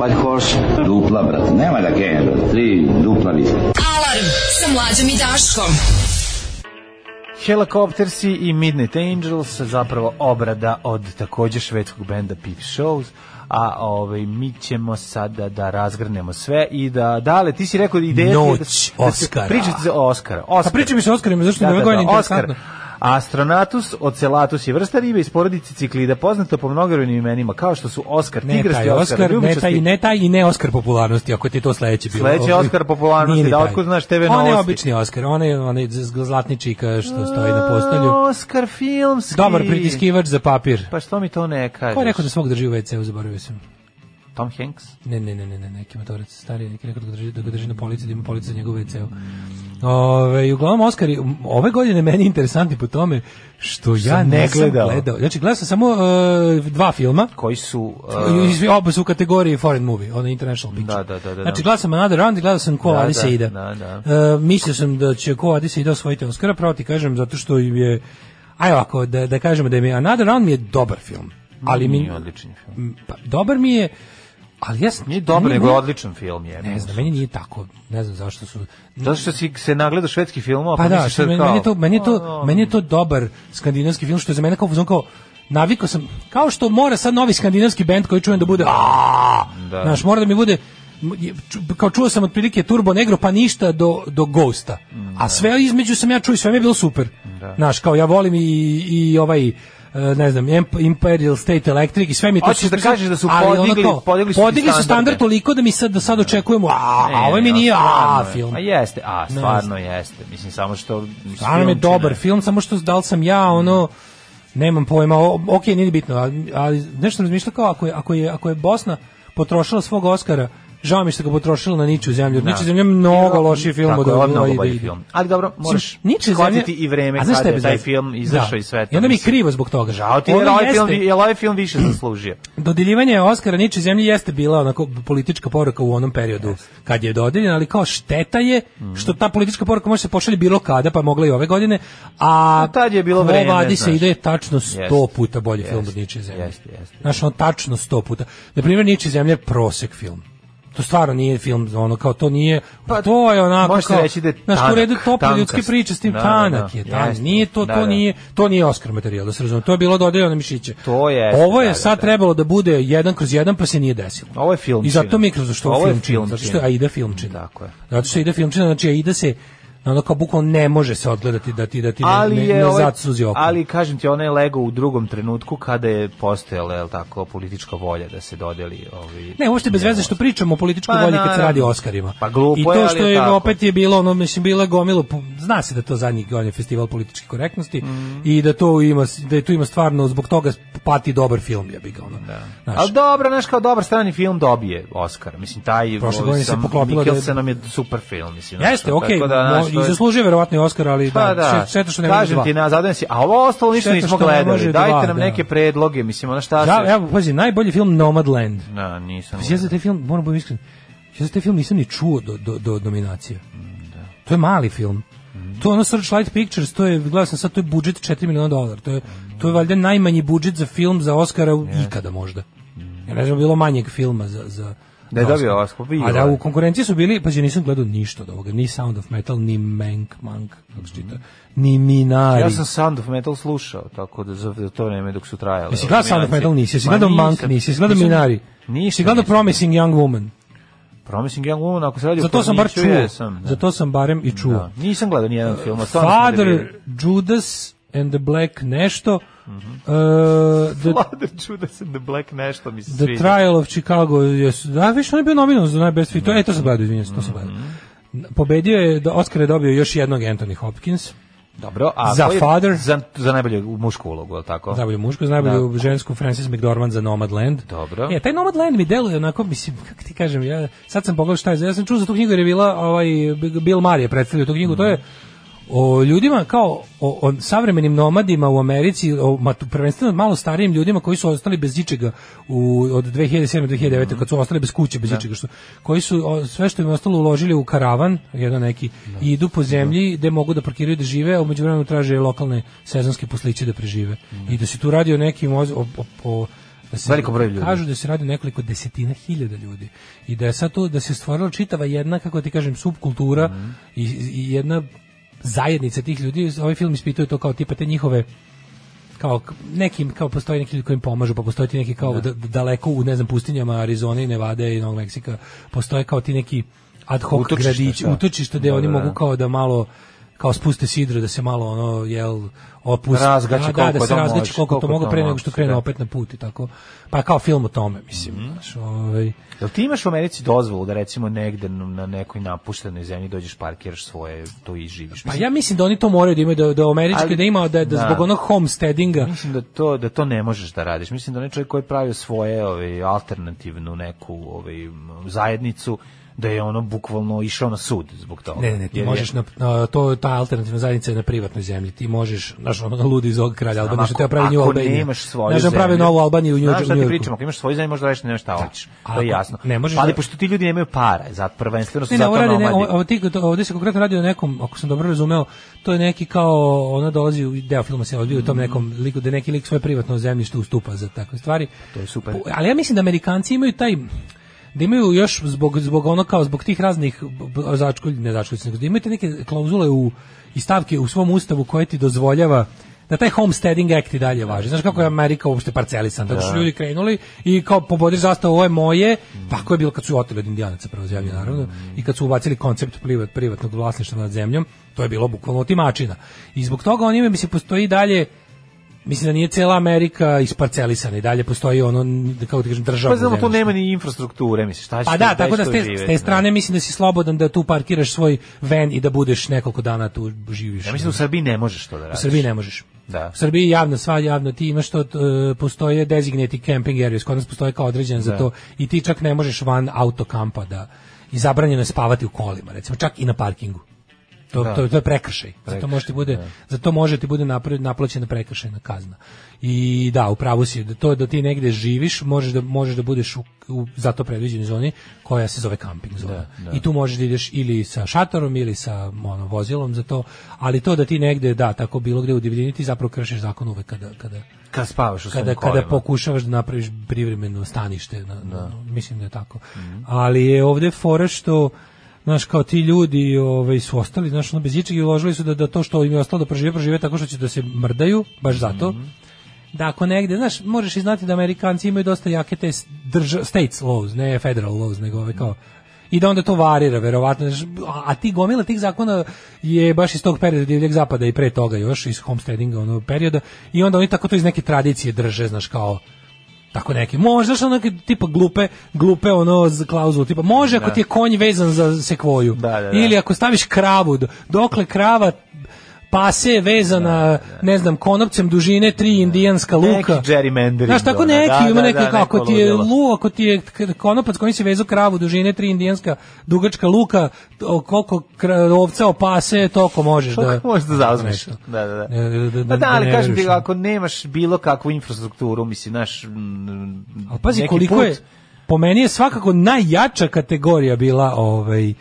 [SPEAKER 16] White Horse. Dupla, brate. Nema da kenja, brate. Tri dupla viskija.
[SPEAKER 5] Alarm sa mlađom i Daškom.
[SPEAKER 7] Helicoptersi i Midnight Angels, zapravo obrada od također švedskog benda Peep Shows, a ovaj, mi ćemo sada da razgrnemo sve i da, dale, ti si rekao da ideja ti je
[SPEAKER 6] Noć
[SPEAKER 7] da, se-
[SPEAKER 6] Oscara.
[SPEAKER 7] Da se pričate za Oscara.
[SPEAKER 6] Pa
[SPEAKER 7] Oscar.
[SPEAKER 6] pričam mi se o Oskarima, zašto
[SPEAKER 7] Da,
[SPEAKER 6] mi je ove godine interesantno.
[SPEAKER 7] Astronatus, Ocelatus je vrsta ribe iz porodice ciklida, poznato po mnogobrojnim imenima, kao što su Oskar,
[SPEAKER 6] Ne
[SPEAKER 7] Tigrasti
[SPEAKER 6] taj Oskar, ne taj,
[SPEAKER 7] ljubičasti-
[SPEAKER 6] ne taj i ne Oskar popularnosti, ako ti je to sledeći bilo.
[SPEAKER 7] Sledeći
[SPEAKER 6] Ovaj,
[SPEAKER 7] Oskar popularnosti,
[SPEAKER 6] nije ni
[SPEAKER 7] da
[SPEAKER 6] taj.
[SPEAKER 7] otkud znaš TV
[SPEAKER 6] On je
[SPEAKER 7] novosti.
[SPEAKER 6] obični Oskar, on je onaj z- zlatni čika što stoji na postolju.
[SPEAKER 7] Oscar filmski.
[SPEAKER 6] Dobar pritiskivač za papir.
[SPEAKER 7] Pa što mi to ne kažeš?
[SPEAKER 6] Ko je rekao da svog drži u WC-u, zaboravio sam.
[SPEAKER 7] Tom Hanks?
[SPEAKER 6] Ne, ne, ne, ne, ne neki motorac stari, neki rekao da ga drži, da ga drži na polici, da ima polica za njegov WC-u. Ove, i uglavnom Oskari, m, ove godine meni interesantni po tome što ja
[SPEAKER 7] Sam ne
[SPEAKER 6] nisam
[SPEAKER 7] gledao.
[SPEAKER 6] gledao. Znači, gledao sam samo e, dva filma.
[SPEAKER 7] Koji su... uh,
[SPEAKER 6] I- iz- Oba su u kategoriji foreign movie, ono international picture.
[SPEAKER 7] Pa, Da, da, da, da.
[SPEAKER 6] Znači, gledao sam Another Round i gledao sam Ko
[SPEAKER 7] Da,
[SPEAKER 6] Adi
[SPEAKER 7] da,
[SPEAKER 6] se ide.
[SPEAKER 7] da, da.
[SPEAKER 6] E, mislio sam da će Ko Adi se ide osvojiti Oscara, pravo ti kažem, zato što im je... Aj ovako, da, da kažemo da mi je Another Round mi je dobar film. Ali mi,
[SPEAKER 7] Nije odličan film.
[SPEAKER 6] M, pa, dobar mi je, ali ja...
[SPEAKER 7] Nije dobar, nego je odličan film je.
[SPEAKER 6] Ne znam, meni nije tako, ne znam zašto su...
[SPEAKER 7] Zato što si se nagledao švedski film, pa,
[SPEAKER 6] Pa da,
[SPEAKER 7] misliš
[SPEAKER 6] što
[SPEAKER 7] sad
[SPEAKER 6] meni,
[SPEAKER 7] kao... Pa da.
[SPEAKER 6] meni, je to, meni, je to,
[SPEAKER 7] A,
[SPEAKER 6] meni je to dobar skandinavski film, što je za mene kao fuzon kao navikao sam, kao što mora sad novi skandinavski bend koji čujem da bude "Aaaa",
[SPEAKER 7] Da.
[SPEAKER 6] znaš, mora da mi bude m, je, ču- kao čuo sam otprilike Turbo Negro pa ništa do, do Ghosta
[SPEAKER 7] Da.
[SPEAKER 6] a sve između sam ja čuo i sve mi je bilo super znaš, kao ja volim i, i ovaj e, ne znam, Emp- Imperial State Electric i sve mi je to
[SPEAKER 7] Hoćeš da
[SPEAKER 6] super.
[SPEAKER 7] kažeš da su
[SPEAKER 6] Ali ono
[SPEAKER 7] podigli-
[SPEAKER 6] kao,
[SPEAKER 7] podigli su ti standarde.
[SPEAKER 6] standard toliko da mi sad, da sad očekujemo a,
[SPEAKER 7] ne,
[SPEAKER 6] a ovo mi
[SPEAKER 7] ne,
[SPEAKER 6] nije a
[SPEAKER 7] stvarno je.
[SPEAKER 6] film
[SPEAKER 7] A jeste, a
[SPEAKER 6] Ne
[SPEAKER 7] stvarno
[SPEAKER 6] znam.
[SPEAKER 7] jeste. Mislim, samo što... mislim,
[SPEAKER 6] Stvarno mi je
[SPEAKER 7] film će
[SPEAKER 6] dobar
[SPEAKER 7] ne-
[SPEAKER 6] film, samo što da li sam ja ono nemam pojma, o, ok, nije ni bitno, ali, ali nešto sam razmišljao kao ako je, ako, je, ako je Bosna potrošila svog Oscara, žao mi je što ga potrošila na Niču zemlju, jer
[SPEAKER 7] Da.
[SPEAKER 6] Niču zemlja je mnogo lošiji film
[SPEAKER 7] Tako
[SPEAKER 6] od da
[SPEAKER 7] je, ovo je mnogo
[SPEAKER 6] ide,
[SPEAKER 7] bolji
[SPEAKER 6] ide.
[SPEAKER 7] film. Ali dobro,
[SPEAKER 6] Mislim,
[SPEAKER 7] moraš
[SPEAKER 6] Ničija
[SPEAKER 7] shvatiti
[SPEAKER 6] zemlja-
[SPEAKER 7] i vreme
[SPEAKER 6] A znaš
[SPEAKER 7] kada
[SPEAKER 6] šta
[SPEAKER 7] je
[SPEAKER 6] bez
[SPEAKER 7] taj
[SPEAKER 6] veze?
[SPEAKER 7] film izašao
[SPEAKER 6] Da.
[SPEAKER 7] i sve to,
[SPEAKER 6] I onda mi je
[SPEAKER 7] mislim.
[SPEAKER 6] krivo zbog toga.
[SPEAKER 7] Žao ti je,
[SPEAKER 6] Ono
[SPEAKER 7] jer ovaj
[SPEAKER 6] jeste-
[SPEAKER 7] film, jer ovaj film više zaslužio.
[SPEAKER 6] dodeljivanje Oscara Niče zemlji jeste bila onako politička poruka u onom periodu kad je dodeljen, ali kao šteta je što ta politička poruka može se pošalje bilo kada, pa je mogla i ove godine, a
[SPEAKER 7] No, Pa tad je bilo
[SPEAKER 6] Ko
[SPEAKER 7] vreme,
[SPEAKER 6] vadi se
[SPEAKER 7] znaš.
[SPEAKER 6] ide tačno sto
[SPEAKER 7] Jeste.
[SPEAKER 6] puta bolji film od
[SPEAKER 7] Jeste,
[SPEAKER 6] Niče zemlje.
[SPEAKER 7] jeste, jeste.
[SPEAKER 6] Znaš, on tačno sto puta. Na primjer, Niče zemlje je prosek film. To stvarno nije film, ono kao to nije, pa, to je onako
[SPEAKER 7] može se
[SPEAKER 6] kao,
[SPEAKER 7] reći da je
[SPEAKER 6] znaš,
[SPEAKER 7] tanak,
[SPEAKER 6] u redu tople ljudske
[SPEAKER 7] tankast.
[SPEAKER 6] priče s tim
[SPEAKER 7] Da, da,
[SPEAKER 6] tanak
[SPEAKER 7] da.
[SPEAKER 6] je, tanak.
[SPEAKER 7] Jeste.
[SPEAKER 6] nije to,
[SPEAKER 7] Da,
[SPEAKER 6] to
[SPEAKER 7] da.
[SPEAKER 6] nije, to nije Oscar materijal, da se razume. To je bilo dodeljeno na mišiće.
[SPEAKER 7] To je.
[SPEAKER 6] Ovo je
[SPEAKER 7] da, da,
[SPEAKER 6] sad
[SPEAKER 7] da.
[SPEAKER 6] trebalo da bude jedan kroz jedan, pa se nije desilo.
[SPEAKER 7] Ovo je film.
[SPEAKER 6] I zato mi je kroz što
[SPEAKER 7] Ovo
[SPEAKER 6] ovo
[SPEAKER 7] je
[SPEAKER 6] filmčina,
[SPEAKER 7] filmčina.
[SPEAKER 6] zato što je Aida filmčina.
[SPEAKER 7] Tako je.
[SPEAKER 6] Zato što je Aida filmčina, znači Aida se ono kao bukvalno ne može se odgledati da ti da ti ne,
[SPEAKER 7] ali
[SPEAKER 6] ne,
[SPEAKER 7] je
[SPEAKER 6] ne
[SPEAKER 7] ovaj-
[SPEAKER 6] zasuzi oko.
[SPEAKER 7] ali kažem ti ona je lego u drugom trenutku kada je postojala je tako politička volja da se dodeli ovi
[SPEAKER 6] Ne, uopšte bez veze što pričamo o političkoj
[SPEAKER 7] Pa,
[SPEAKER 6] volji kad se
[SPEAKER 7] naravno.
[SPEAKER 6] radi o Oskarima.
[SPEAKER 7] Pa glupo
[SPEAKER 6] I
[SPEAKER 7] je,
[SPEAKER 6] to
[SPEAKER 7] ali
[SPEAKER 6] što
[SPEAKER 7] je
[SPEAKER 6] je
[SPEAKER 7] tako.
[SPEAKER 6] opet je bilo, ono mislim bila je gomilo, po- zna se da to zadnji godine festival političke korektnosti
[SPEAKER 7] Mhm.
[SPEAKER 6] i da to ima da je tu ima stvarno zbog toga pati dobar film, ja bih ga ono. Znaš.
[SPEAKER 7] Da. Ali dobro, znaš, kao dobar strani film dobije Oscar. Mislim, taj
[SPEAKER 6] Prošle
[SPEAKER 7] ovaj,
[SPEAKER 6] godine se
[SPEAKER 7] sam-
[SPEAKER 6] poklopilo da je-
[SPEAKER 7] Mikkelsen nam je super film, mislim. znaš,
[SPEAKER 6] Jeste,
[SPEAKER 7] tako
[SPEAKER 6] okej,
[SPEAKER 7] da, znaš, to
[SPEAKER 6] mo- i
[SPEAKER 7] je-
[SPEAKER 6] zaslužio verovatno i Oskar, ali
[SPEAKER 7] Pa
[SPEAKER 6] da,
[SPEAKER 7] da,
[SPEAKER 6] še- šteta što ne može
[SPEAKER 7] kažem
[SPEAKER 6] dva.
[SPEAKER 7] ti na zadovoljan si, a ovo ostalo ništa
[SPEAKER 6] Šteta
[SPEAKER 7] nismo
[SPEAKER 6] što ne
[SPEAKER 7] gledali.
[SPEAKER 6] može
[SPEAKER 7] Dajte
[SPEAKER 6] dva,
[SPEAKER 7] nam
[SPEAKER 6] da.
[SPEAKER 7] neke predloge, mislim, ono šta
[SPEAKER 6] Da,
[SPEAKER 7] se...
[SPEAKER 6] evo, Pa pazi, najbolji film Nomadland.
[SPEAKER 7] Da, nisam.
[SPEAKER 6] Pazi, ja za taj film, moram biti iskren, ja za taj film nisam ni čuo do, do, do nominacije.
[SPEAKER 7] Da.
[SPEAKER 6] To je mali film.
[SPEAKER 7] Mhm.
[SPEAKER 6] To je ono Searchlight Pictures, to je, gledao sam sad, to je budžet 4 miliona dolara. To je, to je valjda najmanji budžet za film za Oscara u- ikada možda. Ja ne znam, bilo manjeg filma za... za
[SPEAKER 7] Mhm. Da je
[SPEAKER 6] za
[SPEAKER 7] dobio Oscar, pa bilo
[SPEAKER 6] A da,
[SPEAKER 7] je.
[SPEAKER 6] u konkurenciji su bili, pazi, ja nisam gledao ništa od ovoga, ni Sound of Metal, ni Mank, Mank, kako se čita, ni Minari.
[SPEAKER 7] Ja sam Sound of Metal slušao, tako da za za to vreme dok su trajale.
[SPEAKER 6] Jesi gledao Sound of
[SPEAKER 7] nominacije.
[SPEAKER 6] Metal? Nisi. Jesi
[SPEAKER 7] Ma
[SPEAKER 6] gledao Mank?
[SPEAKER 7] nisam.
[SPEAKER 6] Nisi. Jesi gledao
[SPEAKER 7] Nisam-
[SPEAKER 6] Minari? Jesi
[SPEAKER 7] Ništa.
[SPEAKER 6] gledao Promising Young Woman?
[SPEAKER 7] Promising Young Woman, ako se radi o
[SPEAKER 6] Zato sam bar
[SPEAKER 7] porniću,
[SPEAKER 6] čuo.
[SPEAKER 7] jesam, da.
[SPEAKER 6] Zato sam barem i čuo.
[SPEAKER 7] Nisam gledao nijedan film, a stvarno sam
[SPEAKER 6] Father,
[SPEAKER 7] debil.
[SPEAKER 6] Judas and the Black nešto.
[SPEAKER 7] Mhm.
[SPEAKER 6] e, the,
[SPEAKER 7] Father Judas and the Black nešto mi se
[SPEAKER 6] the
[SPEAKER 7] sviđa.
[SPEAKER 6] Trial of Chicago. Yes. Da, viš, on je bio nominovan za najbest film. To, e, to sam gledao, izvinjam se, to sam gledao.
[SPEAKER 7] Mhm.
[SPEAKER 6] Pobedio je, da Oscar je dobio još jednog Anthony Hopkins.
[SPEAKER 7] Dobro, a
[SPEAKER 6] Za
[SPEAKER 7] ko je-
[SPEAKER 6] Father.
[SPEAKER 7] Za, za najbolju mušku ulogu, je li tako?
[SPEAKER 6] Za najbolju mušku, za najbolju žensku Frances McDormand za Nomadland.
[SPEAKER 7] Da. Dobro.
[SPEAKER 6] E, taj Nomadland mi deluje onako, mislim, kako ti kažem, ja sad sam pogledao šta je, ja sam čuo za tu knjigu jer je bila, ovaj, Bill Maher je predstavio tu knjigu, to je o ljudima kao o, o savremenim nomadima u Americi, o, ma, tu prvenstveno malo starijim ljudima koji su ostali bez ičega u, od 2007. do 2009. kad su ostali bez kuće, bez ičega, što, koji su o, sve što im je ostalo uložili u karavan, jedan neki, i idu po zemlji gde mogu da parkiraju i da žive, a umeđu vremenu traže lokalne sezonske posliće da prežive. I da se tu radi o nekim oz- o, o, o- da se,
[SPEAKER 7] Velikom broju ljudi.
[SPEAKER 6] Kažu da se radi o nekoliko desetina hiljada ljudi. I da je sad to, da se stvorila čitava jedna, kako ti kažem, subkultura i, i jedna zajednica tih ljudi. Ovaj film ispituje to kao tipa te njihove kao k- nekim kao postoji neki ljudi koji im pomažu, pa postoje ti neki kao da. daleko u ne znam pustinjama Arizone i Nevade i Novog Meksika, postoje kao ti neki ad hoc
[SPEAKER 7] Utočišta,
[SPEAKER 6] gradići,
[SPEAKER 7] šta?
[SPEAKER 6] utočišta gde
[SPEAKER 7] Da,
[SPEAKER 6] oni
[SPEAKER 7] da, da.
[SPEAKER 6] mogu kao da malo kao spuste sidro da se malo ono jel opusti
[SPEAKER 7] Razgaće
[SPEAKER 6] da, da,
[SPEAKER 7] koliko
[SPEAKER 6] da se
[SPEAKER 7] to
[SPEAKER 6] razgaće
[SPEAKER 7] može,
[SPEAKER 6] koliko,
[SPEAKER 7] koliko
[SPEAKER 6] to mogu
[SPEAKER 7] to
[SPEAKER 6] pre nego
[SPEAKER 7] može,
[SPEAKER 6] što krene
[SPEAKER 7] da. Mhm.
[SPEAKER 6] opet na put i tako pa kao film o tome mislim znaš, ovaj
[SPEAKER 7] Jel ti imaš u Americi dozvolu da recimo negde na nekoj napuštenoj zemlji dođeš parkiraš svoje, tu i živiš?
[SPEAKER 6] pa ja mislim da oni to moraju da imaju da da američki
[SPEAKER 7] Ali-
[SPEAKER 6] da ima da, da
[SPEAKER 7] da.
[SPEAKER 6] zbog onog homesteadinga
[SPEAKER 7] Mislim da to da to ne možeš da radiš. Mislim da onaj čovjek koji je pravio svoje ovaj alternativnu neku ovaj m, zajednicu da je ono bukvalno išao na sud zbog toga.
[SPEAKER 6] Ne, ne, ne, ti
[SPEAKER 7] Jer je-
[SPEAKER 6] možeš na, na- to ta alternativna zajednica je na privatnoj zemlji. Ti možeš, znaš, ono ludi iz ovog kralja Albanije što
[SPEAKER 7] Ako-
[SPEAKER 6] treba da pravi New
[SPEAKER 7] ako
[SPEAKER 6] Albaniju.
[SPEAKER 7] nemaš svoju
[SPEAKER 6] Znaš, on pravi
[SPEAKER 7] zemlju.
[SPEAKER 6] novu Albaniju u New
[SPEAKER 7] Znaš šta ti
[SPEAKER 6] Yorku.
[SPEAKER 7] pričamo, ako imaš svoju zemlju možda radiš nešto hoćeš. To je
[SPEAKER 6] Ako
[SPEAKER 7] jasno.
[SPEAKER 6] ne možeš
[SPEAKER 7] Pa ali
[SPEAKER 6] da-
[SPEAKER 7] pošto ti ljudi nemaju para, za prvenstveno su
[SPEAKER 6] Ne, ne, ovo
[SPEAKER 7] zato
[SPEAKER 6] radi, ne,
[SPEAKER 7] nomadi.
[SPEAKER 6] ovo, ovo ti- to- ovdje se konkretno radi o nekom, ako sam dobro razumeo, to je neki kao, ona dolazi, u deo filma se odvija u
[SPEAKER 7] Mm.
[SPEAKER 6] tom nekom liku, da neki lik svoje privatno zemljište ustupa za takve stvari.
[SPEAKER 7] To je super.
[SPEAKER 6] Po- Ali ja mislim da Amerikanci imaju taj da imaju još zbog zbog ono kao zbog tih raznih b- b- začkolj ne začkolj nego da imaju te neke klauzule u i stavke u svom ustavu koje ti dozvoljava da taj homesteading act i dalje važi. Znaš kako je Amerika uopšte parcelisan, tako
[SPEAKER 7] Da.
[SPEAKER 6] su ljudi krenuli i kao pobodiš zastavu, ovo je moje, tako je bilo kad su oteli od indijanaca prvo zemlju, naravno, i kad su ubacili koncept privat, privatnog vlasništva nad zemljom, to je bilo bukvalno otimačina. I zbog toga on ima, mislim, postoji i dalje Mislim da nije cijela Amerika isparcelisana i dalje postoji ono, n- kako ti kažem, državno
[SPEAKER 7] Pa znamo, tu
[SPEAKER 6] zemljište.
[SPEAKER 7] nema ni infrastrukture, misliš, šta ćeš
[SPEAKER 6] Pa
[SPEAKER 7] tu-
[SPEAKER 6] da,
[SPEAKER 7] gde
[SPEAKER 6] tako
[SPEAKER 7] ćeš
[SPEAKER 6] da s
[SPEAKER 7] tu
[SPEAKER 6] te,
[SPEAKER 7] živeti,
[SPEAKER 6] s
[SPEAKER 7] ne?
[SPEAKER 6] te strane mislim da si slobodan da tu parkiraš svoj van i da budeš nekoliko dana tu živiš.
[SPEAKER 7] Ja mislim da u Srbiji ne možeš to da
[SPEAKER 6] U
[SPEAKER 7] radiš.
[SPEAKER 6] Srbiji ne možeš.
[SPEAKER 7] Da.
[SPEAKER 6] U Srbiji javno, sva javno, ti imaš to, t- e, postoje designated camping areas, kod nas postoje kao određen za
[SPEAKER 7] Da.
[SPEAKER 6] to i ti čak ne možeš van autokampa da i zabranjeno je spavati u kolima, recimo, čak i na parkingu. To,
[SPEAKER 7] Da.
[SPEAKER 6] to, to je prekršaj. Za to
[SPEAKER 7] Prekršaj,
[SPEAKER 6] može ti bude,
[SPEAKER 7] da.
[SPEAKER 6] za to može ti bude napra- naplaćena prekršajna kazna. I da, u pravu si, da to da ti negde živiš, možeš da možeš da budeš u, u zato predviđenoj zoni koja se zove kamping zona.
[SPEAKER 7] Da, da.
[SPEAKER 6] I tu možeš da ideš ili sa šatorom ili sa ono, vozilom za to, ali to da ti negde da tako bilo gde u divljini ti zapravo kršiš zakon uvek kada kada
[SPEAKER 7] Kad spavaš u svojim
[SPEAKER 6] kada, kada
[SPEAKER 7] kolima.
[SPEAKER 6] pokušavaš da napraviš privremeno stanište, na, na- mislim da je tako.
[SPEAKER 7] Mhm.
[SPEAKER 6] Ali je ovdje fora što znaš, kao ti ljudi ovaj, su ostali, znaš, ono, bez ičeg i uložili su da, da to što im je ostalo da prožive, prožive tako što će da se mrdaju, baš zato.
[SPEAKER 7] Mhm.
[SPEAKER 6] Da ako negde, znaš, možeš i znati da Amerikanci imaju dosta jake te s- drža- states laws, ne federal laws, nego ove kao i da onda to varira verovatno znaš, a- a ti gomila tih zakona je baš iz tog perioda divljeg zapada i pre toga još iz homesteadinga onog perioda i onda oni tako to iz neke tradicije drže znaš kao tako neki. Možda što ono tipa glupe, glupe ono za klauzulu, tipa može ako
[SPEAKER 7] Da.
[SPEAKER 6] ti je konj vezan za sekvoju.
[SPEAKER 7] da.
[SPEAKER 6] Ili ako staviš kravu, do- dokle krava pase je vezana,
[SPEAKER 7] Da,
[SPEAKER 6] ne znam, konopcem dužine tri indijanska luka.
[SPEAKER 7] Neki gerrymandering,
[SPEAKER 6] Znaš, tako
[SPEAKER 7] ono,
[SPEAKER 6] neki,
[SPEAKER 7] da,
[SPEAKER 6] ima
[SPEAKER 7] da,
[SPEAKER 6] neki,
[SPEAKER 7] da,
[SPEAKER 6] kako
[SPEAKER 7] neko
[SPEAKER 6] ti je
[SPEAKER 7] ludilo.
[SPEAKER 6] lu, ako ti je k- konopac kojim si vezao kravu dužine tri indijanska dugačka luka, o, koliko kra- ovca opase, toliko možeš da...
[SPEAKER 7] Kako možeš da zauzmeš?
[SPEAKER 6] Nešto.
[SPEAKER 7] Da, da, da.
[SPEAKER 6] Ne, da, da,
[SPEAKER 7] Pa da,
[SPEAKER 6] da
[SPEAKER 7] ali
[SPEAKER 6] ne
[SPEAKER 7] kažem ti,
[SPEAKER 6] veruješ.
[SPEAKER 7] ako nemaš bilo kakvu infrastrukturu, mislim, naš mm,
[SPEAKER 6] Ali pazi
[SPEAKER 7] neki
[SPEAKER 6] koliko
[SPEAKER 7] put,
[SPEAKER 6] je po meni je svakako najjača kategorija bila ovaj uh,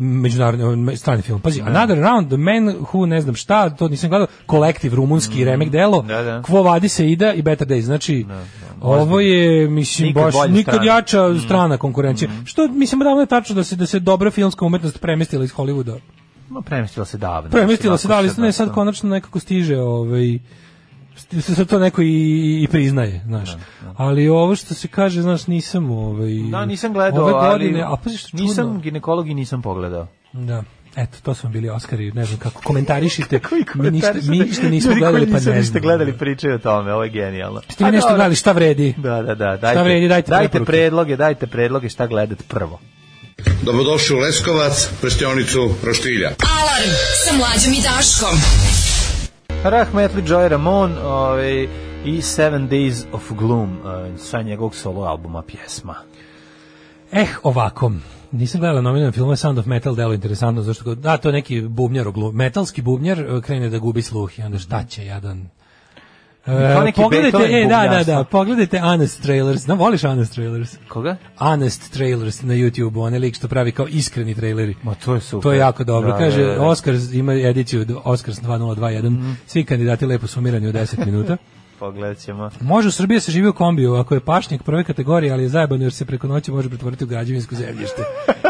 [SPEAKER 6] međunarodni uh, strani film. Pazi,
[SPEAKER 7] Da.
[SPEAKER 6] Another Round, The Man Who, ne znam šta, to nisam gledao, kolektiv rumunski remek delo,
[SPEAKER 7] Da, da.
[SPEAKER 6] Quo Vadis se ida i Better Days. Znači, ovo je, mislim,
[SPEAKER 7] Nikad
[SPEAKER 6] baš
[SPEAKER 7] bolja
[SPEAKER 6] nikad
[SPEAKER 7] strana. Mm.
[SPEAKER 6] jača strana konkurencije. Što, mislim, davno je tačno da se, da se dobra filmska umetnost premestila iz Hollywooda.
[SPEAKER 7] Ma, premestila se davno.
[SPEAKER 6] Premestila
[SPEAKER 7] Mislim,
[SPEAKER 6] se, da,
[SPEAKER 7] ako
[SPEAKER 6] ali ne, sad
[SPEAKER 7] da,
[SPEAKER 6] konačno nekako stiže, ovaj, sti- se sad to neko i, i priznaje, znaš. Ali ovo što se kaže, znaš, nisam, ovaj...
[SPEAKER 7] Da, nisam gledao,
[SPEAKER 6] ove
[SPEAKER 7] ali
[SPEAKER 6] godine, a pazi što čudno.
[SPEAKER 7] nisam ginekolog i nisam pogledao.
[SPEAKER 6] Da. Eto, to su vam bili Oskari, ne znam kako komentarišite. mi ništa,
[SPEAKER 7] Komentarišu
[SPEAKER 6] mi
[SPEAKER 7] da-
[SPEAKER 6] ništa nismo
[SPEAKER 7] ljudi koji
[SPEAKER 6] gledali, pa
[SPEAKER 7] nisu
[SPEAKER 6] ne
[SPEAKER 7] ništa
[SPEAKER 6] znam.
[SPEAKER 7] gledali Pa pričaju o tome, ovo je genijalno.
[SPEAKER 6] Ste vi nešto gledali, šta vredi?
[SPEAKER 7] Da, da, da, dajte,
[SPEAKER 6] vredi, dajte preporuke.
[SPEAKER 7] predloge, dajte predloge šta gledati prvo.
[SPEAKER 17] Dobrodošli u Leskovac, prštionicu Roštilja.
[SPEAKER 5] Oh,
[SPEAKER 9] Alarm sa mlađom i Daškom.
[SPEAKER 7] Rahmetli Joy Ramon ovaj, i Seven Days of Gloom ovaj, sa njegovog solo albuma pjesma.
[SPEAKER 6] Eh, ovako. Nisam gledala nominalne filmove Sound of Metal, delo interesantno, zašto ga- da, to je neki bubnjar, oglu- metalski bubnjar e, krene da gubi sluh i onda šta će, jadan. E,
[SPEAKER 7] Kao neki
[SPEAKER 6] pogledajte,
[SPEAKER 7] Beethoven
[SPEAKER 6] e, da, da, da,
[SPEAKER 7] bubnjarstvo.
[SPEAKER 6] pogledajte Honest Trailers, da, voliš Honest Trailers?
[SPEAKER 7] Koga?
[SPEAKER 6] Honest Trailers na YouTube-u, onaj lik što pravi kao iskreni traileri.
[SPEAKER 7] Ma to je super.
[SPEAKER 6] To je jako dobro.
[SPEAKER 7] Da,
[SPEAKER 6] Kaže,
[SPEAKER 7] da, da, Mhm. da.
[SPEAKER 6] Oscars ima ediciju d- Oscars 2021, svi kandidati lepo sumirani u 10 minuta.
[SPEAKER 7] Pogledat ćemo.
[SPEAKER 6] Može u Srbiji se živi u kombiju, ako je pašnjak prve kategorije, ali je zajebano jer se preko noći može pretvoriti u građevinsko zemljište.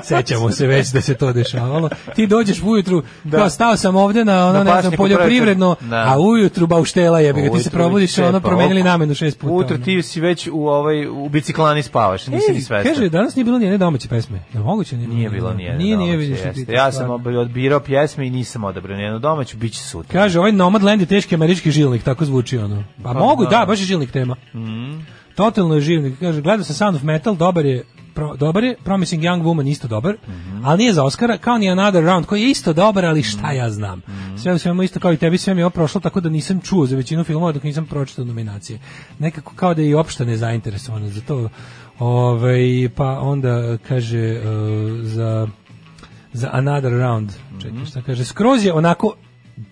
[SPEAKER 6] Sećamo se već da se to dešavalo. Ti dođeš ujutru,
[SPEAKER 7] Da.
[SPEAKER 6] kao stao sam ovde na ono,
[SPEAKER 7] Na
[SPEAKER 6] ne znam,
[SPEAKER 7] pašnjaku
[SPEAKER 6] poljoprivredno,
[SPEAKER 7] prvi put. Da.
[SPEAKER 6] a ujutru bauštela jebi ga, ti se
[SPEAKER 7] Ujutru
[SPEAKER 6] probudiš,
[SPEAKER 7] već
[SPEAKER 6] ono
[SPEAKER 7] cepa.
[SPEAKER 6] promenili
[SPEAKER 7] Oko-
[SPEAKER 6] namenu šest puta.
[SPEAKER 7] Ujutro
[SPEAKER 6] ono.
[SPEAKER 7] ti si već u, ovaj, u biciklani spavaš, nisi
[SPEAKER 6] Ej,
[SPEAKER 7] ni svestan.
[SPEAKER 6] Kaže, danas nije bilo nijedne domaće pesme. Je li moguće?
[SPEAKER 7] Nije bilo nijedne
[SPEAKER 6] Nije, nije,
[SPEAKER 7] domaće,
[SPEAKER 6] vidiš,
[SPEAKER 7] jeste.
[SPEAKER 6] ti-
[SPEAKER 7] Ja sam
[SPEAKER 6] stvarno.
[SPEAKER 7] ob- odbirao pjesme i nisam odabrao nijednu domaću, bit će sutra.
[SPEAKER 6] Kaže, ovaj Nomadland je teški američki žilnik, tako zvuči ono. Pa
[SPEAKER 7] Pa
[SPEAKER 6] mogu,
[SPEAKER 7] da. Mm.
[SPEAKER 6] da, baš je žilnik tema. Totalno je žilnik. Kaže, gledao sam Sound of Metal, dobar je, pro- dobar je, Promising Young Woman isto dobar,
[SPEAKER 7] Mhm.
[SPEAKER 6] ali nije za Oscara, kao ni Another Round, koji je isto dobar, ali šta ja znam.
[SPEAKER 7] Mhm.
[SPEAKER 6] Sve u svemu isto kao i tebi, sve mi je ovo prošlo, tako da nisam čuo za većinu filmova dok nisam pročitao nominacije. Nekako kao da je i opšta nezainteresovana za to. Ovaj, pa onda kaže e, za za another round.
[SPEAKER 7] Mhm.
[SPEAKER 6] Čekaj, šta kaže? Skroz je onako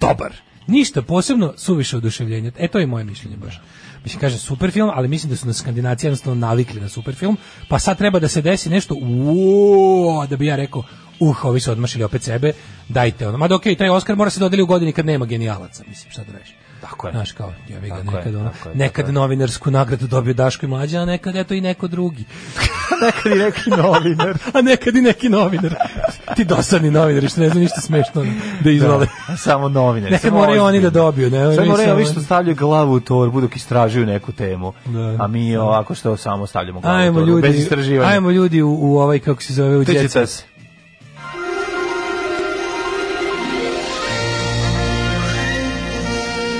[SPEAKER 6] dobar. Ništa posebno, suviše oduševljenja. E, to je moje mišljenje
[SPEAKER 7] Da.
[SPEAKER 6] baš. Mislim, kaže super film, ali mislim da su na Skandinaciji jednostavno navikli na super film, pa sad treba da se desi nešto, uo, da bi ja rekao, uh, ovi su odmašili opet sebe, dajte ono. Mada okej, taj Oscar mora se dodeli u godini kad nema genijalaca, mislim, šta da reći.
[SPEAKER 7] Tako je.
[SPEAKER 6] Znaš, kao, ja ga,
[SPEAKER 7] Tako je,
[SPEAKER 6] nekad, ono,
[SPEAKER 7] tako je,
[SPEAKER 6] nekad
[SPEAKER 7] tako je.
[SPEAKER 6] novinarsku nagradu dobio Daško i Mlađa, a nekad, eto, i neko drugi.
[SPEAKER 7] nekad i neki novinar.
[SPEAKER 6] a nekad i neki novinar. Ti dosadni novinari što ne znaju ništa smešno da izvale.
[SPEAKER 7] Da, samo novinari.
[SPEAKER 6] Nekad
[SPEAKER 7] samo
[SPEAKER 6] moraju oni
[SPEAKER 7] ozbiljni.
[SPEAKER 6] da dobiju, ne?
[SPEAKER 7] Sve
[SPEAKER 6] Mi
[SPEAKER 7] moraju
[SPEAKER 6] samo-
[SPEAKER 7] ovi što stavljaju glavu u torbu dok istražuju neku temu.
[SPEAKER 6] Da.
[SPEAKER 7] A mi ovako što samo stavljamo glavu u
[SPEAKER 6] Ajmo
[SPEAKER 7] torbu, bez
[SPEAKER 6] ljudi,
[SPEAKER 7] istraživanja.
[SPEAKER 6] ajmo ljudi u, u ovaj, kako se zove, u
[SPEAKER 7] Tići
[SPEAKER 6] djeca.
[SPEAKER 7] tas.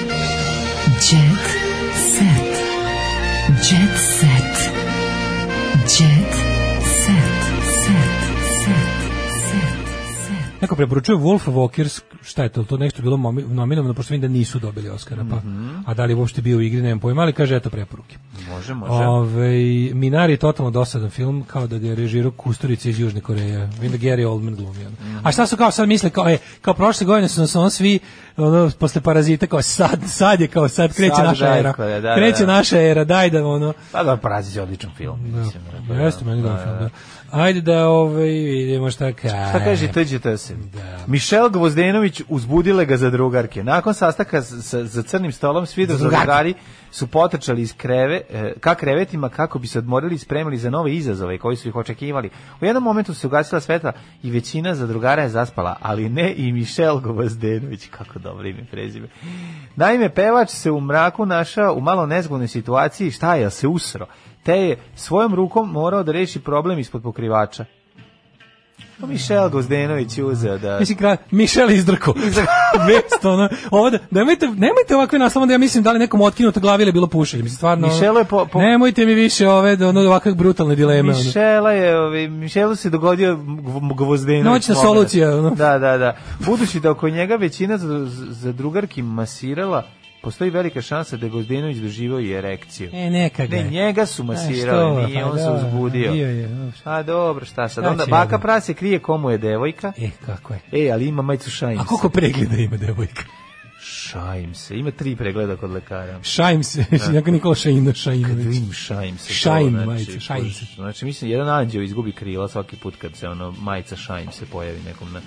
[SPEAKER 5] Jet set. Jet set. Jet set. Set. Set. Set. Set.
[SPEAKER 6] Neko preporučuje Wolf Walkers, šta je to, to nešto je bilo momi- nominovano, pošto vidim da nisu dobili Oscara, pa,
[SPEAKER 7] Mhm.
[SPEAKER 6] a da li je uopšte bio u igri, nemam pojma, ali kaže, eto preporuke.
[SPEAKER 7] Može, može.
[SPEAKER 6] Ove, Minari je totalno dosadan film, kao da ga je režirao Kusturica iz Južne Koreje. Vidim da Gary Oldman glumi. ono.
[SPEAKER 7] Mhm.
[SPEAKER 6] A šta su kao sad misle, kao, e, kao prošle godine su nas ono svi, ono, posle parazita, kao sad, sad je, kao sad, kreće
[SPEAKER 7] Sad,
[SPEAKER 6] naša
[SPEAKER 7] da,
[SPEAKER 6] era.
[SPEAKER 7] kao je, da, da,
[SPEAKER 6] kreće
[SPEAKER 7] da.
[SPEAKER 6] naša era, daj da, ono,
[SPEAKER 7] Pa da, Parazit je odličan film. Mislim,
[SPEAKER 6] da, jeste meni dobar film, da. Ajde da ovaj vidimo šta kaže.
[SPEAKER 7] Šta kaže Tđeta se?
[SPEAKER 6] Da.
[SPEAKER 7] Mišel Gvozdenović uzbudile ga za drugarke. Nakon sastaka s- sa- za crnim stolom svi
[SPEAKER 6] Za
[SPEAKER 7] do
[SPEAKER 6] drugarke.
[SPEAKER 7] drugari su potrčali iz kreve, e, ka krevetima kako bi se odmorili i spremili za nove izazove koji su ih očekivali. U jednom momentu su se ugasila svetla i većina za drugara je zaspala, ali ne i Mišel Gvozdenović. Kako dobro ime i prezime. Naime, pevač se u mraku našao u malo nezgodnoj situaciji, šta je, jel se usro, te je svojom rukom morao da reši problem ispod pokrivača. Pa Mišel Gozdenović je uzeo da...
[SPEAKER 6] Mislim, kraj, Mišel izdrko. Mesto, ono, ovo da, nemojte, nemojte ovakve naslova da ja mislim da li nekom otkinuta glavi ili je bilo pušenje. Mislim, stvarno, ono,
[SPEAKER 7] Mišelo je po- po-
[SPEAKER 6] nemojte mi više ove, da, ono, ovakve brutalne dileme. ono.
[SPEAKER 7] Mišela je, ovaj, Mišelu se dogodio gv- gvozdenović.
[SPEAKER 6] Noćna
[SPEAKER 7] moment.
[SPEAKER 6] solucija, ono.
[SPEAKER 7] Da, da, da. Budući da oko njega većina za, za drugarki masirala, postoji velika šansa da je Gvozdenović doživao i erekciju.
[SPEAKER 6] E, neka ga
[SPEAKER 7] Ne,
[SPEAKER 6] je.
[SPEAKER 7] njega su masirali,
[SPEAKER 6] E, što,
[SPEAKER 7] nije,
[SPEAKER 6] pa
[SPEAKER 7] on se
[SPEAKER 6] da,
[SPEAKER 7] uzbudio.
[SPEAKER 6] bio je,
[SPEAKER 7] A dobro, šta sad?
[SPEAKER 6] Šta
[SPEAKER 7] Onda
[SPEAKER 6] će
[SPEAKER 7] baka
[SPEAKER 6] ovo?
[SPEAKER 7] prase krije komu je devojka.
[SPEAKER 6] E, kako je.
[SPEAKER 7] E, ali ima majicu šajim
[SPEAKER 6] A koliko pregleda ima devojka?
[SPEAKER 7] Šajim se. Ima tri pregleda kod lekara.
[SPEAKER 6] Šajim se,
[SPEAKER 7] Da.
[SPEAKER 6] jako Nikola Šajina Šajinović.
[SPEAKER 7] Kad vidim šajim se. to,
[SPEAKER 6] Šajim,
[SPEAKER 7] znači,
[SPEAKER 6] majice, šajim se.
[SPEAKER 7] Znači, mislim, jedan anđeo izgubi krila svaki put kad se ono majica šajim se pojavi nekom na,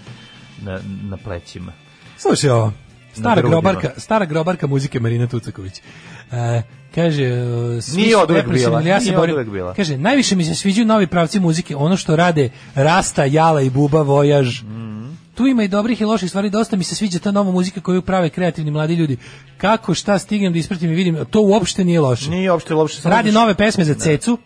[SPEAKER 7] na, na plećima.
[SPEAKER 6] Slušaj ovo. Stara
[SPEAKER 7] Na grudima.
[SPEAKER 6] grobarka, stara grobarka muzike Marina Tucaković. E, kaže, e, svi
[SPEAKER 7] Nije
[SPEAKER 6] su
[SPEAKER 7] oduvek
[SPEAKER 6] depresivni,
[SPEAKER 7] bila,
[SPEAKER 6] ali ja se
[SPEAKER 7] nije
[SPEAKER 6] borim.
[SPEAKER 7] oduvek bila.
[SPEAKER 6] Kaže, najviše mi se sviđaju novi pravci muzike, ono što rade Rasta, Jala i Buba Vojaž. Tu ima i dobrih i loših stvari, dosta mi se sviđa ta nova muzika koju prave kreativni mladi ljudi. Kako, šta stignem da ispratim i vidim, to uopšte nije loše.
[SPEAKER 7] Nije uopšte loše. Da. samo
[SPEAKER 6] Radi
[SPEAKER 7] što-
[SPEAKER 6] nove pesme za Cecu.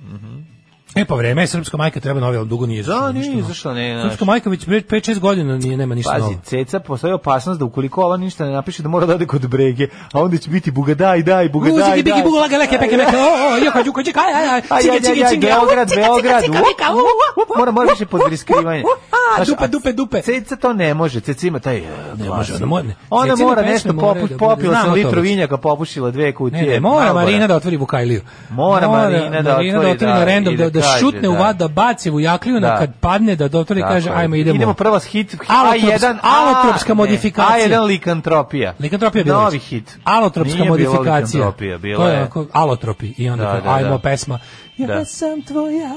[SPEAKER 6] E pa vreme, je, srpska majka treba novi, ali dugo nije izašlo
[SPEAKER 7] Da,
[SPEAKER 6] ništa
[SPEAKER 7] nije
[SPEAKER 6] novo.
[SPEAKER 7] izašla, ne, znaš.
[SPEAKER 6] Srpska majka već 5-6 godina nije, nema ništa novo.
[SPEAKER 7] Pazi, ceca postoji opasnost da ukoliko ova ništa ne napiše da mora da ode kod brege, a onda će biti bugadaj, daj, bugadaj, daj.
[SPEAKER 6] Muziki, bigi, bugu, lage, leke, peke, meke, o, o, joko, đuko, đika, aj, aj, aj,
[SPEAKER 7] Aj,
[SPEAKER 6] cige,
[SPEAKER 7] aj,
[SPEAKER 6] cige,
[SPEAKER 7] aj, aj,
[SPEAKER 6] cinge,
[SPEAKER 7] Beograd,
[SPEAKER 6] u, cika, cika,
[SPEAKER 7] Beograd,
[SPEAKER 6] cika,
[SPEAKER 7] u,
[SPEAKER 6] meka, u, u, u, u,
[SPEAKER 7] Mora, mora više
[SPEAKER 6] u, u,
[SPEAKER 7] podriskivanje.
[SPEAKER 6] u, a,
[SPEAKER 7] Znaš,
[SPEAKER 6] dupe,
[SPEAKER 7] a
[SPEAKER 6] dupe, dupe.
[SPEAKER 7] Ceca to ne može, ceca ima taj... e, Ne
[SPEAKER 6] može, ona mora- ne.
[SPEAKER 7] Ona
[SPEAKER 6] Cecine
[SPEAKER 7] mora
[SPEAKER 6] pesme
[SPEAKER 7] nešto
[SPEAKER 6] moraju
[SPEAKER 7] poput,
[SPEAKER 6] da budu-
[SPEAKER 7] popila sam
[SPEAKER 6] znamo to
[SPEAKER 7] litru
[SPEAKER 6] već.
[SPEAKER 7] vinjaka, popušila dve
[SPEAKER 6] Ne,
[SPEAKER 7] kutije.
[SPEAKER 6] ne, mora
[SPEAKER 7] Malbora.
[SPEAKER 6] Marina da otvori Vukajliju.
[SPEAKER 7] Mora Marina da
[SPEAKER 6] Marina
[SPEAKER 7] otvori, da,
[SPEAKER 6] na random,
[SPEAKER 7] i da
[SPEAKER 6] da, da
[SPEAKER 7] kaže,
[SPEAKER 6] šutne u
[SPEAKER 7] da.
[SPEAKER 6] vada, baci u
[SPEAKER 7] Da.
[SPEAKER 6] jaklju, na kad padne, da otvori i
[SPEAKER 7] Tako
[SPEAKER 6] kaže,
[SPEAKER 7] je.
[SPEAKER 6] ajmo, idemo.
[SPEAKER 7] Idemo prvo s hit,
[SPEAKER 6] Alotrops-
[SPEAKER 7] A1,
[SPEAKER 6] alotropska
[SPEAKER 7] a, ne,
[SPEAKER 6] modifikacija.
[SPEAKER 7] A1 likantropija.
[SPEAKER 6] Likantropija je bila
[SPEAKER 7] Novi
[SPEAKER 6] već.
[SPEAKER 7] hit.
[SPEAKER 6] Alotropska
[SPEAKER 7] Nije bilo
[SPEAKER 6] modifikacija.
[SPEAKER 7] likantropija,
[SPEAKER 6] to
[SPEAKER 7] bila
[SPEAKER 6] je
[SPEAKER 7] je.
[SPEAKER 6] onako alotropi i onda
[SPEAKER 7] Da,
[SPEAKER 6] kao,
[SPEAKER 7] da, da.
[SPEAKER 6] ajmo pesma. Ja
[SPEAKER 7] Da.
[SPEAKER 6] sam tvoja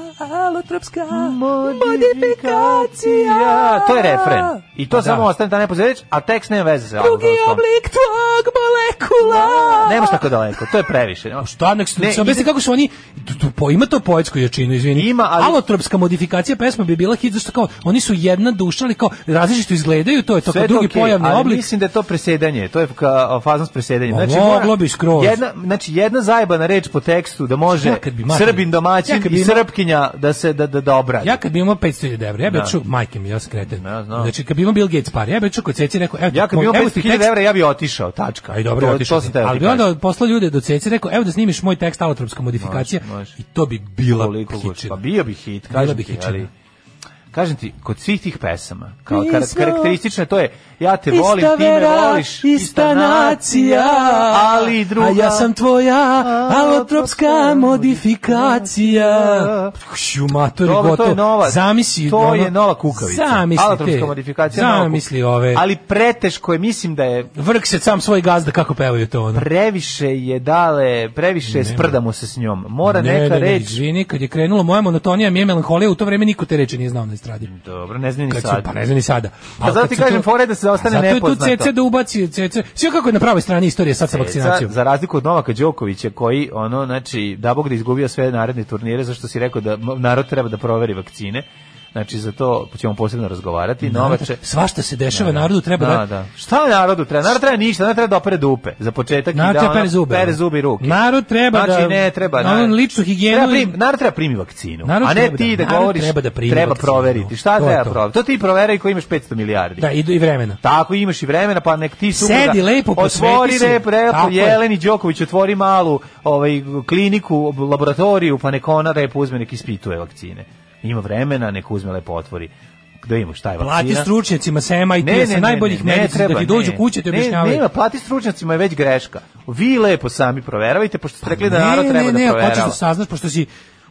[SPEAKER 6] alotropska
[SPEAKER 7] Ja,
[SPEAKER 6] modifikacija.
[SPEAKER 7] to je refren. I to
[SPEAKER 6] Pa da.
[SPEAKER 7] samo ostane ta nepozorič, a tekst nema veze sa
[SPEAKER 6] Drugi
[SPEAKER 7] alotropskom.
[SPEAKER 6] oblik tvog molekula.
[SPEAKER 7] Nemaš tako daleko, to je previše.
[SPEAKER 6] Šta Da, nek se
[SPEAKER 7] Ne,
[SPEAKER 6] sam
[SPEAKER 7] ide-
[SPEAKER 6] kako su oni tu, tu, po, ima to poetsku jačinu, izvini.
[SPEAKER 7] Ima, ali-
[SPEAKER 6] Alotropska modifikacija pesma bi bila hit zašto kao oni su jedna duša, ali kao različito izgledaju, to je to
[SPEAKER 7] Sve
[SPEAKER 6] kao
[SPEAKER 7] je
[SPEAKER 6] drugi
[SPEAKER 7] okej,
[SPEAKER 6] pojavni
[SPEAKER 7] ali
[SPEAKER 6] oblik.
[SPEAKER 7] Mislim da je to presedanje, to je ka, faznost presedanja.
[SPEAKER 6] Ma,
[SPEAKER 7] Znači,
[SPEAKER 6] moglo
[SPEAKER 7] mora-
[SPEAKER 6] bi skroz.
[SPEAKER 7] Jedna, znači, jedna zajebana reč po tekstu da može
[SPEAKER 6] Ja kad bi mater-
[SPEAKER 7] srbin domaćin
[SPEAKER 6] ja kad bi
[SPEAKER 7] i
[SPEAKER 6] ima-
[SPEAKER 7] srpkinja da se da, da, da obradi.
[SPEAKER 6] Ja kad bi imao 500.000 evra, ja bi
[SPEAKER 7] Da.
[SPEAKER 6] otišao, majke mi, ja sam kreten.
[SPEAKER 7] Ja znam.
[SPEAKER 6] Znači, kad bi imao Bill Gates par, ja bi otišao kod Ceci i rekao, evo,
[SPEAKER 7] Ja kad bi
[SPEAKER 6] moj-
[SPEAKER 7] imao
[SPEAKER 6] evo ti
[SPEAKER 7] 500.000
[SPEAKER 6] tekst-
[SPEAKER 7] evra, ja bi otišao, tačka.
[SPEAKER 6] Aj dobro, ja
[SPEAKER 7] to,
[SPEAKER 6] otišao
[SPEAKER 7] to
[SPEAKER 6] sam.
[SPEAKER 7] sam teo
[SPEAKER 6] Ali
[SPEAKER 7] ti
[SPEAKER 6] bi
[SPEAKER 7] kažem.
[SPEAKER 6] onda poslao ljude do Ceci i rekao, evo da snimiš moj tekst alotropska modifikacija.
[SPEAKER 7] može.
[SPEAKER 6] I to bi bila
[SPEAKER 7] Koliko god.
[SPEAKER 6] hičina.
[SPEAKER 7] Pa bio bi hit,
[SPEAKER 6] Bila
[SPEAKER 7] kažem
[SPEAKER 6] bi
[SPEAKER 7] ti,
[SPEAKER 6] hičina.
[SPEAKER 7] ali... Kažem ti, kod svih tih pesama, kao
[SPEAKER 6] Mi
[SPEAKER 7] kar
[SPEAKER 6] smo
[SPEAKER 7] karakteristične, to je ja te
[SPEAKER 6] Ista
[SPEAKER 7] volim, ti me
[SPEAKER 6] vera,
[SPEAKER 7] voliš,
[SPEAKER 6] ista nacija,
[SPEAKER 7] ali i druga.
[SPEAKER 6] A ja sam tvoja alotropska modifikacija. Šu, matori,
[SPEAKER 7] Dobro,
[SPEAKER 6] gotovo.
[SPEAKER 7] to je nova.
[SPEAKER 6] Zamisli,
[SPEAKER 7] to
[SPEAKER 6] ono-
[SPEAKER 7] je nova kukavica.
[SPEAKER 6] Zamisli te.
[SPEAKER 7] Alotropska modifikacija. nova
[SPEAKER 6] Zamisli
[SPEAKER 7] kukavica.
[SPEAKER 6] ove.
[SPEAKER 7] Ali preteško je, mislim da je
[SPEAKER 6] Vrk se sam svoj gazda kako pevaju to ono.
[SPEAKER 7] previše je dale, previše je sprdamo se s njom. Mora neka
[SPEAKER 6] ne, ne,
[SPEAKER 7] reč.
[SPEAKER 6] izvini, kad je krenula moja monotonija, mi je melanholija, u to vreme niko te reči nije znao na estradi.
[SPEAKER 7] Dobro, ne znam ni
[SPEAKER 6] Kad su,
[SPEAKER 7] sad.
[SPEAKER 6] pa ne znam ni sada.
[SPEAKER 7] Pa
[SPEAKER 6] Ali
[SPEAKER 7] zato
[SPEAKER 6] kad
[SPEAKER 7] ti
[SPEAKER 6] su tu-
[SPEAKER 7] kažem, fora je da se ostane
[SPEAKER 6] zato je tu
[SPEAKER 7] nepoznato.
[SPEAKER 6] CC da ubaci, CC. Sve kako je na pravoj strani istorije sad
[SPEAKER 7] E,
[SPEAKER 6] sa
[SPEAKER 7] za,
[SPEAKER 6] vakcinacijom.
[SPEAKER 7] za razliku od Novaka Đokovića koji ono znači da bog da izgubio sve naredne turnire zašto si rekao da m- narod treba da proveri vakcine. Znači za to ćemo posebno razgovarati. Novače.
[SPEAKER 6] Svašta se dešava, narodu treba
[SPEAKER 7] da,
[SPEAKER 6] da-
[SPEAKER 7] da. Šta narodu treba? Narod treba ništa, narod treba da opere dupe. Za početak i
[SPEAKER 6] Narod
[SPEAKER 7] da
[SPEAKER 6] treba
[SPEAKER 7] ono,
[SPEAKER 6] pere zube.
[SPEAKER 7] pere zube i ruke.
[SPEAKER 6] Narod treba
[SPEAKER 7] znači,
[SPEAKER 6] da-
[SPEAKER 7] ne treba.
[SPEAKER 6] na onu ličnu higijenu
[SPEAKER 7] Treba
[SPEAKER 6] i-
[SPEAKER 7] prim- narod treba primi vakcinu.
[SPEAKER 6] Narod
[SPEAKER 7] a ne
[SPEAKER 6] treba
[SPEAKER 7] ti
[SPEAKER 6] da-
[SPEAKER 7] da,
[SPEAKER 6] narod
[SPEAKER 7] govoriš.
[SPEAKER 6] treba da primi vakcinu.
[SPEAKER 7] proveriti. Šta
[SPEAKER 6] To je
[SPEAKER 7] treba
[SPEAKER 6] to.
[SPEAKER 7] proveriti? To ti proveraj koji imaš 500 milijardi.
[SPEAKER 6] Da, i, i vremena.
[SPEAKER 7] Tako imaš i vremena, pa nek ti supruga-
[SPEAKER 6] Sedi lepo, posveti
[SPEAKER 7] otvori
[SPEAKER 6] se.
[SPEAKER 7] rep, rep,
[SPEAKER 6] Tako je.
[SPEAKER 7] Jeleni Đoković otvori malu ovaj, kliniku, laboratoriju, pa nek ona rep uzme, nek ispituje vakcine. Ima vremena, nek uzme lepo otvori. Gde ima, šta je vakcina?
[SPEAKER 6] Plati stručnjacima sa MIT-a, sa najboljih medicinskih, da ti dođu kuće, ti
[SPEAKER 7] ne,
[SPEAKER 6] objašnjavaju.
[SPEAKER 7] Nema, plati stručnjacima je već greška. Vi lepo sami proveravajte, pošto ste rekli da narod treba
[SPEAKER 6] Pa ne,
[SPEAKER 7] da
[SPEAKER 6] ne,
[SPEAKER 7] proverava.
[SPEAKER 6] hoćeš da saznaš, pošto si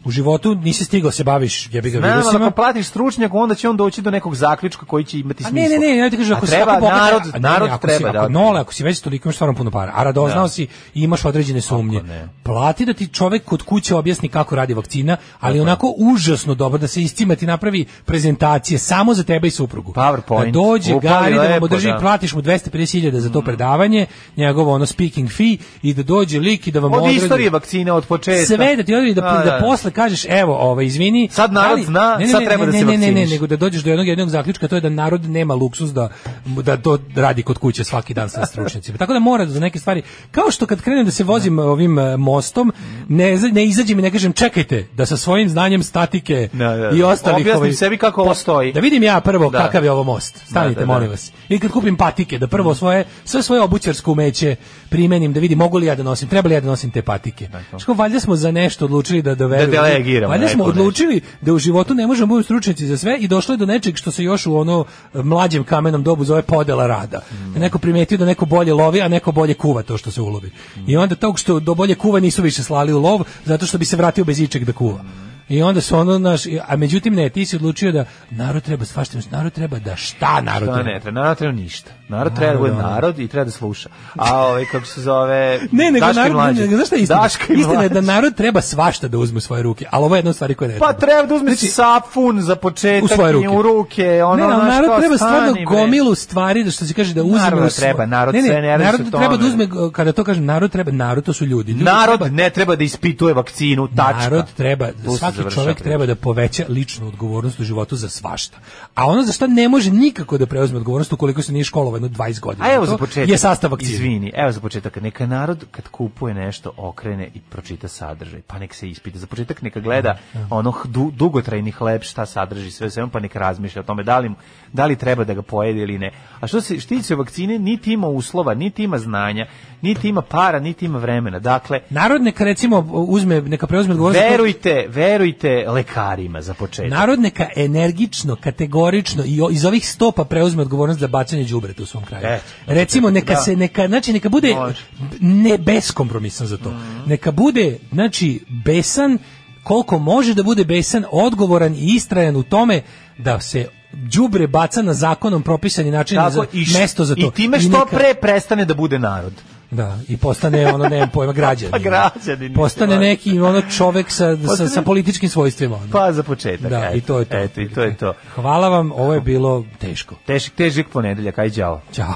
[SPEAKER 6] u životu nisi stigao da se baviš jebi ga
[SPEAKER 7] Naravno,
[SPEAKER 6] virusima.
[SPEAKER 7] ako platiš stručnjaku, onda će on doći do nekog zaključka koji će imati
[SPEAKER 6] A
[SPEAKER 7] smisla.
[SPEAKER 6] ne, ne, ne, ja ti kažem,
[SPEAKER 7] A
[SPEAKER 6] ako si
[SPEAKER 7] treba,
[SPEAKER 6] tako bogat,
[SPEAKER 7] narod,
[SPEAKER 6] a ne, ne,
[SPEAKER 7] narod
[SPEAKER 6] ako si,
[SPEAKER 7] treba
[SPEAKER 6] ako
[SPEAKER 7] da...
[SPEAKER 6] nole, ako si već toliko imaš stvarno puno para, a radoznao
[SPEAKER 7] Da.
[SPEAKER 6] si i imaš određene sumnje. Plati da ti čovek kod kuće objasni kako radi vakcina, ali onako užasno dobro da se istima ti napravi prezentacije samo za tebe i suprugu.
[SPEAKER 7] PowerPoint.
[SPEAKER 6] Da dođe
[SPEAKER 7] Upali
[SPEAKER 6] Gari da vam
[SPEAKER 7] lepo,
[SPEAKER 6] održi,
[SPEAKER 7] da. Mm.
[SPEAKER 6] platiš mu 250.000 za to predavanje, njegovo ono speaking fee i da dođe lik i da vam
[SPEAKER 7] Od
[SPEAKER 6] odredi-
[SPEAKER 7] istorije vakcine, od početka.
[SPEAKER 6] sve da ti odredi da,
[SPEAKER 7] A,
[SPEAKER 6] da, posle kažeš evo, ovaj izvini.
[SPEAKER 7] Sad narod
[SPEAKER 6] da li-
[SPEAKER 7] zna,
[SPEAKER 6] ne, ne,
[SPEAKER 7] sad
[SPEAKER 6] ne,
[SPEAKER 7] treba da
[SPEAKER 6] ne,
[SPEAKER 7] se
[SPEAKER 6] ne, ne, ne,
[SPEAKER 7] vakciniš.
[SPEAKER 6] nego da dođeš do jednog jednog zaključka, to je da narod nema luksuz da da to radi kod kuće svaki dan sa stručnjacima. Tako da mora za neke stvari, kao što kad krenem da se vozim eh, ovim eh, mostom, ne za- ne izađem i ne kažem čekajte da sa svojim znanjem statike
[SPEAKER 7] Da, da, da.
[SPEAKER 6] i ostalih
[SPEAKER 7] Objasnim
[SPEAKER 6] ovaj-
[SPEAKER 7] sebi kako ovo stoji.
[SPEAKER 6] Da vidim ja prvo
[SPEAKER 7] Da.
[SPEAKER 6] kakav je ovo most. Stanite
[SPEAKER 7] Da, Mm. da, da.
[SPEAKER 6] molim vas. I kad kupim patike, da prvo svoje sve svoje obućarsko umeće primenim da vidim mogu li ja da nosim, treba li ja da nosim te patike. Što valjda smo za nešto odlučili da dovedemo.
[SPEAKER 7] Da delegiramo
[SPEAKER 6] Valjda smo
[SPEAKER 7] neko nešto.
[SPEAKER 6] odlučili da u životu ne možemo biti stručnjaci za sve i došlo je do nečeg što se još u ono e, mlađem kamenom dobu zove podela rada.
[SPEAKER 7] Mm.
[SPEAKER 6] Da Neko primetio da neko bolje lovi, a neko bolje kuva to što se ulovi.
[SPEAKER 7] Mm.
[SPEAKER 6] I onda tog što do bolje kuva nisu više slali u lov zato što bi se vratio bez ičeg da kuva.
[SPEAKER 7] Mm.
[SPEAKER 6] I onda su ono naš, a međutim ne, ti si odlučio da narod treba svašta, narod treba da šta narod
[SPEAKER 7] Šta
[SPEAKER 6] treba.
[SPEAKER 7] ne treba, narod treba ništa. Narod treba da bude
[SPEAKER 6] Narod, ono.
[SPEAKER 7] narod i treba da sluša. A ovaj, kako se zove,
[SPEAKER 6] Ne, nego
[SPEAKER 7] Daško i
[SPEAKER 6] narod,
[SPEAKER 7] mlađe.
[SPEAKER 6] ne, znaš šta je istina?
[SPEAKER 7] Daško i
[SPEAKER 6] Istina je da
[SPEAKER 7] mlađe.
[SPEAKER 6] narod treba svašta da uzme u svoje ruke, ali ovo je jedna od stvari koja ne treba.
[SPEAKER 7] Pa treba da uzme sapun za početak
[SPEAKER 6] Znači, u svoje
[SPEAKER 7] i
[SPEAKER 6] ruke.
[SPEAKER 7] u ruke. Ono,
[SPEAKER 6] ne, ali
[SPEAKER 7] znaš,
[SPEAKER 6] narod
[SPEAKER 7] kao,
[SPEAKER 6] treba
[SPEAKER 7] stani,
[SPEAKER 6] stvarno
[SPEAKER 7] bre.
[SPEAKER 6] gomilu stvari da što se kaže da uzme
[SPEAKER 7] Narodu
[SPEAKER 6] u svoje-
[SPEAKER 7] treba, narod
[SPEAKER 6] ne, ne,
[SPEAKER 7] sve, ne radi se
[SPEAKER 6] narod
[SPEAKER 7] o tome.
[SPEAKER 6] treba da uzme kada to kažem narod treba narod to su ljudi. ljudi
[SPEAKER 7] Narod ne treba da ispituje vakcinu, tačka.
[SPEAKER 6] Narod treba,
[SPEAKER 7] Tu se
[SPEAKER 6] svaki
[SPEAKER 7] završava
[SPEAKER 6] čovjek
[SPEAKER 7] priča.
[SPEAKER 6] treba da poveća ličnu odgovornost u životu za svašta. A ono za što ne može nikako da preuzme odgovornost ukoliko se nije školovao jedno 20 godina.
[SPEAKER 7] A evo
[SPEAKER 6] To
[SPEAKER 7] za početak.
[SPEAKER 6] Je sastav vakcine.
[SPEAKER 7] Izvini, evo za početak. Neka narod kad kupuje nešto okrene i pročita sadržaj, pa nek se ispita. Za početak neka gleda
[SPEAKER 6] Mhm.
[SPEAKER 7] ono hdu- dugotrajni hleb šta sadrži sve u svemu, pa neka razmišlja o tome da li, mu- da li treba da ga pojede ili ne. A što se štiće vakcine, niti ima uslova, niti ima znanja, niti ima para, niti ima vremena. Dakle,
[SPEAKER 6] Narod neka recimo uzme, neka preuzme odgovornost.
[SPEAKER 7] verujte, verujte lekarima za početak.
[SPEAKER 6] Narod neka energično, kategorično i o- iz ovih stopa preuzme odgovornost za bacanje đubreta u svom kraju.
[SPEAKER 7] Eto,
[SPEAKER 6] Recimo neka
[SPEAKER 7] da.
[SPEAKER 6] se neka znači neka bude
[SPEAKER 7] Može. Mhm.
[SPEAKER 6] ne beskompromisan za to. Neka bude znači besan koliko može da bude besan, odgovoran i istrajan u tome da se đubre baca na zakonom propisani način
[SPEAKER 7] Tako,
[SPEAKER 6] za
[SPEAKER 7] i š-
[SPEAKER 6] mesto za to.
[SPEAKER 7] I time što
[SPEAKER 6] neka-
[SPEAKER 7] pre prestane da bude narod.
[SPEAKER 6] Da, i postane ono nemam pojma građanin.
[SPEAKER 7] Pa građanin,
[SPEAKER 6] Postane
[SPEAKER 7] mislim,
[SPEAKER 6] neki ono čovek sa sa,
[SPEAKER 7] Postane-
[SPEAKER 6] sa političkim svojstvima. ono.
[SPEAKER 7] Pa za početak.
[SPEAKER 6] Da,
[SPEAKER 7] eto,
[SPEAKER 6] i to je to.
[SPEAKER 7] Eto, i to je to.
[SPEAKER 6] Hvala vam, ovo je bilo teško.
[SPEAKER 7] Težak, težak ponedeljak, aj đavo.
[SPEAKER 6] Ćao.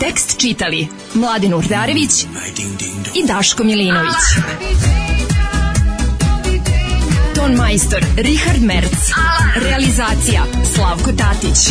[SPEAKER 5] Tekst čitali Mladin Urdarević i Daško Milinović. Ton majstor Richard Merc. Realizacija Slavko Tatić.